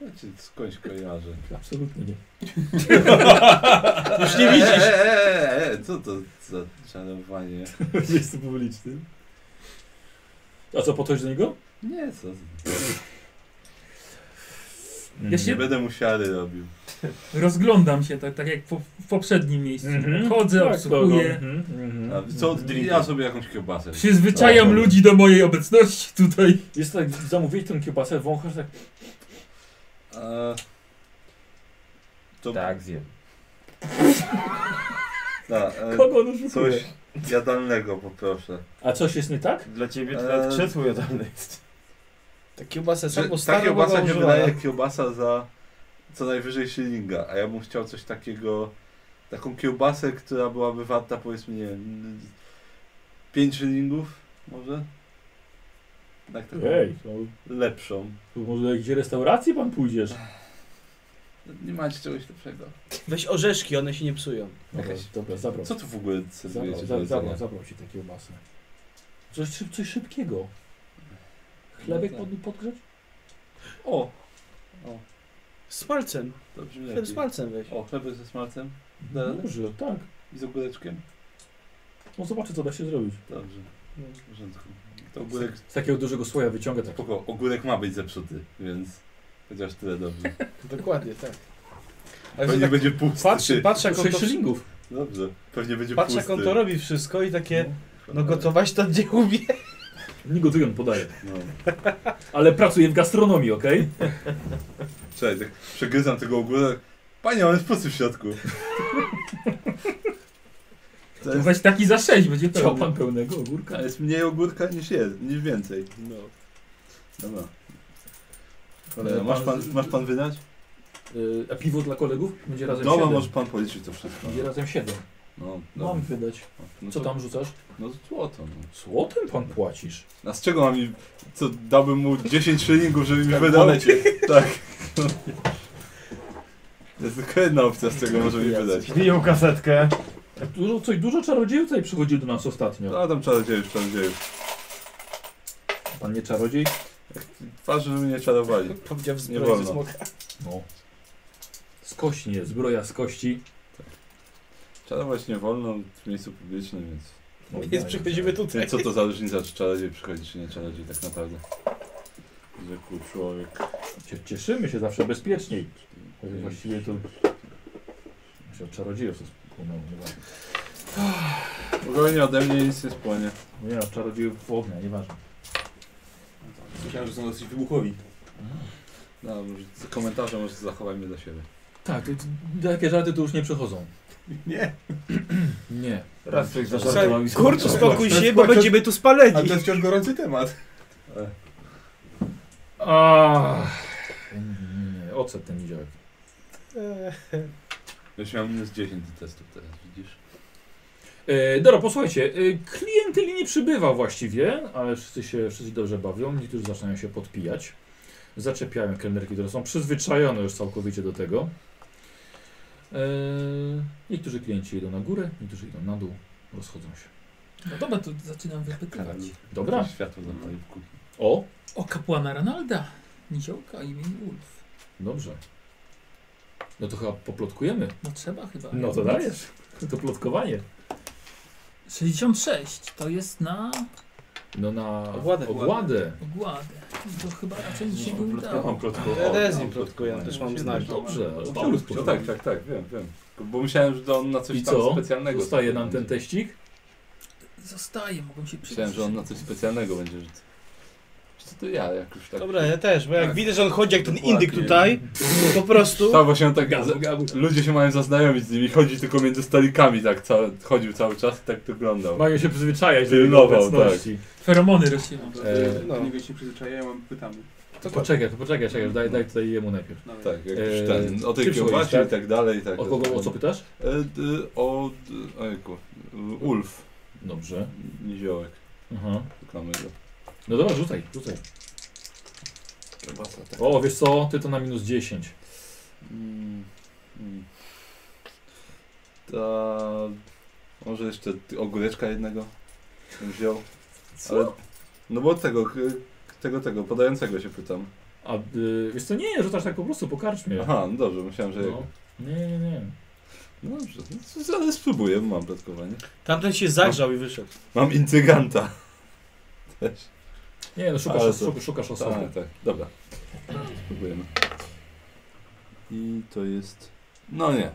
Speaker 2: Ja cię skądś kojarzę.
Speaker 1: Absolutnie [laughs] nie.
Speaker 2: Już nie widzisz! Eee, e, co to za czarowanie?
Speaker 1: Miejscu publicznym. A co, po coś do niego?
Speaker 2: Nie, co?
Speaker 4: Ja się
Speaker 2: Nie będę musiary robił.
Speaker 4: rozglądam się tak, tak jak po, w poprzednim miejscu.
Speaker 1: Mhm.
Speaker 4: Chodzę,
Speaker 1: Tak,
Speaker 4: obsługuję.
Speaker 1: spoko. Mhm, mhm.
Speaker 2: Mm-hmm. A co od drinka? Ja sobie jakąś kiełbasę.
Speaker 4: Przyzwyczajam
Speaker 2: Dobra.
Speaker 4: ludzi do mojej obecności tutaj.
Speaker 1: Jest tak, zamówiłeś tę kiełbasę, wąchasz tak.
Speaker 2: Eee, to...
Speaker 8: Tak, zjem.
Speaker 2: Da, e,
Speaker 1: Kogo on już
Speaker 2: coś jadalnego poproszę.
Speaker 1: A coś jest nie tak?
Speaker 8: Dla ciebie to nawet
Speaker 2: Eee.
Speaker 8: krzesło jadalne jest.
Speaker 5: Ta kiełbasa
Speaker 2: Że,
Speaker 5: samo
Speaker 2: ta
Speaker 5: stara
Speaker 2: kiełbasa
Speaker 5: była
Speaker 2: się
Speaker 5: używana.
Speaker 2: wydaje jak kiełbasa za co najwyżej szylinga, a ja bym chciał coś takiego, taką kiełbasę, która byłaby warta powiedzmy, nie wiem, 5 szylingów może? Tak, taką
Speaker 1: Ej, to-
Speaker 2: lepszą.
Speaker 1: to może do jakiejś restauracji pan pójdziesz?
Speaker 2: Tak. Nie macie czegoś lepszego.
Speaker 5: Weź orzeszki, one się nie psują.
Speaker 1: Dobra,
Speaker 2: Jakaś-
Speaker 1: dobra zabrał.
Speaker 2: Co tu w ogóle
Speaker 1: Zabrał,
Speaker 2: serwujecie? do
Speaker 1: zabrał, zabrał,
Speaker 2: jedzenia?
Speaker 1: zabrał ci takie kiełbasę. Coś, szyb- coś szybkiego. Chlebek
Speaker 2: No tak.
Speaker 1: pod, podgrzeć?
Speaker 2: O! O,
Speaker 5: Z smalcem.
Speaker 2: to brzmi
Speaker 5: Chleb
Speaker 2: lepiej.
Speaker 5: z smalcem weź.
Speaker 2: O, chleby ze smalcem Da.
Speaker 1: Dobrze, tak.
Speaker 2: i z ogóreczkiem?
Speaker 1: No zobaczę, co da się zrobić.
Speaker 2: Dobrze, w porządku. To ogórek,
Speaker 1: Z takiego dużego słoja wyciąga tak.
Speaker 2: spoko, ogórek ma być zepsuty, więc chociaż tyle dobrze.
Speaker 5: Dokładnie, tak.
Speaker 2: Pewnie
Speaker 5: Ale tak
Speaker 2: będzie pusty.
Speaker 5: patrz, patrz, jak on
Speaker 1: Sześć
Speaker 5: to,
Speaker 1: szylingów.
Speaker 2: Dobrze, pewnie będzie
Speaker 5: patrz jak
Speaker 2: pusty.
Speaker 5: on to robi wszystko i takie, no
Speaker 2: Ale-
Speaker 5: gotować to gdzie umie.
Speaker 1: Nie gotuje, on podaje.
Speaker 2: No.
Speaker 1: Ale pracuje w gastronomii, okej? [laughs]
Speaker 2: Czekaj, tak przegryzam tego ogórek. Panie, on jest pusty w środku. [laughs] To
Speaker 4: To
Speaker 2: jest,
Speaker 4: Weź taki za sześć będzie
Speaker 1: Chciał
Speaker 4: pełny.
Speaker 1: pan pełnego ogórka.
Speaker 2: to jest mniej ogórka niż jest, niż więcej. No. Dobra. Cholera,
Speaker 5: No,
Speaker 1: E,
Speaker 2: masz
Speaker 1: pan-
Speaker 2: pan, masz pan wydać?
Speaker 1: Y, a piwo dla kolegów? Będzie razem
Speaker 2: Dobra,
Speaker 1: siedem.
Speaker 2: możesz pan policzyć to wszystko.
Speaker 1: Będzie razem siedem.
Speaker 2: No,
Speaker 1: Mam
Speaker 2: dobra.
Speaker 1: wydać.
Speaker 2: No
Speaker 1: Co
Speaker 2: to-
Speaker 1: tam rzucasz?
Speaker 2: No złoto. No.
Speaker 1: Złotem pan płacisz.
Speaker 2: A z czego mam mi... Co, dałbym mu 10 szylingów, żeby mi wydał? [laughs] Tak. To jest tylko jedna opcja, z czego może mi wydać.
Speaker 8: Biją kasetkę.
Speaker 1: Tak Dużo, coś, dużo czarodziejów tutaj przychodził do nas ostatnio.
Speaker 2: No tam czarodziejów, czarodziejów.
Speaker 1: Pan nie czarodziej?
Speaker 2: Patrz, żeby mnie czarowali.
Speaker 5: Powiedział w
Speaker 2: Nie
Speaker 5: zbroi ze
Speaker 2: wolno.
Speaker 5: smoka.
Speaker 1: No. Skośnie, zbroja z kości.
Speaker 2: Czarować nie wolno w miejscu publicznym, więc...
Speaker 1: No,
Speaker 5: Więc przychodzimy tutaj.
Speaker 2: Więc co to za różnica, czy czarodziej przychodzi, czy nie czarodziej tak naprawdę? Zwykły człowiek.
Speaker 1: Cie- Cieszymy się zawsze bezpieczniej. Chociaż Właściwie to... Się od czarodziejów to spłonęło chyba.
Speaker 2: Spokojnie ode mnie nic nie spłonie.
Speaker 1: No Nie, od czarodziejów ognia, nieważne.
Speaker 6: Myślałem, że są dosyć wybuchowi.
Speaker 2: No, może z komentarza może zachowajmy dla siebie.
Speaker 1: Tak, to- to- takie żarty tu już nie przechodzą.
Speaker 6: Nie.
Speaker 1: Nie.
Speaker 8: Raz coś zażartował
Speaker 5: [laughs] Słuchaj,
Speaker 8: i
Speaker 5: Kurczę, spokój
Speaker 6: To
Speaker 5: się,
Speaker 6: jest
Speaker 5: bo
Speaker 6: płacze-
Speaker 5: będziemy tu
Speaker 6: Ale
Speaker 5: spaleni.
Speaker 6: to jest wciąż gorący temat.
Speaker 2: E,
Speaker 1: Ach. Nie, ocet ten niedziałek.
Speaker 5: Eee,
Speaker 2: Ja już miałem minus 10 do testów teraz, widzisz?
Speaker 1: E, Dobra, posłuchajcie, e, klienteli nie przybywa właściwie, ale wszyscy się wszyscy dobrze bawią, niektórzy zaczynają się podpijać. Zaczepiają kelnerki, które są przyzwyczajone już całkowicie do tego. E, niektórzy klienci idą na górę, niektórzy idą na dół, rozchodzą się.
Speaker 4: No dobra, to zaczynam wypytywać.
Speaker 1: Dobra?
Speaker 2: Światło zapali w kuchni.
Speaker 1: O,
Speaker 4: O kapłana Ranalda, niziołka imieniu Ulf.
Speaker 1: dobrze. No to chyba poplotkujemy.
Speaker 4: No trzeba chyba.
Speaker 1: No to dajesz. To plotkowanie.
Speaker 4: 66 to jest na
Speaker 1: No na
Speaker 5: Ogładę.
Speaker 1: ogładę.
Speaker 4: ogładę. To chyba
Speaker 7: No,
Speaker 4: raczej mi się nie udało.
Speaker 5: Ja też z nim
Speaker 2: O,
Speaker 5: plotkuję, też mam
Speaker 6: Właśnie
Speaker 5: znaki.
Speaker 6: tak.
Speaker 1: Dobrze, ale
Speaker 2: No
Speaker 1: Paulus
Speaker 2: tak, tak, tak, wiem, wiem. Bo myślałem, że to on na coś
Speaker 1: I
Speaker 2: tam
Speaker 1: co?
Speaker 2: specjalnego.
Speaker 1: Zostaje nam ten
Speaker 2: będzie.
Speaker 1: teścik.
Speaker 4: zostaje, mogą się
Speaker 7: Myślałem, że on na coś specjalnego będzie rzucał. Wiesz Co to ja jak już tak...
Speaker 5: Dobra, ja też, bo jak
Speaker 7: Tak.
Speaker 5: widzę, że on chodzi jak ten
Speaker 7: Dokładnie.
Speaker 5: indyk tutaj, po prostu...
Speaker 7: Tak, właśnie on tak...
Speaker 1: Gabu, gabu.
Speaker 7: Ludzie się mają zaznajomić z nimi, chodzi tylko między stolikami tak, cały, chodził cały czas i tak wyglądał.
Speaker 1: Mają się przyzwyczajać do jego
Speaker 7: Pilnował,
Speaker 1: obecności.
Speaker 4: Feromony rozsiewają.
Speaker 7: E,
Speaker 6: Do niego się nie przyzwyczajają, a my pytamy.
Speaker 1: To poczekaj, to poczekaj, czekaj, daj, daj tutaj jemu najpierw.
Speaker 2: No.
Speaker 6: Nawet.
Speaker 7: tak, jak
Speaker 1: E,
Speaker 7: już ten, o
Speaker 1: ty
Speaker 7: tej
Speaker 1: przychodzisz,
Speaker 7: kiełbasie
Speaker 1: tak?
Speaker 7: i tak dalej. Tak,
Speaker 1: O kogo, o co pytasz?
Speaker 7: E, d, o... D, ojku, Ulf.
Speaker 1: Dobrze.
Speaker 7: Niziołek.
Speaker 1: Aha.
Speaker 7: Szukamy go.
Speaker 1: No dobra, rzucaj, rzucaj. O, wiesz co, ty to na minus 10.
Speaker 7: Mm, mm. Ta... Może jeszcze ty- ogóreczka jednego bym wziął. Ale... No bo tego, k- tego, tego, podającego się pytam.
Speaker 1: A y, wiesz co, nie, rzucasz tak po prostu po karczmie.
Speaker 7: Aha, no dobrze, myślałem, że...
Speaker 1: No. Nie, nie, nie.
Speaker 7: No dobrze, no co- ale spróbuję, bo mam plotkowanie.
Speaker 5: Tamten się zagrzał i wyszedł.
Speaker 7: Mam incyganta. Też.
Speaker 1: Nie, no szukasz,
Speaker 7: Ale
Speaker 1: os-
Speaker 7: to-
Speaker 1: szukasz, szukasz osoby.
Speaker 7: Tak, tak, dobra. Spróbujemy. I to jest... No nie.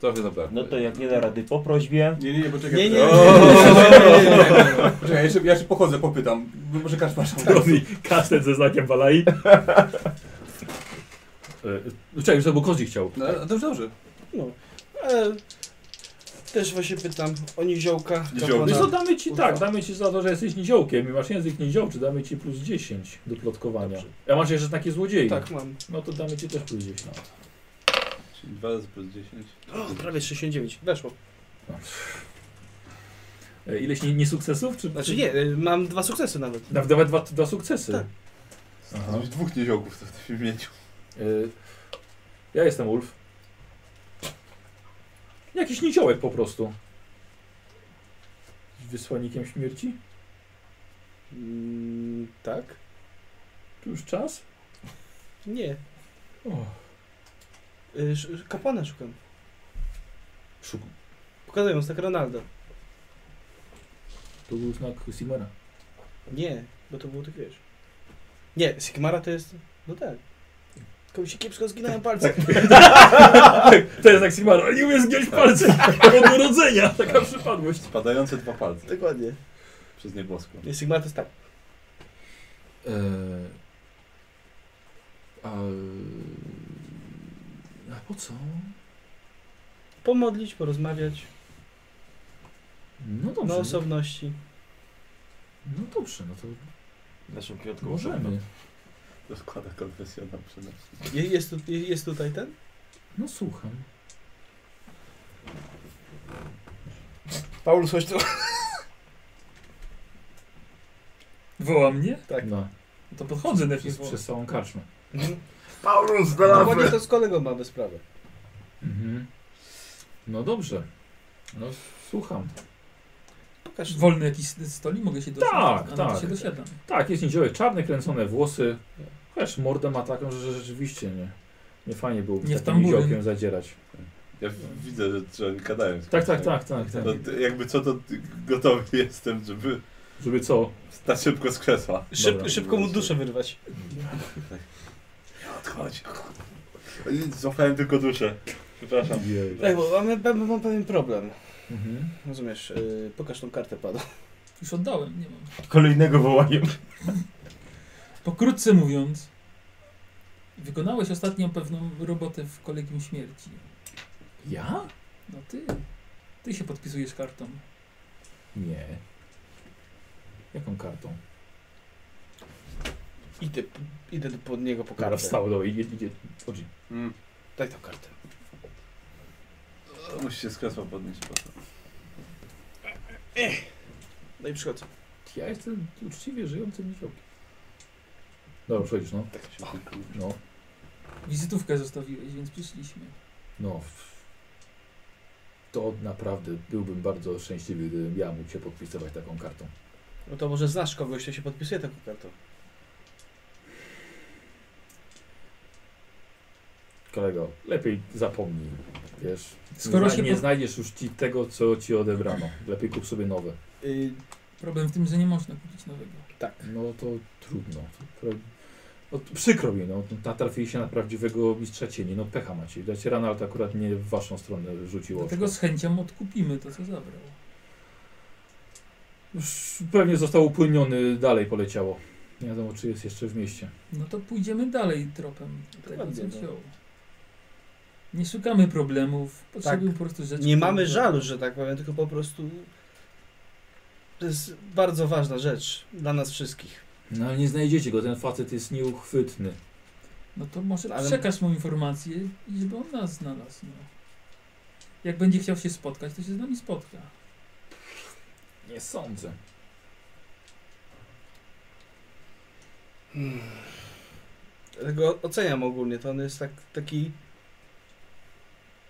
Speaker 7: Trochę zabrakło.
Speaker 8: No to jak nie da rady po prośbie.
Speaker 6: Nie, nie, nie, poczekaj.
Speaker 5: Nie, nie,
Speaker 6: poczekaj.
Speaker 5: nie, nie, nie, nie.
Speaker 6: Poczekaj, ja jeszcze, ja jeszcze pochodzę, popytam. Może kaszpasz.
Speaker 1: [laughs] Robi kasztet ze znakiem balai. [laughs] E, Czekaj, już bo Kozi chciał.
Speaker 6: No, dobrze, dobrze.
Speaker 5: Ale E, Też właśnie pytam o niziołka.
Speaker 2: Niziołka.
Speaker 1: Wiesz
Speaker 5: kapłana.
Speaker 1: co, damy ci tak, damy ci za to, że jesteś niziołkiem i masz język niziołczy, damy ci plus 10 do plotkowania. A masz jeszcze takie złodziei.
Speaker 5: Tak, mam.
Speaker 1: No to damy ci też plus 10.
Speaker 2: Czyli 2 razy plus 10.
Speaker 5: O, prawie 69. Weszło.
Speaker 1: E, Ileś nie, nie sukcesów? Czy,
Speaker 5: Znaczy nie, y, mam dwa sukcesy nawet.
Speaker 1: Nawet dwa, dwa, dwa sukcesy.
Speaker 5: Tak.
Speaker 1: Aha.
Speaker 2: Zrobić dwóch niziołków to w tym mieciu.
Speaker 1: E, ja jestem Ulf. Jakiś niziołek po prostu. Wysłannikiem śmierci?
Speaker 5: Mm, tak?
Speaker 1: Tu już czas?
Speaker 5: Nie.
Speaker 1: O,
Speaker 5: Y, sz- kapłana szukam.
Speaker 1: szuk-
Speaker 5: Pokazuję, tak znak Ronalda.
Speaker 1: to był znak Simera.
Speaker 5: Nie, bo to było tak wiesz. Nie, Sigmara to jest... No tak. Tylko mi się kiepsko zginąłem
Speaker 1: Tak,
Speaker 5: palce.
Speaker 1: To jest tak jak Sigmar, ale nie umie zgiąć palce Tak, od urodzenia. Taka przypadłość.
Speaker 2: Spadające dwa palce
Speaker 5: Dokładnie.
Speaker 2: przez nieboską.
Speaker 5: Nie, Sigmara to jest tak.
Speaker 1: Eee, a, a po co?
Speaker 5: Pomodlić, porozmawiać,
Speaker 1: No
Speaker 5: na
Speaker 1: dobrze. No,
Speaker 5: osobności.
Speaker 1: no dobrze, no to
Speaker 8: Naszą piątką.
Speaker 1: możemy.
Speaker 2: To składa konfesjonal przede wszystkim.
Speaker 5: Je- Jest, tu, je- jest tutaj ten?
Speaker 1: No słucham.
Speaker 5: Paulus, chodź tu.
Speaker 4: Woła mnie?
Speaker 5: Tak.
Speaker 1: No,
Speaker 4: No To podchodzę na
Speaker 1: przez, przez całą karczmę.
Speaker 8: Paulus,
Speaker 5: Dokładnie to z kolegą mamy sprawę.
Speaker 1: No, Mhm. No dobrze. No słucham.
Speaker 5: Pokaż.
Speaker 4: Wolny jakiś stolik, mogę się dosiadać?
Speaker 1: Tak,
Speaker 4: A, no to
Speaker 1: tak.
Speaker 4: się dosiadam.
Speaker 1: Tak, jest niziołek czarny, kręcone włosy. Chociaż mordę ma taką, że rzeczywiście nie. Nie fajnie byłoby
Speaker 4: Nie
Speaker 1: nie
Speaker 4: w
Speaker 1: takim
Speaker 4: tamburyn.
Speaker 1: niziołkiem zadzierać.
Speaker 2: Ja w- widzę, że, że oni gadają. z
Speaker 1: Tak,
Speaker 2: kimś,
Speaker 1: tak, tak, tak, tak.
Speaker 2: No, t- jakby co, to ty- gotowy jestem, żeby
Speaker 1: Żeby co?
Speaker 2: stać szybko z krzesła.
Speaker 5: Szyb,
Speaker 1: Dobra.
Speaker 5: szybko mu duszę wyrwać.
Speaker 2: Odchodź. Złapałem tylko duszę. Przepraszam.
Speaker 1: Jej.
Speaker 5: Tak, bo mamy, mamy, mam pewien problem.
Speaker 1: Mhm.
Speaker 5: Rozumiesz, yy, pokaż tą kartę pada.
Speaker 4: Już oddałem, nie mam.
Speaker 8: Kolejnego wołają.
Speaker 4: Pokrótce mówiąc, wykonałeś ostatnią pewną robotę w Kolegium Śmierci.
Speaker 1: Ja?
Speaker 4: No ty, ty się podpisujesz kartą.
Speaker 1: Nie. Jaką kartą?
Speaker 5: Idę, p- idę do- pod niego po
Speaker 1: Kara
Speaker 5: kartę.
Speaker 1: wstała, dobra, idzie, idzie. Chodzi.
Speaker 6: Mm.
Speaker 5: Daj tą kartę.
Speaker 2: To Musi się z krzesła podnieść potem.
Speaker 5: No i przychodzę.
Speaker 1: Ja jestem uczciwie żyjącym niziołkiem. Dobra, przechodzisz, no.
Speaker 2: Tak się tylko-
Speaker 1: No,
Speaker 4: Wizytówkę zostawiłeś, więc przyszliśmy.
Speaker 1: no. To naprawdę byłbym bardzo szczęśliwy, gdybym ja mógł się podpisywać taką kartą.
Speaker 5: No to może znasz kogoś, kto się podpisuje taką kartą.
Speaker 1: Kolego, lepiej zapomnij, wiesz.
Speaker 4: Skoro
Speaker 1: Skoro
Speaker 4: się
Speaker 1: nie
Speaker 4: po-
Speaker 1: znajdziesz już ci tego, co ci odebrano. Lepiej kup sobie nowe.
Speaker 5: Yy,
Speaker 4: Problem w tym, że nie można kupić nowego.
Speaker 5: tak.
Speaker 1: No to trudno. To pra- No, to przykro mi, no. Natrafili się na prawdziwego mistrza cieni. No pecha macie. Widać, Ranald akurat nie w waszą stronę rzuciło.
Speaker 4: Dlatego z chęcią odkupimy to, co zabrał.
Speaker 1: Już pewnie został upłyniony, dalej poleciało. Nie wiadomo, czy jest jeszcze w mieście.
Speaker 4: No to pójdziemy dalej tropem tego,
Speaker 5: ładnie,
Speaker 4: co
Speaker 5: no.
Speaker 4: wziął. Nie szukamy problemów, potrzebujemy po prostu rzeczy.
Speaker 5: Tak. Nie
Speaker 4: które-
Speaker 5: mamy żalu, że tak powiem, tylko po prostu to jest bardzo ważna rzecz dla nas wszystkich.
Speaker 1: No ale nie znajdziecie go, ten facet jest nieuchwytny.
Speaker 4: No to może
Speaker 5: Ale-
Speaker 4: przekaż mu informację i żeby on nas znalazł. No. Jak będzie chciał się spotkać, to się z nami spotka.
Speaker 1: Nie sądzę.
Speaker 5: Dlatego oceniam ogólnie, to on jest tak, taki...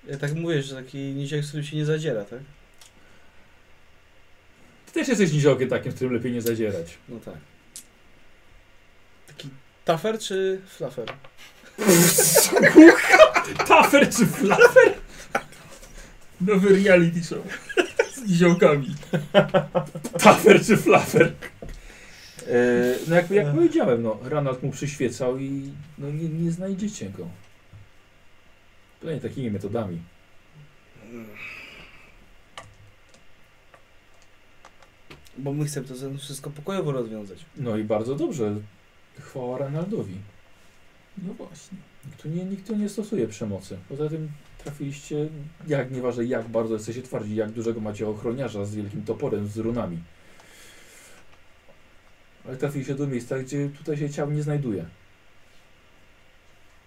Speaker 5: Ja tak mówię, że taki niziak, z którym się nie zadziera, tak?
Speaker 1: Ty też jesteś niziołkiem takim, z którym lepiej nie zadzierać.
Speaker 5: No tak. Taki tafer czy flafer?
Speaker 4: Tafer czy flafer? Nowy reality show. Z niziołkami.
Speaker 1: Tafer czy flafer? E, no jak, jak powiedziałem, no, Ranald mu przyświecał i no, nie, nie znajdziecie go. Pewnie takimi metodami.
Speaker 5: Bo my chcemy to ze- wszystko pokojowo rozwiązać.
Speaker 1: No i bardzo dobrze. Chwała Ranaldowi.
Speaker 4: No właśnie.
Speaker 1: Nikt tu nie, nikt tu nie stosuje przemocy. Poza tym trafiliście, jak nieważne jak bardzo jesteście twardzi, jak dużego macie ochroniarza z wielkim toporem, z runami. Ale trafiliście do miejsca, gdzie tutaj się ciał nie znajduje.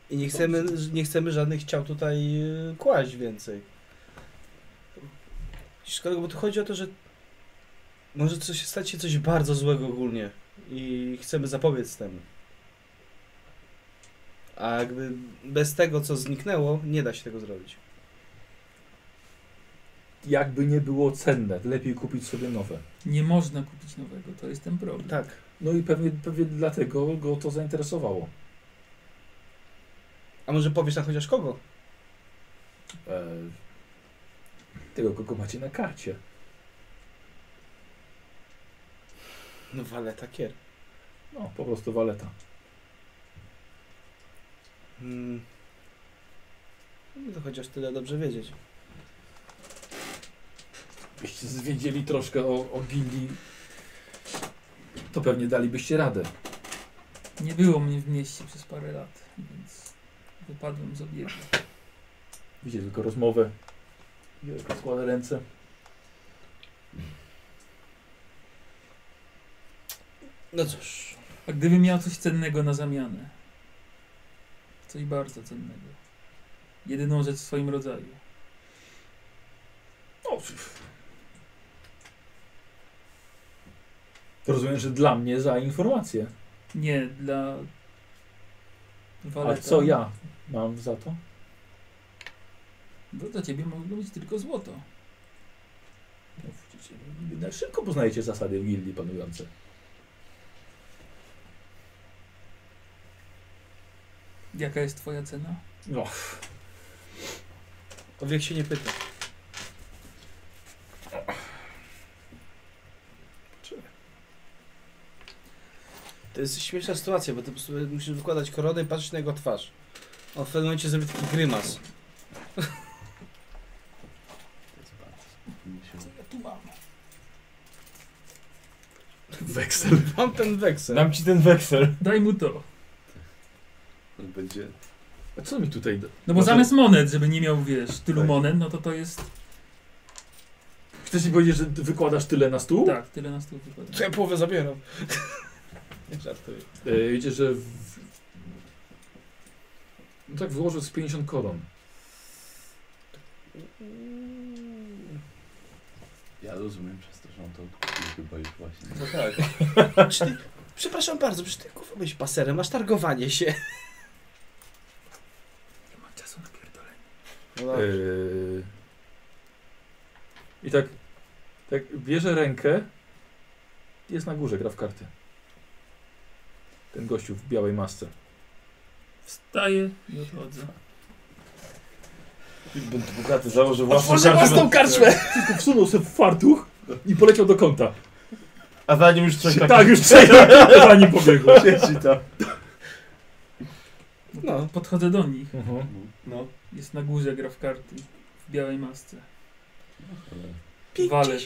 Speaker 5: I nie chcemy, nie chcemy żadnych ciał tutaj y, kłaść więcej. Szkoda, bo tu chodzi o to, że może coś stać się coś bardzo złego ogólnie i chcemy zapobiec temu. A jakby bez tego, co zniknęło, nie da się tego zrobić.
Speaker 1: Jakby nie było cenne, lepiej kupić sobie nowe.
Speaker 4: Nie można kupić nowego, to jest ten problem.
Speaker 5: Tak.
Speaker 1: No i pewnie, pewnie dlatego go to zainteresowało.
Speaker 5: A może powiesz nam chociaż kogo?
Speaker 1: E, tego, kogo macie na karcie.
Speaker 5: No Waleta Kier.
Speaker 1: No, po prostu waleta.
Speaker 5: Hmm. No To chociaż tyle dobrze wiedzieć.
Speaker 1: Gdybyście zwiedzieli troszkę o, o gildii, to pewnie dalibyście radę.
Speaker 4: Nie było mnie w mieście przez parę lat, więc wypadłem z obiegu.
Speaker 1: Widzicie tylko rozmowę. Wielko składa ręce.
Speaker 5: No cóż.
Speaker 4: A gdybym miał coś cennego na zamianę? Coś bardzo cennego. Jedyną rzecz w swoim rodzaju.
Speaker 1: No, pff. Rozumiem, że dla mnie za informację.
Speaker 4: Nie, dla...
Speaker 1: A
Speaker 4: Waleta.
Speaker 1: co ja mam za to?
Speaker 4: No, dla ciebie mogło być tylko złoto.
Speaker 1: No, widzicie, jednak szybko poznajecie zasady w gildii panujące.
Speaker 4: Jaka jest twoja cena?
Speaker 1: No,
Speaker 5: O wiek się nie pyta. To jest śmieszna sytuacja, bo ty po prostu musisz wykładać koronę i patrzeć na jego twarz. On w pewnym momencie zrobi taki grymas. [laughs]
Speaker 4: Co ja tu mam?
Speaker 5: Weksel. Mam ten weksel.
Speaker 8: Dam ci ten weksel.
Speaker 4: Daj mu to.
Speaker 2: Będzie
Speaker 1: a co mi tutaj... da-
Speaker 4: No bo
Speaker 1: Może-
Speaker 4: zamiast monet, żeby nie miał, wiesz, tylu
Speaker 2: Tak.
Speaker 4: monet, no to to jest...
Speaker 1: Chcesz mi powiedzieć, że wykładasz tyle na stół?
Speaker 4: Tak, tyle na stół wypada.
Speaker 5: To ja połowę zabieram. [laughs] Żartuję.
Speaker 1: E, wiecie, że... W... No tak wyłożył z 50 koron.
Speaker 2: Ja rozumiem przez to, że on to odkupił chyba już właśnie.
Speaker 36: No tak.
Speaker 5: Czy ty, przepraszam bardzo, przecież ty kurwa byś paserem, masz targowanie się.
Speaker 4: Nie mam czasu na pierdolenie.
Speaker 5: No. Tak.
Speaker 1: Yy, I tak, tak bierze rękę. Jest na górze, gra w karty. Ten gościu w białej masce.
Speaker 4: Wstaję i odchodzę.
Speaker 8: Będę bogaty, założę własną
Speaker 5: Otworzę własną karczmę!
Speaker 1: Tylko wsunął sobie w fartuch i poleciał do kąta.
Speaker 8: A za nim już coś takiego.
Speaker 1: Tak, już przejechał, za nim pobiegł.
Speaker 2: Siedzi tam.
Speaker 4: No, podchodzę do nich.
Speaker 1: Mhm.
Speaker 36: No.
Speaker 4: Jest na górze, gra w karty. W białej masce. Walet.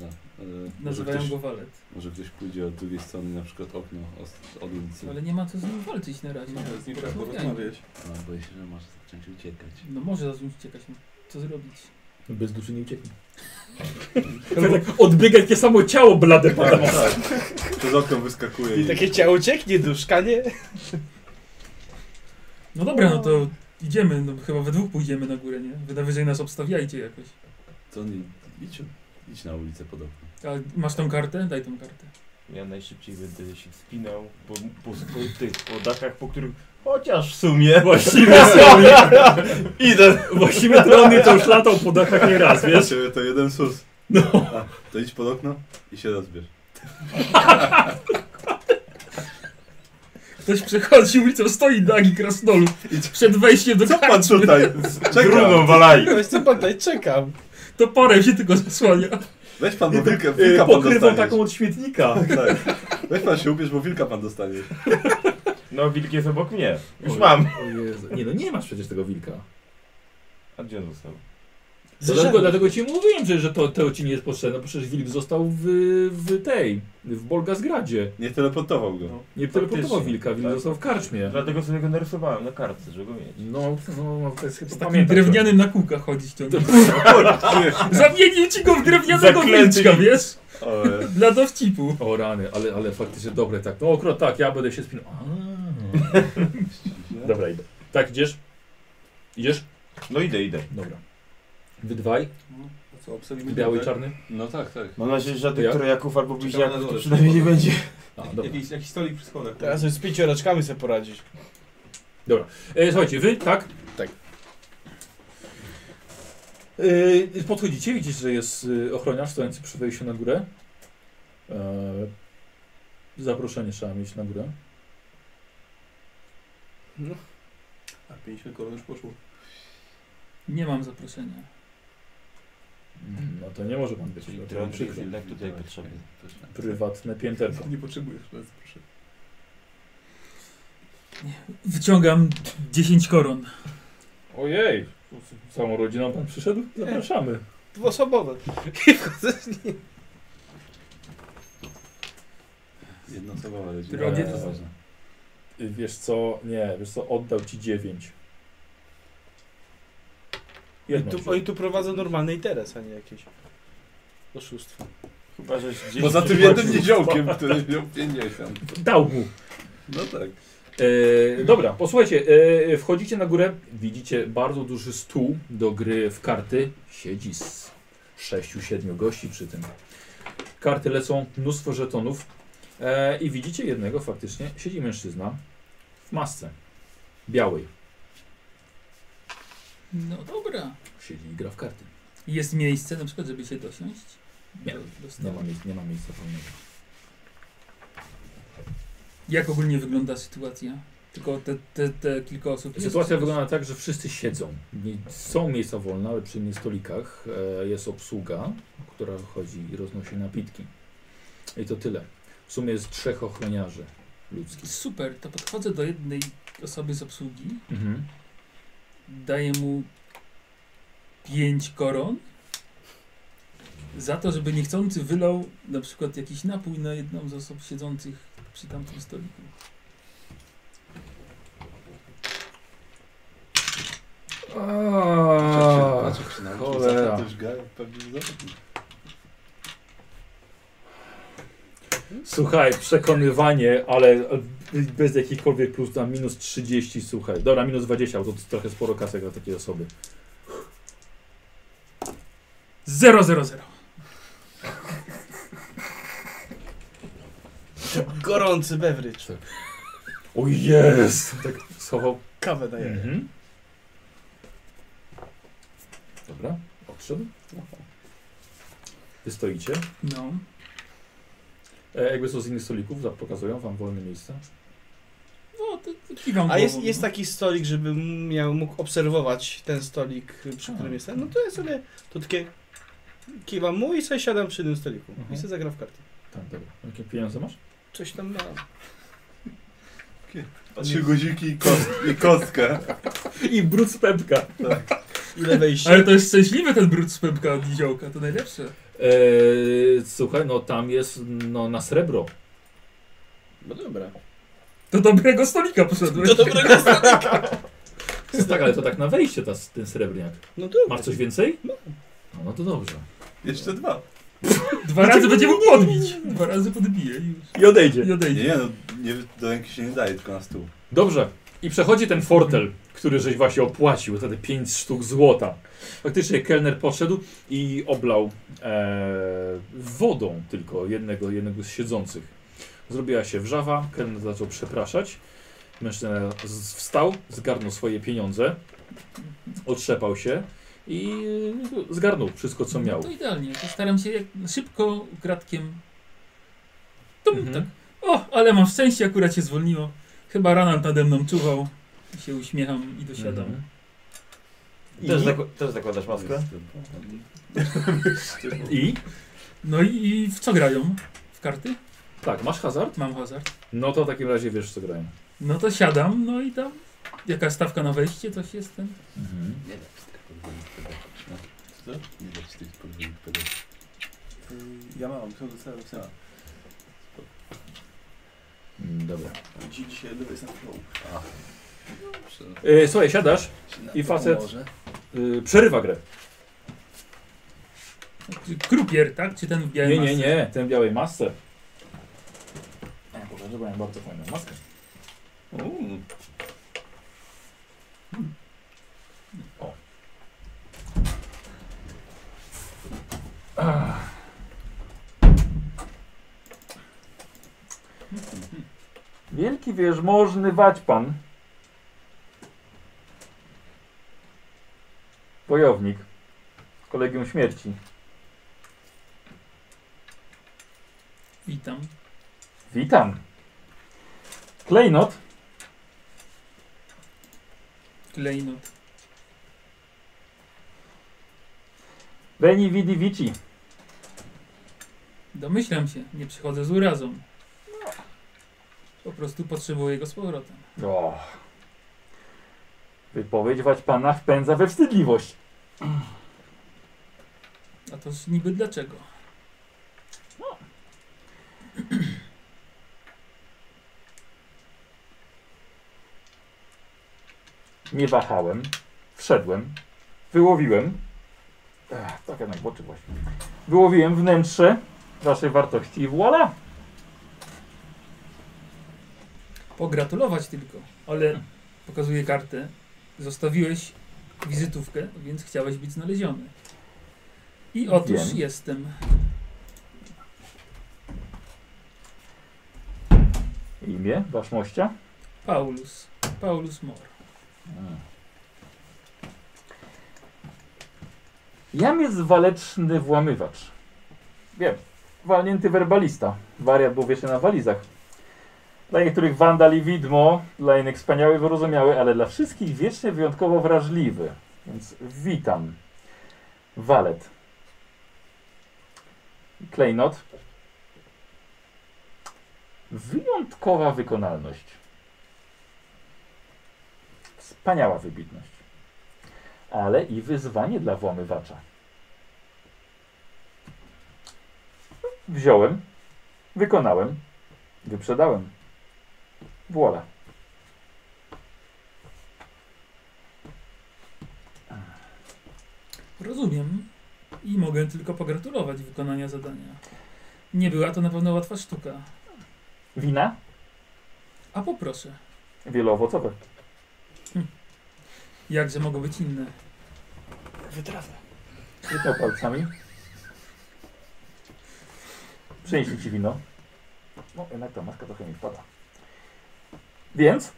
Speaker 40: E, Może
Speaker 4: Nazywają
Speaker 40: ktoś,
Speaker 4: go Walet.
Speaker 40: może ktoś pójdzie od drugiej strony, na przykład okno od, od ulicy.
Speaker 4: Ale nie ma co z nim walczyć na razie.
Speaker 41: Nie, z nim trzeba
Speaker 4: Porozmawiajmy.
Speaker 41: porozmawiać.
Speaker 40: No, boję się, że może zacząć uciekać.
Speaker 4: No może zacząć uciekać. no. Co zrobić?
Speaker 1: Bez duszy nie ucieknie. tak odbiega jakie samo ciało blade pada.
Speaker 2: Tak,
Speaker 40: [laughs]
Speaker 2: Przez okno wyskakuje i...
Speaker 5: Takie ciało cieknie, duszka, nie?
Speaker 4: No dobra, no to idziemy. No, chyba we dwóch pójdziemy na górę, nie? Wy najwyżej nas obstawiajcie jakoś.
Speaker 40: To nie... Idź, idź na ulicę pod okno.
Speaker 4: A masz tą kartę? Daj tą kartę.
Speaker 8: Ja najszybciej będę się wspinał po, po, po tych po dachach, po których... Chociaż w sumie...
Speaker 1: Właściwie
Speaker 8: Idę!
Speaker 1: Właściwie trony to już latał po dachach nie raz, wiesz?
Speaker 2: Ciebie to jeden sus.
Speaker 1: No.
Speaker 2: A, to idź pod okno i się rozbierz.
Speaker 4: Ktoś przechodzi ulicą, stoi nagi krasnolud. Przed wejściem
Speaker 40: No
Speaker 4: do
Speaker 2: Co pan [laughs]
Speaker 4: karczmy.
Speaker 2: tutaj? Czekam.
Speaker 8: Grudą walaj!
Speaker 5: No jestem tutaj, czekam.
Speaker 4: Toporem się tylko zasłania.
Speaker 2: Weź pan, bo
Speaker 40: tak, e,
Speaker 2: wilka,
Speaker 1: Y,
Speaker 2: wilka pan
Speaker 1: Pokrywą
Speaker 2: dostaniesz.
Speaker 1: taką od śmietnika.
Speaker 2: Tak. Weź pan się ubierz, bo wilka pan dostanie.
Speaker 8: No, wilk jest obok mnie. Już
Speaker 1: O,
Speaker 8: mam.
Speaker 1: o Jezu. Nie no, nie masz przecież tego wilka.
Speaker 8: A gdzie on został?
Speaker 1: Dlatego, dlatego ci mówiłem, że, że to, to ci nie jest potrzebne, bo przecież wilk został w, w tej, w Bolgazgradzie.
Speaker 2: Nie teleportował go.
Speaker 8: No.
Speaker 1: Nie teleportował
Speaker 8: Faktycznie,
Speaker 1: wilka, wilk
Speaker 8: tak.
Speaker 1: został w karczmie.
Speaker 8: Dlatego sobie go narysowałem na kartce, żeby go mieć.
Speaker 1: No, no, no to jest
Speaker 4: Z
Speaker 1: chyba
Speaker 4: takim
Speaker 1: pamiętam.
Speaker 4: drewnianym na kółkach chodzić ciągle.
Speaker 2: Nie.
Speaker 4: Zamienił ci go w drewnianego
Speaker 8: Zaklęty
Speaker 4: wilczka,
Speaker 8: wilk.
Speaker 4: wiesz?
Speaker 2: O, e,
Speaker 4: Dla dowcipu.
Speaker 1: O rany, ale, ale faktycznie dobre tak. No akurat tak, ja będę się spinał. A. Dobra, idę. Tak, idziesz? Idziesz?
Speaker 8: No idę, idę.
Speaker 1: Dobra. Wy dwaj,
Speaker 41: No, to co, obstawimy
Speaker 1: biały i
Speaker 41: drogę?
Speaker 1: czarny.
Speaker 40: No tak, tak.
Speaker 8: Mam nadzieję, że żadnych
Speaker 1: Jak?
Speaker 8: trojaków albo
Speaker 41: Czekamy na
Speaker 8: bliźniaków
Speaker 41: dole.
Speaker 8: to przynajmniej nie będzie.
Speaker 1: A, No, dobra.
Speaker 41: Jakiś, jakiś stolik przy schodach.
Speaker 5: Teraz już z pięcioraczkami sobie poradzić.
Speaker 1: E, słuchajcie, wy, tak?
Speaker 5: Tak.
Speaker 1: E, podchodzicie, widzicie, że jest e, ochroniarz stojący przy wejściu na górę. E, zaproszenie trzeba mieć na górę.
Speaker 41: A 50 koron już poszło.
Speaker 4: Nie mam zaproszenia.
Speaker 1: No to nie może pan być.
Speaker 8: Czyli
Speaker 1: To
Speaker 8: dron
Speaker 1: przykre.
Speaker 8: jest jednak tutaj potrzebny.
Speaker 1: Prywatne pięterko.
Speaker 41: Nie potrzebujesz nas, proszę.
Speaker 4: Wyciągam 10 koron.
Speaker 1: Ojej, z całą rodziną pan przyszedł? Zapraszamy.
Speaker 5: [laughs] Dwuosobowe.
Speaker 2: Jednoosobowa
Speaker 4: Tylko
Speaker 2: rodzina.
Speaker 4: gdzie
Speaker 2: To
Speaker 4: to-
Speaker 2: ważne.
Speaker 1: Y, Wiesz co, nie, wiesz co, oddał ci dziewięć.
Speaker 5: I
Speaker 1: Jedną
Speaker 5: tu,
Speaker 1: wziął.
Speaker 5: oni tu prowadzą normalny interes, a nie jakieś oszustwo.
Speaker 8: Chyba, że gdzieś...
Speaker 2: Poza tym jednym niziołkiem, który miał 50.
Speaker 1: Dał mu.
Speaker 2: No tak.
Speaker 1: E, dobra, posłuchajcie, e, wchodzicie na górę, widzicie bardzo duży stół do gry w karty. Siedzi z sześciu, siedmiu gości przy tym. Karty lecą, mnóstwo żetonów e, i widzicie jednego faktycznie, siedzi mężczyzna w masce białej.
Speaker 4: No dobra.
Speaker 1: Siedzi i gra w karty.
Speaker 4: Jest miejsce na przykład, żeby się dosiąść?
Speaker 1: Nie, No
Speaker 4: Do- do
Speaker 1: Nie
Speaker 4: stołu.
Speaker 1: ma, mie- nie ma miejsca pełnego.
Speaker 4: Jak ogólnie wygląda sytuacja? Tylko te, te, te kilka osób. jest?
Speaker 1: Sytuacja wygląda tak, że wszyscy siedzą. Nie- Są miejsca wolne, ale przy innych stolikach e, jest obsługa, która chodzi i roznosi napitki. I to tyle. W sumie jest trzech ochroniarzy ludzkich.
Speaker 4: Super, to podchodzę do jednej osoby z obsługi,
Speaker 1: Mhm.
Speaker 4: daję mu 5 koron za to, żeby niechcący wylał na przykład jakiś napój na jedną z osób siedzących przy tamtym stoliku.
Speaker 2: Patrz, jak się nauczył,
Speaker 1: cholera.
Speaker 2: za to już gaja pewnie zobaczy.
Speaker 1: Słuchaj, przekonywanie, ale bez jakichkolwiek plus na minus 30, słuchaj. Dobra, minus 20, bo to trochę sporo kasek dla takiej osoby.
Speaker 4: 0, 0, 0.
Speaker 5: Gorący beverage.
Speaker 1: O jest! Tak schował
Speaker 5: Kawę daję.
Speaker 1: Mhm. Dobra, odszedł. Wy stoicie.
Speaker 4: No.
Speaker 1: E, jakby są z innych stolików, za- pokazują wam wolne miejsca.
Speaker 4: No, to, to kiwam
Speaker 5: A jest,
Speaker 4: głową,
Speaker 5: jest tak-
Speaker 4: no.
Speaker 5: taki stolik, żebym miał, mógł obserwować ten stolik, przy
Speaker 1: A.
Speaker 5: którym jestem. No to ja sobie to takie kiwam mu i sobie siadam przy tym stoliku.
Speaker 1: Mhm.
Speaker 5: I sobie zagram w karty.
Speaker 1: Tak, dobra. Jakie pieniądze masz?
Speaker 5: Coś tam miałem.
Speaker 2: Trzy guziki i, kost, i kostkę.
Speaker 1: I brud z pępka.
Speaker 5: Ile wejść?
Speaker 4: Ale to jest szczęśliwy ten brud z pępka od niziołka, to najlepsze.
Speaker 1: Eee, E, słuchaj, no tam jest no, na srebro.
Speaker 5: No dobra.
Speaker 4: Do dobrego stolika poszedłeś.
Speaker 5: Do dobrego stanu.
Speaker 1: To jest tak, ale to tak na wejście ta, ten srebrniak.
Speaker 5: No dobra.
Speaker 1: Masz coś więcej? No, no to dobrze.
Speaker 2: Jeszcze dwa.
Speaker 4: Dwa razy będzie mógł odbić. Dwa razy podbije i już.
Speaker 1: I odejdzie.
Speaker 4: I odejdzie.
Speaker 2: Nie, no nie, do ręki się nie daje, tylko na stół.
Speaker 1: Dobrze. I przechodzi ten fortel, który żeś właśnie opłacił, za te 5 sztuk złota. Faktycznie kelner poszedł i oblał e, wodą tylko jednego, jednego z siedzących. Zrobiła się wrzawa, kelner zaczął przepraszać. Mężczyzna z- wstał, zgarnął swoje pieniądze, otrzepał się i zgarnął wszystko, co miał.
Speaker 4: No to idealnie. To staram się jak szybko, kratkiem. Tum,
Speaker 1: Mhm.
Speaker 4: tak. O, ale mam szczęście, akurat się zwolniło. Chyba Ranald nade mną czuwał. I się uśmiecham i dosiadam.
Speaker 1: Mhm.
Speaker 8: Też, zakła- też zakładasz maskę?
Speaker 1: I?
Speaker 4: No i, i w co grają? W karty?
Speaker 1: Tak, masz hazard?
Speaker 4: Mam hazard.
Speaker 1: No to w takim razie wiesz, co grają.
Speaker 4: No to siadam, no i tam. Jaka stawka na wejście, coś jest ten.
Speaker 1: Mhm.
Speaker 2: Nie dać tych podwójnych pedałów. Co? no. Nie dać tych podwójnych pedałów.
Speaker 6: Ja mam, są dostałem syna.
Speaker 1: Mm, Dobra.
Speaker 6: Dziś dzisiaj lewy jest na flow.
Speaker 1: E, słuchaj, siadasz, I facet- e, przerywa grę.
Speaker 4: Czy Krupier, tak? Czy ten w białej
Speaker 1: Nie, nie,
Speaker 4: masce?
Speaker 1: nie, ten w białej masce. A, Boże, zrobiłem bardzo fajną maskę.
Speaker 2: Uuu,
Speaker 1: Wielki wieżmożny waćpan. Wojownik. Kolegium śmierci.
Speaker 4: Witam.
Speaker 1: Witam. Klejnot.
Speaker 4: Klejnot.
Speaker 1: Veni vidi vici.
Speaker 4: Domyślam się, nie przychodzę z urazą. Po prostu potrzebuję go z powrotem.
Speaker 1: O. Wypowiedź waćpana wpędza we wstydliwość.
Speaker 4: A to z niby dlaczego?
Speaker 1: Nie wahałem. Wszedłem. Wyłowiłem. Ech, tak jednak w oczy właśnie. Wyłowiłem wnętrze waszej wartości i voilà.
Speaker 4: Pogratulować tylko, ale pokazuję kartę. Zostawiłeś wizytówkę, więc chciałeś być znaleziony. I otóż
Speaker 1: Wiem.
Speaker 4: jestem.
Speaker 1: Imię waszmościa.
Speaker 4: Paulus. Paulus Mor.
Speaker 1: Hmm. Jam jest waleczny włamywacz. Wiem. Walnięty werbalista. Wariat był wiecznie na walizach. Dla niektórych wandal i widmo, dla innych wspaniały, wyrozumiały, ale dla wszystkich wiecznie wyjątkowo wrażliwy. Więc witam. Walet. Klejnot. Wyjątkowa wykonalność. Wspaniała wybitność. Ale i wyzwanie dla włamywacza. Wziąłem, wykonałem, wyprzedałem. Wola.
Speaker 4: Rozumiem. I mogę tylko pogratulować wykonania zadania. Nie była to na pewno łatwa sztuka.
Speaker 1: Wina
Speaker 4: A poproszę.
Speaker 1: wieloowocowe.
Speaker 4: Jakże mogą być inne?
Speaker 1: Wytnął palcami. Przynieśli ci wino. No, jednak ta maska trochę mi wpada. Więc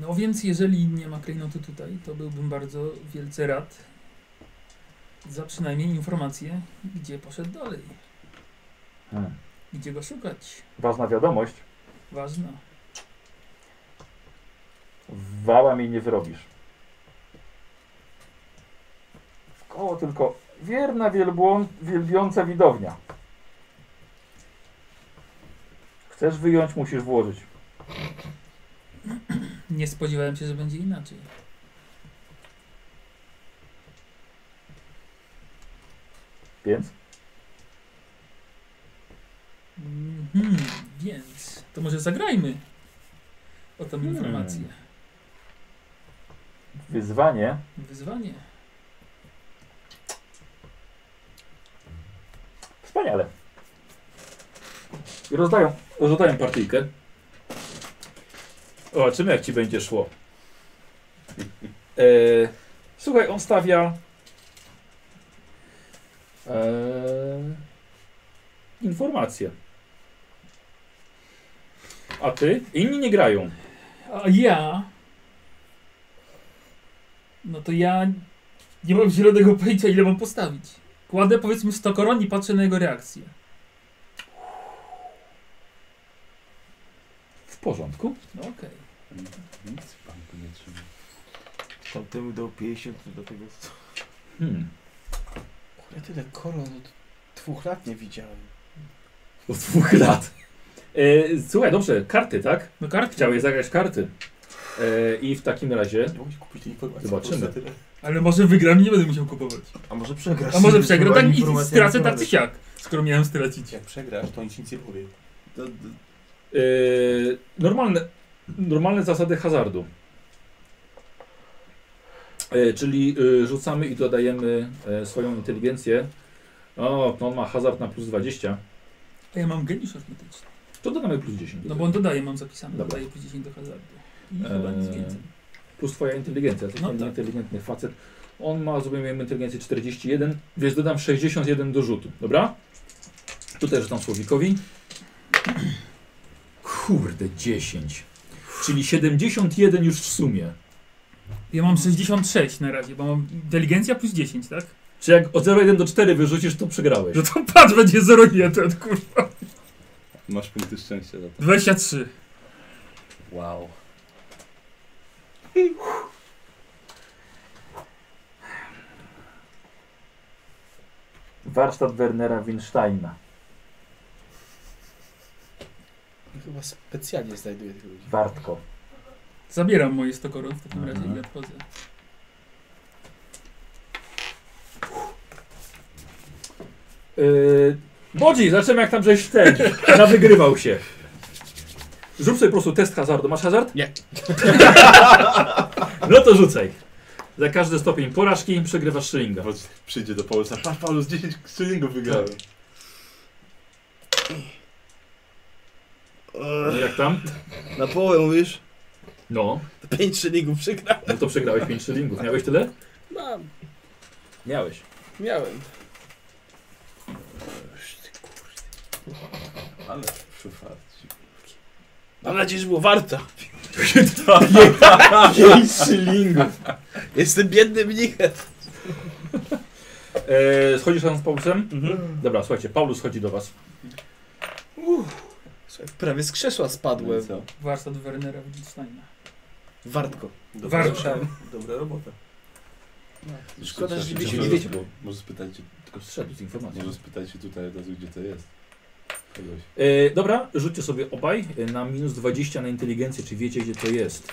Speaker 4: No więc jeżeli nie ma klejnotu tutaj, to byłbym bardzo wielce rad za przynajmniej informację, gdzie poszedł dalej,
Speaker 1: hmm,
Speaker 4: gdzie go szukać.
Speaker 1: ważna wiadomość.
Speaker 4: Ważna.
Speaker 1: Wała mi nie wyrobisz. W koło tylko wierna wielbłąd, wielbiąca widownia. Chcesz wyjąć, musisz włożyć.
Speaker 4: Nie spodziewałem się, że będzie inaczej.
Speaker 1: Więc?
Speaker 4: Mhm, więc to może zagrajmy o tą
Speaker 1: Hmm.
Speaker 4: informację.
Speaker 1: Wyzwanie.
Speaker 4: Wyzwanie.
Speaker 1: Wspaniale. I rozdają, rozdają partyjkę. Zobaczymy, jak ci będzie szło. E, słuchaj, on stawia e, informacje. A ty? Inni nie grają.
Speaker 4: A ja. No to ja nie mam zielonego pojęcia, ile mam postawić. Kładę powiedzmy 100 koron i patrzę na jego reakcję.
Speaker 1: W porządku.
Speaker 4: No okej.
Speaker 2: Nic w banku nie trzyma.
Speaker 8: Tamtemu dał 50, to do tego... co-
Speaker 1: Hmm.
Speaker 5: Ja tyle koron od dwóch lat nie widziałem.
Speaker 1: Od dwóch lat. E, słuchaj, dobrze, karty, tak?
Speaker 4: No kartki.
Speaker 1: Chciałeś zagrać karty. E, I w takim razie.
Speaker 42: Nie mogłeś kupić tej informacji.
Speaker 1: Zobaczymy.
Speaker 42: po prostu tyle.
Speaker 4: Ale może wygram i nie będę musiał kupować.
Speaker 8: A może przegrasz?
Speaker 4: A może przegram, tak nic,
Speaker 8: Informacja
Speaker 4: stracę
Speaker 8: nie
Speaker 4: tak czy siak, skoro miałem stracić.
Speaker 1: Tak.
Speaker 42: Jak przegrasz, to nic nic nie powie.
Speaker 2: To, to,
Speaker 1: E, normalne, normalne zasady hazardu. E, czyli e, rzucamy i dodajemy e, swoją inteligencję. O, to on ma hazard na plus 20.
Speaker 4: A ja mam geniusz arytmetyczny.
Speaker 1: To dodamy plus 10. do
Speaker 4: No
Speaker 1: tego.
Speaker 4: bo on dodaje, mam zapisane,
Speaker 1: Dobra.
Speaker 4: dodaje plus 10 do hazardu. I chyba nic
Speaker 1: Eee,
Speaker 4: więcej.
Speaker 1: Plus twoja inteligencja. To jest
Speaker 4: No
Speaker 1: no
Speaker 4: tak.
Speaker 1: inteligentny facet. On ma, zrobimy inteligencję 41, więc dodam 61 do rzutu. Dobra? Tu też dam Słowikowi. Kurde, 10. Czyli 71 już w sumie.
Speaker 4: Ja mam 66 na razie, bo mam inteligencja plus 10, tak?
Speaker 1: Czy jak od 0,1 do 4 wyrzucisz, to przegrałeś.
Speaker 4: No to patrz, będzie 0,1, kurwa.
Speaker 43: Masz punkty szczęścia za to.
Speaker 4: 23.
Speaker 43: Wow.
Speaker 1: Warsztat Wernera Winsteina.
Speaker 5: Chyba specjalnie znajduję tych ludzi.
Speaker 1: Wartko.
Speaker 4: Zabieram moje 100 koron w takim razie
Speaker 1: Mhm.
Speaker 4: i odchodzę.
Speaker 1: Yy, Bodzi, zobaczymy jak tam żeś ten nawygrywał się. Rzuć sobie po prostu test hazardu. Masz hazard?
Speaker 5: Nie.
Speaker 1: [laughs] no to rzucaj. Za każdy stopień porażki przegrywasz szylinga.
Speaker 2: Chodź, przyjdzie do Paulusa. Patrz, Paulus, 10 szylingów wygrałem.
Speaker 1: No jak tam?
Speaker 44: Na połowę mówisz?
Speaker 1: No,
Speaker 44: Pięć szylingów przegrałem.
Speaker 1: no to przegrałeś 5 szylingów. Miałeś tyle?
Speaker 5: Mam,
Speaker 1: Miałeś.
Speaker 5: miałem.
Speaker 2: Ale szufarci.
Speaker 5: Mam nadzieję, że było warta.
Speaker 1: Pięć szylingów.
Speaker 5: Jestem biedny mnichem.
Speaker 1: E, schodzisz razem z Paulusem?
Speaker 5: Mhm.
Speaker 1: Dobra, słuchajcie, Paulus chodzi do was.
Speaker 5: Słuchaj, prawie z krzesła spadłem.
Speaker 2: No Co?
Speaker 4: Warsztat Wernera Wittgensteina.
Speaker 5: Wartko.
Speaker 42: Dobra,
Speaker 4: Warto.
Speaker 42: dobra robota.
Speaker 5: Szkoda, że
Speaker 2: Trzeba-
Speaker 5: nie
Speaker 2: trzeba-
Speaker 5: wiecie,
Speaker 1: nie wiecie, bo-
Speaker 2: Może spytajcie,
Speaker 1: Tylko zszedł z informacją.
Speaker 2: może spytajcie tutaj od razu, gdzie to jest. Kogoś.
Speaker 1: E, dobra, rzućcie sobie obaj e, na minus 20 na inteligencję, czy wiecie gdzie to jest.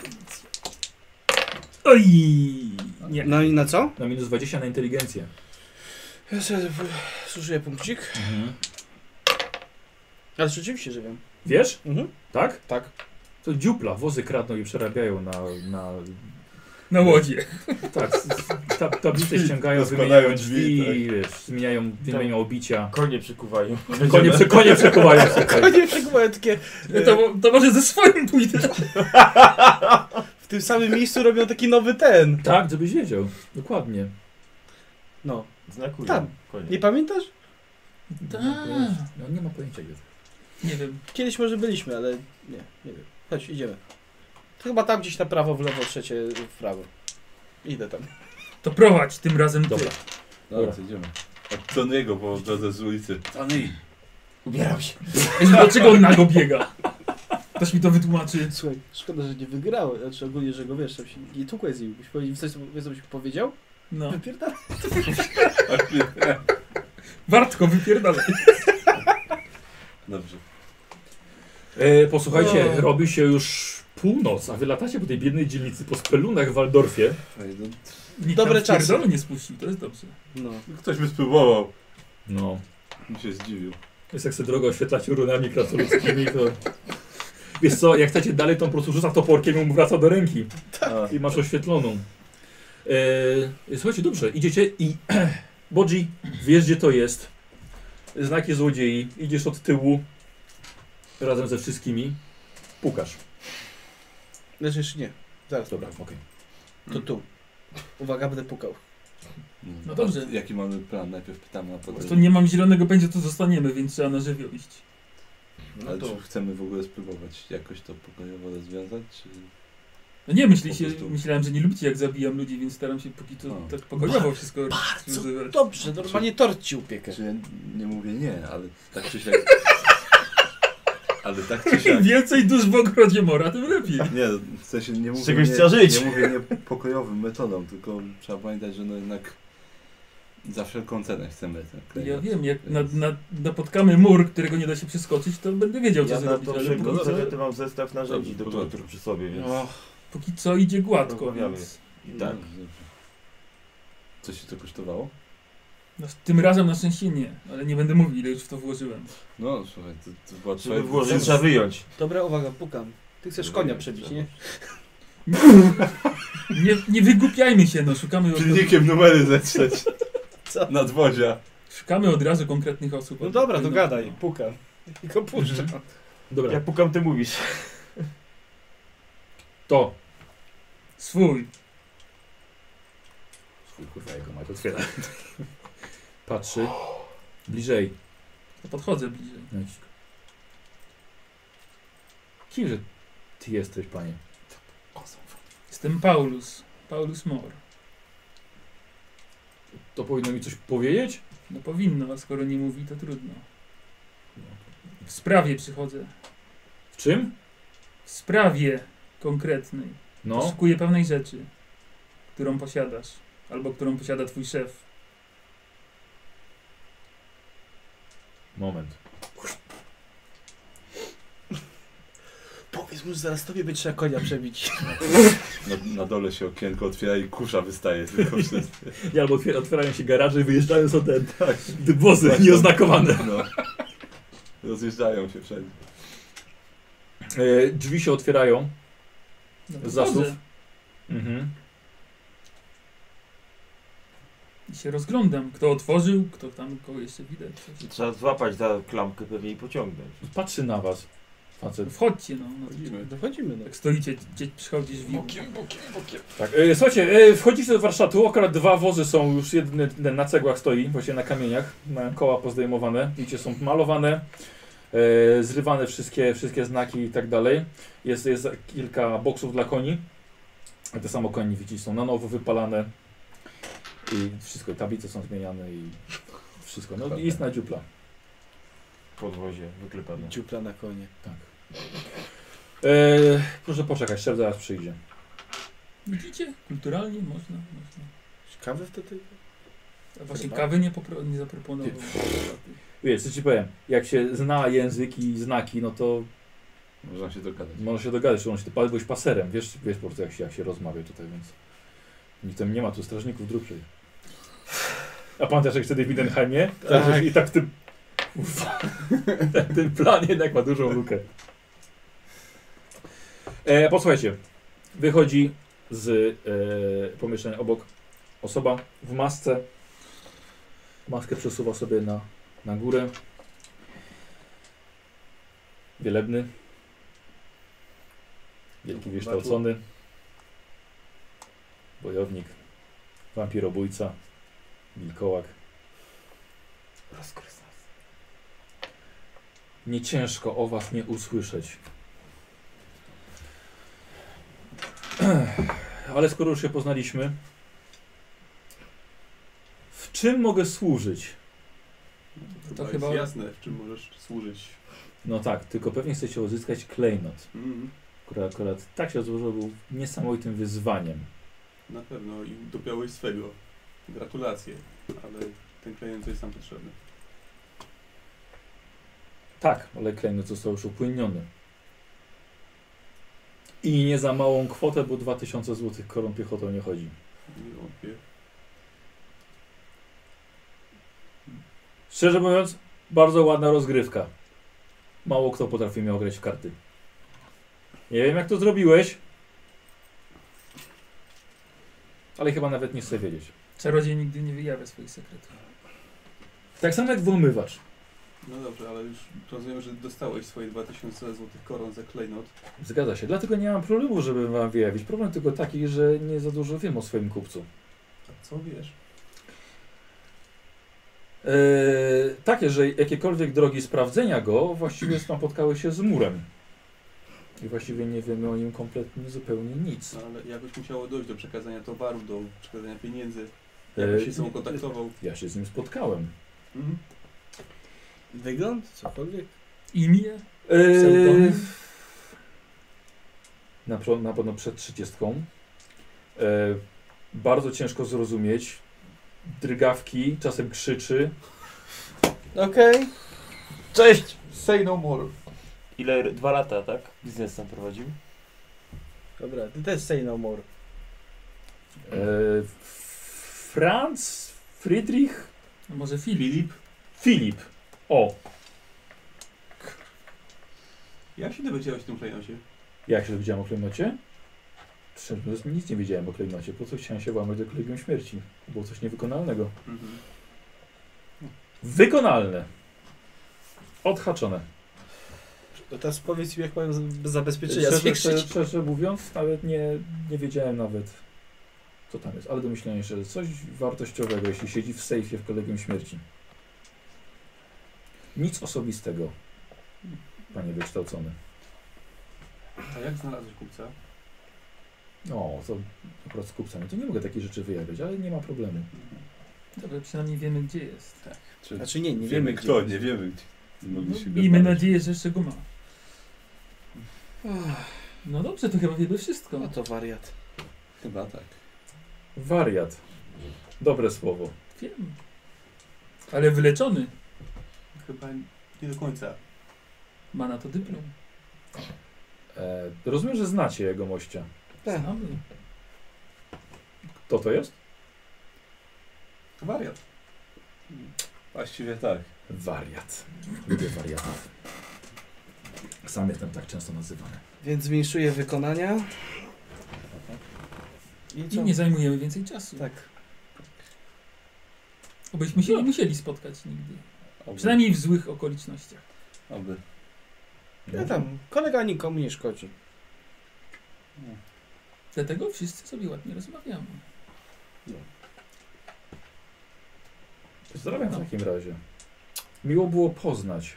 Speaker 4: Oj! Nie.
Speaker 5: No i na co?
Speaker 1: Na minus 20 na inteligencję.
Speaker 5: Ja sobie zużyję punkcik.
Speaker 2: Mhm.
Speaker 5: Ale rzeczywiście, że wiem.
Speaker 1: Wiesz?
Speaker 5: Mhm.
Speaker 1: Tak?
Speaker 5: Tak.
Speaker 1: To dziupla, wozy kradną i przerabiają na... na
Speaker 4: Na łodzie.
Speaker 1: tak, s- s- ta, tablice ściągają,
Speaker 2: Rozkładają
Speaker 1: wymieniają
Speaker 2: drzwi, tak.
Speaker 1: drzwi, wiesz, zmieniają, wymienią obicia.
Speaker 8: Konie przykuwają. [laughs]
Speaker 1: Konie, prze, konie przekuwają się.
Speaker 5: [laughs]
Speaker 1: tak.
Speaker 5: Konie przekuwają takie...
Speaker 4: No to, to może ze swoim pójdę.
Speaker 5: W tym samym miejscu robią taki nowy ten.
Speaker 1: Tak, żebyś wiedział. Dokładnie.
Speaker 5: No.
Speaker 8: Znakują.
Speaker 5: Tam.
Speaker 8: Konie.
Speaker 5: Nie pamiętasz?
Speaker 4: Tak.
Speaker 1: No nie ma pojęcia gdzie.
Speaker 4: Nie wiem.
Speaker 5: Kiedyś może byliśmy, ale nie, nie wiem. Chodź, idziemy. To chyba tam gdzieś na prawo, w lewo, trzecie, w prawo. Idę tam.
Speaker 4: To prowadź tym razem ty.
Speaker 1: Dobra.
Speaker 2: Dobra, to idziemy. Od Tony'ego po drodze z ulicy. Tony!
Speaker 8: Ubieram się.
Speaker 4: Jezu, dlaczego on nago biega? Ktoś mi to wytłumaczy.
Speaker 5: Słuchaj, szkoda, że nie wygrałeś, znaczy ogólnie, że go wiesz, tam się nie tukłeś z nim. Byś powiedział coś, co wiesz, co byś powiedział?
Speaker 4: No.
Speaker 5: Wypierdalaj.
Speaker 4: Wartko, wypierdalaj.
Speaker 2: Dobrze.
Speaker 1: E, posłuchajcie,
Speaker 4: O.
Speaker 1: robi się już północ, a wy latacie po tej biednej dzielnicy, po spelunach w Waldorfie.
Speaker 2: Ej, no,
Speaker 4: Nikt
Speaker 5: Dobre
Speaker 4: nam
Speaker 5: czasy.
Speaker 4: wpierdolu nie spuścił, to jest dobrze.
Speaker 5: No.
Speaker 2: Ktoś by spróbował.
Speaker 1: No.
Speaker 2: Mi się zdziwił.
Speaker 1: Jest jak sobie drogę oświetlać runami krasnoludzkimi, to... Wiesz co, jak chcecie dalej, to po prostu rzuca toporkiem i mu wraca do ręki.
Speaker 2: A,
Speaker 1: I masz oświetloną. E, słuchajcie, dobrze, idziecie i... [clears throat] Bodzi, wiesz gdzie to jest. Znaki złodziei. Idziesz od tyłu. Razem ze wszystkimi. Pukasz.
Speaker 5: Znaczy jeszcze nie. Zaraz.
Speaker 1: Dobra, okej.
Speaker 5: To tu. Uwaga, będę pukał.
Speaker 4: No dobrze.
Speaker 2: A Jaki mamy plan? Najpierw pytamy, a
Speaker 4: Tu
Speaker 2: potem...
Speaker 4: nie mam zielonego pędzia, to zostaniemy, więc trzeba na żywioł iść.
Speaker 5: No
Speaker 2: Ale czy chcemy w ogóle spróbować jakoś to pokojowo rozwiązać? Czy...
Speaker 4: No nie, myśli
Speaker 2: Po
Speaker 4: się,
Speaker 2: prostu.
Speaker 4: myślałem, że nie lubicie jak zabijam ludzi, więc staram się póki to
Speaker 2: A.
Speaker 4: tak pokojowo wszystko
Speaker 5: [laughs]
Speaker 4: rozwiązywać.
Speaker 5: Dobrze, normalnie tort ci upiekę.
Speaker 2: Czy ja nie mówię nie, ale tak czy siak... Ale tak czy siak...
Speaker 4: Im więcej dusz w ogrodzie mora, tym lepiej.
Speaker 2: Nie, w sensie nie mówię,
Speaker 8: czegoś
Speaker 2: nie,
Speaker 8: trzeba żyć.
Speaker 2: nie mówię nie pokojowym metodą, tylko trzeba pamiętać, że no jednak za wszelką cenę chcemy ten klejnot.
Speaker 4: Ja wiem, jak na, na, napotkamy mur, którego nie da się przeskoczyć, to będę wiedział, co
Speaker 8: Ja na
Speaker 4: zrobić,
Speaker 8: to
Speaker 4: ale póki co,
Speaker 8: przygotuję, ty mam zestaw narzędzi
Speaker 2: Dobrze,
Speaker 8: do
Speaker 2: porządku.
Speaker 8: tortur przy sobie, więc...
Speaker 4: póki co idzie gładko,
Speaker 8: Rozmawiamy.
Speaker 4: więc
Speaker 8: I tak.
Speaker 2: Dobrze, dobrze. Co ci to kosztowało?
Speaker 4: no, tym razem na szczęście nie, ale nie będę mówił, ile już w to włożyłem.
Speaker 2: No słuchaj, to, to była
Speaker 8: Żeby
Speaker 2: twoja
Speaker 8: włożyć,
Speaker 2: decyzja.
Speaker 8: trzeba wyjąć.
Speaker 5: Dobra, uwaga, pukam. Ty chcesz konia przebić, nie?
Speaker 4: Nie, nie wygłupiajmy się, no, szukamy od,
Speaker 2: Pilnikiem numery
Speaker 8: [laughs]
Speaker 2: zetrzeć. Nadwozia.
Speaker 4: szukamy od razu konkretnych osób.
Speaker 5: No dobra, to gadaj, pukam. I go puszczam.
Speaker 1: Dobra,
Speaker 8: Jak pukam, ty mówisz.
Speaker 1: to.
Speaker 4: Swój.
Speaker 1: Swój kurwa jego mać otwiera. [laughs] Patrzy. Bliżej.
Speaker 4: To podchodzę bliżej.
Speaker 1: Nacisk. Kimże ty jesteś, panie?
Speaker 4: Jestem Paulus. Paulus Mor.
Speaker 1: To powinno mi coś powiedzieć?
Speaker 4: No powinno, a skoro nie mówi, to trudno. W sprawie przychodzę.
Speaker 1: W czym?
Speaker 4: W sprawie konkretnej.
Speaker 1: No.
Speaker 4: Poszukuję pewnej rzeczy, którą posiadasz. Albo którą posiada twój szef.
Speaker 1: Moment.
Speaker 5: Powiedz mu, że zaraz tobie by trzeba konia przebić.
Speaker 2: Na, na dole się okienko otwiera i kusza wystaje
Speaker 8: [laughs]
Speaker 2: tylko przez...
Speaker 1: Nie, albo otwier- otwierają się garaże i wyjeżdżają są te tak, wozy nieoznakowane.
Speaker 2: No. Rozjeżdżają się wszędzie.
Speaker 1: E, drzwi się otwierają.
Speaker 4: No to
Speaker 1: Zasów.
Speaker 4: wchodzę
Speaker 1: Mhm.
Speaker 4: I się rozglądam. Kto otworzył, kto tam kogo jeszcze widać. coś.
Speaker 8: Trzeba złapać za klamkę pewnie i pociągnąć.
Speaker 1: Patrzy na was. Facet.
Speaker 4: No Wchodźcie no. no to-
Speaker 5: Dochodzimy, no.
Speaker 4: jak stoicie, gdzie przychodzisz
Speaker 1: No,
Speaker 4: w
Speaker 1: Tak. E, słuchajcie, e, wchodzicie do warsztatu, akurat dwa wozy są już, jeden, jeden na cegłach stoi, właśnie na kamieniach, mają koła pozdejmowane, widzicie, są malowane, e, zrywane wszystkie, wszystkie znaki i tak dalej. Jest, jest kilka boksów dla koni, a te samo koni widzicie, są na nowo wypalane i wszystko, tablice są zmieniane i wszystko, no i jest na dziupla.
Speaker 8: Podwozie wyklepane.
Speaker 5: Dziupla na konie.
Speaker 1: Tak. E, proszę poczekać, szef zaraz przyjdzie.
Speaker 4: Widzicie? Kulturalnie można. można.
Speaker 5: Ciekawy wtedy?
Speaker 4: A właśnie
Speaker 5: Chyba.
Speaker 4: kawy nie, popro- nie zaproponował.
Speaker 1: Wiesz, co ci powiem, jak się zna język i znaki, no to
Speaker 2: Można się dogadać.
Speaker 1: Można się dogadać, że on się ty byłeś paserem, wiesz, wiesz po prostu jak się, jak się rozmawia tutaj, więc nic tam nie ma tu strażników dróg przecież. A pamiętasz jak wtedy w Mindenheimie? Tak. I tak w tym... Ufa, ten, ten plan jednak ma dużą lukę. E, posłuchajcie, wychodzi z e, pomieszczenia obok osoba w masce. Maskę przesuwa sobie na, na górę. Wielebny. Wielki wykształcony. Bojownik. Wampirobójca. Wilkołak. Nie ciężko o was nie usłyszeć. [clears throat] Ale skoro już się poznaliśmy, w czym mogę służyć?
Speaker 45: To,
Speaker 4: To
Speaker 45: chyba
Speaker 4: chyba-
Speaker 45: jest jasne, w czym możesz służyć.
Speaker 1: No tak, tylko pewnie chcecie uzyskać klejnot,
Speaker 45: Mhm.
Speaker 1: który akurat tak się złożył, był niesamowitym wyzwaniem.
Speaker 45: Na pewno i dopiąłeś swego. Gratulacje, ale ten klient jest nam potrzebny.
Speaker 1: Tak, ale klejnot został już upłyniony. I nie za małą kwotę, bo 2000 zł korą piechotą nie chodzi.
Speaker 45: Nie wątpię.
Speaker 1: Szczerze mówiąc, bardzo ładna rozgrywka. Mało kto potrafi mnie ograć w karty. Nie wiem jak to zrobiłeś. Ale chyba nawet nie chcę wiedzieć.
Speaker 4: Czarodziej nigdy nie wyjawia swoich sekretów.
Speaker 1: Tak samo jak wyomywacz.
Speaker 2: No dobrze, ale już rozumiem, że dostałeś swoje 2000 złotych koron za klejnot.
Speaker 1: Zgadza się. Dlatego nie mam problemu, żeby wam wyjawić. Problem tylko taki, że nie za dużo wiem o swoim kupcu.
Speaker 2: A co wiesz?
Speaker 1: Eee, takie, że jakiekolwiek drogi sprawdzenia go właściwie napotkały się z murem. I właściwie nie wiemy o nim kompletnie zupełnie nic.
Speaker 2: No ale jakoś musiało dojść do przekazania towaru, do przekazania pieniędzy.
Speaker 1: Eee,
Speaker 2: Jakbyś się z sobą kontaktował.
Speaker 1: Ja się z nim spotkałem.
Speaker 2: Mhm.
Speaker 5: Wygląd? Cokolwiek?
Speaker 4: Imię?
Speaker 1: Eee,
Speaker 4: Pseudonim?
Speaker 1: na, pro- na pewno przed trzydziestką. E, bardzo ciężko zrozumieć. Drgawki, czasem krzyczy.
Speaker 5: Okej.
Speaker 8: Cześć!
Speaker 2: Say no more.
Speaker 8: Ile? Dwa lata, tak? Biznes tam prowadził?
Speaker 5: Dobra, ty też say no more.
Speaker 1: E, F- Franz, Friedrich,
Speaker 4: A może Filip?
Speaker 1: Filip. O,
Speaker 2: Jak się dowiedziałeś o tym klejnocie?
Speaker 1: jak się dowiedziałem o klejnocie? Szczerze mówiąc, nic nie wiedziałem o klejnocie. Po co chciałem się włamać do kolegium śmierci? To było coś niewykonalnego.
Speaker 2: Mhm.
Speaker 1: Wykonalne! Odhaczone.
Speaker 5: To teraz powiedz mi, jak mają z- zabezpieczenia
Speaker 1: Szczerze, szczerze,
Speaker 5: zwiększyć.
Speaker 1: szczerze mówiąc, nawet nie, nie wiedziałem nawet, co tam jest, ale domyślałem się, że coś wartościowego, jeśli siedzi w sejfie w kolegium śmierci. Nic osobistego, panie wykształcony.
Speaker 2: A jak znalazłeś kupca?
Speaker 1: O, to akurat z kupcami, to nie mogę takich rzeczy wyjawiać, ale nie ma problemu.
Speaker 4: Dobra, przynajmniej wiemy gdzie jest.
Speaker 46: Czy
Speaker 5: Znaczy nie, nie
Speaker 46: wiemy,
Speaker 5: wiemy
Speaker 46: kto,
Speaker 5: gdzie.
Speaker 46: nie wiemy gdzie. Mogli się go
Speaker 4: Miejmy
Speaker 46: znaleźć.
Speaker 4: nadzieję, że jeszcze go ma. No dobrze, to chyba wiemy wszystko.
Speaker 5: No to wariat.
Speaker 46: Chyba tak.
Speaker 1: Wariat. Dobre słowo.
Speaker 4: Wiem. Ale wyleczony
Speaker 2: Chyba nie do końca.
Speaker 4: ma na to dyplom.
Speaker 1: E, rozumiem, że znacie jego mościa.
Speaker 5: Tak.
Speaker 4: Znamy.
Speaker 1: Kto to jest?
Speaker 2: Wariat.
Speaker 46: Właściwie tak.
Speaker 1: Wariat. Lubię wariatów. Sam jestem tak często nazywany.
Speaker 5: Więc zmniejszuję wykonania. I
Speaker 4: I
Speaker 5: co?
Speaker 4: nie zajmujemy więcej czasu.
Speaker 5: Tak. No.
Speaker 4: Obyśmy się nie musieli spotkać nigdy.
Speaker 46: Oby.
Speaker 4: Przynajmniej w złych okolicznościach.
Speaker 46: Oby.
Speaker 5: Ja
Speaker 1: tak
Speaker 5: tam, kolega nikomu nie szkodzi.
Speaker 4: Dlatego wszyscy sobie ładnie rozmawiamy.
Speaker 1: Pozdrawiam w takim razie. Miło było poznać.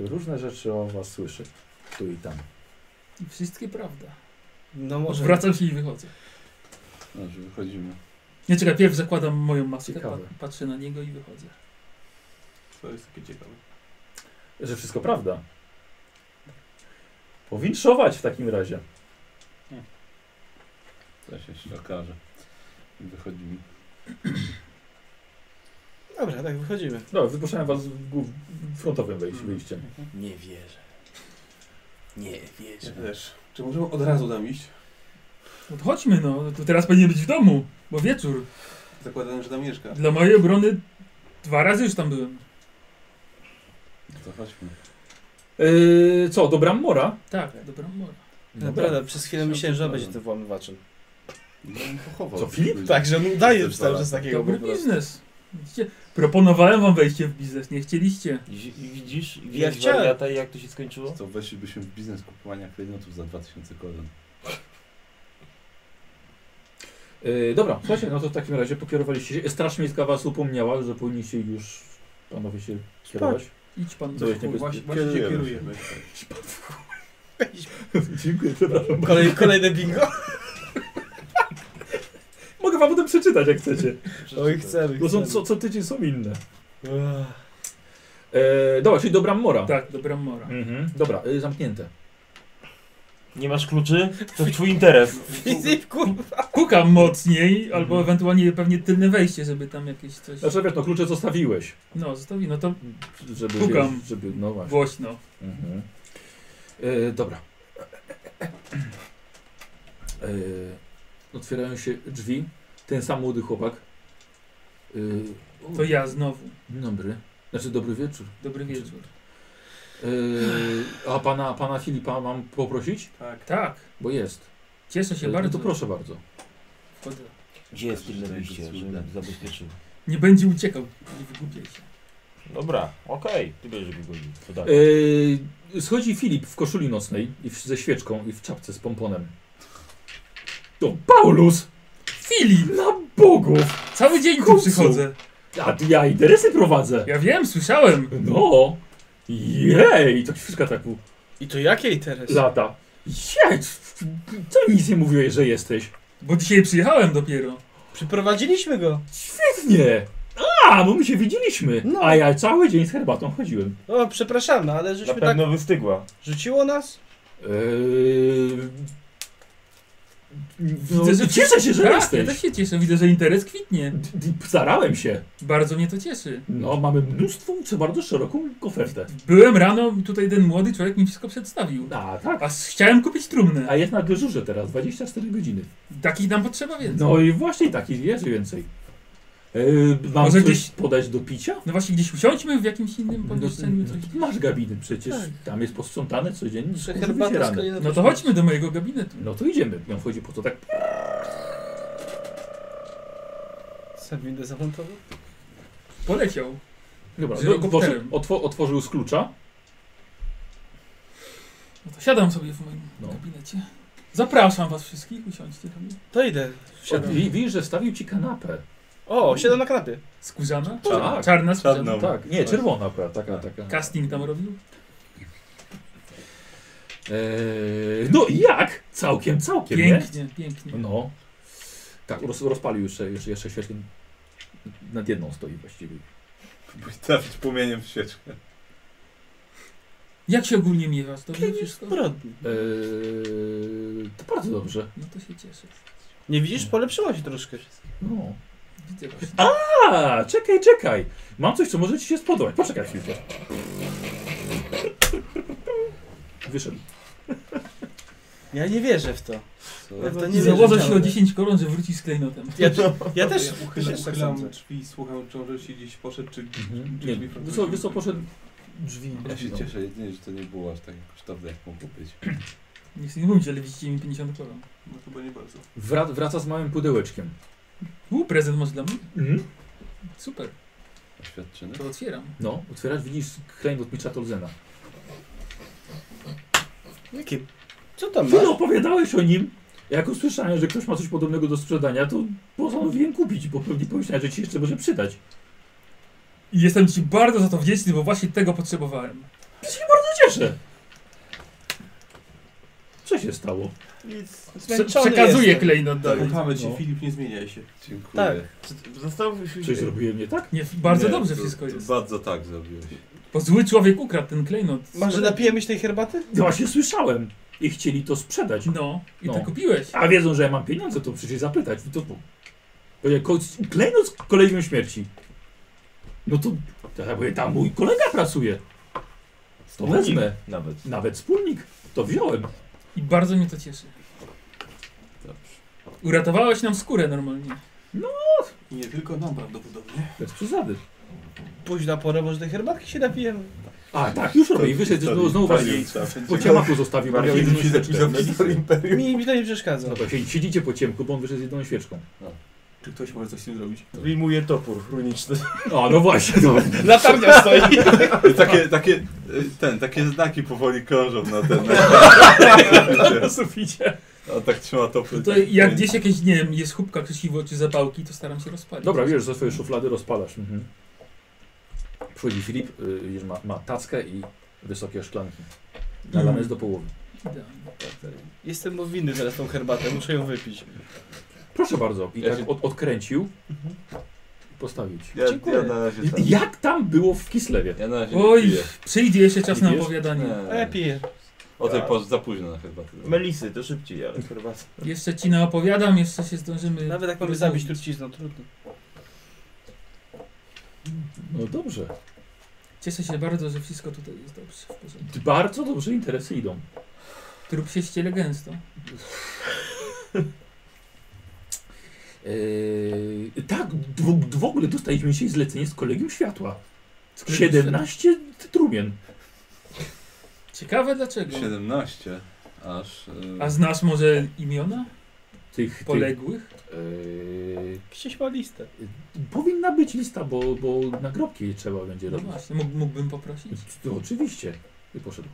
Speaker 1: Różne rzeczy o was słyszę. Tu i tam.
Speaker 4: I wszystkie prawda.
Speaker 5: No może.
Speaker 4: Wracam się i wychodzę.
Speaker 46: Dobrze, Znaczy, wychodzimy.
Speaker 4: Nie czekaj, pierw zakładam moją maskę,
Speaker 1: Ciekawe.
Speaker 4: pa- patrzę na niego i wychodzę.
Speaker 2: To jest takie ciekawe.
Speaker 1: Że wszystko prawda. Powinszować w takim razie.
Speaker 46: To się jeszcze okaże. Wychodzimy.
Speaker 5: Dobra, tak, wychodzimy.
Speaker 1: No, wypuszczałem was w głów- w frontowym wejściu, wyjściem.
Speaker 8: Nie wierzę. Nie
Speaker 2: Ja
Speaker 8: wierzę.
Speaker 2: też. Czy możemy od razu tam iść?
Speaker 4: No to chodźmy no, to teraz powinien być w domu, bo wieczór.
Speaker 2: Zakładam, że tam mieszka.
Speaker 4: Dla mojej obrony dwa razy już tam byłem.
Speaker 46: To chodźmy.
Speaker 1: Yy, co, do Brammora?
Speaker 4: Tak, dobra mora.
Speaker 5: Naprawdę, przez chwilę myślałem, że on będzie tym włamywaczem.
Speaker 46: No, on pochował.
Speaker 1: Co, Filip?
Speaker 5: Tak, że on udaje
Speaker 46: Jestem
Speaker 5: przynajmniej, że z takiego
Speaker 4: Dobry
Speaker 5: po prostu.
Speaker 4: biznes. Widzicie? Proponowałem wam wejście w biznes, nie chcieliście.
Speaker 8: I, i widzisz? I
Speaker 5: Ja
Speaker 8: widzisz
Speaker 5: chciałem.
Speaker 8: wariata i jak to się skończyło?
Speaker 46: To weszlibyśmy w biznes kupowania klejnotów za 2000 koron.
Speaker 1: Yy, dobra, słuchajcie, no to w takim razie pokierowaliście się. Straż Miejska was upomniała, że powinniście już panowie się kierować.
Speaker 4: Idź pan
Speaker 1: Co
Speaker 4: do
Speaker 1: jest
Speaker 4: chuj.
Speaker 1: niebezpieczne?
Speaker 2: Właśnie, właśnie się
Speaker 46: Kierujemy
Speaker 2: kierujemy.
Speaker 1: [laughs] Dziękuję, przepraszam.
Speaker 5: Kolej, kolejne bingo?
Speaker 1: Mogę wam potem przeczytać, jak [laughs] chcecie.
Speaker 5: Oj, chcemy,
Speaker 1: Bo są,
Speaker 5: chcemy.
Speaker 1: co, co tydzień są inne. E, dobra, czyli do Brammora.
Speaker 4: Tak, dobra mora.
Speaker 1: Mhm. Dobra, y, zamknięte.
Speaker 8: Nie masz kluczy? To twój interes.
Speaker 5: Filip, kurwa.
Speaker 4: Kukam mocniej, albo
Speaker 1: Mhm.
Speaker 4: ewentualnie pewnie tylne wejście, żeby tam jakieś coś...
Speaker 1: Znaczy wiesz, no klucze zostawiłeś.
Speaker 4: No, zostawi, no to
Speaker 1: Żeby,
Speaker 4: Pukam.
Speaker 1: wiesz, żeby, no właśnie.
Speaker 4: głośno.
Speaker 1: Mhm. E, dobra. E, otwierają się drzwi. Ten sam młody chłopak Y,
Speaker 4: To ja znowu.
Speaker 1: Dzień Dobry. Znaczy dobry wieczór.
Speaker 4: Dobry wieczór.
Speaker 1: Y, a pana, pana Filipa mam poprosić?
Speaker 6: Tak.
Speaker 4: Tak,
Speaker 1: Bo jest.
Speaker 4: cieszę się
Speaker 1: Y,
Speaker 4: bardzo.
Speaker 1: To proszę bardzo.
Speaker 4: Wchodzę.
Speaker 8: Gdzie jest pilne
Speaker 2: Życzę
Speaker 8: wyjście,
Speaker 2: jego
Speaker 8: żebym
Speaker 2: cuda.
Speaker 8: zabezpieczył?
Speaker 4: Nie będzie uciekał, nie wygłupiaj się.
Speaker 8: Dobra, okej, ty będziesz mi godził. To tak. dalej.
Speaker 1: Y, schodzi Filip w koszuli nocnej i w, ze świeczką i w czapce z pomponem. To Paulus!
Speaker 4: Filip!
Speaker 1: Na bogów!
Speaker 4: Cały dzień
Speaker 1: W
Speaker 4: tu
Speaker 1: końcu.
Speaker 4: przychodzę.
Speaker 1: A ja interesy prowadzę.
Speaker 4: Ja wiem, słyszałem.
Speaker 1: No! Jej! To wszystko tak u-
Speaker 5: I to jakiej teraz?
Speaker 1: lata. Jej! Co mi nic nie mówiłeś, że jesteś?
Speaker 4: Bo dzisiaj przyjechałem dopiero.
Speaker 5: Przyprowadziliśmy go.
Speaker 1: Świetnie! A, bo my się widzieliśmy.
Speaker 5: No.
Speaker 1: A ja cały dzień z herbatą chodziłem.
Speaker 5: O, przepraszamy, ale
Speaker 8: Na
Speaker 5: żeśmy tak
Speaker 8: pewno wystygła.
Speaker 5: rzuciło nas.
Speaker 1: Eee, no,
Speaker 4: Widzę, że-
Speaker 1: cieszę się, że
Speaker 4: tak,
Speaker 1: jesteś.
Speaker 4: Ja też się cieszę, widzę, że interes kwitnie.
Speaker 1: D- d- Starałem się.
Speaker 4: Bardzo mnie to cieszy.
Speaker 1: No, mamy mnóstwo, co bardzo szeroką ofertę.
Speaker 4: Byłem rano, tutaj ten młody człowiek mi wszystko przedstawił.
Speaker 1: A, tak.
Speaker 4: A s- chciałem kupić trumnę.
Speaker 1: A jest na dyżurze teraz, 24 godziny.
Speaker 4: Takich nam potrzeba więcej.
Speaker 1: No i właśnie taki jest więcej. Eee, mam coś
Speaker 4: Może gdzieś-
Speaker 1: podać do picia?
Speaker 4: No właśnie, gdzieś usiądźmy w jakimś innym
Speaker 1: No,
Speaker 4: pomieszczeniu. Coś. Tak.
Speaker 1: masz gabinet przecież, tam jest posprzątane codziennie,
Speaker 5: Że
Speaker 1: skórze
Speaker 5: herbata z
Speaker 1: wycierane.
Speaker 5: kaliną
Speaker 4: No to chodźmy do mojego gabinetu.
Speaker 1: No to idziemy. I On wchodzi po to tak,
Speaker 5: Sam windę zamontował.
Speaker 4: Poleciał.
Speaker 1: dobra,
Speaker 4: Z
Speaker 1: do-
Speaker 4: helikopterem.
Speaker 1: otworzył- otwo, otworzył z klucza.
Speaker 4: No to siadam sobie w moim
Speaker 1: No.
Speaker 4: gabinecie. Zapraszam was wszystkich, usiądźcie tam.
Speaker 5: To idę. Siadam.
Speaker 1: I widzisz, że stawił ci kanapę.
Speaker 5: O, siadam na kanapie.
Speaker 4: Skórzana?
Speaker 1: Tak.
Speaker 4: Czarna skórzana.
Speaker 2: Czarną.
Speaker 1: Tak, nie, czerwona, prawda, taka, taka.
Speaker 4: Casting tam robił?
Speaker 1: Eee, no i jak? Całkiem, całkiem, nie?
Speaker 4: Pięknie, pięknie.
Speaker 1: No. Tak, roz, rozpalił jeszcze, jeszcze, jeszcze świetlin. Nad jedną stoi właściwie.
Speaker 2: Próbuj trafić płomieniem w świeczkę.
Speaker 4: Jak się ogólnie miewasz? Dobrze wszystko?
Speaker 5: Zbrodni.
Speaker 1: Eee, E, to bardzo dobrze.
Speaker 4: No to się cieszę.
Speaker 5: Nie widzisz? Polepszyło się troszkę.
Speaker 1: No.
Speaker 4: Widzę właśnie.
Speaker 1: A, czekaj, czekaj. Mam coś, co może ci się spodobać. Poczekaj chwilkę. Wyszedł.
Speaker 5: Ja nie wierzę w to.
Speaker 2: Co?
Speaker 5: Ja w to nie
Speaker 4: Nie
Speaker 5: wierzę.
Speaker 4: założę się o
Speaker 5: wcale.
Speaker 4: 10 koron, że wróci z klejnotem.
Speaker 5: Ja, ja też,
Speaker 6: Ja
Speaker 5: też
Speaker 6: uchylam,
Speaker 5: tak
Speaker 6: uchylam
Speaker 5: sądzę.
Speaker 6: drzwi i słucham, czy on rzeczywiście gdzieś poszedł, czy...
Speaker 1: Nie, wysoko, wysoko poszedł drzwi. No.
Speaker 2: Ja się cieszę jedynie, że to nie było aż tak kosztowne, jak mogło być.
Speaker 4: Nie chcę nie mówić, ale widzicie mi 50 koron.
Speaker 6: No chyba nie bardzo.
Speaker 1: Wra, wraca z małym pudełeczkiem.
Speaker 4: U, prezent masz dla mnie?
Speaker 1: Mhm.
Speaker 4: Super,
Speaker 2: Oświadczyny?
Speaker 4: to otwieram.
Speaker 1: No, otwierasz, widzisz klejn od Micha Tolzena.
Speaker 5: Jakie? Co tam
Speaker 1: Ty
Speaker 5: masz?
Speaker 1: opowiadałeś o nim. Jak usłyszałem, że ktoś ma coś podobnego do sprzedania, to postanowiłem kupić, bo pewnie pomyślałem, że ci jeszcze może przydać.
Speaker 4: I jestem ci bardzo za to wdzięczny, bo właśnie tego potrzebowałem.
Speaker 1: No cieszę. Co się stało?
Speaker 5: Nic.
Speaker 4: Prze
Speaker 5: Zmęczony
Speaker 4: przekazuję
Speaker 5: jestem.
Speaker 4: klejnot dalej.
Speaker 6: Kochamy cię,
Speaker 1: No.
Speaker 6: Filip, nie zmieniaj się.
Speaker 2: Dziękuję.
Speaker 5: Tak.
Speaker 8: Zastanów się.
Speaker 1: Coś zrobiłem nie tak?
Speaker 4: Nie, bardzo
Speaker 2: Nie,
Speaker 4: dobrze
Speaker 2: to-
Speaker 4: wszystko
Speaker 2: to
Speaker 4: jest.
Speaker 2: Bardzo tak zrobiłeś.
Speaker 4: Bo zły człowiek ukradł ten klejnot.
Speaker 5: Może napijemy się tej herbaty?
Speaker 1: No właśnie słyszałem i chcieli to sprzedać.
Speaker 4: No, i
Speaker 1: No.
Speaker 4: ty kupiłeś.
Speaker 1: A wiedzą, że ja mam pieniądze, to przecież zapytać. I to Powiedział, ko- klejnot z kolegium śmierci. No to, to ja mówię, tam mój kolega pracuje. To wezmę.
Speaker 8: Nawet.
Speaker 1: Nawet wspólnik. To wziąłem.
Speaker 4: I bardzo mnie to cieszy. Uratowałeś nam skórę normalnie.
Speaker 6: I nie tylko nam prawdopodobnie.
Speaker 1: Bez przesady.
Speaker 5: Późna pora, może tej herbatki się napijemy.
Speaker 1: A tak, już
Speaker 2: No
Speaker 1: robię. I wyszedł znowu, znowu bardziej. Po ciemaku zostawił, bo miał jedną świeczkę.
Speaker 5: Mi, mi to nie
Speaker 1: [laughs]
Speaker 5: przeszkadza.
Speaker 1: No to siedzi- siedzicie po ciemku, bo on wyszedł z jedną świeczką.
Speaker 36: Czy ktoś może coś z tym zrobić?
Speaker 8: Wyjmuję topór runiczny.
Speaker 1: A, no właśnie, no.
Speaker 5: Latarnia stoi.
Speaker 2: [laughs] Takie, takie, y, ten, takie znaki powoli krążą na ten. [laughs]
Speaker 1: na suficie.
Speaker 2: A tak trzyma topy.
Speaker 4: To
Speaker 2: tak,
Speaker 4: jak gdzieś jakieś, nie wiem, jest chubka krzesiwo czy zapałki, to staram się rozpalić.
Speaker 1: Dobra, wiesz, ze swoje szuflady rozpalasz. Mhm. Przychodzi Filip, y, wiesz, ma, ma tackę i wysokie szklanki. Nalane jest do połowy.
Speaker 4: Idealnie.
Speaker 5: Jestem mu winny zaraz tą herbatę, muszę ją wypić.
Speaker 1: Proszę bardzo. I
Speaker 7: Ja
Speaker 1: tak
Speaker 7: się-
Speaker 1: od, odkręcił. Postawić.
Speaker 2: Ja,
Speaker 5: Dziękuję.
Speaker 2: ja na razie tak.
Speaker 1: Mhm. Jak tam było w Kislewie?
Speaker 7: Ja na razie nie
Speaker 4: Oj,
Speaker 7: piję.
Speaker 4: przyjdzie jeszcze czas na
Speaker 1: Pijesz?
Speaker 4: opowiadanie.
Speaker 5: A ja
Speaker 7: Nie.
Speaker 5: piję.
Speaker 7: O tej porze za późno na herbatę.
Speaker 8: [laughs] Melisy, to szybciej, ale herbatę.
Speaker 4: Jeszcze ci naopowiadam, jeszcze się zdążymy.
Speaker 5: Nawet jak mamy zabić trucizną, trudno.
Speaker 1: No dobrze.
Speaker 4: Cieszę się bardzo, że wszystko tutaj jest dobrze. W porządku.
Speaker 1: Bardzo dobrze interesy idą.
Speaker 4: Trup się ściele gęsto.
Speaker 1: Eee, tak, w, w ogóle dostaliśmy dzisiaj zlecenie z Kolegium Światła. 17 trumien.
Speaker 4: Ciekawe dlaczego.
Speaker 2: 17 aż.
Speaker 7: e,
Speaker 4: A znasz może imiona
Speaker 1: Tych, tych
Speaker 4: poległych?
Speaker 1: eee,
Speaker 5: Przecież ma listę.
Speaker 1: powinna być lista, bo, bo nagrobki trzeba będzie
Speaker 4: No
Speaker 1: robić.
Speaker 4: właśnie, mógł- mógłbym poprosić.
Speaker 1: No, oczywiście. I poszedł.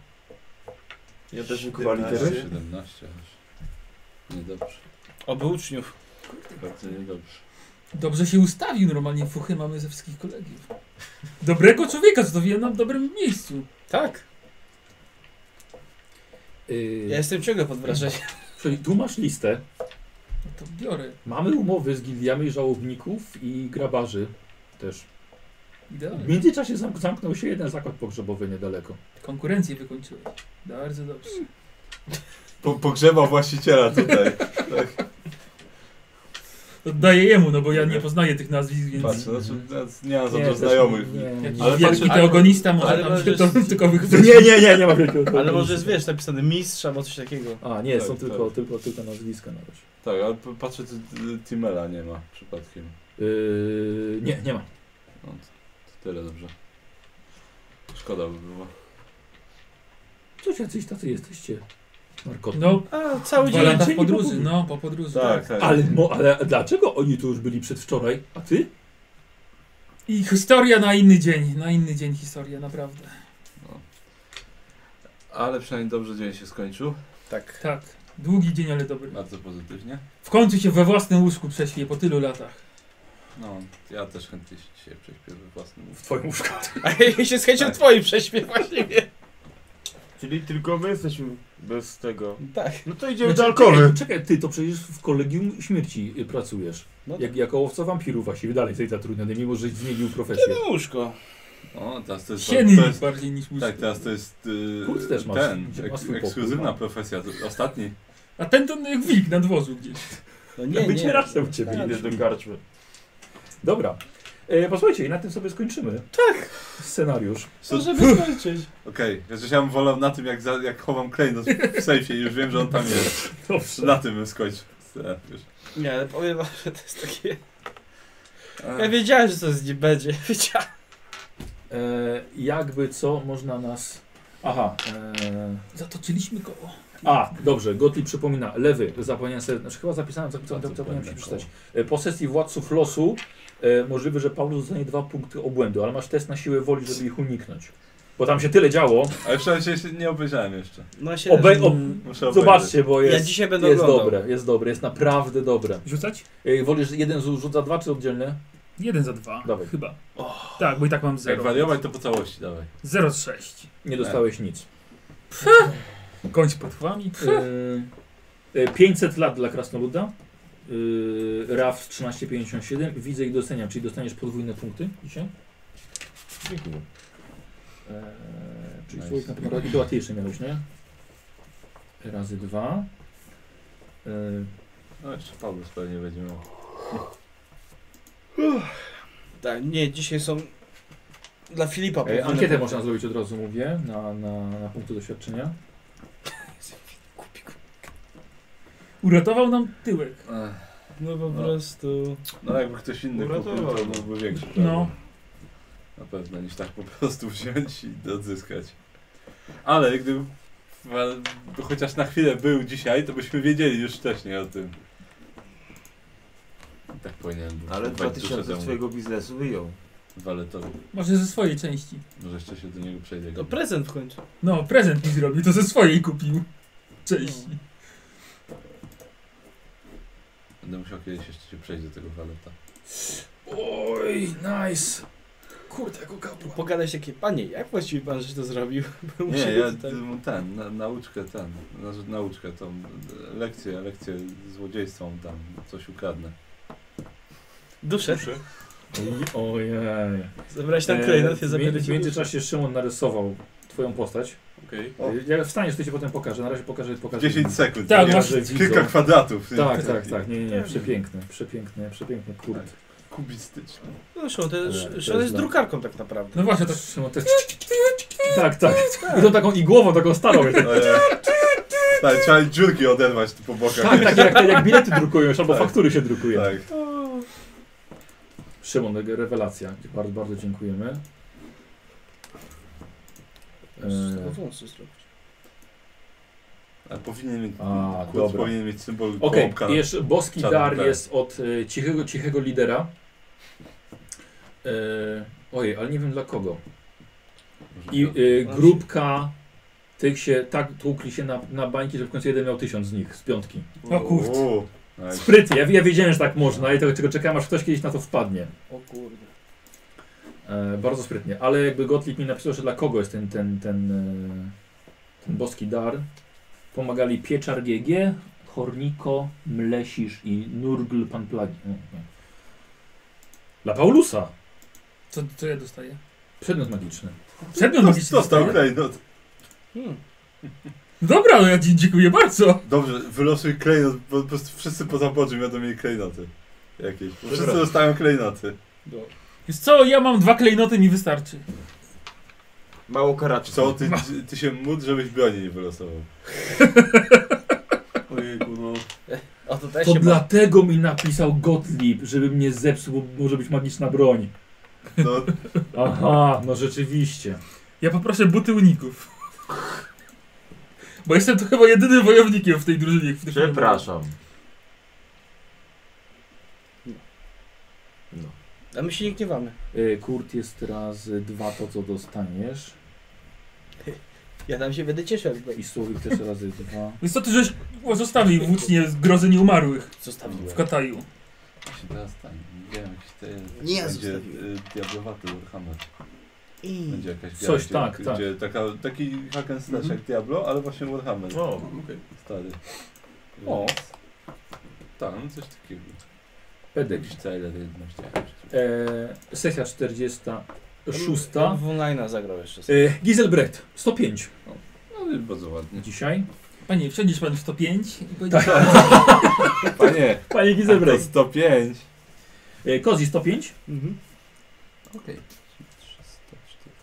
Speaker 8: Ja też
Speaker 2: chyba
Speaker 8: wykupali teraz.
Speaker 2: 17 aż.
Speaker 7: Niedobrze.
Speaker 5: Oby uczniów.
Speaker 7: Bardzo niedobrze.
Speaker 4: Dobrze się ustawił, normalnie fuchy mamy ze wszystkich kolegiów. Dobrego człowieka zostawiłem na dobrym miejscu.
Speaker 5: Tak.
Speaker 1: Eee,
Speaker 5: Ja jestem ciągle pod wrażeniem.
Speaker 1: Czyli tu masz listę.
Speaker 4: No to biorę.
Speaker 1: Mamy umowy z gildiami żałobników i grabarzy też. W
Speaker 4: Idealnie.
Speaker 1: międzyczasie zamk- zamknął się jeden zakład pogrzebowy niedaleko.
Speaker 4: Konkurencję wykończyłeś. Bardzo dobrze.
Speaker 7: Po, pogrzeba właściciela [laughs] tutaj.
Speaker 4: Oddaję jemu, no bo ja nie poznaję tych nazwisk, więc...
Speaker 7: Patrzę, znaczy, ja nie mam za
Speaker 1: Nie,
Speaker 7: dużo
Speaker 1: też-
Speaker 7: znajomych.
Speaker 1: Nie,
Speaker 4: Jakiś
Speaker 7: Ale
Speaker 4: wielki
Speaker 7: patrzę-
Speaker 4: teogonista może
Speaker 5: ale
Speaker 4: tam
Speaker 5: może
Speaker 4: się to
Speaker 5: jest-
Speaker 4: tylko wychwycić.
Speaker 1: nie, nie, nie, nie ma wielkiego
Speaker 5: [laughs] Ale może jest, wiesz, napisane mistrz albo coś takiego.
Speaker 1: A, nie, są
Speaker 7: Tak,
Speaker 1: tylko,
Speaker 7: tak.
Speaker 1: tylko, tylko nazwiska na razie.
Speaker 7: Tak, ale p- patrzę, czy y, Timela nie ma przypadkiem.
Speaker 1: Yy, nie, nie ma.
Speaker 7: No, to, to tyle dobrze. Szkoda by było.
Speaker 1: Coś jacyś tacy jesteście. Marko.
Speaker 4: No,
Speaker 5: A, cały
Speaker 4: dwa
Speaker 5: dzień.
Speaker 4: lata
Speaker 1: dzień
Speaker 4: w podróży,
Speaker 1: nie
Speaker 4: no, po podróży.
Speaker 7: Tak, tak.
Speaker 1: Ale, mo, ale dlaczego oni tu już byli przedwczoraj, a ty?
Speaker 4: I historia na inny dzień, na inny dzień historia, naprawdę.
Speaker 7: Ale przynajmniej dobrze dzień się skończył.
Speaker 5: Tak.
Speaker 4: Tak, długi dzień, ale dobry.
Speaker 7: Bardzo pozytywnie.
Speaker 4: W końcu się we własnym łóżku prześpię po tylu latach.
Speaker 7: No, ja też chętnie się dzisiaj prześpię we własnym
Speaker 1: W twoim łóżku.
Speaker 5: [laughs] A ja się z chęcią
Speaker 7: Tak.
Speaker 5: twoim prześpię właściwie.
Speaker 8: Czyli tylko my jesteśmy bez tego.
Speaker 5: Tak.
Speaker 8: No to idziemy do
Speaker 1: Znaczy,
Speaker 8: alkowy.
Speaker 1: Czekaj, czekaj, ty to przecież w kolegium śmierci y, pracujesz.
Speaker 5: No
Speaker 1: Jak, jako łowca wampirów właściwie dalej jesteś zatrudniony, mimo że zmienił profesję.
Speaker 5: Łóżko.
Speaker 2: O, teraz to jest.
Speaker 4: Sieni
Speaker 2: To jest
Speaker 4: bardziej niż łóżko.
Speaker 2: tak, teraz to jest. y,
Speaker 1: Kurt też ma-
Speaker 2: ten.
Speaker 1: ma
Speaker 2: Ek,
Speaker 1: swój pokój,
Speaker 2: ekskluzywna
Speaker 1: no.
Speaker 2: profesja. to Ostatni.
Speaker 4: A ten to jak wilk na dworzu gdzieś.
Speaker 5: No nie, nie.
Speaker 1: Wycierasz się u ciebie.
Speaker 5: Tak.
Speaker 8: Idę do karczmy.
Speaker 1: Dobra. E, posłuchajcie, i na tym sobie skończymy. Tak. Scenariusz.
Speaker 5: [laughs] Możemy skończyć.
Speaker 2: Okej, chociaż ja bym wolał na tym, jak, za, jak chowam klejnot w sejfie i już wiem, że on tam jest.
Speaker 1: Dobrze.
Speaker 2: Na tym bym skończył. E, Już.
Speaker 5: Nie, ale powiem wam, że to jest takie... Ja wiedziałem, że to z nim będzie. [laughs] Wiedziałem.
Speaker 1: E, jakby co można nas. Aha. E,
Speaker 4: Zatoczyliśmy koło.
Speaker 1: a, dobrze, Gotli przypomina. Lewy, zapomniałem sobie, znaczy chyba zapisałem,
Speaker 5: No,
Speaker 1: zapomniałem, zapomniałem się przeczytać. E, Po sesji władców losu e, możliwe, że Paulus dostanie dwa punkty obłędu, ale masz test na siłę woli, żeby ich uniknąć. Bo tam się tyle działo.
Speaker 2: Ale przynajmniej się nie obejrzałem jeszcze.
Speaker 5: No się...
Speaker 1: Obej, ob,
Speaker 2: Muszę obejrzeć.
Speaker 1: zobaczcie, bo
Speaker 5: Ja
Speaker 1: jest,
Speaker 5: dzisiaj będę
Speaker 1: jest
Speaker 5: oglądał.
Speaker 1: dobre, jest dobre, jest naprawdę dobre.
Speaker 4: Rzucać?
Speaker 1: E, wolisz jeden rzuca dwa czy oddzielne?
Speaker 4: Jeden za dwa,
Speaker 1: Dawaj.
Speaker 4: chyba. Tak, bo i tak mam
Speaker 2: Jak
Speaker 4: zero.
Speaker 2: wariować, to po całości dawaj.
Speaker 4: Zero z sześć.
Speaker 1: Nie dostałeś nic.
Speaker 4: Kończ
Speaker 5: [laughs]
Speaker 4: podchwami. Pff.
Speaker 1: Y, y, 500 lat dla krasnoluda. Y, RAF 1357. Widzę i doceniam, czyli dostaniesz podwójne punkty dzisiaj.
Speaker 8: Dziękuję.
Speaker 1: Eee, czyli
Speaker 7: Nice.
Speaker 1: człowiek na pewno i to łatwiejsze miałeś, nie? Razy dwa. Eee,
Speaker 2: No jeszcze Paulus pewnie będzie miał.
Speaker 5: Tak, nie, dzisiaj są... Dla Filipa
Speaker 1: Eee,
Speaker 5: podwójne
Speaker 1: ankietę
Speaker 5: punkty.
Speaker 1: można zrobić od razu, mówię, na, na, na punkty doświadczenia.
Speaker 4: Uratował nam tyłek.
Speaker 5: No po
Speaker 2: No.
Speaker 5: prostu...
Speaker 2: No jakby ktoś inny kupił, to
Speaker 8: Uratował.
Speaker 2: byłby większy
Speaker 4: No.
Speaker 2: problem. Na pewno, niż tak po prostu [laughs] wziąć i odzyskać. Ale gdyby wal- chociaż na chwilę był dzisiaj, to byśmy wiedzieli już wcześniej o tym. Tak powinienem był
Speaker 8: Ale
Speaker 2: kupować duszę
Speaker 8: 2000 z
Speaker 2: temu.
Speaker 8: twojego biznesu wyjął.
Speaker 2: waletowy.
Speaker 4: Może ze swojej części.
Speaker 2: Może jeszcze się do niego przejdę.
Speaker 5: To prezent w końcu.
Speaker 4: No, prezent mi zrobił, to ze swojej kupił. Części.
Speaker 2: Będę musiał kiedyś jeszcze się przejść do tego waleta. No.
Speaker 1: Oj, nice! Kurde, jako kapła.
Speaker 5: Pogadać takie, panie, jak właściwie pan żeś to zrobił? [laughs] Bo
Speaker 2: Nie,
Speaker 5: musimy
Speaker 2: ja
Speaker 5: tutaj-
Speaker 2: ten, ten na, nauczkę ten, na, nauczkę tą, e, lekcję, lekcję złodziejstwa mu tam, coś ukradnę.
Speaker 5: Duszę.
Speaker 1: Ojej.
Speaker 5: Zabrać
Speaker 2: E,
Speaker 5: tam klejnot, ja
Speaker 1: Eee,
Speaker 5: zabiorę
Speaker 1: w
Speaker 5: ci
Speaker 1: międzyczasie Szymon narysował twoją postać.
Speaker 2: Okej.
Speaker 1: O. Ja wstaniesz, to ci potem pokażę. Na razie pokażę, pokażę.
Speaker 2: 10 sekund.
Speaker 4: Tak,
Speaker 2: nie?
Speaker 4: masz-
Speaker 1: Pokażę widzom.
Speaker 2: Kilka kwadratów.
Speaker 1: Tak, tak, tak. Nie, nie, nie. Przepiękny, przepiękny, przepiękny kurde.
Speaker 2: Tak. Kubistyczny.
Speaker 5: No Szymon, to,
Speaker 1: Ale
Speaker 5: Sz-
Speaker 1: to jest
Speaker 5: Szymon jest
Speaker 1: dla-
Speaker 5: drukarką tak naprawdę.
Speaker 4: No właśnie, tak
Speaker 1: Szymon też. Tak, tak. I to taką igłową, taką starą. jak-
Speaker 2: No, Tak, trzeba dziurki oderwać tu po bokach.
Speaker 1: Tak, tak, jak, jak bilety drukują, już, albo
Speaker 2: Tak.
Speaker 1: faktury się drukuje.
Speaker 2: tak.
Speaker 1: Szymon, reg- rewelacja. Ci Bardzo, bardzo dziękujemy.
Speaker 5: Z tego
Speaker 1: Eee.
Speaker 5: wąsu zrobić.
Speaker 2: A powinien mieć,
Speaker 1: A,
Speaker 2: kurs
Speaker 1: dobra.
Speaker 2: powinien mieć symbol
Speaker 1: Okej,
Speaker 2: kołobka.
Speaker 1: i jeszcze boski
Speaker 2: Czarny,
Speaker 1: dar
Speaker 2: tak.
Speaker 1: jest od y, cichego, cichego lidera. E, ojej, ale nie wiem dla kogo. I y, grupka tych się tak tłukli się na, na bańki, że w końcu jeden miał tysiąc z nich, z piątki.
Speaker 4: O kurde.
Speaker 2: O, nice.
Speaker 1: Sprytnie, ja, ja wiedziałem, że tak można i tego, tego czekałem, aż ktoś kiedyś na to wpadnie.
Speaker 5: O kurde.
Speaker 1: E, bardzo sprytnie, ale jakby Gottlieb mi napisał, że dla kogo jest ten, ten, ten, e, ten boski dar. Pomagali Pieczar GG, Horniko, Mlesisz i Nurgl Pan Plagi. Nie, nie. Dla Paulusa!
Speaker 4: Co, co ja dostaję?
Speaker 1: Przedmiot magiczny.
Speaker 4: Przedmiot
Speaker 1: no,
Speaker 2: Dos-
Speaker 4: magiczny
Speaker 2: Dostał
Speaker 4: dostaję?
Speaker 2: klejnot.
Speaker 5: Hmm.
Speaker 4: Dobra, no ja ci dziękuję bardzo.
Speaker 2: Dobrze, wylosuj klejnot, bo po prostu wszyscy poza Bodziem będą mieli klejnoty. Jakieś. Wszyscy
Speaker 36: Dobra.
Speaker 2: dostają klejnoty.
Speaker 4: Wiesz co, ja mam dwa klejnoty, mi wystarczy.
Speaker 8: Mało karaczy.
Speaker 2: Co, ty, ty się módl, żebyś broni
Speaker 1: [laughs]
Speaker 2: nie wylosował.
Speaker 6: Ojejku, no.
Speaker 5: A to też
Speaker 1: To
Speaker 5: się
Speaker 1: dlatego mi napisał Gottlieb, żeby mnie zepsuł, bo może być magiczna broń.
Speaker 2: No,
Speaker 1: Aha, no rzeczywiście.
Speaker 4: Ja poproszę buty uników. Bo jestem tu chyba jedynym wojownikiem w tej drużynie. w którym-
Speaker 8: Przepraszam. No.
Speaker 5: A my się nie gniewamy.
Speaker 1: E, Kurt jest razy dwa to, co dostaniesz.
Speaker 5: Ja tam się będę cieszył, jak
Speaker 1: No I Słowik też razy dwa.
Speaker 4: Wiesz co, ty żeś zostawił włócznie z grozy nieumarłych
Speaker 5: zostawiłem.
Speaker 4: w Kataju.
Speaker 2: się teraz stanie. Nie wiem, jakiś te,
Speaker 5: Nie, ja
Speaker 2: będzie
Speaker 5: zostawiłem.
Speaker 2: y, diablowaty Warhammer.
Speaker 5: I...
Speaker 2: Będzie jakaś gra,
Speaker 1: Coś,
Speaker 2: gdzie,
Speaker 1: tak, tak.
Speaker 2: gdzie Taka, taki hack and slash
Speaker 6: Mhm.
Speaker 2: jak Diablo, ale właśnie Warhammer
Speaker 8: O,
Speaker 6: Okej.
Speaker 2: stary.
Speaker 1: O.
Speaker 2: Więc- Tak, no coś takiego.
Speaker 1: Pedek.
Speaker 2: Jakiś cel jednak chciałem.
Speaker 1: E, sesja 46.
Speaker 5: Ja bym W online'a zagrał jeszcze.
Speaker 1: E, Giselbrecht 105
Speaker 2: No i bardzo ładnie.
Speaker 1: dzisiaj.
Speaker 4: Panie, przejdziesz pan w 105 i powiedział,
Speaker 1: Tak.
Speaker 7: Panie,
Speaker 1: [laughs] Panie
Speaker 7: a to
Speaker 1: Giselbrecht.
Speaker 7: 105.
Speaker 1: E, Kozi 105.
Speaker 5: Mhm.
Speaker 1: Okej.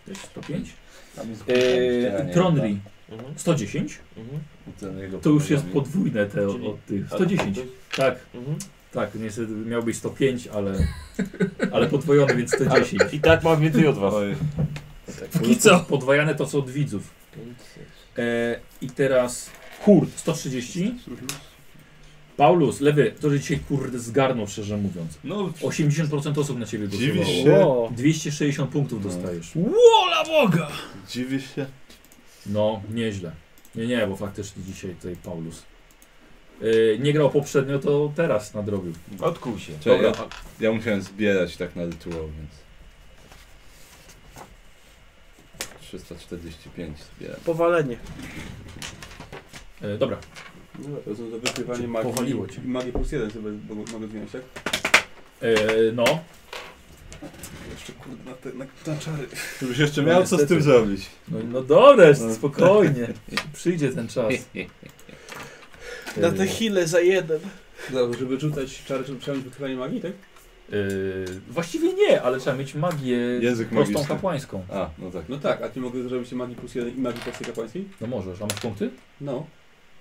Speaker 1: Też 105.
Speaker 2: Tam jest
Speaker 5: Eee,
Speaker 1: E, Tronri
Speaker 8: mhm,
Speaker 1: 110.
Speaker 8: mhm.
Speaker 2: Ten jego
Speaker 1: To już jest
Speaker 2: pomaga mi.
Speaker 1: podwójne te od,
Speaker 8: Czyli-
Speaker 1: od tych. 110. Tak,
Speaker 8: Mhm.
Speaker 1: tak. Niestety miał być 105, ale, ale podwojone, więc 110.
Speaker 8: I tak mam więcej od was.
Speaker 7: Oj,
Speaker 4: póki co.
Speaker 1: Podwajane to co od widzów. E, I teraz Kurt 130. Paulus, lewy, to że dzisiaj kurde zgarnął, szczerze mówiąc.
Speaker 2: No,
Speaker 1: 80% osób na ciebie
Speaker 2: Dziwisz
Speaker 1: głosowało.
Speaker 2: się?
Speaker 5: Wow.
Speaker 1: 260 punktów
Speaker 6: No.
Speaker 1: dostajesz.
Speaker 4: Wola Boga!
Speaker 2: dziwisz się?
Speaker 1: No, nieźle. Nie, nie, bo faktycznie dzisiaj tutaj Paulus. E, nie grał poprzednio, to teraz nadrobił.
Speaker 8: Odkuł się.
Speaker 7: Czekaj,
Speaker 8: Dobra.
Speaker 7: ja, ja musiałem zbierać tak na rytuał, więc... 345 zbieram.
Speaker 5: Powalenie.
Speaker 1: E, dobra,
Speaker 6: No, to są za wykrywanie
Speaker 1: Cię
Speaker 6: magii.
Speaker 1: powaliło cię.
Speaker 6: I magię plus jeden sobie bo- mogę zmieniać, tak?
Speaker 1: e, no.
Speaker 6: Jeszcze kurde, na, te, na, na czary.
Speaker 2: Żebyś jeszcze miał co z tym
Speaker 1: Niestety.
Speaker 2: zrobić.
Speaker 1: No, no dobra, spokojnie. Przyjdzie ten czas.
Speaker 5: Na te chile za jeden.
Speaker 6: Zaraz, żeby rzucać czary, żeby przejąć wykrywanie magii, tak?
Speaker 1: E, właściwie nie, ale trzeba mieć magię
Speaker 7: Język
Speaker 1: prostą
Speaker 7: magiczny.
Speaker 1: kapłańską.
Speaker 7: A, no tak.
Speaker 6: No tak, a ty mogę zrobić magii plus jeden i magii plus kapłańskiej?
Speaker 1: No możesz, a masz punkty?
Speaker 6: No.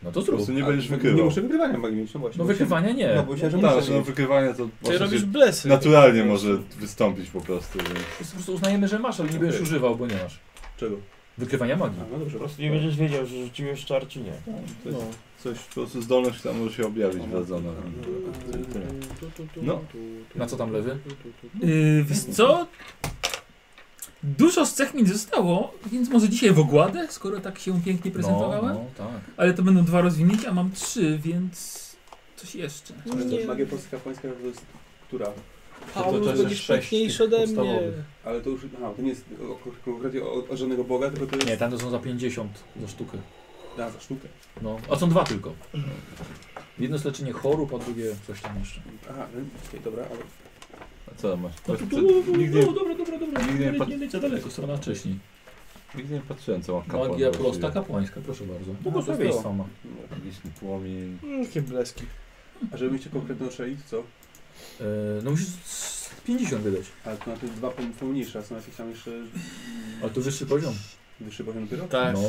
Speaker 1: No to
Speaker 2: Po
Speaker 1: zrób.
Speaker 2: prostu nie
Speaker 6: A,
Speaker 2: będziesz
Speaker 6: nie
Speaker 2: wykrywał.
Speaker 6: muszę wykrywania magii mieć, no właśnie.
Speaker 1: No
Speaker 6: Bo się-
Speaker 1: wykrywania nie.
Speaker 6: No bo myślałem, że
Speaker 2: Tak,
Speaker 6: muszę
Speaker 2: no
Speaker 6: mieć.
Speaker 2: wykrywanie to
Speaker 5: Ty
Speaker 2: może
Speaker 5: robisz
Speaker 2: się
Speaker 5: blesy.
Speaker 2: naturalnie może wystąpić po prostu, więc...
Speaker 1: Po prostu uznajemy, że masz, ale nie będziesz
Speaker 6: Okej.
Speaker 1: używał, bo nie masz.
Speaker 6: Czego?
Speaker 1: Wykrywania
Speaker 6: A,
Speaker 1: magii.
Speaker 6: no dobrze.
Speaker 8: Po prostu nie będziesz wiedział, że rzuciłeś czar czy nie.
Speaker 2: Coś,
Speaker 5: No.
Speaker 2: coś po prostu zdolność tam może się objawić wrodzona. No.
Speaker 1: Na co tam lewy?
Speaker 4: Yy, wiesz co? Dużo z cech mi zostało, więc może dzisiaj w ogładę, skoro tak się pięknie prezentowałem.
Speaker 1: No, no tak.
Speaker 4: Ale to będą dwa rozwinięcia, a mam trzy, więc coś jeszcze.
Speaker 6: Ale to
Speaker 5: Nie.
Speaker 6: magia plus kapłańska to jest która?
Speaker 5: Paulus
Speaker 1: to jest
Speaker 5: będziesz
Speaker 1: sześć
Speaker 5: piękniejszy
Speaker 1: tych
Speaker 5: ode mnie.
Speaker 1: podstawowych.
Speaker 6: Ale to już, aha, to nie jest o, konkretnie o, o żadnego boga, tylko to jest
Speaker 1: Nie, tam to są za 50 za sztukę.
Speaker 6: da, za sztukę.
Speaker 1: No. A są dwa tylko. Jedno jest leczenie chorób, a drugie coś tam jeszcze.
Speaker 6: Aha, no, okej, dobra, ale
Speaker 7: A co masz?
Speaker 1: No,
Speaker 7: Ktoś
Speaker 1: tu, tu,
Speaker 7: przed-
Speaker 1: tu, tu,
Speaker 7: Nigdy,
Speaker 1: no dobra, dobra, dobra.
Speaker 7: nigdy nie
Speaker 1: nie,
Speaker 7: pat-
Speaker 1: nie lecę daleko, strona wcześniej.
Speaker 7: nigdy nie patrzyłem, co ma kapłan.
Speaker 1: Magia
Speaker 7: właściwie.
Speaker 1: prosta kapłańska, proszę bardzo.
Speaker 5: to
Speaker 4: No,
Speaker 1: Błogosławieństwa ma.
Speaker 7: Magiczny płomień.
Speaker 5: Mm, Jakie bleski.
Speaker 6: a żeby mieć konkretną szeli, to co?
Speaker 1: E, no musisz z 50 wydać.
Speaker 6: Ale to na te dwa pom- pomniejsze, a są jakieś tam jeszcze
Speaker 1: Ale to wyższy poziom.
Speaker 6: wyższy poziom dopiero? Eee.
Speaker 5: Tak.
Speaker 1: No,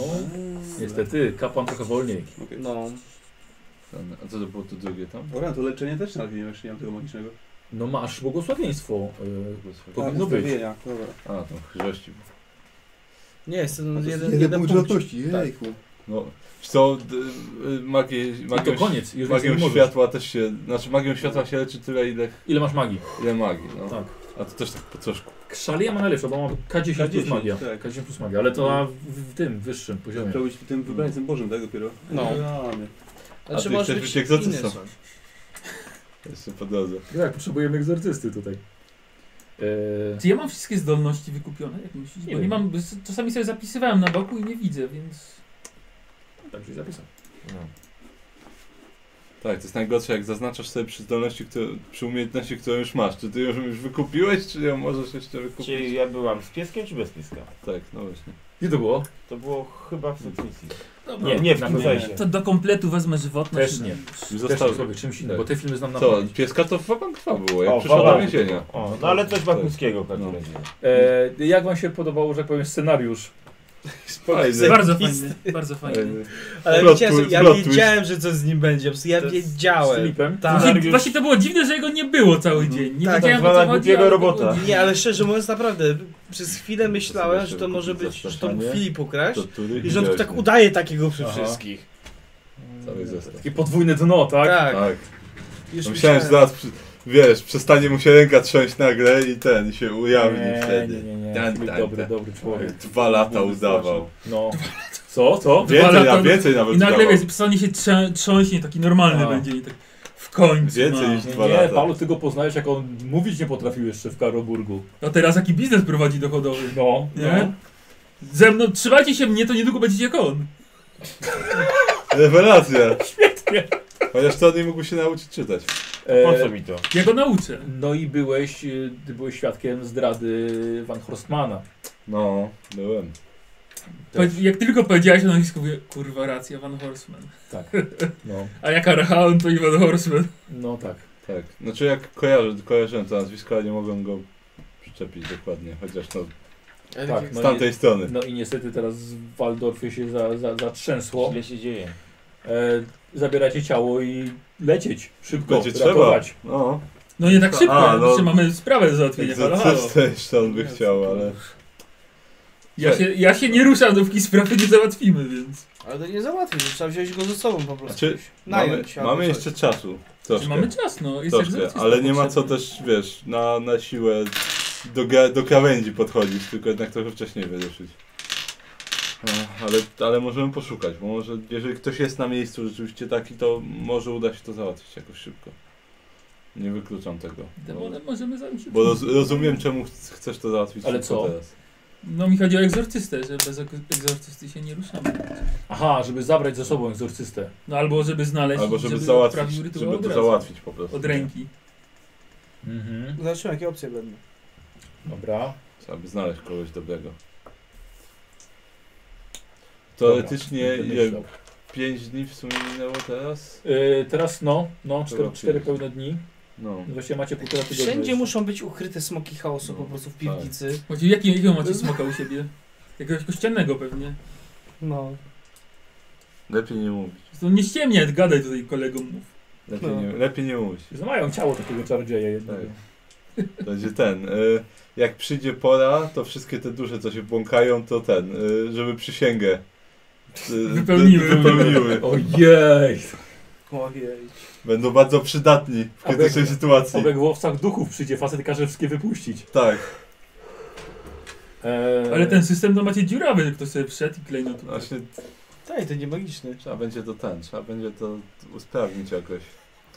Speaker 1: niestety, kapłan trochę wolniej.
Speaker 6: Okej.
Speaker 5: No.
Speaker 7: Ten- A co to było to drugie tam?
Speaker 6: Dobra, to leczenie też nawet nie wiem, jeszcze nie mam tego magicznego. Tak,
Speaker 1: No masz błogosławieństwo. y, Powinno
Speaker 47: A,
Speaker 1: być.
Speaker 47: wystawienia, Dobra.
Speaker 2: A, tam chrześci.
Speaker 5: Nie, jest ten
Speaker 47: To jest
Speaker 5: No, jeden, jeden punkt.
Speaker 47: żadności,
Speaker 6: Tak.
Speaker 47: jejku.
Speaker 2: No, wiesz co, d- y, magię,
Speaker 1: I to
Speaker 2: magią,
Speaker 1: koniec. Już więcej nie
Speaker 2: magią
Speaker 1: możesz.
Speaker 2: światła też się, znaczy magią światła się leczy tyle ile,
Speaker 1: Ile masz magii?
Speaker 2: ile magii, no.
Speaker 1: Tak.
Speaker 2: A to też tak po troszku.
Speaker 1: Krzalia ma najlepsze, bo ma K10, plus
Speaker 48: K10,
Speaker 1: magia.
Speaker 48: tak.
Speaker 1: K10 plus magia, ale to na w, w tym wyższym poziomie.
Speaker 48: Trzeba być tym wybrańcem Bożym, tak dopiero?
Speaker 5: No.
Speaker 48: Rany.
Speaker 2: A ty
Speaker 5: Znaczy, może
Speaker 2: chcesz
Speaker 5: być
Speaker 2: być egzotystą.
Speaker 5: inne są.
Speaker 2: Jeszcze po drodze.
Speaker 1: Tak, potrzebujemy egzorcysty tutaj. Eee,
Speaker 4: Czy ja mam wszystkie zdolności wykupione? Jak myślisz?
Speaker 1: Nie
Speaker 4: Bo
Speaker 1: wiem.
Speaker 4: nie mam, czasami sobie zapisywałem na boku i nie widzę, więc...
Speaker 1: tak, gdzieś zapisał.
Speaker 2: No. Tak, to jest najgorsze, jak zaznaczasz sobie przy zdolności, które, przy umiejętności, którą już masz. Czy ty ją już wykupiłeś, czy ją możesz jeszcze wykupić?
Speaker 8: Czyli ja byłam z pieskiem czy bez pieska?
Speaker 2: Tak, no właśnie.
Speaker 1: Gdzie to było?
Speaker 8: To było chyba w Succesji.
Speaker 4: Dobra.
Speaker 8: Nie, nie, w
Speaker 1: Na
Speaker 8: tym
Speaker 1: pewno nie.
Speaker 8: zajście.
Speaker 4: To do kompletu wezmę żywotność.
Speaker 1: Też
Speaker 4: na-
Speaker 1: nie.
Speaker 2: Już
Speaker 1: Został
Speaker 2: zostało.
Speaker 1: sobie czymś innym,
Speaker 2: Tak.
Speaker 1: bo te filmy znam na
Speaker 2: Co,
Speaker 1: pamięć.
Speaker 2: pieska to w Wabank 2 było, jak
Speaker 8: O,
Speaker 2: przyszła do
Speaker 8: Wabank.
Speaker 2: więzienia.
Speaker 8: O, no ale coś bakuńskiego w każdym
Speaker 2: No.
Speaker 8: razie.
Speaker 1: Eee, jak wam się podobało, że tak powiem, scenariusz?
Speaker 2: Fajny.
Speaker 4: Bardzo fajny, bardzo fajny.
Speaker 2: Fajny.
Speaker 5: Ale
Speaker 2: Plot
Speaker 5: wiecie,
Speaker 2: twist,
Speaker 5: ja
Speaker 2: plot twist.
Speaker 5: wiedziałem, że coś z nim będzie. po prostu Ja
Speaker 8: To jest
Speaker 1: Z
Speaker 5: wiedziałem.
Speaker 1: Filipem?
Speaker 5: Tak.
Speaker 4: Właśnie, właśnie to było dziwne, że jego nie było cały dzień. Nie
Speaker 5: Tak,
Speaker 4: wiedziałem
Speaker 8: tak
Speaker 4: o co
Speaker 8: zwana
Speaker 4: chodzi,
Speaker 8: głupiego
Speaker 4: ale to
Speaker 8: robota.
Speaker 4: było dziwne.
Speaker 5: Nie, ale szczerze mówiąc, naprawdę, przez chwilę myślałem,
Speaker 2: sobie
Speaker 5: że to
Speaker 2: się
Speaker 5: może być, że to był
Speaker 2: zastraszanie.
Speaker 5: Filip ukraść.
Speaker 2: To tury
Speaker 5: I że on
Speaker 2: wziąłeś
Speaker 5: tak
Speaker 2: mnie.
Speaker 5: udaje takiego przy
Speaker 1: Aha.
Speaker 5: wszystkich.
Speaker 2: Cały zestaw.
Speaker 1: Mm, Takie podwójne dno, tak?
Speaker 5: Tak.
Speaker 2: Tak.
Speaker 5: Już
Speaker 2: Myślałem, że zaraz, przy, wiesz, przestanie mu się ręka trząść nagle i ten, i się ujawni
Speaker 1: nie,
Speaker 2: wtedy.
Speaker 1: nie, nie, nie.
Speaker 2: Tak,
Speaker 1: Filip
Speaker 2: tak,
Speaker 1: dobry,
Speaker 2: tak.
Speaker 1: dobry człowiek.
Speaker 2: Dwa lata udawał.
Speaker 1: No. Co, co?
Speaker 2: Więcej,
Speaker 4: lata-
Speaker 2: na więcej nawet
Speaker 4: I nagle
Speaker 2: udawał.
Speaker 4: wiesz, psonie się trzę- trząśnie, taki normalny
Speaker 1: A.
Speaker 4: będzie i tak w końcu.
Speaker 2: Więcej
Speaker 4: no.
Speaker 2: niż dwa
Speaker 1: Nie,
Speaker 2: lata.
Speaker 1: Paulu, ty go poznajesz, jak on mówić nie potrafił jeszcze w Karoburgu.
Speaker 4: A teraz jaki biznes prowadzi dochodowy?
Speaker 1: No,
Speaker 4: Nie? Ze mną, trzymajcie się mnie, to niedługo będziecie jak on.
Speaker 2: Rewelacja! Świetnie! Chociaż to nie mógł się nauczyć czytać.
Speaker 8: Po
Speaker 1: E,
Speaker 8: co mi to?
Speaker 4: Ja go nauczę.
Speaker 1: No i byłeś, y, ty byłeś świadkiem zdrady Van Horstmana.
Speaker 2: No, byłem.
Speaker 4: Powiedz- Jak tylko powiedziałeś o nazwisku, mówię, kurwa racja, Van Horseman.
Speaker 1: No,
Speaker 4: A jak Archaon, to i Van Horseman.
Speaker 1: no tak.
Speaker 2: Tak. Znaczy jak kojarzę, kojarzyłem to nazwisko, ale nie mogłem go przyczepić dokładnie, chociaż no
Speaker 1: tak
Speaker 2: z
Speaker 1: no, i,
Speaker 2: tamtej strony.
Speaker 1: no i niestety teraz w Waldorfie się za, za, zatrzęsło.
Speaker 8: Źle się dzieje.
Speaker 1: E, zabieracie ciało i lecieć szybko,
Speaker 2: Będzie trzeba.
Speaker 1: ratować.
Speaker 2: No,
Speaker 4: No nie tak szybko,
Speaker 2: A, no.
Speaker 4: jeszcze mamy sprawę do załatwienia. Halo, halo.
Speaker 2: egzorcystę jeszcze on by chciał, ale...
Speaker 4: Ja się, ja się nie ruszam, dopóki sprawy nie załatwimy, więc...
Speaker 5: Ale to nie załatwi, że trzeba wziąć go ze sobą po prostu.
Speaker 2: Znaczy, mamy,
Speaker 5: Nająć albo
Speaker 2: mamy
Speaker 5: coś.
Speaker 2: jeszcze czasu. Troszkę.
Speaker 4: Mamy czas, no. Jest
Speaker 2: Troszkę,
Speaker 4: egzorcysta
Speaker 2: ale nie ma co
Speaker 4: potrzebny.
Speaker 2: też, wiesz, na, na siłę do, ga- do krawędzi podchodzić, tylko jednak trochę wcześniej wyruszyć. E, Ale, ale możemy poszukać, bo może jeżeli ktoś jest na miejscu rzeczywiście taki, to może uda się to załatwić jakoś szybko. Nie wykluczam tego. Bo,
Speaker 4: Demonem możemy zająć się.
Speaker 2: bo roz, rozumiem czemu ch- chcesz to załatwić
Speaker 1: Ale
Speaker 2: szybko
Speaker 1: co?
Speaker 2: teraz.
Speaker 4: No mi chodzi o egzorcystę, że bez ek- egzorcysty się nie ruszamy.
Speaker 1: Aha, żeby zabrać ze sobą egzorcystę.
Speaker 4: No albo żeby znaleźć,
Speaker 2: Albo żeby,
Speaker 4: odprawił
Speaker 2: załatwić,
Speaker 4: rytuał
Speaker 2: żeby
Speaker 4: od
Speaker 2: to
Speaker 4: razu.
Speaker 2: załatwić po prostu.
Speaker 4: Od ręki.
Speaker 1: Mhm.
Speaker 5: Zobaczymy, jakie opcje będą.
Speaker 1: Dobra.
Speaker 2: Trzeba by znaleźć kogoś dobrego. Teoretycznie
Speaker 1: Dobra,
Speaker 2: ile,
Speaker 1: myślał.
Speaker 2: 5 dni w sumie minęło teraz?
Speaker 1: E, teraz no, no, cztery,
Speaker 2: Dobra,
Speaker 1: cztery
Speaker 2: czyli-
Speaker 1: pełne dni.
Speaker 2: No.
Speaker 1: Właściwie macie półtora tygodnia.
Speaker 5: Wszędzie
Speaker 1: jeszcze.
Speaker 5: muszą być ukryte smoki chaosu
Speaker 2: No,
Speaker 5: po prostu
Speaker 2: tak.
Speaker 5: w piwnicy.
Speaker 4: Właściwie jakiego, jakiego macie smoka u siebie? Jakiegoś kościelnego pewnie.
Speaker 5: No.
Speaker 2: Lepiej nie mówić.
Speaker 4: Zresztą nie ściemniaj, gadaj tutaj kolegom. Mów.
Speaker 2: Lepiej,
Speaker 5: No.
Speaker 2: nie, lepiej nie mówić.
Speaker 1: Mają ciało takiego czarodzieja jednego.
Speaker 2: Tak. Będzie ten. Y, jak przyjdzie pora, to wszystkie te dusze, co się błąkają, to ten, y, żeby przysięgę y,
Speaker 4: Wypełniły.
Speaker 2: wy- wypełniły. [laughs]
Speaker 1: Ojej!
Speaker 5: Ojej.
Speaker 2: Będą bardzo przydatni w
Speaker 1: Obek-
Speaker 2: krytycznej sytuacji.
Speaker 1: Obek w łowcach duchów przyjdzie, facet każe wszystkie wypuścić.
Speaker 2: Tak,
Speaker 1: Eee,
Speaker 4: Ale ten system to macie dziurawy, że ktoś sobie wszedł i klejnął tutaj.
Speaker 2: właśnie
Speaker 5: Tak, to nie magiczny.
Speaker 2: trzeba będzie to ten, trzeba będzie to usprawnić jakoś.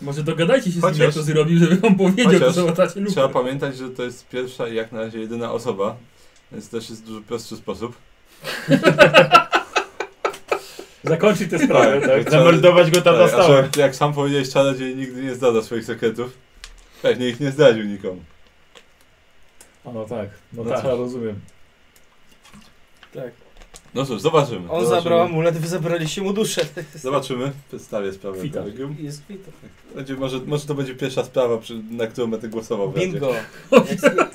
Speaker 4: Może dogadajcie się z nim,
Speaker 2: Chociaż-
Speaker 4: jak to zrobił, żeby wam powiedział,
Speaker 2: chociaż
Speaker 4: to załatacie lukę.
Speaker 2: Trzeba pamiętać, że to jest pierwsza i jak na razie jedyna osoba, więc też jest dużo prostszy sposób.
Speaker 1: Zakończyć tę
Speaker 2: [laughs]
Speaker 1: sprawę, tak?
Speaker 2: Tak.
Speaker 8: Zameldować go tam na
Speaker 2: Tak, a
Speaker 8: stałe.
Speaker 2: że, jak sam powiedziałeś, czarodziej nigdy nie zdada swoich sekretów. Pewnie ich nie zdradził nikomu.
Speaker 1: A no tak, no,
Speaker 2: No
Speaker 1: tak,
Speaker 2: cóż.
Speaker 1: rozumiem.
Speaker 5: Tak.
Speaker 2: No cóż, zobaczymy.
Speaker 5: On
Speaker 2: zobaczymy.
Speaker 5: zabrał amulet, wy zabraliście mu duszę.
Speaker 2: Zobaczymy. Przedstawię sprawę
Speaker 1: Kwita.
Speaker 2: kolegium.
Speaker 5: [laughs] Jest kwita.
Speaker 2: Będzie, może, może to będzie pierwsza sprawa, przy, na którą będę głosował. w razie.
Speaker 5: Bingo. [laughs]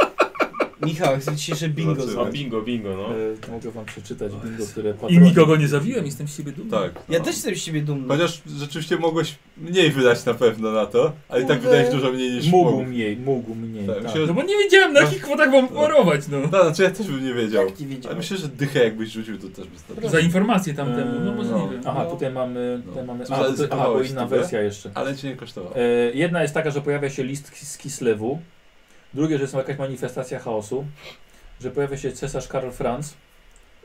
Speaker 5: Michał, jak sobie dzisiejsze bingo
Speaker 8: A
Speaker 5: zrobić.
Speaker 8: bingo, bingo, no.
Speaker 1: E, mogę wam przeczytać bingo, które
Speaker 4: I
Speaker 1: patroni-
Speaker 4: nikogo nie zawiłem, jestem z siebie dumny.
Speaker 2: Tak.
Speaker 5: Ja
Speaker 2: no.
Speaker 5: też jestem z siebie dumny.
Speaker 2: Chociaż rzeczywiście mogłeś mniej wydać na pewno na to, ale i tak
Speaker 5: Kurde.
Speaker 2: wydałeś dużo mniej niż
Speaker 1: Mógł
Speaker 2: mógł.
Speaker 1: mniej, mógł mniej.
Speaker 2: Tak,
Speaker 1: Tak,
Speaker 2: myślę, że...
Speaker 4: No bo nie wiedziałem na jakich kwotach mam porować, no.
Speaker 2: no, znaczy ja też bym nie wiedział.
Speaker 5: Jak Tak, nie
Speaker 2: Ale
Speaker 5: wiedziałem.
Speaker 2: myślę, że dychę jakbyś rzucił, to też by starczyło.
Speaker 4: Za informację tamtemu, no
Speaker 1: Eee,
Speaker 4: możliwe.
Speaker 1: Aha,
Speaker 5: No.
Speaker 1: tutaj mamy.
Speaker 2: No.
Speaker 1: Tutaj mamy
Speaker 2: Co
Speaker 1: a,
Speaker 2: za-
Speaker 1: to, aha, bo
Speaker 2: zachowałeś
Speaker 1: inna
Speaker 2: sobie?
Speaker 1: wersja jeszcze.
Speaker 2: Ale cię nie kosztowało.
Speaker 1: E, jedna jest taka, że pojawia się list Kis- z Kislewu. Drugie, że jest jakaś manifestacja chaosu. Że pojawia się cesarz Karl Franz.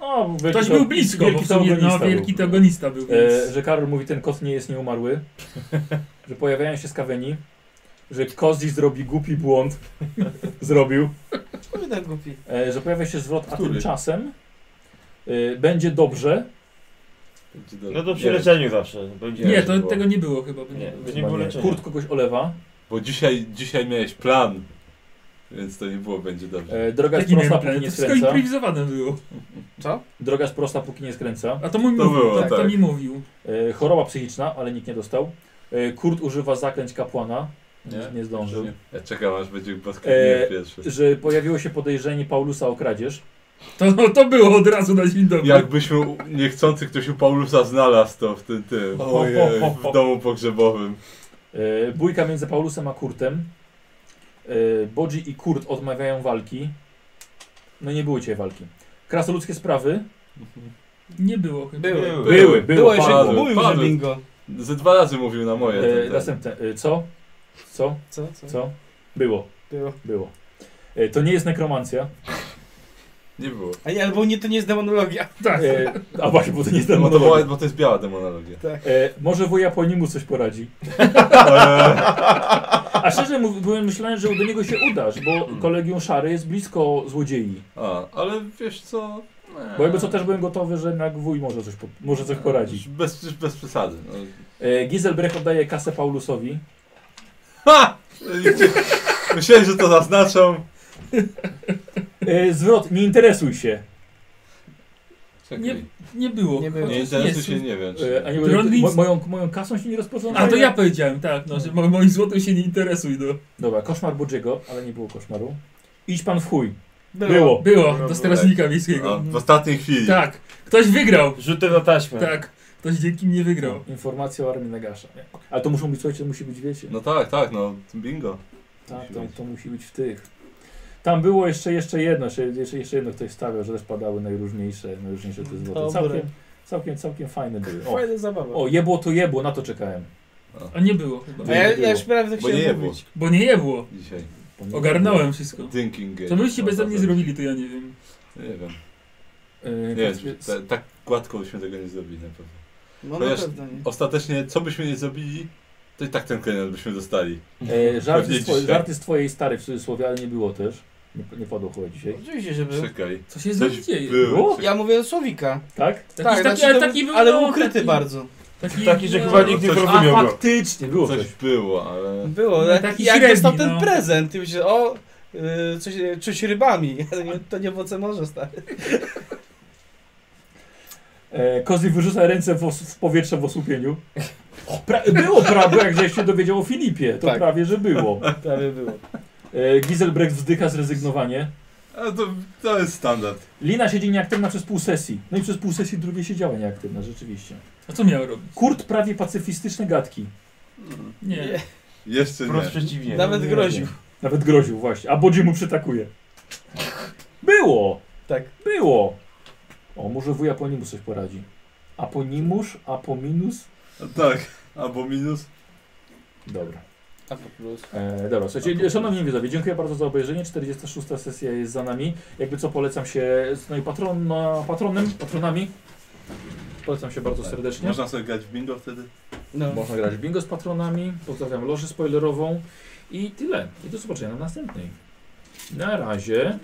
Speaker 1: No, wielki
Speaker 4: Ktoś
Speaker 1: to-
Speaker 4: był blisko,
Speaker 1: wielki
Speaker 4: bo w sumie
Speaker 1: to
Speaker 4: no,
Speaker 1: ogonista
Speaker 4: wielki
Speaker 1: był.
Speaker 4: teogonista był, więc...
Speaker 1: E, że Karol mówi, ten kot nie jest nieumarły. [laughs] że pojawiają się skaweni. Że Kozji zrobi głupi błąd. [laughs] Zrobił.
Speaker 5: Kurde, tak głupi.
Speaker 1: E, że pojawia się zwrot, a
Speaker 2: Który?
Speaker 1: tymczasem e, będzie dobrze.
Speaker 2: Będzie do-
Speaker 8: No to przy
Speaker 2: nie wiem,
Speaker 8: leczeniu zawsze. Będzie
Speaker 4: Nie, to
Speaker 2: e, nie było.
Speaker 4: tego nie było chyba. by
Speaker 8: Nie,
Speaker 4: Nie.
Speaker 8: to nie było
Speaker 1: Chyba nie.
Speaker 8: leczenia.
Speaker 1: Kurt kogoś olewa.
Speaker 2: Bo dzisiaj, dzisiaj miałeś plan, więc to nie było będzie dobrze.
Speaker 1: E, droga jest
Speaker 4: Jaki miałem
Speaker 1: prosta,
Speaker 4: plan?
Speaker 1: póki
Speaker 4: To
Speaker 1: nie
Speaker 4: wszystko
Speaker 1: skręca.
Speaker 4: improwizowane było.
Speaker 1: Droga jest prosta, póki nie skręca.
Speaker 4: A to mi
Speaker 2: To
Speaker 4: mówił,
Speaker 2: było,
Speaker 4: tak, to
Speaker 2: tak.
Speaker 4: mi mówił.
Speaker 1: E, choroba psychiczna, ale nikt nie dostał. E, Kurt używa zaklęć kapłana. Nie,
Speaker 2: Nie?
Speaker 1: nie zdążył.
Speaker 2: Ja czekam aż będzie basketball
Speaker 1: E,
Speaker 2: pierwszy.
Speaker 1: Że pojawiło się podejrzenie Paulusa o kradzież.
Speaker 4: To, to było od razu na dzień dobry.
Speaker 2: Jakbyśmy u- niechcący ktoś u Paulusa znalazł to w tym, tym ojej, w domu pogrzebowym.
Speaker 1: E, bójka między Paulusem a Kurtem. E, Bodzi i Kurt odmawiają walki. No nie było dzisiaj walki. Krasoludzkie sprawy.
Speaker 4: Nie było chyba.
Speaker 5: Były.
Speaker 2: Były, były,
Speaker 5: Było jeszcze,
Speaker 2: padły,
Speaker 5: mówił, że
Speaker 2: padły.
Speaker 5: bingo.
Speaker 2: Ze dwa razy mówił na moje. ten,
Speaker 1: E,
Speaker 2: ten.
Speaker 1: następne. E, co? Co?
Speaker 5: Co, co?
Speaker 1: Co? Było.
Speaker 5: Było.
Speaker 1: Było. E, to nie jest nekromancja.
Speaker 2: Nie było.
Speaker 5: A nie, albo nie, to nie jest demonologia.
Speaker 4: Tak.
Speaker 1: E, a właśnie, bo to nie jest
Speaker 2: Bo No to,
Speaker 1: demonologia.
Speaker 2: była, bo to jest biała demonologia.
Speaker 1: E, może wuj Japonimu coś
Speaker 4: [laughs]
Speaker 1: poradzi. A szczerze mówiąc, byłem- myślałem, że do niego się udasz, bo kolegium szary jest blisko złodziei.
Speaker 2: A, ale wiesz co...
Speaker 1: Bo jakby co też byłem gotowy, że jednak wuj może coś, po, może coś poradzić.
Speaker 2: E, Bez, już bez przesady. No.
Speaker 1: E, Giselbrecht oddaje kasę Paulusowi.
Speaker 2: Ha! Myślałem, że to zaznaczą.
Speaker 1: E, zwrot, nie interesuj się.
Speaker 2: Czekaj.
Speaker 4: Nie- Nie było.
Speaker 5: Nie było.
Speaker 2: Nie
Speaker 4: Chociaż
Speaker 2: interesuj
Speaker 4: jest.
Speaker 2: się, nie wiem.
Speaker 1: E, a
Speaker 2: Czy...
Speaker 1: nie
Speaker 4: Trondlis-
Speaker 1: mo, moją, moją kasą się nie rozpoznaje.
Speaker 4: A to ja powiedziałem, tak, no, że mo- moim złotem się nie interesuj, no.
Speaker 1: Dobra, koszmar Bodziego, ale nie było koszmaru. Idź pan w chuj. Było.
Speaker 8: No,
Speaker 4: Było, do strażnika
Speaker 8: tak.
Speaker 2: A,
Speaker 4: wiejskiego.
Speaker 2: w ostatniej chwili.
Speaker 4: Tak, ktoś wygrał.
Speaker 8: Rzutem na taśmę.
Speaker 4: Tak, ktoś dzięki mnie wygrał.
Speaker 1: Informacja o armii Nagasza. nie? Ale to muszą być, słuchajcie, to musi być, wiecie.
Speaker 2: No tak, tak, no bingo.
Speaker 1: Tak,
Speaker 2: Musi
Speaker 1: to,
Speaker 2: być.
Speaker 1: to musi być w tych. Tam było jeszcze, jeszcze jedno, jeszcze, jeszcze, jeszcze jedno ktoś stawiał, że też padały najróżniejsze, najróżniejsze
Speaker 2: Mm,
Speaker 1: te złote.
Speaker 5: Dobre.
Speaker 1: Całkiem, całkiem, całkiem fajne były. O,
Speaker 5: Fajna zabawa.
Speaker 1: o, jebło to jebło, na to czekałem.
Speaker 4: A nie było chyba.
Speaker 5: A ja,
Speaker 1: nie było.
Speaker 5: ja już prawie tak
Speaker 2: Bo nie
Speaker 5: chciałem
Speaker 2: było.
Speaker 5: mówić.
Speaker 4: Bo nie było.
Speaker 2: Dzisiaj.
Speaker 4: Ogarnąłem wszystko.
Speaker 2: Thinking game.
Speaker 4: Co byście bez
Speaker 2: No,
Speaker 4: mnie
Speaker 2: tak.
Speaker 4: zrobili, to ja nie wiem.
Speaker 2: Nie wiem.
Speaker 1: Yy,
Speaker 2: Nie
Speaker 1: więc-
Speaker 2: wiem, ta, tak gładko byśmy tego nie zrobili na pewno.
Speaker 5: No na
Speaker 2: Chociaż-
Speaker 5: pewno nie.
Speaker 2: Ostatecznie, co byśmy nie zrobili, to i tak ten klient byśmy dostali.
Speaker 1: e, żart,
Speaker 2: Pewnie
Speaker 1: z twojej,
Speaker 2: dzisiaj.
Speaker 1: żarty z twojej starej w cudzysłowie, ale nie było też. Nie, nie padło chyba dzisiaj.
Speaker 5: Oczywiście, że był.
Speaker 2: Czekaj.
Speaker 4: Co się z
Speaker 2: Coś
Speaker 4: nami dzieje?
Speaker 2: było.
Speaker 5: Ja mówię o Słowika.
Speaker 1: Tak?
Speaker 4: Taki- taki-
Speaker 5: znaczy
Speaker 4: ale
Speaker 5: to-
Speaker 4: taki był,
Speaker 5: ale
Speaker 4: no,
Speaker 5: ukryty
Speaker 4: taki-
Speaker 5: bardzo.
Speaker 4: Taki,
Speaker 8: Taki, że
Speaker 4: no,
Speaker 8: chyba nikt nie
Speaker 2: coś-
Speaker 8: zrozumiał go.
Speaker 1: faktycznie, było coś.
Speaker 2: Coś było, ale...
Speaker 5: Było,
Speaker 4: No,
Speaker 5: jak,
Speaker 4: taki
Speaker 5: jak
Speaker 4: średni,
Speaker 5: dostał
Speaker 4: no.
Speaker 5: ten prezent i myślę, o, yy, coś, czuć rybami. [laughs] Nie, To nie owoce morza, stary.
Speaker 1: E, Kozli wyrzuca ręce w, os- w powietrze w osłupieniu. Pra- było prawie, jak żeś się dowiedział o Filipie. To
Speaker 5: Tak.
Speaker 1: prawie, że było.
Speaker 5: Prawie było.
Speaker 1: E, Giselbrecht wzdycha zrezygnowanie.
Speaker 2: A to, to jest standard.
Speaker 1: Lina siedzi nieaktywna przez pół sesji. No i przez pół sesji drugie siedziała nieaktywna, rzeczywiście.
Speaker 4: A co miał robić?
Speaker 1: Kurt prawie pacyfistyczne gadki.
Speaker 4: Nie.
Speaker 2: Jeszcze
Speaker 8: Wprost
Speaker 2: nie.
Speaker 8: przeciwnie. No,
Speaker 5: Nawet
Speaker 1: no, Nie
Speaker 5: groził.
Speaker 1: wiem. Nawet groził, właśnie. A Bodzi mu przytakuje. Było!
Speaker 5: Tak.
Speaker 1: Było! O, może wuja po nimu coś poradzi. A po nimusz, a po minus?
Speaker 2: Tak, albo minus.
Speaker 1: Dobra.
Speaker 5: A po plus.
Speaker 1: E, dobra, słuchajcie, szanowni widzowie, dziękuję bardzo za obejrzenie. 46. sesja jest za nami. Jakby co, polecam się z no moim patrona, patronem, patronami. Polecam się bardzo serdecznie.
Speaker 2: Można sobie grać w bingo wtedy?
Speaker 5: No.
Speaker 1: Można grać w bingo z patronami. Pozdrawiam lożę spoilerową. I tyle. I do zobaczenia na następnej. Na razie.